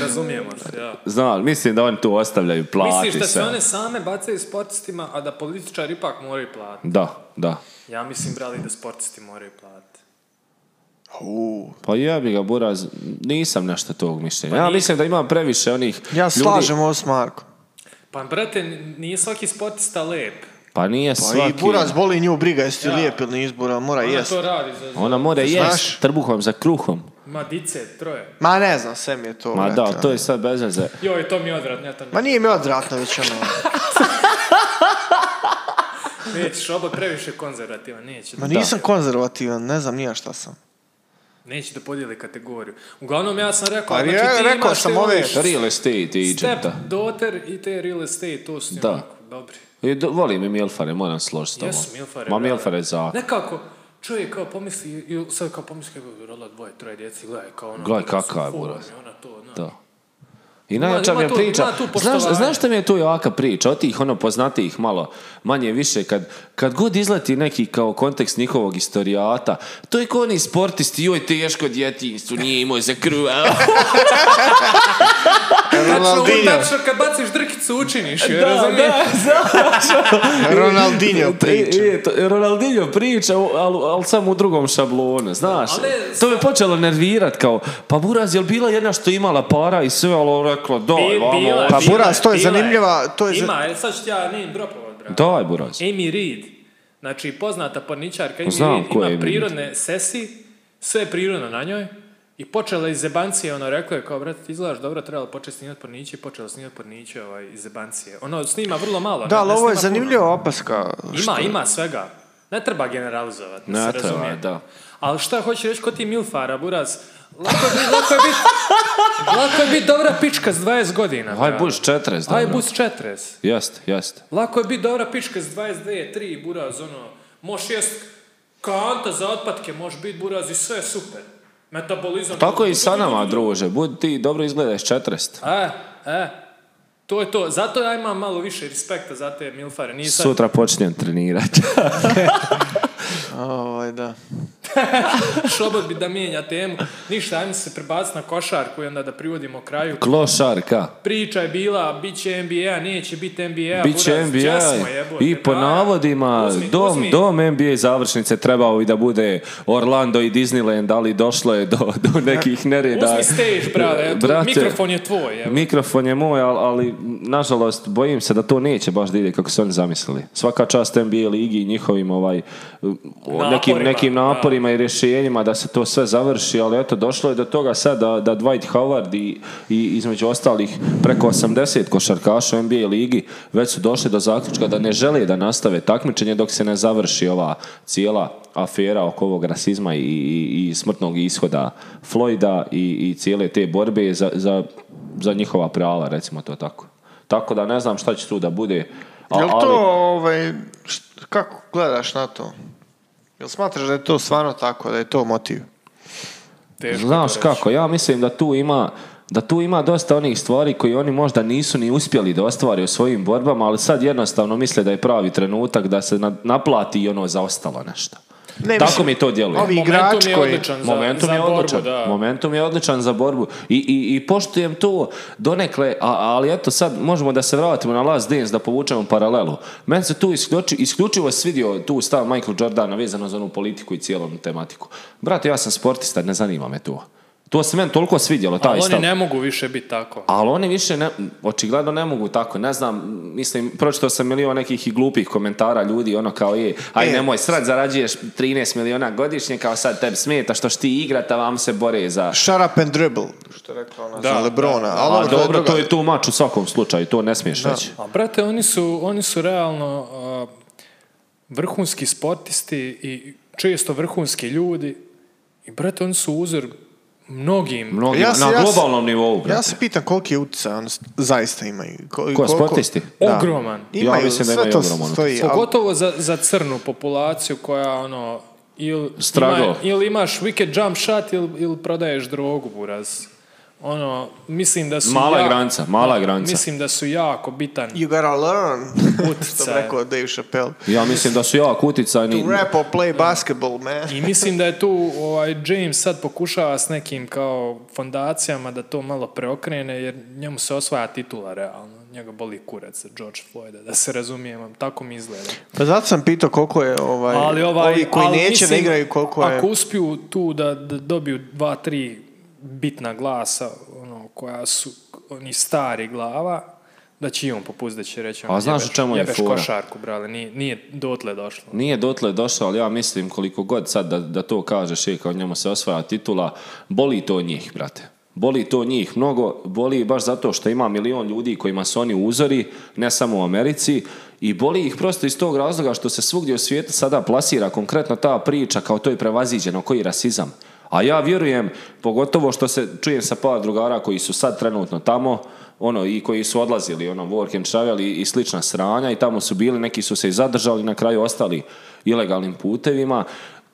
Speaker 1: razumijemo se, ja.
Speaker 2: Znam, mislim da oni tu ostavljaju plati.
Speaker 1: Misliš da se
Speaker 2: sve.
Speaker 1: one same bacaju sportistima, a da političari ipak moraju platiti?
Speaker 2: Da, da.
Speaker 1: Ja mislim, brali, da sportisti moraju platiti.
Speaker 2: Pa jebi ga, Buraz, nisam nešto tog mišljenja. ja mislim da ima previše onih
Speaker 3: Ja
Speaker 2: ljudi-
Speaker 3: slažem ovo s Markom.
Speaker 1: Pa, brate, n- nije svaki sportista lep.
Speaker 2: Pa nije
Speaker 3: Pa
Speaker 2: svaki.
Speaker 3: i Buraz boli nju briga, jesi ti lijep ili nisi Buraz, mora
Speaker 2: Pa
Speaker 1: Ona
Speaker 3: jest.
Speaker 1: to radi za... za-
Speaker 2: Ona more
Speaker 3: Znaš?
Speaker 2: jest trbuhom za kruhom.
Speaker 1: Ma, dice, troje.
Speaker 3: Ma ne znam, sve mi je to.
Speaker 2: Ma
Speaker 3: brate,
Speaker 2: da,
Speaker 3: ono.
Speaker 2: to je sad bez veze.
Speaker 1: Joj, to mi je odvratno, ja to
Speaker 3: Ma
Speaker 1: ne.
Speaker 3: nije mi odvratno već ono.
Speaker 1: Nećeš, oba previše konzervativan, neće.
Speaker 3: Ma
Speaker 1: da-
Speaker 3: nisam konzervativan, ne znam nija šta sam.
Speaker 1: Neće da podijeli kategoriju. Uglavnom, ja sam rekao,
Speaker 3: Pa
Speaker 1: znači
Speaker 3: ja-
Speaker 1: ti
Speaker 3: rekao
Speaker 1: imaš
Speaker 3: sam
Speaker 1: te
Speaker 3: ove
Speaker 1: voliš
Speaker 2: Real estate
Speaker 1: Step,
Speaker 2: agenta.
Speaker 1: daughter i te real estate, to su ti
Speaker 2: Da.
Speaker 1: onako dobri.
Speaker 2: I do- volim i Milfare, moram složiti s tobom.
Speaker 1: Jesu Milfare,
Speaker 2: Ma
Speaker 1: brate.
Speaker 2: Milfare za...
Speaker 1: Nekako, čovjek kao pomisli, i sad kao pomisli kako bi rodila dvoje, troje djeci, gledaj kao ono.
Speaker 2: Gledaj
Speaker 1: kako su
Speaker 2: kakav je
Speaker 1: u formi,
Speaker 2: buraz.
Speaker 1: Ona to, znaš.
Speaker 2: Da. I najjača
Speaker 1: ima
Speaker 2: mi je
Speaker 1: tu-
Speaker 2: priča.
Speaker 1: ima tu
Speaker 2: Znaš,
Speaker 1: poštovanja.
Speaker 2: znaš što mi je tu jaka priča? Od tih ono poznatijih malo manje više. Kad, kad god izleti neki kao kontekst njihovog istorijata, to je kao oni sportisti, joj teško djetinjstvo, nije imao za
Speaker 1: [LAUGHS]
Speaker 2: kruva.
Speaker 1: Tačno,
Speaker 3: Ronaldinho,
Speaker 1: tačno kad baciš drkicu učiniš, je, razumiješ?
Speaker 3: Ronaldinho priča.
Speaker 2: E, e, to- Ronaldinho priča, ali al samo u drugom šablonu, znaš.
Speaker 1: Ali-
Speaker 2: to me počelo nervirat kao, pa Buraz, jel bila jedna što imala para i sve, ali ona rekla, daj,
Speaker 1: Bi-
Speaker 2: vamo.
Speaker 1: bila,
Speaker 2: Pa,
Speaker 3: Pa
Speaker 1: bila,
Speaker 3: Buraz, to je
Speaker 1: bila
Speaker 3: zanimljiva- to je za-
Speaker 1: Ima, e, sad ću ti ja name dropovat, brate.
Speaker 2: daj, Buraz.
Speaker 1: Amy Reid, znači poznata porničarka Amy
Speaker 2: Znam
Speaker 1: Reid,
Speaker 2: ko je Amy
Speaker 1: ima
Speaker 2: Reid.
Speaker 1: prirodne sesi, sve je prirodno na njoj, i počela je iz zebancije, ono rekla je kao, brate, ti izgledaš dobro, trebalo početi snimati porniće, i počela snimati porniće ovaj, iz zebancije. Ono, snima vrlo malo.
Speaker 3: Da,
Speaker 1: ne-
Speaker 3: ali
Speaker 1: ne
Speaker 3: ovo je
Speaker 1: snima puno.
Speaker 3: zanimljiva opaska.
Speaker 1: Ima, ima svega. Ne treba generalizovati, da
Speaker 2: Ne
Speaker 1: se
Speaker 2: treba,
Speaker 1: razumije.
Speaker 2: da.
Speaker 1: Ali šta hoću reći kod ti Milfara, Buraz, Lako je biti, lako je biti, [LAUGHS] lako je bit dobra pička s 20 godina.
Speaker 2: Haj
Speaker 1: brate.
Speaker 2: buš 40.
Speaker 1: Aj
Speaker 2: dobro.
Speaker 1: bus 40.
Speaker 2: Jeste, jeste.
Speaker 1: Lako je biti dobra pička s 22, 3 buraz, ono, moš jest kanta za otpadke, moš biti buraz i sve je super. Metabolizam.
Speaker 2: Tako i sa nama, druže. Budi ti dobro izgledaš 40.
Speaker 1: E, e, to je to. Zato ja imam malo više respekta za te milfare. Nisam...
Speaker 2: Sutra počinjem [LAUGHS] trenirati.
Speaker 3: Ovaj, da.
Speaker 1: [LAUGHS] Šobot bi da mijenja temu. Ništa, ajmo se prebaciti na košarku i onda da privodimo kraju.
Speaker 2: Klošarka.
Speaker 1: Priča je bila, bit će NBA, neće biti NBA.
Speaker 2: Bit će
Speaker 1: buraz,
Speaker 2: NBA
Speaker 1: đasmo jebote,
Speaker 2: i po
Speaker 1: da.
Speaker 2: navodima
Speaker 1: Uzmi,
Speaker 2: dom,
Speaker 1: uzmi.
Speaker 2: dom NBA završnice trebao bi da bude Orlando i Disneyland, ali došlo je do, do nekih nereda.
Speaker 1: Uzmi stage, brale, tu
Speaker 2: Brate,
Speaker 1: mikrofon je tvoj. Evo.
Speaker 2: Mikrofon je moj, ali, ali nažalost bojim se da to neće baš da ide kako su oni zamislili. Svaka čast NBA ligi i njihovim ovaj, naporima, nekim, nekim
Speaker 1: da.
Speaker 2: naporima i rješenjima da se to sve završi, ali eto došlo je do toga sad da, da Dwight Howard i, i između ostalih preko 80 košarkaša u NBA ligi već su došli do zaključka da ne žele da nastave takmičenje dok se ne završi ova cijela afera oko ovog rasizma i, i, i smrtnog ishoda Floyda i, i cijele te borbe za, za, za njihova prava, recimo to tako. Tako da ne znam šta će tu da bude. a-
Speaker 3: Jel
Speaker 2: Pa, ali-
Speaker 3: to, ovaj, št- kako gledaš na to? Jel smatraš da je to stvarno tako, da je to motiv?
Speaker 1: Teško
Speaker 2: Znaš
Speaker 1: to reći.
Speaker 2: kako, ja mislim da tu ima da tu ima dosta onih stvari koji oni možda nisu ni uspjeli da ostvare u svojim borbama, ali sad jednostavno misle da je pravi trenutak da se na- naplati i ono zaostalo nešto.
Speaker 3: Ne,
Speaker 2: Tako
Speaker 3: mislim,
Speaker 2: mi to djeluje.
Speaker 3: ovi
Speaker 1: Momentum
Speaker 3: igrač
Speaker 1: je
Speaker 3: koji...
Speaker 1: odličan za,
Speaker 2: Momentum
Speaker 1: za
Speaker 2: je
Speaker 1: borbu,
Speaker 2: odličan.
Speaker 1: da.
Speaker 2: Momentum je odličan za borbu. I, i, i poštujem to donekle, a, ali eto sad možemo da se vratimo na Last Dance, da povučemo paralelu. Meni se tu isključi, isključivo svidio tu stav Michael Jordana vezano za onu politiku i cijelom tematiku. Brate, ja sam sportista, ne zanima me to. To se meni toliko svidjelo, taj
Speaker 1: Ali oni
Speaker 2: stav.
Speaker 1: ne mogu više biti tako.
Speaker 2: Ali oni više, ne, očigledno ne mogu tako, ne znam, mislim, pročitao sam milion nekih i glupih komentara ljudi, ono kao je, aj
Speaker 3: E.
Speaker 2: nemoj srat, zarađuješ 13 miliona godišnje, kao sad tebi smeta što što ti igrata vam se bore za...
Speaker 3: Shut up and dribble, što je rekla ona za Lebrona. ali ono,
Speaker 2: A
Speaker 3: dobro, to je
Speaker 2: dobro,
Speaker 3: druga-
Speaker 2: to je tu mač u svakom slučaju, to ne smiješ reći.
Speaker 1: A brate, oni su, oni su realno a, vrhunski sportisti i često vrhunski ljudi. I brate, oni su uzor mnogim.
Speaker 2: Mnogi,
Speaker 3: Ja se-
Speaker 2: na
Speaker 3: ja se-
Speaker 2: globalnom nivou, brate.
Speaker 3: Ja se pitam koliki utjecaj on s- zaista imaju. Ko,
Speaker 2: Ko,
Speaker 3: koliko-
Speaker 2: sportisti?
Speaker 3: Da.
Speaker 1: Ogroman.
Speaker 3: Imaju,
Speaker 2: Ja mislim da
Speaker 3: sve
Speaker 2: imaju
Speaker 3: to
Speaker 2: ogroman
Speaker 3: stoji. ali-
Speaker 1: Pogotovo za, za crnu populaciju koja ono ili,
Speaker 2: Struggle.
Speaker 1: ima- ili imaš wicked jump shot ili, ili prodaješ drogu buraz. Ono, mislim da su
Speaker 2: Mala je
Speaker 1: jako-
Speaker 2: granica, mala je granica.
Speaker 1: Mislim da su jako bitan
Speaker 3: You gotta learn, [LAUGHS] što bi
Speaker 1: utjecaj.
Speaker 3: rekao Dave Chappelle.
Speaker 2: Ja mislim da su jako uticajni.
Speaker 3: Rap or play basketball, man.
Speaker 1: I mislim da je tu ovaj James sad pokušava s nekim kao fondacijama da to malo preokrene jer njemu se osvaja titula realno. Njega boli kurac George Floyda, da se razumijem, tako mi izgleda.
Speaker 3: Pa zato sam pitao koliko je ovaj,
Speaker 1: Ali ovaj,
Speaker 3: ovi koji
Speaker 1: ali
Speaker 3: neće da
Speaker 1: mislim,
Speaker 3: igraju, koliko je...
Speaker 1: Ako uspiju tu da, da dobiju dva, tri bitna glasa, ono, koja su oni stari glava, da će i on popust, da će reći... ono,
Speaker 2: A znaš
Speaker 1: jebeš-
Speaker 2: u čemu je
Speaker 1: jebeš
Speaker 2: fora?
Speaker 1: košarku, brale, nije, nije dotle došlo.
Speaker 2: Nije dotle došao, ali ja mislim koliko god sad da, da to kažeš je kao njemu se osvaja titula, boli to njih, brate. Boli to njih mnogo, boli baš zato što ima milion ljudi kojima su oni uzori, ne samo u Americi, i boli ih prosto iz tog razloga što se svugdje u svijetu sada plasira konkretno ta priča kao to je prevaziđeno, koji rasizam. A ja vjerujem, pogotovo što se čujem sa par drugara koji su sad trenutno tamo, ono i koji su odlazili ono work and travel i, i slična sranja i tamo su bili, neki su se i zadržali, na kraju ostali ilegalnim putevima.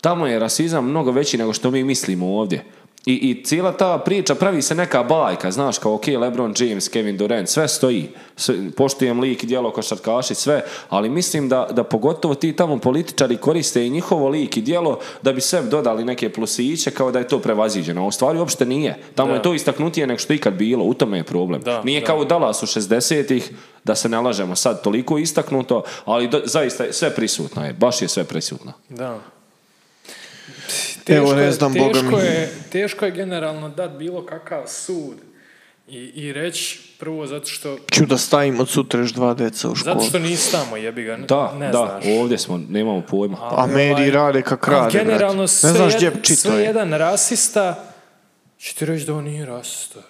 Speaker 2: Tamo je rasizam mnogo veći nego što mi mislimo ovdje. I, i cijela ta priča pravi se neka bajka, znaš, kao ok, LeBron James, Kevin Durant, sve stoji. Sve- poštujem lik, djelo, košarkaši, sve, ali mislim da, da pogotovo ti tamo političari koriste i njihovo lik i djelo da bi sebi dodali neke plusiće kao da je to prevaziđeno. A U stvari uopšte nije. Tamo je to istaknutije nego što je ikad bilo, u tome je problem.
Speaker 1: Da,
Speaker 2: nije
Speaker 1: da.
Speaker 2: kao u Dallasu 60-ih, da se ne lažemo sad toliko istaknuto, ali do- zaista je sve prisutno je, baš je sve prisutno.
Speaker 1: Da.
Speaker 3: Evo, ne znam, Boga
Speaker 1: teško
Speaker 3: mi.
Speaker 1: je, teško je generalno dat bilo kakav sud i, i reći prvo zato što,
Speaker 3: Ću da stavim od sutra još dva deca u školu.
Speaker 1: zato što nisi tamo jebi ga, ne,
Speaker 2: Da,
Speaker 1: ne
Speaker 2: da,
Speaker 1: znaš.
Speaker 2: ovdje smo, nemamo pojma.
Speaker 3: A mediji rade kak
Speaker 1: Ali
Speaker 3: rade, brate.
Speaker 1: Ovaj, generalno sve,
Speaker 3: Ne znaš gdje
Speaker 1: jed-
Speaker 3: čito
Speaker 1: sve
Speaker 3: je.
Speaker 1: jedan rasista će ti reći da on nije rasista.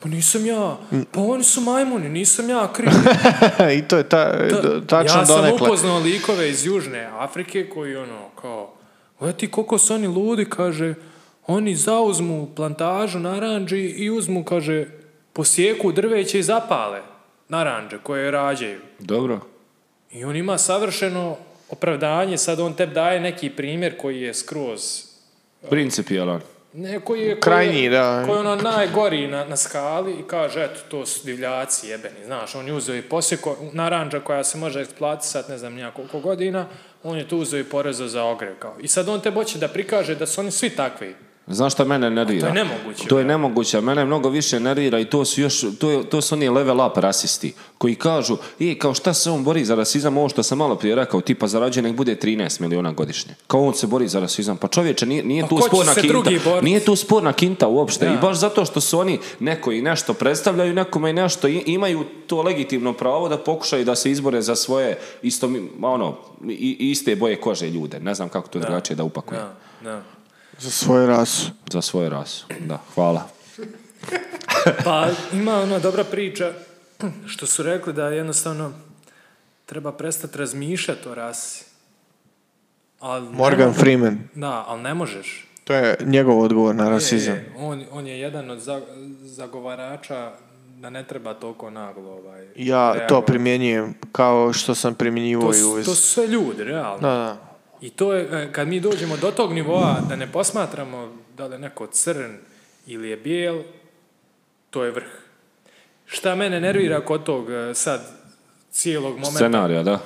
Speaker 1: Pa nisam ja,
Speaker 3: Mm.
Speaker 1: pa oni su majmuni, nisam ja kriv.
Speaker 3: [LAUGHS] I to je ta, tačno
Speaker 1: ja sam
Speaker 3: donekle.
Speaker 1: upoznao "E, likove iz Južne Afrike koji ono kao, gledaj ti koliko su oni ludi, kaže, Oni zauzmu plantažu naranđi i uzmu, kaže, posijeku drveće i zapale naranđe koje rađaju.
Speaker 2: Dobro.
Speaker 1: I on ima savršeno opravdanje, sad on tebi daje neki primjer koji je skroz
Speaker 2: Principijalan.
Speaker 1: ne, koji je... koji je-
Speaker 3: Krajnji, da.
Speaker 1: Koji je ono najgori na, na skali i kaže, eto, to su divljaci jebeni, znaš, on je uzeo i posjeko, naranđa koja se može eksploatisati, ne znam, nija koliko godina, on je tu uzeo i porezao za ogrev, kao. I sad on te hoće da prikaže da su oni svi takvi.
Speaker 2: Znaš šta mene nervira?
Speaker 1: To je nemoguće.
Speaker 2: To je nemoguće, a mene mnogo više nervira i to su još, to, je- to su oni level up rasisti, koji kažu, i kao šta se on bori za rasizam, ovo što sam malo prije rekao, tipa zarađuje nek bude 13 miliona godišnje. Kao on se bori za rasizam, pa čovječe, nije, nije
Speaker 1: Pa
Speaker 2: tu
Speaker 1: ko će
Speaker 2: sporna
Speaker 1: se
Speaker 2: kinta.
Speaker 1: drugi borit?
Speaker 2: Nije tu sporna kinta uopšte
Speaker 1: Da.
Speaker 2: i baš zato što su oni neko i nešto predstavljaju, nekome i nešto i imaju to legitimno pravo da pokušaju da se izbore za svoje isto, ono, i- iste boje kože ljude. Ne znam kako to drugačije da upakujem.
Speaker 1: Da, da.
Speaker 3: Za svoju rasu.
Speaker 2: Za svoju rasu, da, hvala.
Speaker 1: Pa ima ona dobra priča što su rekli da jednostavno treba prestati razmišljati o rasi. Ali
Speaker 3: Morgan Freeman.
Speaker 1: Da, ali ne možeš.
Speaker 3: To je njegov odgovor na rasizam.
Speaker 1: E, on, on je jedan od za- zagovarača da ne treba toliko naglo ovaj,
Speaker 3: Ja to
Speaker 1: reagovati.
Speaker 3: primjenjujem kao što sam primjenjivao
Speaker 1: To,
Speaker 3: i
Speaker 1: su-
Speaker 3: uvez.
Speaker 1: to su sve ljudi, realno.
Speaker 3: Da, da.
Speaker 1: I to je, e, kad mi dođemo do tog nivoa da ne posmatramo da li je neko crn ili je bijel, to je vrh. Šta mene nervira kod tog e, sad cijelog momenta?
Speaker 2: Scenarija, da.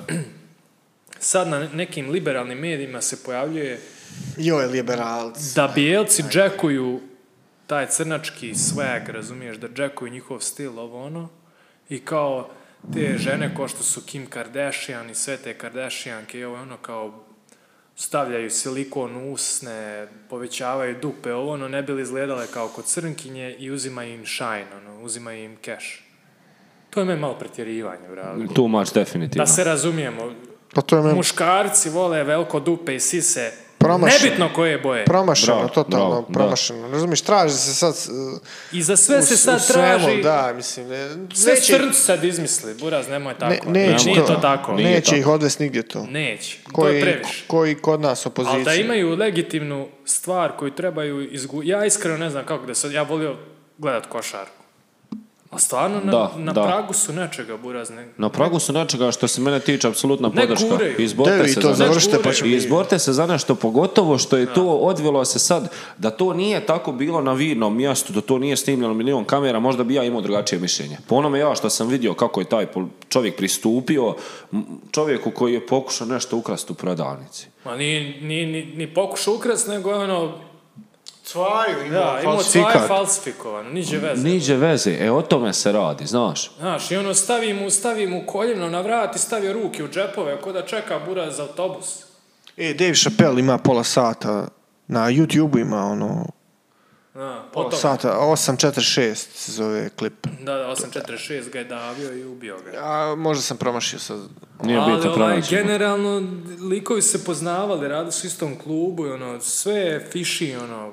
Speaker 1: Sad na nekim liberalnim medijima se pojavljuje
Speaker 3: Joj, liberalci.
Speaker 1: da bijelci džekuju taj crnački swag, razumiješ, da džekuju njihov stil, ovo ono, i kao te žene ko što su Kim Kardashian i sve te Kardashianke i ovo ono kao stavljaju silikon u usne, povećavaju dupe, ovo ono, ne bi li izgledale kao kod crnkinje i uzima im shine, ono, uzima im cash. To je me malo pretjerivanje, bravo.
Speaker 2: Too much, definitivno.
Speaker 1: Da se razumijemo,
Speaker 3: Pa to je meni
Speaker 1: muškarci vole veliko dupe i sise,
Speaker 3: Promašaj.
Speaker 1: nebitno koje boje.
Speaker 3: promašeno,
Speaker 2: Bravo,
Speaker 3: totalno
Speaker 2: bravo, da.
Speaker 3: promašeno. Razumiješ, traži se sad... s-
Speaker 1: I za sve
Speaker 3: u-
Speaker 1: se
Speaker 3: u
Speaker 1: sad
Speaker 3: svemu,
Speaker 1: traži...
Speaker 3: da, mislim, ne,
Speaker 1: Sve
Speaker 3: neće-
Speaker 1: crnci sad izmisli, Buraz, nemoj tako. Znači,
Speaker 3: Ne, neće
Speaker 1: Nije to tako.
Speaker 2: Nije
Speaker 3: Neće
Speaker 2: tako.
Speaker 3: ih odvesti nigdje to.
Speaker 1: Neće. to je
Speaker 3: Koji,
Speaker 1: previše.
Speaker 3: koji kod nas
Speaker 1: Ali da
Speaker 3: opozicija.
Speaker 1: imaju legitimnu stvar koju trebaju izgu... Ja iskreno ne znam kako da se... Ja volio gledat košarku. A stvarno na,
Speaker 2: Da,
Speaker 1: na
Speaker 2: da.
Speaker 1: pragu su nečega, Buraz. Ne...
Speaker 2: Na pragu su nečega što se mene tiče apsolutna podrška.
Speaker 1: guraju.
Speaker 2: Izborite
Speaker 3: Devi,
Speaker 2: se
Speaker 3: to
Speaker 2: za
Speaker 1: završi-
Speaker 3: završite pa
Speaker 1: guraju.
Speaker 3: ćemo
Speaker 2: I
Speaker 3: vidjeti.
Speaker 2: izborite se za nešto, pogotovo što je to odvelo se sad, da to nije tako bilo na vidnom mjestu, da to nije snimljeno milion kamera, možda bi ja imao drugačije mišljenje. Po onome ja što sam vidio kako je taj pol- čovjek pristupio, m, čovjeku koji je pokušao nešto ukrasti u prodavnici.
Speaker 1: Ma ni, ni, ni, ni pokušao ukras, nego je ono...
Speaker 3: Cvaju, imao
Speaker 1: Da, imao
Speaker 3: falsifikat.
Speaker 1: cvaje falsifikovano, niđe veze.
Speaker 2: Niđe veze, e o tome se radi, znaš.
Speaker 1: Znaš, i ono stavi mu, stavi mu koljeno na vrat i stavi ruke u džepove, ko da čeka Buraz za autobus.
Speaker 3: E, Dave Chappelle ima pola sata, na YouTube ima ono,
Speaker 1: Na,
Speaker 3: pola
Speaker 1: potom.
Speaker 3: sata, 8.46 se zove klip.
Speaker 1: Da, da, 846 ga je davio i ubio ga.
Speaker 3: A možda sam promašio sad
Speaker 2: Nije
Speaker 1: Ali
Speaker 2: bitno
Speaker 1: ovaj,
Speaker 2: pronaći.
Speaker 1: generalno, likovi su se poznavali, radili su u istom klubu i ono, sve je fiši, ono,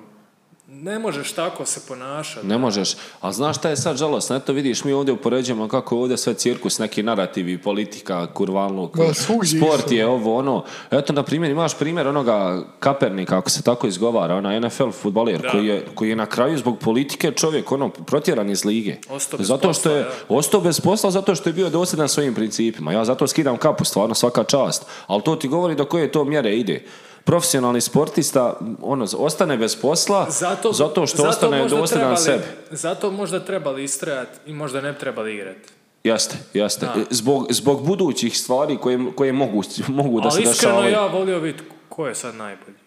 Speaker 1: ne možeš tako se ponašati.
Speaker 2: Ne možeš. A znaš šta je sad žalosno? Eto vidiš, mi ovdje upoređujemo kako je ovdje sve cirkus, neki narativi, politika, kurvanluk,
Speaker 3: Ma, svugdje
Speaker 2: sport
Speaker 3: isto.
Speaker 2: je ovo, ono. Eto, na primjer, imaš primjer onoga Kapernika, ako se tako izgovara, ona NFL futbaler koji je, koji je na kraju zbog politike čovjek, ono, protjeran iz lige.
Speaker 1: Ostao bez
Speaker 2: zato što je,
Speaker 1: posla,
Speaker 2: ostao bez posla zato što je bio dosljedan svojim principima. Ja zato skidam kapu, stvarno svaka čast. Ali to ti govori do koje to mjere ide. Profesionalni sportista ono, ostane bez posla
Speaker 1: Zato,
Speaker 2: zato što
Speaker 1: zato
Speaker 2: ostane
Speaker 1: možda
Speaker 2: dosljedan
Speaker 1: trebali-
Speaker 2: sebi.
Speaker 1: Zato možda trebali istrajati i možda ne bi trebali igrati.
Speaker 2: Jeste, jeste. Zbog, zbog budućih stvari koje, koje mogu, mogu da se
Speaker 1: Ali iskreno
Speaker 2: dešavaju.
Speaker 1: ja volio vidjeti ko je sad najbolji.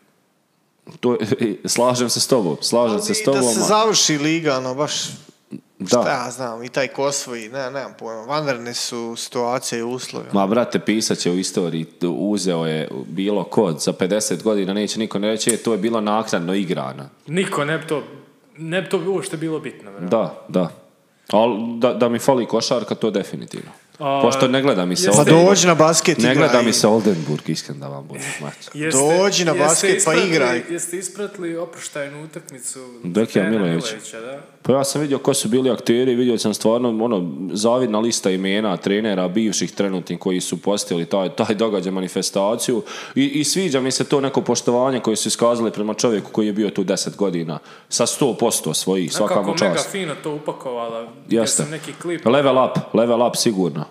Speaker 2: To, e, slažem se s tobom, slažem se s
Speaker 3: Da
Speaker 2: tobom.
Speaker 3: se
Speaker 2: a-
Speaker 3: završi liga, ono, baš,
Speaker 2: da.
Speaker 3: šta ja znam, i taj Kosovo i ne, nemam pojma, vanredne su situacije i uslove.
Speaker 2: Ma brate, pisat je u istoriji, uzeo je bilo kod za 50 godina, neće niko ne reći, e, to je bilo naknadno igrana.
Speaker 1: Niko ne bi to, ne bi to uopšte bilo bitno. vjerojatno.
Speaker 2: Da, da. Ali da, da mi fali košarka, to definitivno.
Speaker 1: A,
Speaker 2: Pošto ne gleda mi se
Speaker 1: jeste-
Speaker 3: Pa
Speaker 2: Oldenburg.
Speaker 3: dođi na basket
Speaker 2: Ne
Speaker 3: igraj.
Speaker 2: gleda mi se Oldenburg, iskren da vam budem. mač.
Speaker 3: Dođi na basket pa
Speaker 1: ispratili-
Speaker 3: igraj.
Speaker 1: Jeste ispratili oproštajnu utakmicu
Speaker 2: Dekija
Speaker 1: trenera
Speaker 2: Milojevića.
Speaker 1: Milojevića, da?
Speaker 2: Pa Pa ja sam vidio ko su bili akteri, vidio sam stvarno ono, zavidna lista imena trenera, bivših trenutnih koji su postavili taj, taj događaj, manifestaciju I, i sviđa mi se to neko poštovanje koje su iskazali prema čovjeku koji je bio tu 10 godina, sa 100% svojih, svaka mu
Speaker 1: Nekako mega
Speaker 2: čast.
Speaker 1: fino to upakovala. Jer
Speaker 2: Jeste.
Speaker 1: sam neki klip.
Speaker 2: Level up, level up sigurno.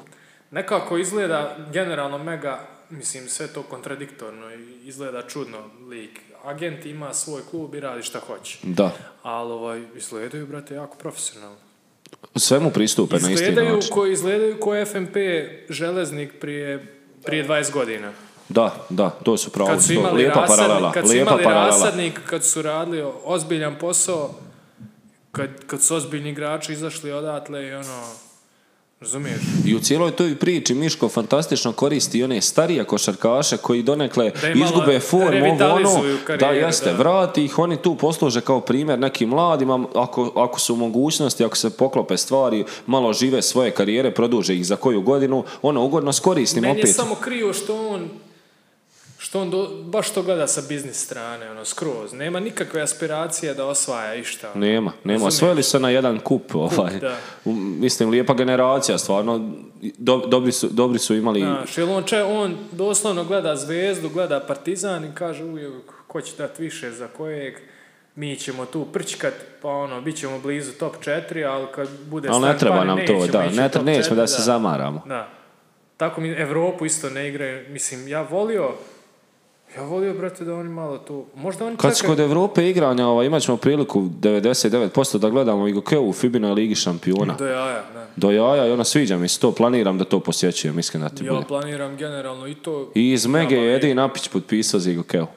Speaker 1: Nekako izgleda generalno mega, mislim, sve to kontradiktorno i izgleda čudno lik. Agent ima svoj klub i radi šta hoće.
Speaker 2: Da.
Speaker 1: Ali ovaj, izgledaju, brate, jako profesionalno.
Speaker 2: Svemu pristupe Pa na isti
Speaker 1: Izgledaju
Speaker 2: način.
Speaker 1: ko, izgledaju ko FMP železnik prije, prije 20 godina.
Speaker 2: Da, da, to su pravo.
Speaker 1: Kad su
Speaker 2: Pa to-
Speaker 1: imali,
Speaker 2: Lijepa paralela.
Speaker 1: rasadnik, kad su
Speaker 2: lijepa
Speaker 1: imali
Speaker 2: paralela.
Speaker 1: rasadnik, kad su radili ozbiljan posao, kad, kad su ozbiljni igrači izašli odatle i ono, razumiješ?
Speaker 2: I u cijeloj toj priči Miško fantastično koristi i one starije košarkaše koji donekle
Speaker 1: Da im malo
Speaker 2: izgube formu, ovo ono,
Speaker 1: revitalizuju
Speaker 2: da
Speaker 1: karijeru,
Speaker 2: jeste,
Speaker 1: da.
Speaker 2: vrati ih, oni tu posluže kao primjer nekim mladima, ako, ako su u mogućnosti, ako se poklope stvari, malo žive svoje karijere, produže ih za koju godinu, ono, ugodno skoristim
Speaker 1: Meni je
Speaker 2: opet.
Speaker 1: samo krivo što on što on do- baš to gleda sa biznis strane, ono, skroz. Nema nikakve aspiracije da osvaja išta. ono.
Speaker 2: Nema, nema.
Speaker 1: Razumiješ?
Speaker 2: Osvojili su na jedan kup, ovaj.
Speaker 1: da.
Speaker 2: U- Mislim, lijepa generacija, stvarno. Do- dobri, su, dobri su imali...
Speaker 1: Znaš, jel on, če, on doslovno gleda zvezdu, gleda partizan i kaže uvijek ko će dat više za kojeg, mi ćemo tu prčkat, pa ono, bit ćemo blizu top 4, ali kad bude
Speaker 2: ali ne
Speaker 1: stan
Speaker 2: treba
Speaker 1: pari,
Speaker 2: nam to,
Speaker 1: nećemo
Speaker 2: da.
Speaker 1: ići u
Speaker 2: Ne,
Speaker 1: top
Speaker 2: nećemo da
Speaker 1: četiri,
Speaker 2: se zamaramo.
Speaker 1: Da. Tako mi Evropu isto ne igraju. Mislim, ja volio, ja volio, brate, da oni malo tu... Možda oni
Speaker 2: Kad
Speaker 1: čak-
Speaker 2: se kod Evrope igranja, ovaj, imat ćemo priliku 99% da gledamo Igokeu u Fibinoj Ligi šampiona.
Speaker 1: Do jaja, da.
Speaker 2: Do jaja i ono sviđa mi se to, planiram da to posjećujem, iskreno da ti
Speaker 1: Ja
Speaker 2: budem.
Speaker 1: planiram generalno i to
Speaker 2: I iz Mege
Speaker 1: Ja,
Speaker 2: je
Speaker 1: ma,
Speaker 2: Edin Apić potpisao za Igokeu.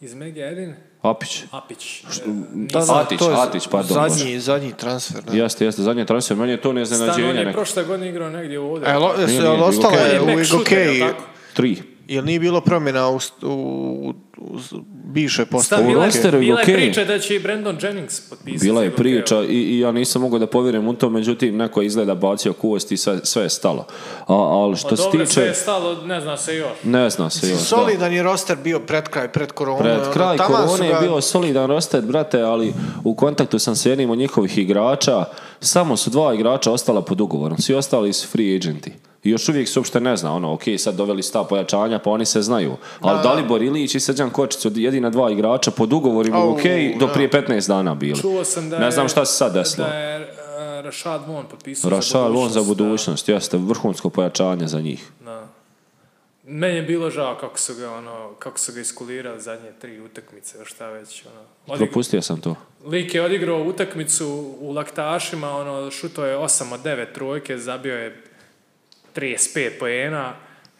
Speaker 1: iz Mege Edin,
Speaker 2: Apić.
Speaker 1: Apić. E,
Speaker 2: Da, da, Atić,
Speaker 3: to je
Speaker 2: Atić, pardon. može.
Speaker 3: Zadnji, zadnji transfer. Da.
Speaker 2: Jeste, jeste, zadnji transfer, meni je to
Speaker 1: Stan, on
Speaker 2: neznenađenje
Speaker 1: je
Speaker 2: neko.
Speaker 1: prošle godine igrao negdje ovdje.
Speaker 3: E, lo,
Speaker 2: Nije,
Speaker 3: su-
Speaker 2: nije,
Speaker 3: jel
Speaker 2: Igoke-
Speaker 3: ostalo
Speaker 1: On
Speaker 3: je
Speaker 1: je
Speaker 3: u
Speaker 1: back shooter, jel
Speaker 3: Igokeji,
Speaker 1: tako?
Speaker 2: Tri.
Speaker 3: jel nije bilo promjena u, st- u, u s- bivšoj
Speaker 1: Stan,
Speaker 3: postavi?
Speaker 1: bila,
Speaker 2: rosteru
Speaker 1: je, bila je
Speaker 2: Igokeji.
Speaker 1: priča da će i Brandon Jennings potpisati.
Speaker 2: Bila je
Speaker 1: Igokeju.
Speaker 2: priča i, i ja nisam mogao da povjerujem u to, međutim, neko je izgleda bacio kuvost i sve, sve je stalo. A, ali
Speaker 1: Pa
Speaker 2: što se
Speaker 1: dobro, sve
Speaker 2: tiče...
Speaker 1: je stalo, ne zna se još.
Speaker 2: Ne zna se još. da.
Speaker 3: Solidan je roster bio pred kraj, pred koronu.
Speaker 2: Pred
Speaker 3: ono,
Speaker 2: kraj
Speaker 3: taman su
Speaker 2: korone je
Speaker 3: ga-
Speaker 2: bio solidan roster, brate, ali u kontaktu sam s jednim od njihovih igrača. Samo su dva igrača ostala pod ugovorom, svi ostali su free agenti. I još uvijek se uopšte ne zna, ono, ok, sad doveli sta pojačanja, pa oni se znaju. Ali Dalibor Ilić i Srđan Kočić su jedina dva igrača pod ugovorima,
Speaker 3: Au,
Speaker 2: ok, do
Speaker 3: da.
Speaker 2: prije 15 dana bili.
Speaker 1: Čuo sam da
Speaker 2: ne
Speaker 1: je-
Speaker 2: znam šta se sad desilo.
Speaker 1: Da je e, Rashad Vaughn potpisao
Speaker 2: Rašar on za
Speaker 1: da.
Speaker 2: budućnost, jeste, vrhunsko pojačanje za njih.
Speaker 1: Da. Meni je bilo žao kako su ga, ono, kako su ga iskulirali zadnje tri utakmice, ili šta već. Ono. Odig-
Speaker 2: Propustio sam to.
Speaker 1: Lik je odigrao utakmicu u laktašima, ono, šuto je 8 od 9 trojke, zabio je 35 poena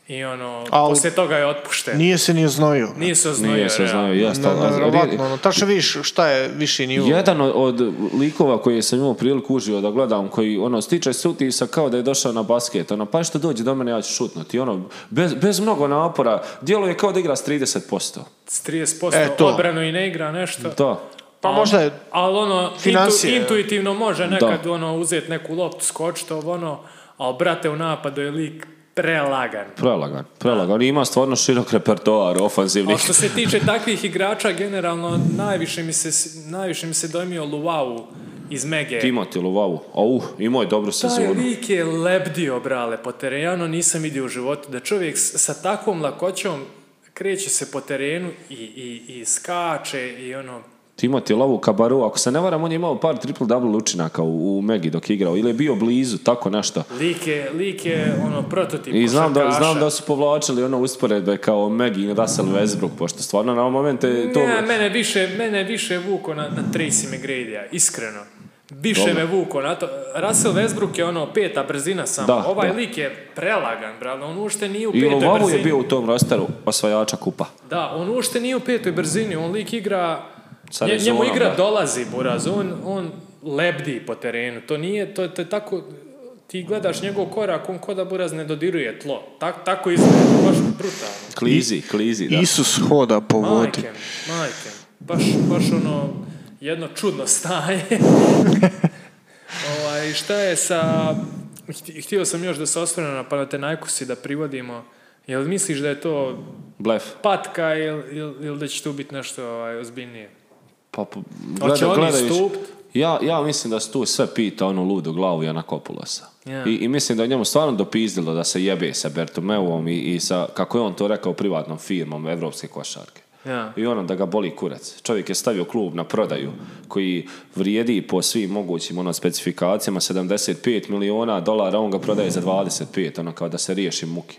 Speaker 1: i ono,
Speaker 3: Al-
Speaker 1: poslije toga je otpušten. Nije,
Speaker 3: Nije E, se ni oznojio.
Speaker 1: se oznojio.
Speaker 2: Nije se
Speaker 1: realno.
Speaker 2: znao, jeste.
Speaker 3: Na,
Speaker 2: ali-
Speaker 3: nevjerovatno, ono, tačno vidiš šta je viši nivo.
Speaker 2: Jedan od, od likova koji sam imao priliku užio da gledam, koji ono, stiče se utisa kao da je došao na basket, ono, pa što dođe do mene, ja ću šutnuti, ono, bez, bez mnogo napora, djeluje kao da igra s 30%.
Speaker 1: S 30%
Speaker 3: E, to.
Speaker 1: obranu i ne igra nešto.
Speaker 2: Da,
Speaker 3: Pa
Speaker 1: Al-
Speaker 3: možda je
Speaker 1: Ali ono, intu,
Speaker 3: Financije.
Speaker 1: intuitivno može nekad ono, uzeti neku loptu, skočiti ovo ono, ali brate u napadu je lik
Speaker 3: [LAUGHS]
Speaker 1: prelagan.
Speaker 2: prelagan, prelagan, ima stvarno širok repertoar
Speaker 1: A
Speaker 2: ofanzivnih.
Speaker 1: što se tiče takvih igrača, generalno najviše mi se, najviše mi se dojmio Luau iz Mege.
Speaker 2: Timoti Luvavu, au, uh, imao je dobru
Speaker 1: Taj
Speaker 2: sezonu.
Speaker 1: lik je lebdio, brale, po terenu nisam vidio u životu da čovjek s- sa takvom lakoćom kreće se po terenu i, i, i skače i ono...
Speaker 2: Timoti Lavu Kabaru, ako se ne varam, on je imao par triple-double učinaka u, u Megi dok je igrao, ili je bio blizu, tako nešto.
Speaker 1: Lik je, lik je ono, prototip
Speaker 2: I znam da,
Speaker 1: košarkaša.
Speaker 2: znam da su povlačili ono usporedbe kao Meg i Russell Westbrook, pošto stvarno na ovom momentu je to...
Speaker 1: Ne, mene više, mene više vuko na, na Tracy McGrady-a, iskreno. Više
Speaker 2: Dobro.
Speaker 1: me vuko na to. Russell Westbrook je ono peta brzina samo.
Speaker 2: Da,
Speaker 1: ovaj
Speaker 2: da.
Speaker 1: lik je prelagan, bravo. On uopšte nije u
Speaker 2: I
Speaker 1: petoj
Speaker 2: Lovavu je
Speaker 1: brzini.
Speaker 2: bio u tom rosteru osvajača kupa.
Speaker 1: Da, on uopšte nije u petoj brzini. On lik igra...
Speaker 2: Sa
Speaker 1: nje- njemu
Speaker 2: rezonom,
Speaker 1: igra
Speaker 2: da.
Speaker 1: dolazi, buraz. On, on lebdi po terenu. To nije... To, to je tako... Ti gledaš njegov korak, on ko da buraz ne dodiruje tlo. Tak, tako izgleda. Baš brutalno.
Speaker 2: Klizi, klizi, da.
Speaker 3: Isus hoda po vodi.
Speaker 1: Majke, mi, majke. mi. Baš, baš ono, jedno čudno
Speaker 2: [LAUGHS]
Speaker 1: staje. ovaj, šta je sa... hti- Htio sam još da se osvrnem na Panathinaikos i da privodimo. Jel misliš da je to
Speaker 2: Blef.
Speaker 1: patka ili, ili, ili da će tu biti nešto ovaj, ozbiljnije?
Speaker 2: Pa, p-
Speaker 1: Hoće
Speaker 2: gleda-
Speaker 1: oni
Speaker 2: gledajući-
Speaker 1: istup?
Speaker 2: Ja, ja mislim da se tu sve pita onu ludu glavu Jana Kopulosa.
Speaker 1: Ja.
Speaker 2: I, I mislim da je njemu stvarno dopizdilo da se jebe sa Bertomeuom i, i sa, kako je on to rekao, privatnom firmom evropske košarke.
Speaker 1: Ja.
Speaker 2: I ono da ga boli kurac. Čovjek je stavio klub na prodaju koji vrijedi po svim mogućim ono, specifikacijama 75 miliona dolara, on ga prodaje za 25, ono kao da se riješi muki.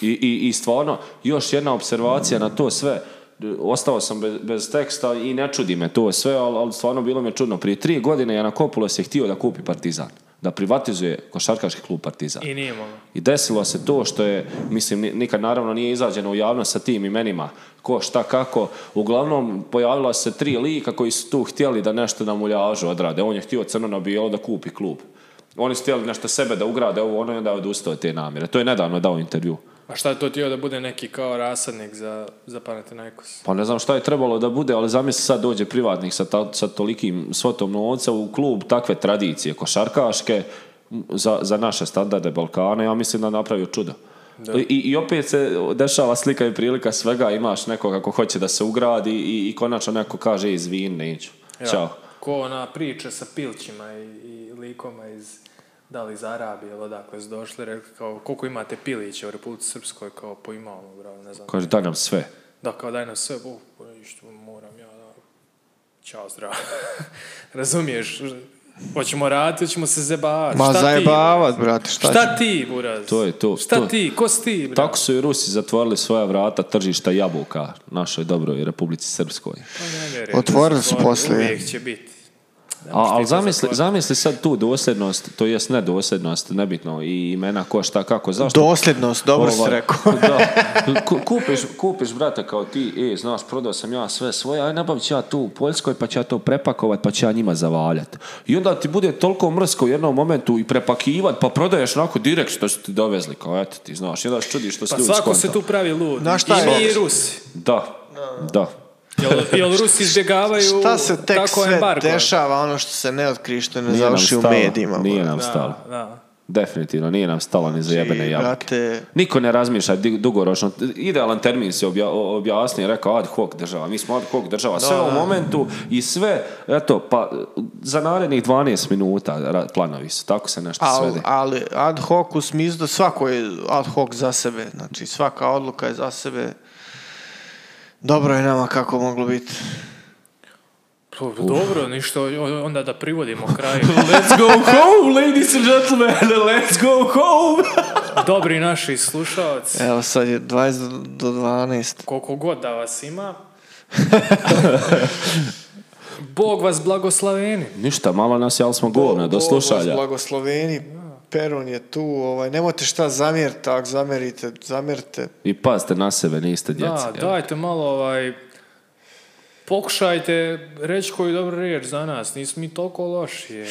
Speaker 2: I, i, i stvarno, još jedna observacija na to sve. Ostao sam bez, bez teksta i ne čudi me to sve, ali, ali stvarno bilo mi je čudno. Prije tri godine Janakopulos je htio da kupi Partizan, da privatizuje košarkaški klub Partizan.
Speaker 1: I nije mogao.
Speaker 2: I desilo se to što je, mislim, ni- nikad naravno nije izađeno u javnost sa tim imenima, ko, šta, kako. Uglavnom, pojavila se tri lika koji su tu htjeli da nešto na muljažu odrade. On je htio crno na bijelo da kupi klub. Oni su htjeli nešto sebe da ugrade ovo, ono je onda je odustao od te namjere. To je nedavno dao intervju.
Speaker 1: A šta je to tio da bude neki kao rasadnik za, za Panathinaikos?
Speaker 2: Pa ne znam šta je trebalo da bude, ali zamisli sad dođe privatnik sa, ta- sa tolikim svotom novca u klub takve tradicije košarkaške m, za, za naše standarde Balkana, ja mislim da je napravio čudo. I, I opet se dešava slika i prilika svega, imaš nekoga ko hoće da se ugradi i, i konačno neko kaže izvin, neću. Ćao.
Speaker 1: Ko ona priča sa pilćima i, i likoma iz da li iz Arabije ili odakle su došli, rekli kao koliko imate pilića u Republici Srpskoj, kao po imamo, bravo, ne znam.
Speaker 2: Kaže, daj nam sve.
Speaker 1: Da, kao daj nam sve, bu, pa ništa, moram ja, da. Ćao, zdravo. [LAUGHS] Razumiješ? Hoćemo raditi, hoćemo se zebavati.
Speaker 3: Ma
Speaker 1: Šta ti?
Speaker 3: zajebavat, brate, šta,
Speaker 1: Šta ti, buraz?
Speaker 2: To je to,
Speaker 1: Šta
Speaker 2: to.
Speaker 1: ti? Ko si ti, bre?
Speaker 2: Tako su i Rusi zatvorili svoja vrata tržišta jabuka našoj dobroj Republici Srpskoj.
Speaker 1: Pa ne vjerujem.
Speaker 3: Otvorili su
Speaker 1: Oni
Speaker 3: poslije.
Speaker 1: Uvijek će biti. Ne
Speaker 2: A,
Speaker 1: možeš ti
Speaker 2: ali
Speaker 1: to
Speaker 2: zamisli,
Speaker 1: zatvoriti.
Speaker 2: zamisli sad tu dosljednost, to jest ne dosljednost, nebitno, i imena ko šta kako, zašto?
Speaker 3: Dosljednost, dobro si
Speaker 2: Ovaj,
Speaker 3: rekao.
Speaker 2: [LAUGHS] da. Ku- Kupiš, kupiš, brate, kao ti, e, znaš, prodao sam ja sve svoje, aj nabavit ću ja tu u Poljskoj, pa ću ja to prepakovat, pa ću ja njima zavaljat. I onda ti bude toliko mrsko u jednom momentu i prepakivat, pa prodaješ onako direkt što su ti dovezli, kao eto ti, znaš, i onda se čudiš što
Speaker 1: Pa
Speaker 2: si ljudi
Speaker 1: svako se
Speaker 2: skonto.
Speaker 1: tu pravi lud.
Speaker 3: Znaš šta
Speaker 1: I mi
Speaker 3: je?
Speaker 1: i Rusi.
Speaker 2: Da, da.
Speaker 3: [LAUGHS]
Speaker 1: Jel, jel Rusi izbjegavaju
Speaker 3: Šta se tek
Speaker 1: tako
Speaker 3: sve
Speaker 1: embargo?
Speaker 3: dešava, ono što se ne otkri, što ne
Speaker 2: Nije nam
Speaker 3: završi u
Speaker 2: stalo,
Speaker 3: medijima.
Speaker 2: Nije
Speaker 3: brate.
Speaker 2: nam stalo.
Speaker 1: Da, da.
Speaker 2: Definitivno, nije nam stalo ni za jebene
Speaker 3: I,
Speaker 2: jabuke.
Speaker 3: Brate,
Speaker 2: Niko ne razmišlja di- dugoročno. Idealan termin se obja, o- objasni i rekao ad hoc država. Mi smo ad hoc država. Sve u momentu i sve, eto, pa za narednih 12 minuta ra- planovi su. Tako se nešto
Speaker 3: Pa, ali,
Speaker 2: svede.
Speaker 3: ali ad hoc u smislu da svako je ad hoc za sebe. Znači svaka odluka je za sebe. Dobro je nama kako moglo biti.
Speaker 1: Pa, Dobro, ništa, o- onda da privodimo kraju. [LAUGHS] Let's go home, ladies and gentlemen, let's go home. [LAUGHS] Dobri naši slušalci,
Speaker 3: Evo sad je 20 do 12.
Speaker 1: koliko god da vas
Speaker 3: [LAUGHS]
Speaker 1: ima, Bog vas blagoslaveni.
Speaker 2: Ništa, malo nas je, ali smo govna do
Speaker 3: Bog vas
Speaker 2: slušalja.
Speaker 3: Blagosloveni, Perun je tu, ovaj, nemojte šta zamjeriti, tak zamjerite, zamjerite.
Speaker 2: I pazite na sebe, niste djeca.
Speaker 1: Da, dajte malo ovaj... Pokušajte reći koju dobru riječ za nas, nismo mi toliko loši. je.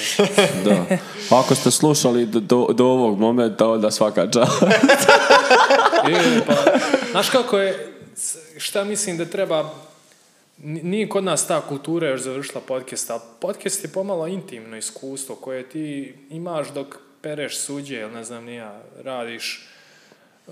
Speaker 2: da. Ako ste slušali do, do, do ovog momenta, onda svaka čast.
Speaker 1: [LAUGHS] Je, pa, znaš kako je, s- šta mislim da treba, ni- nije kod nas ta kultura još završila podcast, ali podcast je pomalo intimno iskustvo koje ti imaš dok pereš suđe ili ne znam ni ja, radiš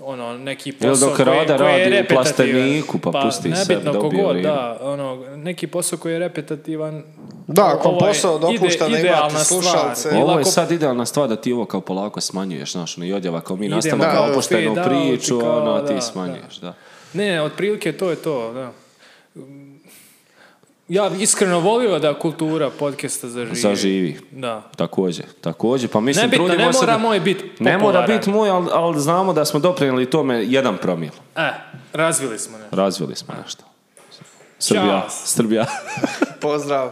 Speaker 1: ono, neki posao
Speaker 2: dok
Speaker 1: koji,
Speaker 2: Rada
Speaker 1: koji je
Speaker 2: radi u
Speaker 1: repetativan.
Speaker 2: plasteniku, pa pusti
Speaker 1: nebitno,
Speaker 2: sebe da
Speaker 1: ko
Speaker 2: ubije
Speaker 1: god,
Speaker 2: vrijeme.
Speaker 1: da, ono, neki posao koji je repetativan.
Speaker 3: Da, ako
Speaker 1: ovo je
Speaker 3: posao dopušta da
Speaker 1: idealna
Speaker 3: imate
Speaker 1: stvar.
Speaker 3: slušalce.
Speaker 1: Ili
Speaker 2: Ovo je
Speaker 1: ako-
Speaker 2: sad idealna stvar da ti ovo kao polako smanjuješ, znaš, ono i odjava kao mi nastavimo
Speaker 1: da,
Speaker 2: kao
Speaker 1: da,
Speaker 2: opuštenu
Speaker 1: fade out i
Speaker 2: priču,
Speaker 1: kao,
Speaker 2: ono, a
Speaker 1: da,
Speaker 2: ti
Speaker 1: da.
Speaker 2: smanjuješ, da.
Speaker 1: Ne, otprilike to je to, da. Ja bi iskreno volio da kultura podcasta zaživi.
Speaker 2: Zaživi.
Speaker 1: Da.
Speaker 2: Također, također. Pa mislim,
Speaker 1: Nebitno,
Speaker 2: trudimo
Speaker 1: ne
Speaker 2: se
Speaker 1: mora
Speaker 2: da-
Speaker 1: moj bit
Speaker 2: Ne mora
Speaker 1: popularan.
Speaker 2: biti moj, ali al znamo da smo doprinijeli tome jedan promil.
Speaker 1: E, razvili smo nešto.
Speaker 2: Razvili smo nešto. Srbija,
Speaker 1: Ćao.
Speaker 2: Srbija.
Speaker 3: Pozdrav.